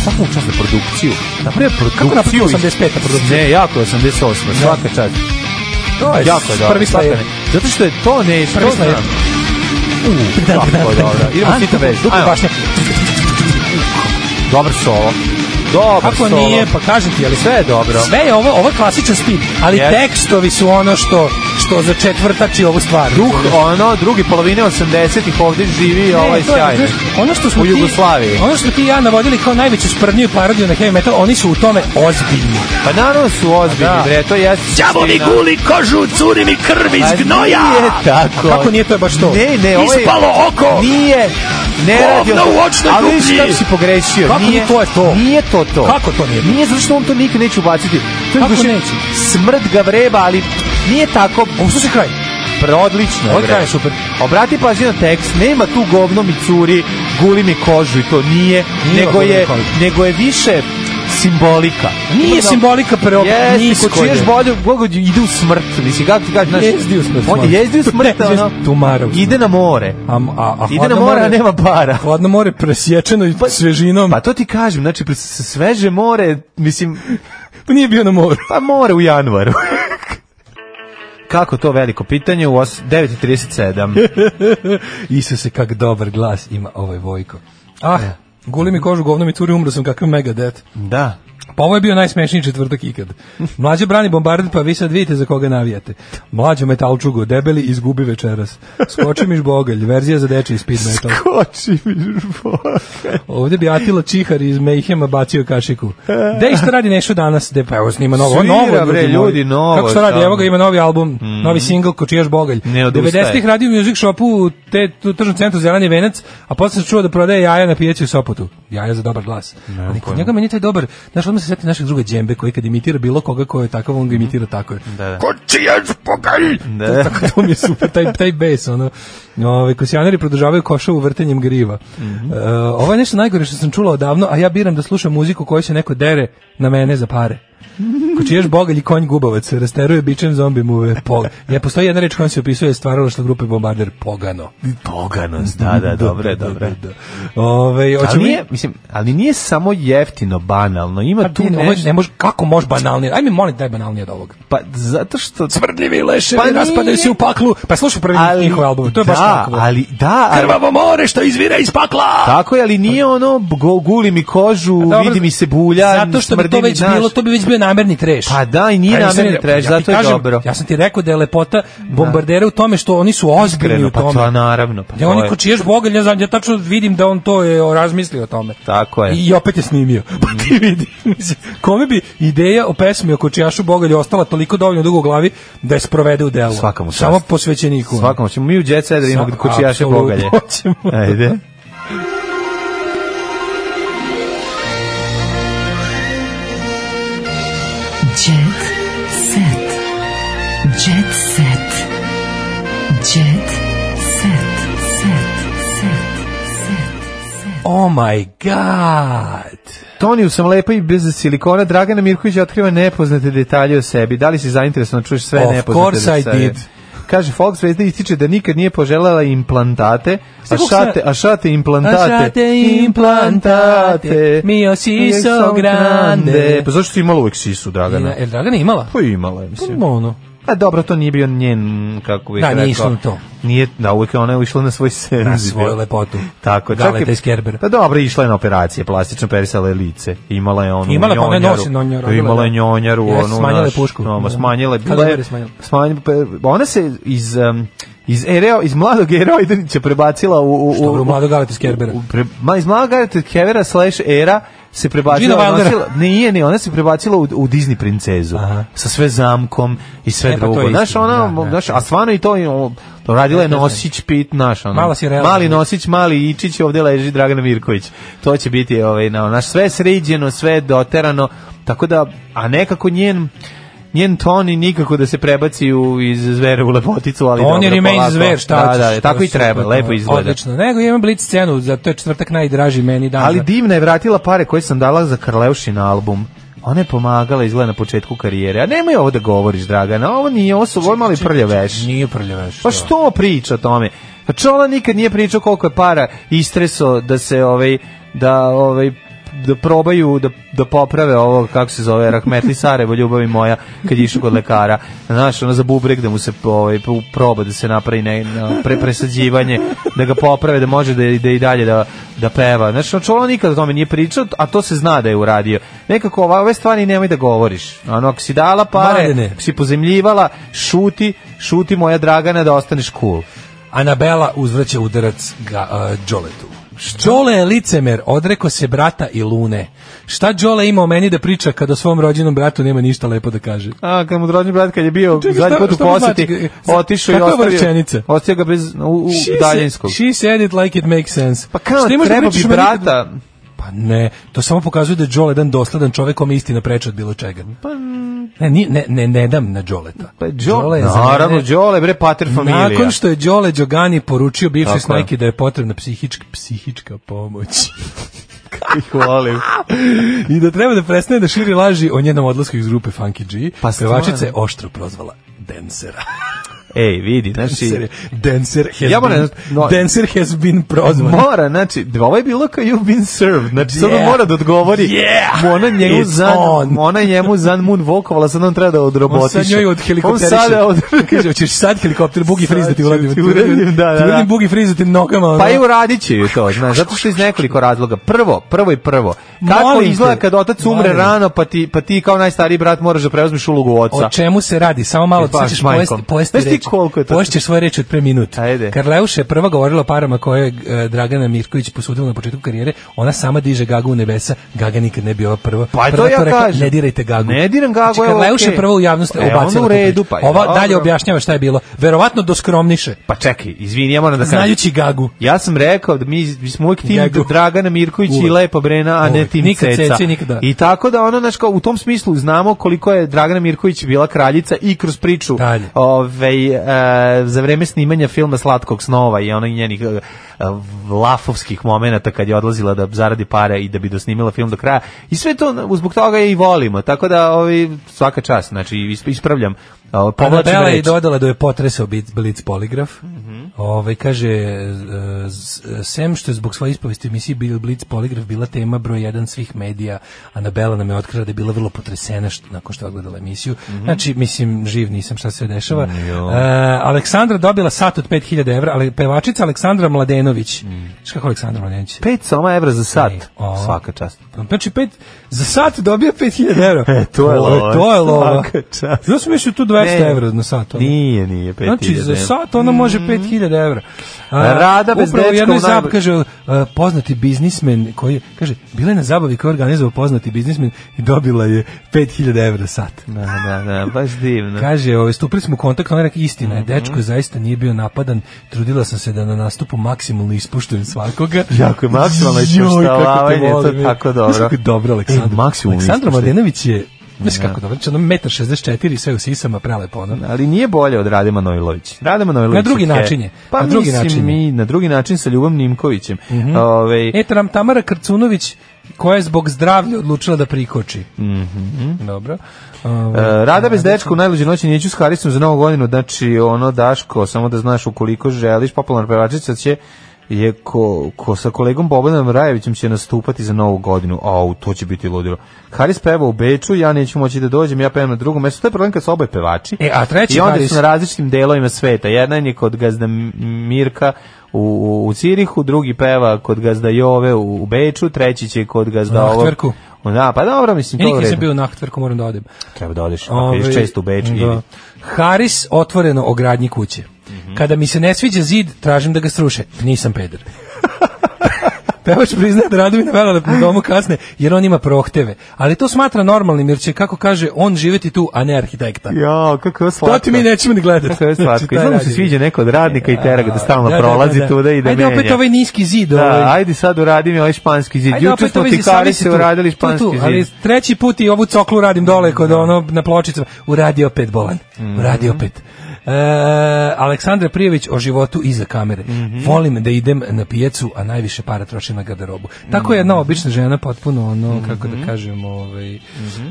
[SPEAKER 6] Svaka mu čast za produkciju. Napravio produkciju.
[SPEAKER 5] napravio
[SPEAKER 6] iz-
[SPEAKER 5] 85 produkcija?
[SPEAKER 6] Ne, jako je 88. Svaka čast.
[SPEAKER 5] to je
[SPEAKER 6] Jako je dobro.
[SPEAKER 5] prvi
[SPEAKER 6] svaka
[SPEAKER 5] slajer.
[SPEAKER 6] ne. Zato što je to ne...
[SPEAKER 5] Prvi
[SPEAKER 6] to
[SPEAKER 5] slajer.
[SPEAKER 6] znam. U, kako je dobro. Idemo
[SPEAKER 5] Anto,
[SPEAKER 6] sita već.
[SPEAKER 5] dupli
[SPEAKER 6] Ajmo.
[SPEAKER 5] bašnjak.
[SPEAKER 6] Dobar solo. Dobar
[SPEAKER 5] Kako
[SPEAKER 6] solo.
[SPEAKER 5] nije, pa kažem ti, ali
[SPEAKER 6] Sve je dobro.
[SPEAKER 5] Sve je ovo, ovo je klasičan speed, ali
[SPEAKER 6] Jeste.
[SPEAKER 5] tekstovi su ono što, što za četvrtači ovu stvar.
[SPEAKER 6] Duh, ono, drugi polovine 80-ih ovde živi
[SPEAKER 5] Ne,
[SPEAKER 6] ovaj
[SPEAKER 5] to je,
[SPEAKER 6] sjajno.
[SPEAKER 5] znaš, ono što smo
[SPEAKER 6] u
[SPEAKER 5] ti-
[SPEAKER 6] Jugoslaviji.
[SPEAKER 5] ono što ti i ja navodili kao najveću sprdnju i parodiju na heavy metal, oni su u tome ozbiljni.
[SPEAKER 6] Pa naravno su ozbiljni,
[SPEAKER 5] Da.
[SPEAKER 6] bre, to jeste...
[SPEAKER 5] Đavo mi guli
[SPEAKER 6] kožu, curi mi krv
[SPEAKER 5] iz gnoja!
[SPEAKER 6] Nije tako.
[SPEAKER 5] A kako nije, to je baš to.
[SPEAKER 6] Ne, ne, ovo je...
[SPEAKER 5] Ispalo oko!
[SPEAKER 6] Nije, ne
[SPEAKER 5] Govno
[SPEAKER 6] radi o
[SPEAKER 5] u očnoj
[SPEAKER 6] Ali vidiš
[SPEAKER 5] duplji!
[SPEAKER 6] kako si pogrešio.
[SPEAKER 5] Kako
[SPEAKER 6] nije,
[SPEAKER 5] ni to je to?
[SPEAKER 6] Nije to to.
[SPEAKER 5] Kako to nije to?
[SPEAKER 6] Nije, zato što on to nikad neće ubaciti. To je
[SPEAKER 5] Kako
[SPEAKER 6] duše-
[SPEAKER 5] neće?
[SPEAKER 6] Smrt ga vreba, ali nije tako...
[SPEAKER 5] Ovo slušaj kraj.
[SPEAKER 6] Pre, odlično
[SPEAKER 5] Ovo je
[SPEAKER 6] bre.
[SPEAKER 5] kraj, super.
[SPEAKER 6] Obrati pažnju na tekst, nema tu govno mi curi, guli mi kožu i to nije,
[SPEAKER 5] Nije
[SPEAKER 6] nego,
[SPEAKER 5] govno mi
[SPEAKER 6] je,
[SPEAKER 5] kožu.
[SPEAKER 6] nego je više simbolika.
[SPEAKER 5] Nije simbolika pre
[SPEAKER 6] Jeste, ko čuješ bolje, Bogu ide u smrt, mislim, kako ti kažeš, znaš,
[SPEAKER 5] Jezdi u smrt.
[SPEAKER 6] on je jezdi u smrt, ono,
[SPEAKER 5] Tumarov.
[SPEAKER 6] ide na more,
[SPEAKER 5] A, a, a
[SPEAKER 6] ide na
[SPEAKER 5] hladno
[SPEAKER 6] more, a nema para.
[SPEAKER 5] Hladno more presječeno i svežinom.
[SPEAKER 6] Pa to ti kažem, znači, pre- s- sveže more, mislim,
[SPEAKER 5] Pa nije bio na moru.
[SPEAKER 6] pa more u januaru. Kako to veliko pitanje u os- 9.37.
[SPEAKER 5] Isuse, kak dobar glas ima ovaj Vojko. Ah, guli mi kožu, govno mi curi, umro sam kakav megadet.
[SPEAKER 6] Da.
[SPEAKER 5] Pa ovo je bio najsmešniji četvrtak ikad. Mlađe brani bombardit, pa vi sad vidite za koga navijate. Mlađe metalčugo, debeli, izgubi večeras. Skoči miš bogalj, verzija za deče i speed metal.
[SPEAKER 6] Koči mi žbor.
[SPEAKER 5] Ovde bi Atila Čihar iz Mayhema bacio kašiku. Dej što radi nešto danas? De, pa evo snima novo.
[SPEAKER 6] Svira,
[SPEAKER 5] novo,
[SPEAKER 6] bre,
[SPEAKER 5] moji.
[SPEAKER 6] ljudi, novo,
[SPEAKER 5] Kako što radi?
[SPEAKER 6] šta?
[SPEAKER 5] Evo ga ima novi album, novi singl Kočijaš Bogalj.
[SPEAKER 6] Ne odustaje.
[SPEAKER 5] 90-ih radi u Music Shopu, te, tu tržnom centru Zeleni venac, a posle se čuo da prodaje jaja na pijaci u Sopotu. Jaja za dobar glas. Ali kod njega meni taj dobar, znaš, odmah se sveti našeg druga džembe koji kad imitira bilo koga ko je takav, on ga imitira tako.
[SPEAKER 6] Da, da.
[SPEAKER 7] Kočijaš pogalj!
[SPEAKER 6] Da.
[SPEAKER 5] Tako to mi je super, taj, taj bes, ono. Ove, kosijanari produžavaju košovu vrtenjem griva.
[SPEAKER 6] Mhm.
[SPEAKER 5] E, ovo je nešto najgore što sam čula odavno, a ja biram da slušam muziku koju se neko dere na mene za pare. Ko čiješ bogalj i konj gubavac, rasteruje bičem zombi muve. Po, ne, postoji jedna reč kojom se opisuje stvaralaštvo grupe Bombarder, pogano.
[SPEAKER 6] Poganost, da, da, dobro, dobro.
[SPEAKER 5] Da, da. Ove,
[SPEAKER 6] Ali
[SPEAKER 5] hoćemo
[SPEAKER 6] nije,
[SPEAKER 5] mi-
[SPEAKER 6] mislim, ali nije samo jeftino banalno, ima
[SPEAKER 5] Pa
[SPEAKER 6] tu
[SPEAKER 5] tu ne,
[SPEAKER 6] nešto,
[SPEAKER 5] ne može, kako može banalnije? Ajme, molim, daj banalnije od ovoga.
[SPEAKER 6] pa zato što...
[SPEAKER 5] Smrdljivi leševi
[SPEAKER 6] Pa
[SPEAKER 5] raspadaju
[SPEAKER 6] nije.
[SPEAKER 5] se u paklu. Pa slušaj prvi
[SPEAKER 6] Ali-
[SPEAKER 5] njihov album, to je baš
[SPEAKER 6] da,
[SPEAKER 5] tako. bre.
[SPEAKER 6] ali, da, ali,
[SPEAKER 5] Krvavo more što izvira iz pakla!
[SPEAKER 6] Tako je, ali nije ono go- guli mi kožu,
[SPEAKER 5] Dobro,
[SPEAKER 6] vidi mi se bulja,
[SPEAKER 5] Zato što bi
[SPEAKER 6] smrdi
[SPEAKER 5] to
[SPEAKER 6] mi,
[SPEAKER 5] već
[SPEAKER 6] znaš.
[SPEAKER 5] bilo, to bi već bio namerni treš.
[SPEAKER 6] Pa da, i nije
[SPEAKER 5] Ali nisam
[SPEAKER 6] namerni
[SPEAKER 5] ni-
[SPEAKER 6] treš,
[SPEAKER 5] ti
[SPEAKER 6] zato je
[SPEAKER 5] kažem,
[SPEAKER 6] dobro.
[SPEAKER 5] Ja sam ti rekao da je lepota bombardera u tome što oni su ozbiljni
[SPEAKER 6] Iskreno,
[SPEAKER 5] u
[SPEAKER 6] pa
[SPEAKER 5] tome.
[SPEAKER 6] to naravno, pa
[SPEAKER 5] Ne,
[SPEAKER 6] to
[SPEAKER 5] oni
[SPEAKER 6] je.
[SPEAKER 5] ko čiješ boga, ja znam, ja tačno vidim da on to je o, razmislio o tome.
[SPEAKER 6] Tako je. Mm.
[SPEAKER 5] I opet je snimio. Pa ti vidi. mislim, Kome bi ideja o pesmi o kočijašu bogalju ostala toliko dovoljno dugo u glavi da je sprovede u delu?
[SPEAKER 6] Svakamu čast.
[SPEAKER 5] Samo posvećeniku.
[SPEAKER 6] Svakom ćemo mi u Jet Set da imamo
[SPEAKER 5] Svak-
[SPEAKER 6] kočijaše
[SPEAKER 5] apsolutno
[SPEAKER 6] bogalje.
[SPEAKER 5] hoćemo.
[SPEAKER 6] Ajde.
[SPEAKER 4] Jet set. Jet set. Jet set. Set. Set.
[SPEAKER 5] Oh my god.
[SPEAKER 6] Toniju sam lepa i bez silikona. Dragana Mirković otkriva nepoznate detalje o sebi. Da li si zainteresovan da čuješ sve
[SPEAKER 5] Of
[SPEAKER 6] nepoznate
[SPEAKER 5] course I
[SPEAKER 6] detalje?
[SPEAKER 5] did.
[SPEAKER 6] Kaže, Fox Zvezda ističe da nikad nije poželjela implantate, a
[SPEAKER 5] Sve kako
[SPEAKER 6] šate,
[SPEAKER 5] sam-
[SPEAKER 6] a šate implantate.
[SPEAKER 5] A šate implantate, mio siso grande.
[SPEAKER 6] Pa zašto si imala uvek sisu, Dragana?
[SPEAKER 5] Jel Dragana imala?
[SPEAKER 6] Pa imala je, mislim.
[SPEAKER 5] Pa ono.
[SPEAKER 6] A dobro, to nije bio njen, kako bih
[SPEAKER 5] Da,
[SPEAKER 6] rekao.
[SPEAKER 5] nije išlo na to.
[SPEAKER 6] Nije, da, uvijek je ona išla na svoj senzitiv.
[SPEAKER 5] Na svoju lepotu.
[SPEAKER 6] Tako, čak
[SPEAKER 5] Galeta
[SPEAKER 6] i-
[SPEAKER 5] iz Kerbera.
[SPEAKER 6] Pa dobro, išla je na operacije, plastično perisala je lice. Imala je onu
[SPEAKER 5] Imala, pa ona je
[SPEAKER 6] njonjaru.
[SPEAKER 5] nosi njonjaru, radila,
[SPEAKER 6] Imala je
[SPEAKER 5] da.
[SPEAKER 6] njonjaru,
[SPEAKER 5] Jeste,
[SPEAKER 6] onu
[SPEAKER 5] smanjila je
[SPEAKER 6] naš-
[SPEAKER 5] pušku.
[SPEAKER 6] No, ma
[SPEAKER 5] Da.
[SPEAKER 6] smanjila je,
[SPEAKER 5] Kada
[SPEAKER 6] bila je,
[SPEAKER 5] je smanjila?
[SPEAKER 6] smanj- pa, ona se iz... um, iz ereo iz mladog eroidanića prebacila u u
[SPEAKER 5] Dobro,
[SPEAKER 6] u,
[SPEAKER 5] u mladog Galeta iz Kerbera.
[SPEAKER 6] u pre, ma iz mladog Galeta iz Kerbera slash era se prebacila
[SPEAKER 5] Gina Wildera.
[SPEAKER 6] nosila- nije ne ona se prebacila u, u Disney princezu
[SPEAKER 5] Aha.
[SPEAKER 6] sa sve zamkom i sve
[SPEAKER 5] E, pa to je
[SPEAKER 6] drugo. Znaš,
[SPEAKER 5] istina,
[SPEAKER 6] ona,
[SPEAKER 5] da, da.
[SPEAKER 6] znaš, a stvarno i to, i ono, to radila je
[SPEAKER 5] Ne znam.
[SPEAKER 6] nosić pit, znaš, ono.
[SPEAKER 5] Mala Sirela.
[SPEAKER 6] Mali nosić, mali ičić, ovdje leži Dragana Mirković. To će biti, ovaj, na, naš, sve sređeno, sve doterano, tako da, a nekako njen, njen ton i nikako da se prebaci u, iz zvere u lepoticu, ali
[SPEAKER 5] On
[SPEAKER 6] Pa dobro,
[SPEAKER 5] je remains
[SPEAKER 6] polako.
[SPEAKER 5] zver, šta
[SPEAKER 6] da,
[SPEAKER 5] ćeš,
[SPEAKER 6] da,
[SPEAKER 5] to
[SPEAKER 6] tako i
[SPEAKER 5] je
[SPEAKER 6] treba,
[SPEAKER 5] super,
[SPEAKER 6] lepo
[SPEAKER 5] da.
[SPEAKER 6] izgleda.
[SPEAKER 5] Odlično. Nego imam blic scenu, za to je četvrtak najdraži meni dan.
[SPEAKER 6] Ali divna je vratila pare koje sam dala za Karleušin album. Ona je pomagala izgleda na početku karijere. A nemoj ovo da govoriš, Dragana. Ovo nije, ovo su ovo je mali prljaveš.
[SPEAKER 5] Nije prljaveš.
[SPEAKER 6] Pa što priča o tome? Pa Čola nikad nije pričao koliko je para istreso da se ovaj da ovaj da probaju da, da poprave ovo kako se zove Rahmetli Sarajevo ljubavi moja kad je išao kod lekara znaš ono za bubreg da mu se ovaj pu- proba da se napravi ne, na- pre, presađivanje da ga poprave da može da i- da i dalje da da peva. Znači, znači ono nikad o tome nije pričao, a to se zna da je uradio. Nekako ova- ove stvari nemoj da govoriš. Ono, ako si dala pare,
[SPEAKER 5] Mladene.
[SPEAKER 6] ako si pozemljivala, šuti, šuti moja Dragana da ostaneš cool.
[SPEAKER 5] Anabela uzvraća udarac ga, uh, Đoletu. Đole je licemer, odreko se brata i lune. Šta Đole ima o meni da priča kada o svom rođenom bratu nema ništa lepo da kaže?
[SPEAKER 6] A, kad mu rodni brat kad je bio
[SPEAKER 5] Čekaj,
[SPEAKER 6] zadnji
[SPEAKER 5] šta-
[SPEAKER 6] put u
[SPEAKER 5] šta mi
[SPEAKER 6] poseti,
[SPEAKER 5] znači?
[SPEAKER 6] otišao i
[SPEAKER 5] Kakva je ova
[SPEAKER 6] ostavio,
[SPEAKER 5] rečenica?
[SPEAKER 6] ostavio ga bez, u, u
[SPEAKER 5] She said-
[SPEAKER 6] daljinskog.
[SPEAKER 5] She said it like it makes sense. Pa
[SPEAKER 6] kao, treba bi brata.
[SPEAKER 5] Pa ne, to samo pokazuje da je Đole jedan dosledan čovek kome je istina preča od bilo čega.
[SPEAKER 6] Pa,
[SPEAKER 5] Ne, ni- ne, ne, ne dam na Đoleta.
[SPEAKER 6] pa
[SPEAKER 5] Đole
[SPEAKER 6] Đole,
[SPEAKER 5] je za
[SPEAKER 6] naravno,
[SPEAKER 5] mene-
[SPEAKER 6] Đole, bre, pater familija.
[SPEAKER 5] Nakon što je Đole Đogani poručio
[SPEAKER 6] Tako
[SPEAKER 5] bivšoj
[SPEAKER 6] je.
[SPEAKER 5] snajki da je potrebna psihička, psihička pomoć.
[SPEAKER 6] Kako ih volim.
[SPEAKER 5] I da treba da prestane da širi laži o njenom odlasku iz grupe Funky G,
[SPEAKER 6] Pa
[SPEAKER 5] pa
[SPEAKER 6] stvarno.
[SPEAKER 5] pevačica je oštro prozvala Densera.
[SPEAKER 6] Ej, vidi, znači,
[SPEAKER 5] Dancer, dancer, has
[SPEAKER 6] Ja moram-
[SPEAKER 5] been,
[SPEAKER 6] no-
[SPEAKER 5] dancer has been prozvan.
[SPEAKER 6] Mora, znači, ovo je bilo kao you've been served. Znači, sad on
[SPEAKER 5] Yeah.
[SPEAKER 6] mora da odgovori.
[SPEAKER 5] Yeah.
[SPEAKER 6] Ona njemu
[SPEAKER 5] It's
[SPEAKER 6] zan,
[SPEAKER 5] on.
[SPEAKER 6] ona njemu zan moon vokovala, sad on treba da
[SPEAKER 5] On
[SPEAKER 6] odrobotiše.
[SPEAKER 5] sad njoj od helikopteriše.
[SPEAKER 6] On sada od...
[SPEAKER 5] Kaže, hoćeš sad helikopter Bugi
[SPEAKER 6] Sad
[SPEAKER 5] Friz da ti
[SPEAKER 6] ću
[SPEAKER 5] uradim.
[SPEAKER 6] ti uradim, da, da,
[SPEAKER 5] Ti uradim
[SPEAKER 6] da.
[SPEAKER 5] Bugi Friz da ti nogama. ono.
[SPEAKER 6] Pa i uradit će ju to, znaš, zato što iz nekoliko razloga. Prvo, prvo i prvo. Kako
[SPEAKER 5] Molim te.
[SPEAKER 6] izgleda kad otac umre
[SPEAKER 5] Molim.
[SPEAKER 6] rano, pa ti, pa ti kao najstariji brat moraš da preuzmiš ulogu oca.
[SPEAKER 5] O čemu se radi? Samo
[SPEAKER 6] E,
[SPEAKER 5] malo
[SPEAKER 6] baš,
[SPEAKER 5] sad ćeš pojesti,
[SPEAKER 6] majkom.
[SPEAKER 5] pojesti
[SPEAKER 6] Znaš ti
[SPEAKER 5] reči.
[SPEAKER 6] koliko je to?
[SPEAKER 5] Poješćeš svoje reči od pre minut.
[SPEAKER 6] Ajde.
[SPEAKER 5] Karleuša je prva govorila o parama koje je e, Dragana Mirković posudila na početku karijere. Ona sama diže Gagu u nebesa. Gaga nikad ne bi ova prva.
[SPEAKER 6] Pa
[SPEAKER 5] prva
[SPEAKER 6] to ja
[SPEAKER 5] rekla,
[SPEAKER 6] kažem.
[SPEAKER 5] Ne dirajte Gagu.
[SPEAKER 6] Ne diram Gagu,
[SPEAKER 5] Znači,
[SPEAKER 6] evo,
[SPEAKER 5] Karleuša
[SPEAKER 6] okej.
[SPEAKER 5] je prva u javnost
[SPEAKER 6] E, ona
[SPEAKER 5] ubacila.
[SPEAKER 6] u
[SPEAKER 5] tu priču.
[SPEAKER 6] redu, pa je,
[SPEAKER 5] Ova
[SPEAKER 6] dobro.
[SPEAKER 5] dalje objašnjava šta je bilo. Verovatno doskrovniše.
[SPEAKER 6] Pa čekaj, izvini, ja moram da kažem.
[SPEAKER 5] Znajući Gagu.
[SPEAKER 6] Ja sam rekao da mi, mi smo uvijek tim
[SPEAKER 5] Gagu.
[SPEAKER 6] Dragana Mirković i
[SPEAKER 5] Uvek.
[SPEAKER 6] Lepa Brena, a ne
[SPEAKER 5] Uvek.
[SPEAKER 6] tim
[SPEAKER 5] Nikad
[SPEAKER 6] Ceca.
[SPEAKER 5] Cece, nikada.
[SPEAKER 6] I tako da ono, znači, kao, u tom smislu znamo koliko je Dragana Mirković bila kraljica i kroz priču
[SPEAKER 5] Dalje.
[SPEAKER 6] ovaj, e, za vreme snimanja filma Slatkog snova i onih njenih e, e, lafovskih momenata kad je odlazila da zaradi pare i da bi dosnimila film do kraja. I sve to, zbog toga je i volimo. Tako da, ovaj, svaka čast, znači, isp- ispravljam. Ovaj, povlačim
[SPEAKER 5] Anabela je
[SPEAKER 6] reč.
[SPEAKER 5] dodala Pa da je potresao bit- blic poligraf. Ovaj, kaže, e, z- e, sem što je zbog svoje ispovesti u emisiji bil blic poligraf bila tema broj jedan svih medija, Anabela nam je otkrila da je bila vrlo potresena što, nakon što je odgledala emisiju.
[SPEAKER 6] Mhm.
[SPEAKER 5] Znači, mislim, živ nisam šta se sve dešava. E, Aleksandra dobila sat od 5000 evra, ali pevačica Aleksandra Mladenović.
[SPEAKER 6] Mm.
[SPEAKER 5] Znaš kako Aleksandra Mladenović?
[SPEAKER 6] Pet soma evra za sat.
[SPEAKER 5] Ej, o.
[SPEAKER 6] Svaka čast.
[SPEAKER 5] Znači, pet, za sat dobija 5000 evra.
[SPEAKER 6] E, to je lova.
[SPEAKER 5] To je lova.
[SPEAKER 6] Svaka čast.
[SPEAKER 5] Ja sam mislio tu 200 evra na sat. ono.
[SPEAKER 6] Nije, nije, pet Mm.
[SPEAKER 5] Znači, za sat ona može 5000 evra. A,
[SPEAKER 6] Rada bez
[SPEAKER 5] upravo
[SPEAKER 6] dečka
[SPEAKER 5] jednoj
[SPEAKER 6] u najbolj-
[SPEAKER 5] zab- kaže, uh, poznati biznismen koji, je- kaže, bila je na zabavi koja je organizovao poznati biznismen i dobila je 5000 evra sat.
[SPEAKER 6] Da, da, da, baš divno.
[SPEAKER 5] Kaže, ove, stupili smo u kontakt, ona je rekla, istina
[SPEAKER 6] Mhm.
[SPEAKER 5] je, dečko zaista nije bio napadan, trudila sam se da na nastupu maksimalno ispuštujem svakoga.
[SPEAKER 6] Jako je maksimalno
[SPEAKER 5] Joj, kako te
[SPEAKER 6] ispoštovanje, to
[SPEAKER 5] volim, je.
[SPEAKER 6] tako dobro.
[SPEAKER 5] Znaš kako je dobro, Aleksandro.
[SPEAKER 6] E, maksimalno
[SPEAKER 5] Aleksandro
[SPEAKER 6] ispuštaj.
[SPEAKER 5] Mladenović je, znaš kako dobro, znači ono 1,64 m, sve u sisama, prelepo ono.
[SPEAKER 6] Ali nije bolje od Rade Manojlović. Rade Manojlović
[SPEAKER 5] Na drugi
[SPEAKER 6] je-
[SPEAKER 5] način je.
[SPEAKER 6] Pa
[SPEAKER 5] Na drugi
[SPEAKER 6] mislim
[SPEAKER 5] način je.
[SPEAKER 6] mi, na drugi način sa Ljubom Nimkovićem. Ovaj,
[SPEAKER 5] E, tam Tamara Krcunović, koja je zbog zdravlja odlučila da prikoči. Dobro. Ovaj,
[SPEAKER 6] Mhm. E, Rada bez dečka u najluđoj noći neću s Harisom za novu godinu, znači ono Daško, samo da znaš ukoliko želiš, popularna pevačica će je ko, ko sa kolegom Bobanom Rajevićem će nastupati za novu godinu. Au, to će biti ludilo. Haris peva u Beču, ja neću moći da dođem, ja pevam na drugom mestu. To je problem kad su oboje pevači.
[SPEAKER 5] E, a treći
[SPEAKER 6] I onda
[SPEAKER 5] Haris-
[SPEAKER 6] su na različitim delovima sveta. Jedan je kod gazda Mirka u, u, u Cirihu, drugi peva kod gazda Jove u, u Beču, treći će kod gazda
[SPEAKER 5] U
[SPEAKER 6] ovog-
[SPEAKER 5] Nahtverku.
[SPEAKER 6] Da, pa dobro, mislim,
[SPEAKER 5] ja
[SPEAKER 6] to je u
[SPEAKER 5] E, nikad nisam
[SPEAKER 6] redu.
[SPEAKER 5] bio u Nahtverku, moram da odem.
[SPEAKER 6] Treba da odeš, ako ideš
[SPEAKER 5] Ovaj,
[SPEAKER 6] često u Beč,
[SPEAKER 5] da.
[SPEAKER 6] idi. Mhm.
[SPEAKER 5] Haris otvoreno o gradnji kuće. Kada mi se ne sviđa zid, tražim da ga struše. Nisam peder. Pevač priznaje da radovi na velelepnom domu kasne, jer on ima prohteve. Ali to smatra normalnim, jer će, kako kaže, on živeti tu, a ne arhitekta.
[SPEAKER 6] Ja, kako je slatko.
[SPEAKER 5] To ti mi nećemo ni gledati.
[SPEAKER 6] Kako je slatko. I
[SPEAKER 5] Znači, taj
[SPEAKER 6] znam mu se
[SPEAKER 5] radi.
[SPEAKER 6] sviđa neko od radnika i tera ga da stalno
[SPEAKER 5] Da, da, da,
[SPEAKER 6] prolazi
[SPEAKER 5] da.
[SPEAKER 6] tuda i da
[SPEAKER 5] Ajde
[SPEAKER 6] menja.
[SPEAKER 5] opet ovaj niski zid. ovaj.
[SPEAKER 6] Da, ajde sad uradi mi ovaj španski zid.
[SPEAKER 5] Ajde,
[SPEAKER 6] Juče
[SPEAKER 5] opet
[SPEAKER 6] smo
[SPEAKER 5] ovi
[SPEAKER 6] ti
[SPEAKER 5] zid,
[SPEAKER 6] kari
[SPEAKER 5] savisi
[SPEAKER 6] se
[SPEAKER 5] tu.
[SPEAKER 6] uradili
[SPEAKER 5] Tu, tu,
[SPEAKER 6] španski zid.
[SPEAKER 5] Ali treći put i ovu coklu radim dole kod ono na pločicama. Uradi opet bolan.
[SPEAKER 6] Mhm.
[SPEAKER 5] Uradi opet. E, Aleksandra Prijević o životu iza kamere.
[SPEAKER 6] Mhm.
[SPEAKER 5] Volim da idem na pijecu, a najviše para trošim na garderobu. Tako
[SPEAKER 6] Mhm.
[SPEAKER 5] je jedna obična žena potpuno ono, kako da kažem, ovaj,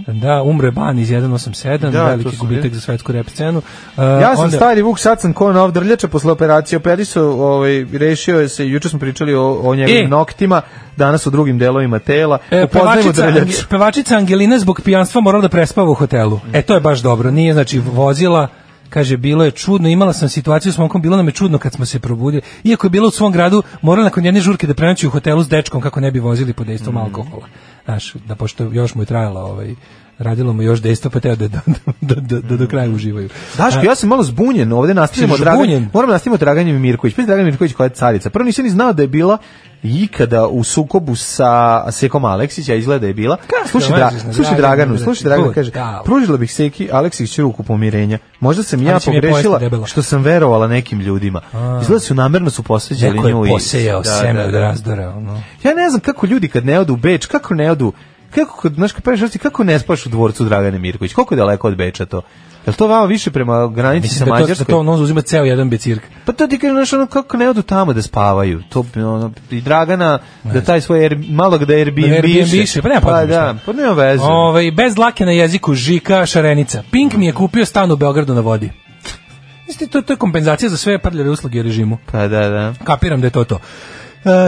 [SPEAKER 5] da, umre ban iz 187,
[SPEAKER 6] Mhm. Da, to
[SPEAKER 5] veliki
[SPEAKER 6] sam
[SPEAKER 5] gubitak za svetsku rep scenu. E,
[SPEAKER 6] Ja sam
[SPEAKER 5] onda-
[SPEAKER 6] stari Vuk, sad sam ko nov drljača posle operacije. Operisu, ovaj, rešio je se, juče smo pričali o, o njegovim
[SPEAKER 5] E.
[SPEAKER 6] noktima, danas o drugim delovima tela.
[SPEAKER 5] E,
[SPEAKER 6] Upoznajmo
[SPEAKER 5] pevačica,
[SPEAKER 6] drljaču. Mm.
[SPEAKER 5] Ange- pevačica Angelina zbog pijanstva morala da prespava u hotelu. E, to je baš dobro. Nije, znači, vozila Kaže, bilo je čudno, imala sam situaciju s momkom, bilo nam je čudno kad smo se probudili. Iako je bilo u svom gradu, morala nakon jedne žurke da prenoći u hotelu s dečkom kako ne bi vozili pod dejstvom
[SPEAKER 6] Mm.
[SPEAKER 5] alkohola. Znaš, da pošto još mu je trajala ovaj, radilo mu još dejstvo, pa teo da, da, da, da, da do kraja uživaju.
[SPEAKER 6] Daško,
[SPEAKER 5] A-
[SPEAKER 6] ja sam malo zbunjen, ovde nastavljamo
[SPEAKER 5] Ti si
[SPEAKER 6] Dragan,
[SPEAKER 5] zbunjen?
[SPEAKER 6] moram nastavimo Draganjem Mirković. Pa Dragan Mirković koja je carica. Prvo nisam ni znao da je bila ikada u sukobu sa Sekom Aleksić, a izgleda da je bila. slušaj,
[SPEAKER 5] da
[SPEAKER 6] Dra-
[SPEAKER 5] lažeš na
[SPEAKER 6] slušaj
[SPEAKER 5] Dragana,
[SPEAKER 6] Draganu,
[SPEAKER 5] brate,
[SPEAKER 6] slušaj Draganu,
[SPEAKER 5] bud,
[SPEAKER 6] kaže,
[SPEAKER 5] dao.
[SPEAKER 6] pružila bih Seki Aleksić ruku pomirenja. Možda sam ja
[SPEAKER 5] Ali će mi je pojesti
[SPEAKER 6] pogrešila
[SPEAKER 5] debelo.
[SPEAKER 6] što sam verovala nekim ljudima.
[SPEAKER 5] A.
[SPEAKER 6] Izgleda su namerno su posveđali
[SPEAKER 5] Neko
[SPEAKER 6] nju.
[SPEAKER 5] je
[SPEAKER 6] i-
[SPEAKER 5] posejao
[SPEAKER 6] Da,
[SPEAKER 5] seme
[SPEAKER 6] da,
[SPEAKER 5] od
[SPEAKER 6] da.
[SPEAKER 5] razdora. Ono.
[SPEAKER 6] Ja ne znam kako ljudi kad ne odu u Beč, kako ne odu, kako, kad, znaš, kad praviš vrsti, kako ne spaš u dvorcu Dragane Mirković, koliko je daleko od Beča to? Je li to vama više prema granici sa
[SPEAKER 5] Mislim da to, da
[SPEAKER 6] Mađarskom?
[SPEAKER 5] to ono uzima ceo jedan becirk.
[SPEAKER 6] Pa to ti kažem, znaš, ono, kako ne odu tamo da spavaju, to, bi, ono, i Dragana, da taj svoj, Air- malog da Airbnb,
[SPEAKER 5] Airbnb-še, pa nema
[SPEAKER 6] pa
[SPEAKER 5] pojma
[SPEAKER 6] da,
[SPEAKER 5] šta.
[SPEAKER 6] pa nema veze.
[SPEAKER 5] Ove, Ovaj, bez dlake na jeziku, Žika, Šarenica. Pink mi je kupio stan u Beogradu na vodi. Mislim, to, to je kompenzacija za sve prljave usluge režimu.
[SPEAKER 6] Pa da, da.
[SPEAKER 5] Kapiram da je to to.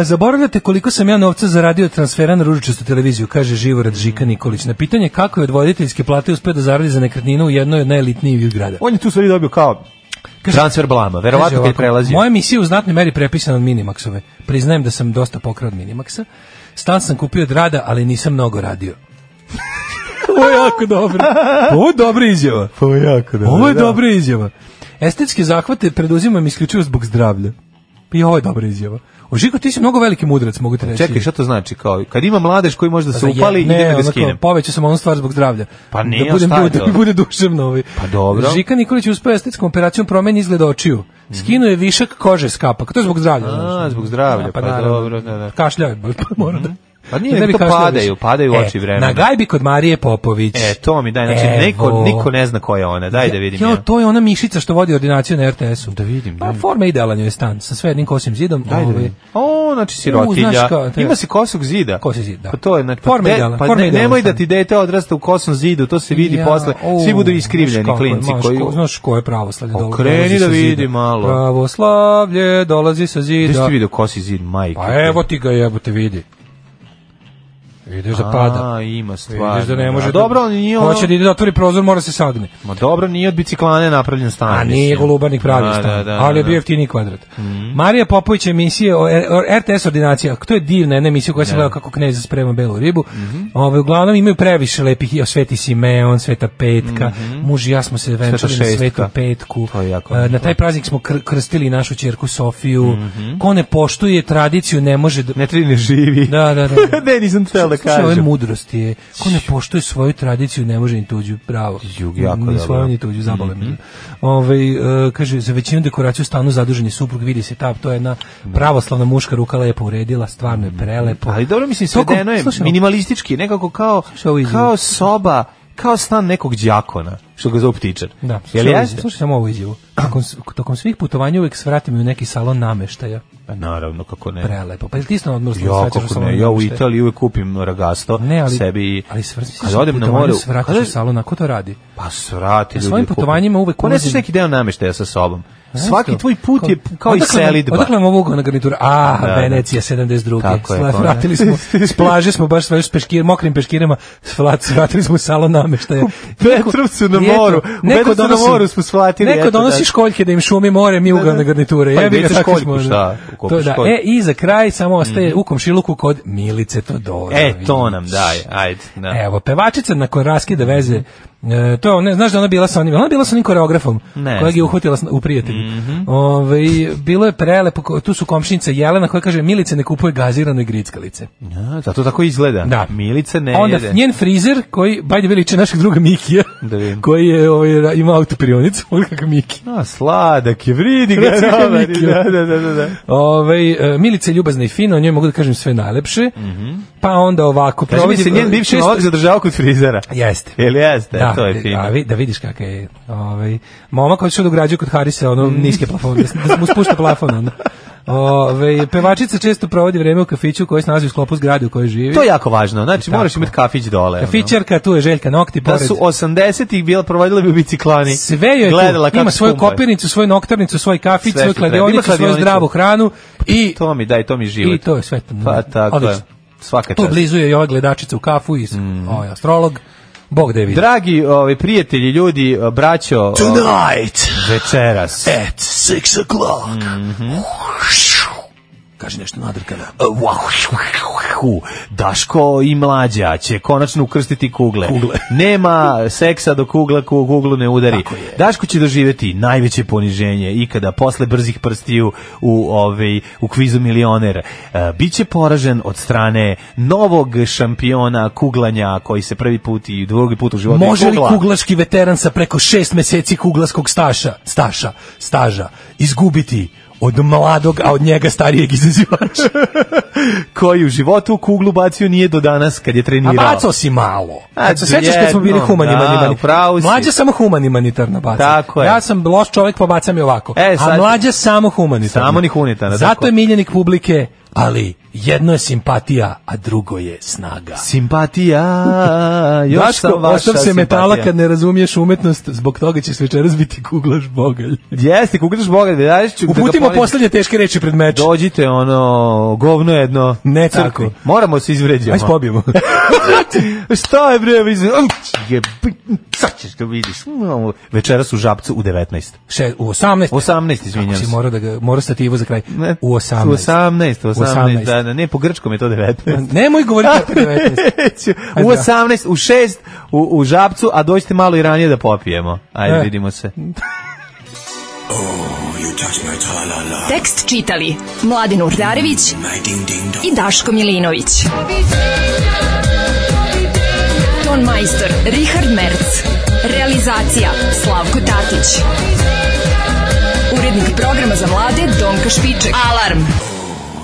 [SPEAKER 5] E, zaboravljate koliko sam ja novca zaradio od transfera na ružičastu televiziju, kaže Živorad Žika Nikolić. Na pitanje kako je od voditeljske plate uspeo da zaradi za nekretninu u jednoj od najelitnijih grada.
[SPEAKER 6] On je tu stvari dobio kao transfer blama,
[SPEAKER 5] Kaže
[SPEAKER 6] verovatno kad je
[SPEAKER 5] ovako,
[SPEAKER 6] prelazio.
[SPEAKER 5] Moja misija je u znatnoj meri prepisana od Minimaxove. Priznajem da sam dosta pokrao od Minimaxa. Stan sam kupio od rada, ali nisam mnogo radio. Ovo je jako dobro. Ovo je dobra izjava.
[SPEAKER 6] Ovo je Pa jako dobro.
[SPEAKER 5] Ovo je
[SPEAKER 6] da.
[SPEAKER 5] dobra izjava. Estetske zahvate preduzimam isključivo zbog zdravlja. Pa i ovo je dobra izjava. O Žiko, ti si mnogo veliki mudrac, mogu ti reći.
[SPEAKER 6] Čekaj, šta to znači? Kao, kad ima mladež koji može da se
[SPEAKER 5] Za je-
[SPEAKER 6] upali,
[SPEAKER 5] ne,
[SPEAKER 6] idem da ga
[SPEAKER 5] ono
[SPEAKER 6] skinem.
[SPEAKER 5] kao, Povećao sam onu stvar zbog zdravlja.
[SPEAKER 6] Pa nije,
[SPEAKER 5] da budem,
[SPEAKER 6] šta je
[SPEAKER 5] bude,
[SPEAKER 6] to?
[SPEAKER 5] da bude duševno ovaj.
[SPEAKER 6] Pa dobro.
[SPEAKER 5] Žika Nikolić je uspeo estetskom operacijom promeni izgled očiju. Skinuo je višak kože s kapak. To je zbog zdravlja.
[SPEAKER 6] A,
[SPEAKER 5] znaš. ono.
[SPEAKER 6] zbog zdravlja,
[SPEAKER 5] A,
[SPEAKER 6] pa,
[SPEAKER 5] naravno.
[SPEAKER 6] dobro, da, da.
[SPEAKER 5] Kašljao je, baš, pa mora da.
[SPEAKER 6] Pa nije,
[SPEAKER 5] da
[SPEAKER 6] nego
[SPEAKER 5] bi
[SPEAKER 6] to
[SPEAKER 5] kašljao
[SPEAKER 6] padaju,
[SPEAKER 5] više.
[SPEAKER 6] padaju
[SPEAKER 5] E,
[SPEAKER 6] oči vremena.
[SPEAKER 5] Na gajbi kod Marije Popović.
[SPEAKER 6] E, to mi daj, znači
[SPEAKER 5] Evo.
[SPEAKER 6] neko, niko ne zna ko je ona, daj da vidim
[SPEAKER 5] Jo,
[SPEAKER 6] ja.
[SPEAKER 5] to je ona mišica što vodi ordinaciju na RTS-u. Da
[SPEAKER 6] vidim,
[SPEAKER 5] Pa forma idealan joj je stan, sa sve jednim kosim zidom.
[SPEAKER 6] Daj da
[SPEAKER 5] ovaj.
[SPEAKER 6] vidim. O, znači
[SPEAKER 5] U,
[SPEAKER 6] sirotilja.
[SPEAKER 5] znaš kao, to je-
[SPEAKER 6] Ima si kosog zida.
[SPEAKER 5] Kosi zid, da.
[SPEAKER 6] Pa to je, znači, pa,
[SPEAKER 5] Forma
[SPEAKER 6] de-
[SPEAKER 5] idealna,
[SPEAKER 6] pa
[SPEAKER 5] forma
[SPEAKER 6] ne,
[SPEAKER 5] idealna
[SPEAKER 6] nemoj da
[SPEAKER 5] stan.
[SPEAKER 6] ti dete odrasta u kosom zidu, to se vidi
[SPEAKER 5] Ja,
[SPEAKER 6] posle. Svi
[SPEAKER 5] o,
[SPEAKER 6] budu iskrivljeni
[SPEAKER 5] znaš kako je,
[SPEAKER 6] klinci
[SPEAKER 5] znaš
[SPEAKER 6] koji...
[SPEAKER 5] ko- znaš ko je pravoslavlje dolazi.
[SPEAKER 6] Okreni
[SPEAKER 5] dolazi
[SPEAKER 6] da
[SPEAKER 5] sa
[SPEAKER 6] vidi
[SPEAKER 5] zida.
[SPEAKER 6] malo.
[SPEAKER 5] Pravoslavlje dolazi sa
[SPEAKER 6] Gde si
[SPEAKER 5] zida.
[SPEAKER 6] ti vidio kosi zid, majke?
[SPEAKER 5] Pa evo ti ga jebote vidi. Vidiš da
[SPEAKER 6] A,
[SPEAKER 5] pada.
[SPEAKER 6] ima stvar.
[SPEAKER 5] Vidiš da ne
[SPEAKER 6] A
[SPEAKER 5] može. da-
[SPEAKER 6] dobro, ali nije ono...
[SPEAKER 5] Hoće da ide da otvori prozor, mora se sagne.
[SPEAKER 6] Ma dobro, nije od biciklane napravljen stan.
[SPEAKER 5] A nije
[SPEAKER 6] mislim.
[SPEAKER 5] Golubarnik pravio
[SPEAKER 6] Da,
[SPEAKER 5] stan,
[SPEAKER 6] da, da,
[SPEAKER 5] ali je
[SPEAKER 6] da,
[SPEAKER 5] bio
[SPEAKER 6] da. Mhm.
[SPEAKER 5] jeftiniji kvadrat. Marija Popović emisije o, e, o RTS ordinacija, to je divna jedna emisija koja se gleda kako knez sprema belu ribu.
[SPEAKER 6] Mhm.
[SPEAKER 5] Ove, uglavnom imaju previše lepih, i Sveti Simeon, Sveta Petka, muž i ja smo se venčali na
[SPEAKER 6] Mhm. šestka.
[SPEAKER 5] Svetu Petku.
[SPEAKER 6] To je jako
[SPEAKER 5] E, Na
[SPEAKER 6] lepo.
[SPEAKER 5] taj praznik smo kr- krstili našu ćerku Sofiju. Ko ne poštuje tradiciju ne može da...
[SPEAKER 6] Mhm. Ne tri ne živi.
[SPEAKER 5] Da, da, da.
[SPEAKER 6] ne, nisam htio da
[SPEAKER 5] Slušaj, ove
[SPEAKER 6] kažem.
[SPEAKER 5] mudrosti je, ko ne poštuje svoju tradiciju, ne može ni tuđu, bravo.
[SPEAKER 6] Jug, jako
[SPEAKER 5] ni
[SPEAKER 6] dobro. Mhm.
[SPEAKER 5] svoju, ni tuđu, zabole me. Ovaj, e, kaže, za većinu dekoraciju u stanu zadužen je suprug, vidi se ta, to je jedna pravoslavna muška ruka lepo uredila, stvarno je prelepo.
[SPEAKER 6] Mhm. Ali dobro, mislim,
[SPEAKER 5] Toliko-
[SPEAKER 6] svedeno je
[SPEAKER 5] slušaj,
[SPEAKER 6] minimalistički, nekako kao,
[SPEAKER 5] Slušaj, ovo izjavu.
[SPEAKER 6] kao soba, kao stan nekog đakona, što ga zove ptičar.
[SPEAKER 5] Da,
[SPEAKER 6] Jel
[SPEAKER 5] slušaj,
[SPEAKER 6] jeste?
[SPEAKER 5] slušaj samo ovu izjavu. Tokom, s- tokom svih putovanja uvek svratim u neki salon nameštaja.
[SPEAKER 6] Pa naravno, kako ne.
[SPEAKER 5] Prelepo. Pa jel ti si na odmoru
[SPEAKER 6] Ja,
[SPEAKER 5] svraćaš u
[SPEAKER 6] kako
[SPEAKER 5] salon
[SPEAKER 6] ne, ja u
[SPEAKER 5] nameštaja?
[SPEAKER 6] Italiji uvek kupim ragasto
[SPEAKER 5] Ne, ali,
[SPEAKER 6] sebi. i-
[SPEAKER 5] ali svrsti
[SPEAKER 6] kad odem na more,
[SPEAKER 5] moru, svraćaš
[SPEAKER 6] kada-
[SPEAKER 5] u salon, a ko to radi?
[SPEAKER 6] pa svrati
[SPEAKER 5] Na
[SPEAKER 6] ljudi.
[SPEAKER 5] svojim
[SPEAKER 6] kupim.
[SPEAKER 5] putovanjima uvek
[SPEAKER 6] Poneseš
[SPEAKER 5] ulazim- Pa
[SPEAKER 6] neki deo nameštaja sa sobom.
[SPEAKER 5] Znaš
[SPEAKER 6] Svaki
[SPEAKER 5] to?
[SPEAKER 6] tvoj put je kao i
[SPEAKER 5] odakle nam-
[SPEAKER 6] selidba.
[SPEAKER 5] Odakle nam ovo na garnitura? A,
[SPEAKER 6] Da, da.
[SPEAKER 5] Venecija 72.
[SPEAKER 6] Tako je, pa-
[SPEAKER 5] Sla-
[SPEAKER 6] to ne.
[SPEAKER 5] vratili smo, s plaže smo baš sve s peškir, mokrim peškirama, svlat, vratili smo u salon nameštaja.
[SPEAKER 6] Petrovcu na moru, u Petrovcu na moru smo shvatili,
[SPEAKER 5] Neko
[SPEAKER 6] eto,
[SPEAKER 5] donosi
[SPEAKER 6] da.
[SPEAKER 5] školjke da im šumi more, mi ugalne garniture.
[SPEAKER 6] Pa,
[SPEAKER 5] Jebi ga,
[SPEAKER 6] gde ćeš
[SPEAKER 5] takvi
[SPEAKER 6] školjku,
[SPEAKER 5] smo,
[SPEAKER 6] šta?
[SPEAKER 5] da.
[SPEAKER 6] Kupiš
[SPEAKER 5] To da.
[SPEAKER 6] školjku. Mhm.
[SPEAKER 5] E, i za kraj samo ostaje u komšiluku kod Milice Todorović.
[SPEAKER 6] E, to nam daje, ajde. Da.
[SPEAKER 5] E, Evo, pevačica nakon raskida veze, e, to ne, znaš da ona bila sa onim, ona bila sa onim koreografom,
[SPEAKER 6] Ne
[SPEAKER 5] kojeg je
[SPEAKER 6] znam. Mhm.
[SPEAKER 5] uhvatila s- u prijatelju. Ovaj, bilo je prelepo, ko- tu su komšinica Jelena koja kaže, Milice ne kupuje gazirane grickalice.
[SPEAKER 6] Ja, zato tako izgleda.
[SPEAKER 5] Da.
[SPEAKER 6] Milica ne
[SPEAKER 5] Onda
[SPEAKER 6] jede.
[SPEAKER 5] njen frizer, koji, by the way, liče našeg druga Mikija,
[SPEAKER 6] Da vidim.
[SPEAKER 5] koji je, ovaj, ra- ima autoprionicu, on kakav Miki.
[SPEAKER 6] A, sladak je, vridi ga,
[SPEAKER 5] Recimo,
[SPEAKER 6] Robert,
[SPEAKER 5] Mikio.
[SPEAKER 6] da, da, da, da, da.
[SPEAKER 5] Ovaj e, Milica je ljubazna i fina, o njoj mogu da kažem sve najlepše. Pa onda ovako,
[SPEAKER 6] Mhm. Kaži mi
[SPEAKER 5] provodi-
[SPEAKER 6] se, njen bivši
[SPEAKER 5] e, često-
[SPEAKER 6] novak zadržava kod frizera.
[SPEAKER 5] Jeste.
[SPEAKER 6] Jel jeste? to je fino.
[SPEAKER 5] Da, vi- da vidiš kakav je. Ovaj momak hoće da ugrađuje kod Harisa ono
[SPEAKER 6] Mm.
[SPEAKER 5] niske plafone, da mu spušta plafon onda. Ovaj pevačica često provodi vreme u kafiću koji se nalazi u sklopu zgrade u kojoj živi.
[SPEAKER 6] To je jako važno. Znači, moraš imati kafić dole. ono.
[SPEAKER 5] Kafićarka, tu je Željka Nokti
[SPEAKER 6] Da
[SPEAKER 5] pored.
[SPEAKER 6] su 80-ih bila provodila bi u biciklani.
[SPEAKER 5] sve joj je
[SPEAKER 6] Gledala
[SPEAKER 5] tu.
[SPEAKER 6] kako
[SPEAKER 5] Ima svoju
[SPEAKER 6] pumpaju.
[SPEAKER 5] kopirnicu, svoju noktarnicu, svoj kafić,
[SPEAKER 6] Sve
[SPEAKER 5] svoju
[SPEAKER 6] što treba. Ima
[SPEAKER 5] kladionicu, svoju
[SPEAKER 6] kladionicu. Pa
[SPEAKER 5] zdravu hranu i
[SPEAKER 6] To mi daj, to mi život.
[SPEAKER 5] i to je sve. to.
[SPEAKER 6] Pa tako je. Mm.
[SPEAKER 5] Odlično.
[SPEAKER 6] Svaka
[SPEAKER 5] Tu
[SPEAKER 6] čast.
[SPEAKER 5] blizu je i ova gledačica u kafu i ovaj astrolog. Bog da je vidi.
[SPEAKER 6] Dragi ovi, prijatelji, ljudi, braćo... Tonight! ovaj, Večeras.
[SPEAKER 5] At six o'clock. Mm -hmm. Kaže nešto nadrkana.
[SPEAKER 6] E, Wow. Daško i mlađa će konačno ukrstiti kugle.
[SPEAKER 5] Kugle.
[SPEAKER 6] Nema seksa do kugla ko kuglu ne udari.
[SPEAKER 5] Tako je.
[SPEAKER 6] Daško će doživjeti najveće poniženje ikada posle brzih prstiju u ovaj u kvizu milioner. E, biće poražen od strane novog šampiona kuglanja koji se prvi put i drugi put u životu
[SPEAKER 5] Može li
[SPEAKER 6] kugla.
[SPEAKER 5] kuglaški veteran sa preko šest meseci kuglaskog staša, staša, staža, izgubiti od mladog, a od njega starijeg izazivača?
[SPEAKER 6] koji u životu kuglu bacio nije do danas kad je
[SPEAKER 5] A
[SPEAKER 6] trenirao.
[SPEAKER 5] bacao si malo.
[SPEAKER 6] A,
[SPEAKER 5] Kad se sećaš kad smo bili
[SPEAKER 6] jednom,
[SPEAKER 5] humani,
[SPEAKER 6] da,
[SPEAKER 5] mani, mani.
[SPEAKER 6] upravo si.
[SPEAKER 5] Mlađa samo humanitarno baca.
[SPEAKER 6] Tako je.
[SPEAKER 5] Ja sam loš čovjek, pa bacam je ovako.
[SPEAKER 6] E,
[SPEAKER 5] a
[SPEAKER 6] sad-
[SPEAKER 5] mlađa samo humanitarno.
[SPEAKER 6] Samo ni humanitarno, tako
[SPEAKER 5] Zato
[SPEAKER 6] je.
[SPEAKER 5] je miljenik publike, ali jedno je simpatija, a drugo je snaga.
[SPEAKER 6] Simpatija, još
[SPEAKER 5] Daško,
[SPEAKER 6] sam vaša
[SPEAKER 5] ostav se
[SPEAKER 6] simpatija.
[SPEAKER 5] metala kad ne razumiješ umetnost, zbog toga će se večeras biti kuglaš bogalj.
[SPEAKER 6] Jeste, kukaš Boga, da daješ ću... da ga
[SPEAKER 5] Uputimo
[SPEAKER 6] polim-
[SPEAKER 5] posljednje teške reči pred meč.
[SPEAKER 6] Dođite, ono, govno jedno.
[SPEAKER 5] Ne
[SPEAKER 6] crkni.
[SPEAKER 5] tako.
[SPEAKER 6] Moramo se izvređamo.
[SPEAKER 5] Ajde pobijemo.
[SPEAKER 6] Šta je bre, izvređamo? Sad ćeš ga vidiš. Mm, Večeras u Žabcu u 19.
[SPEAKER 5] Še, u 18.
[SPEAKER 6] 18, izvinjam
[SPEAKER 5] Kako si
[SPEAKER 6] se.
[SPEAKER 5] morao da ga, morao stativu za kraj.
[SPEAKER 6] Ne,
[SPEAKER 5] U 18.
[SPEAKER 6] U 18, u 18,
[SPEAKER 5] 18.
[SPEAKER 6] da, da, ne, po grčkom je to 19.
[SPEAKER 5] Nemoj govoriti kako je 19.
[SPEAKER 6] u
[SPEAKER 5] Ajde, da.
[SPEAKER 6] 18, u 6, u, u Žabcu, a dođite malo i ranije da popijemo. Ajde,
[SPEAKER 5] E.
[SPEAKER 6] vidimo se.
[SPEAKER 4] Tekst čitali Mladin Urdarević i Daško Milinović. Ton majstor Richard Merc. Realizacija Slavko Tatić. Urednik programa za mlade Donka Špiček. Alarm!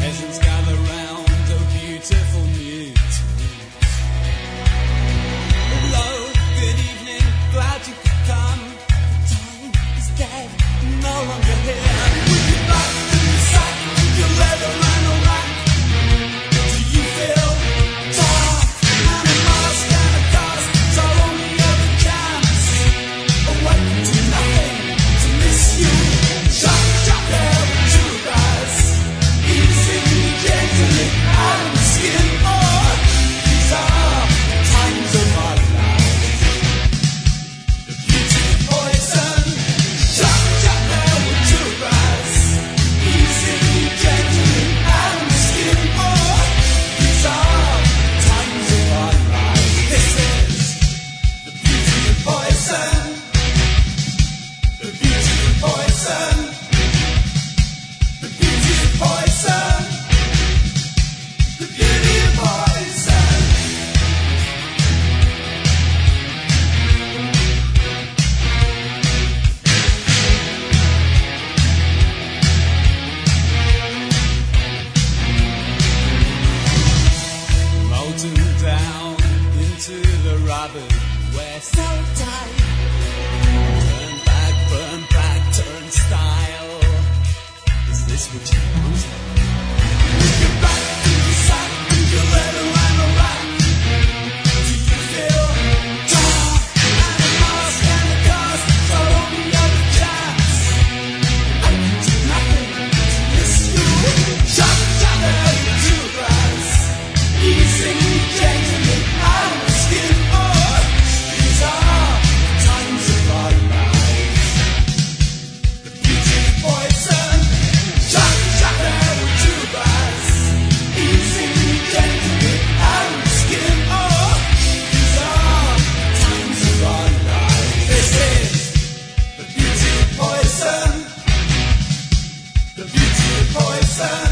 [SPEAKER 14] Peasants gather round the beautiful new town. Hello, good evening, glad you could come. The time is dead, no longer here. With your back to the sack, with your leather and a rack. Do you feel dark? And a mask and a cast, it's our only other chance. Awake to nothing, to miss you. Shut your bell to rise. Poison, the beauty of poison. The beauty of poison. The beauty of poison. Molten down into the rubber west. So tight. Turn back, burn back, turnstile. Is this what you want? With your back to the sack, with your leather and a rack. Do you feel dark? And a mask and a cast, so only other chance. I can do nothing to miss you. Shut your head to grass. Easily, gently, I'm a skin boy. These are times of our lives. The beauty of poison. Shut your head to grass. Easily, gently, I'm a skin boy. These are times of our lives. This is the beauty of poison. The beauty of poison. Oh,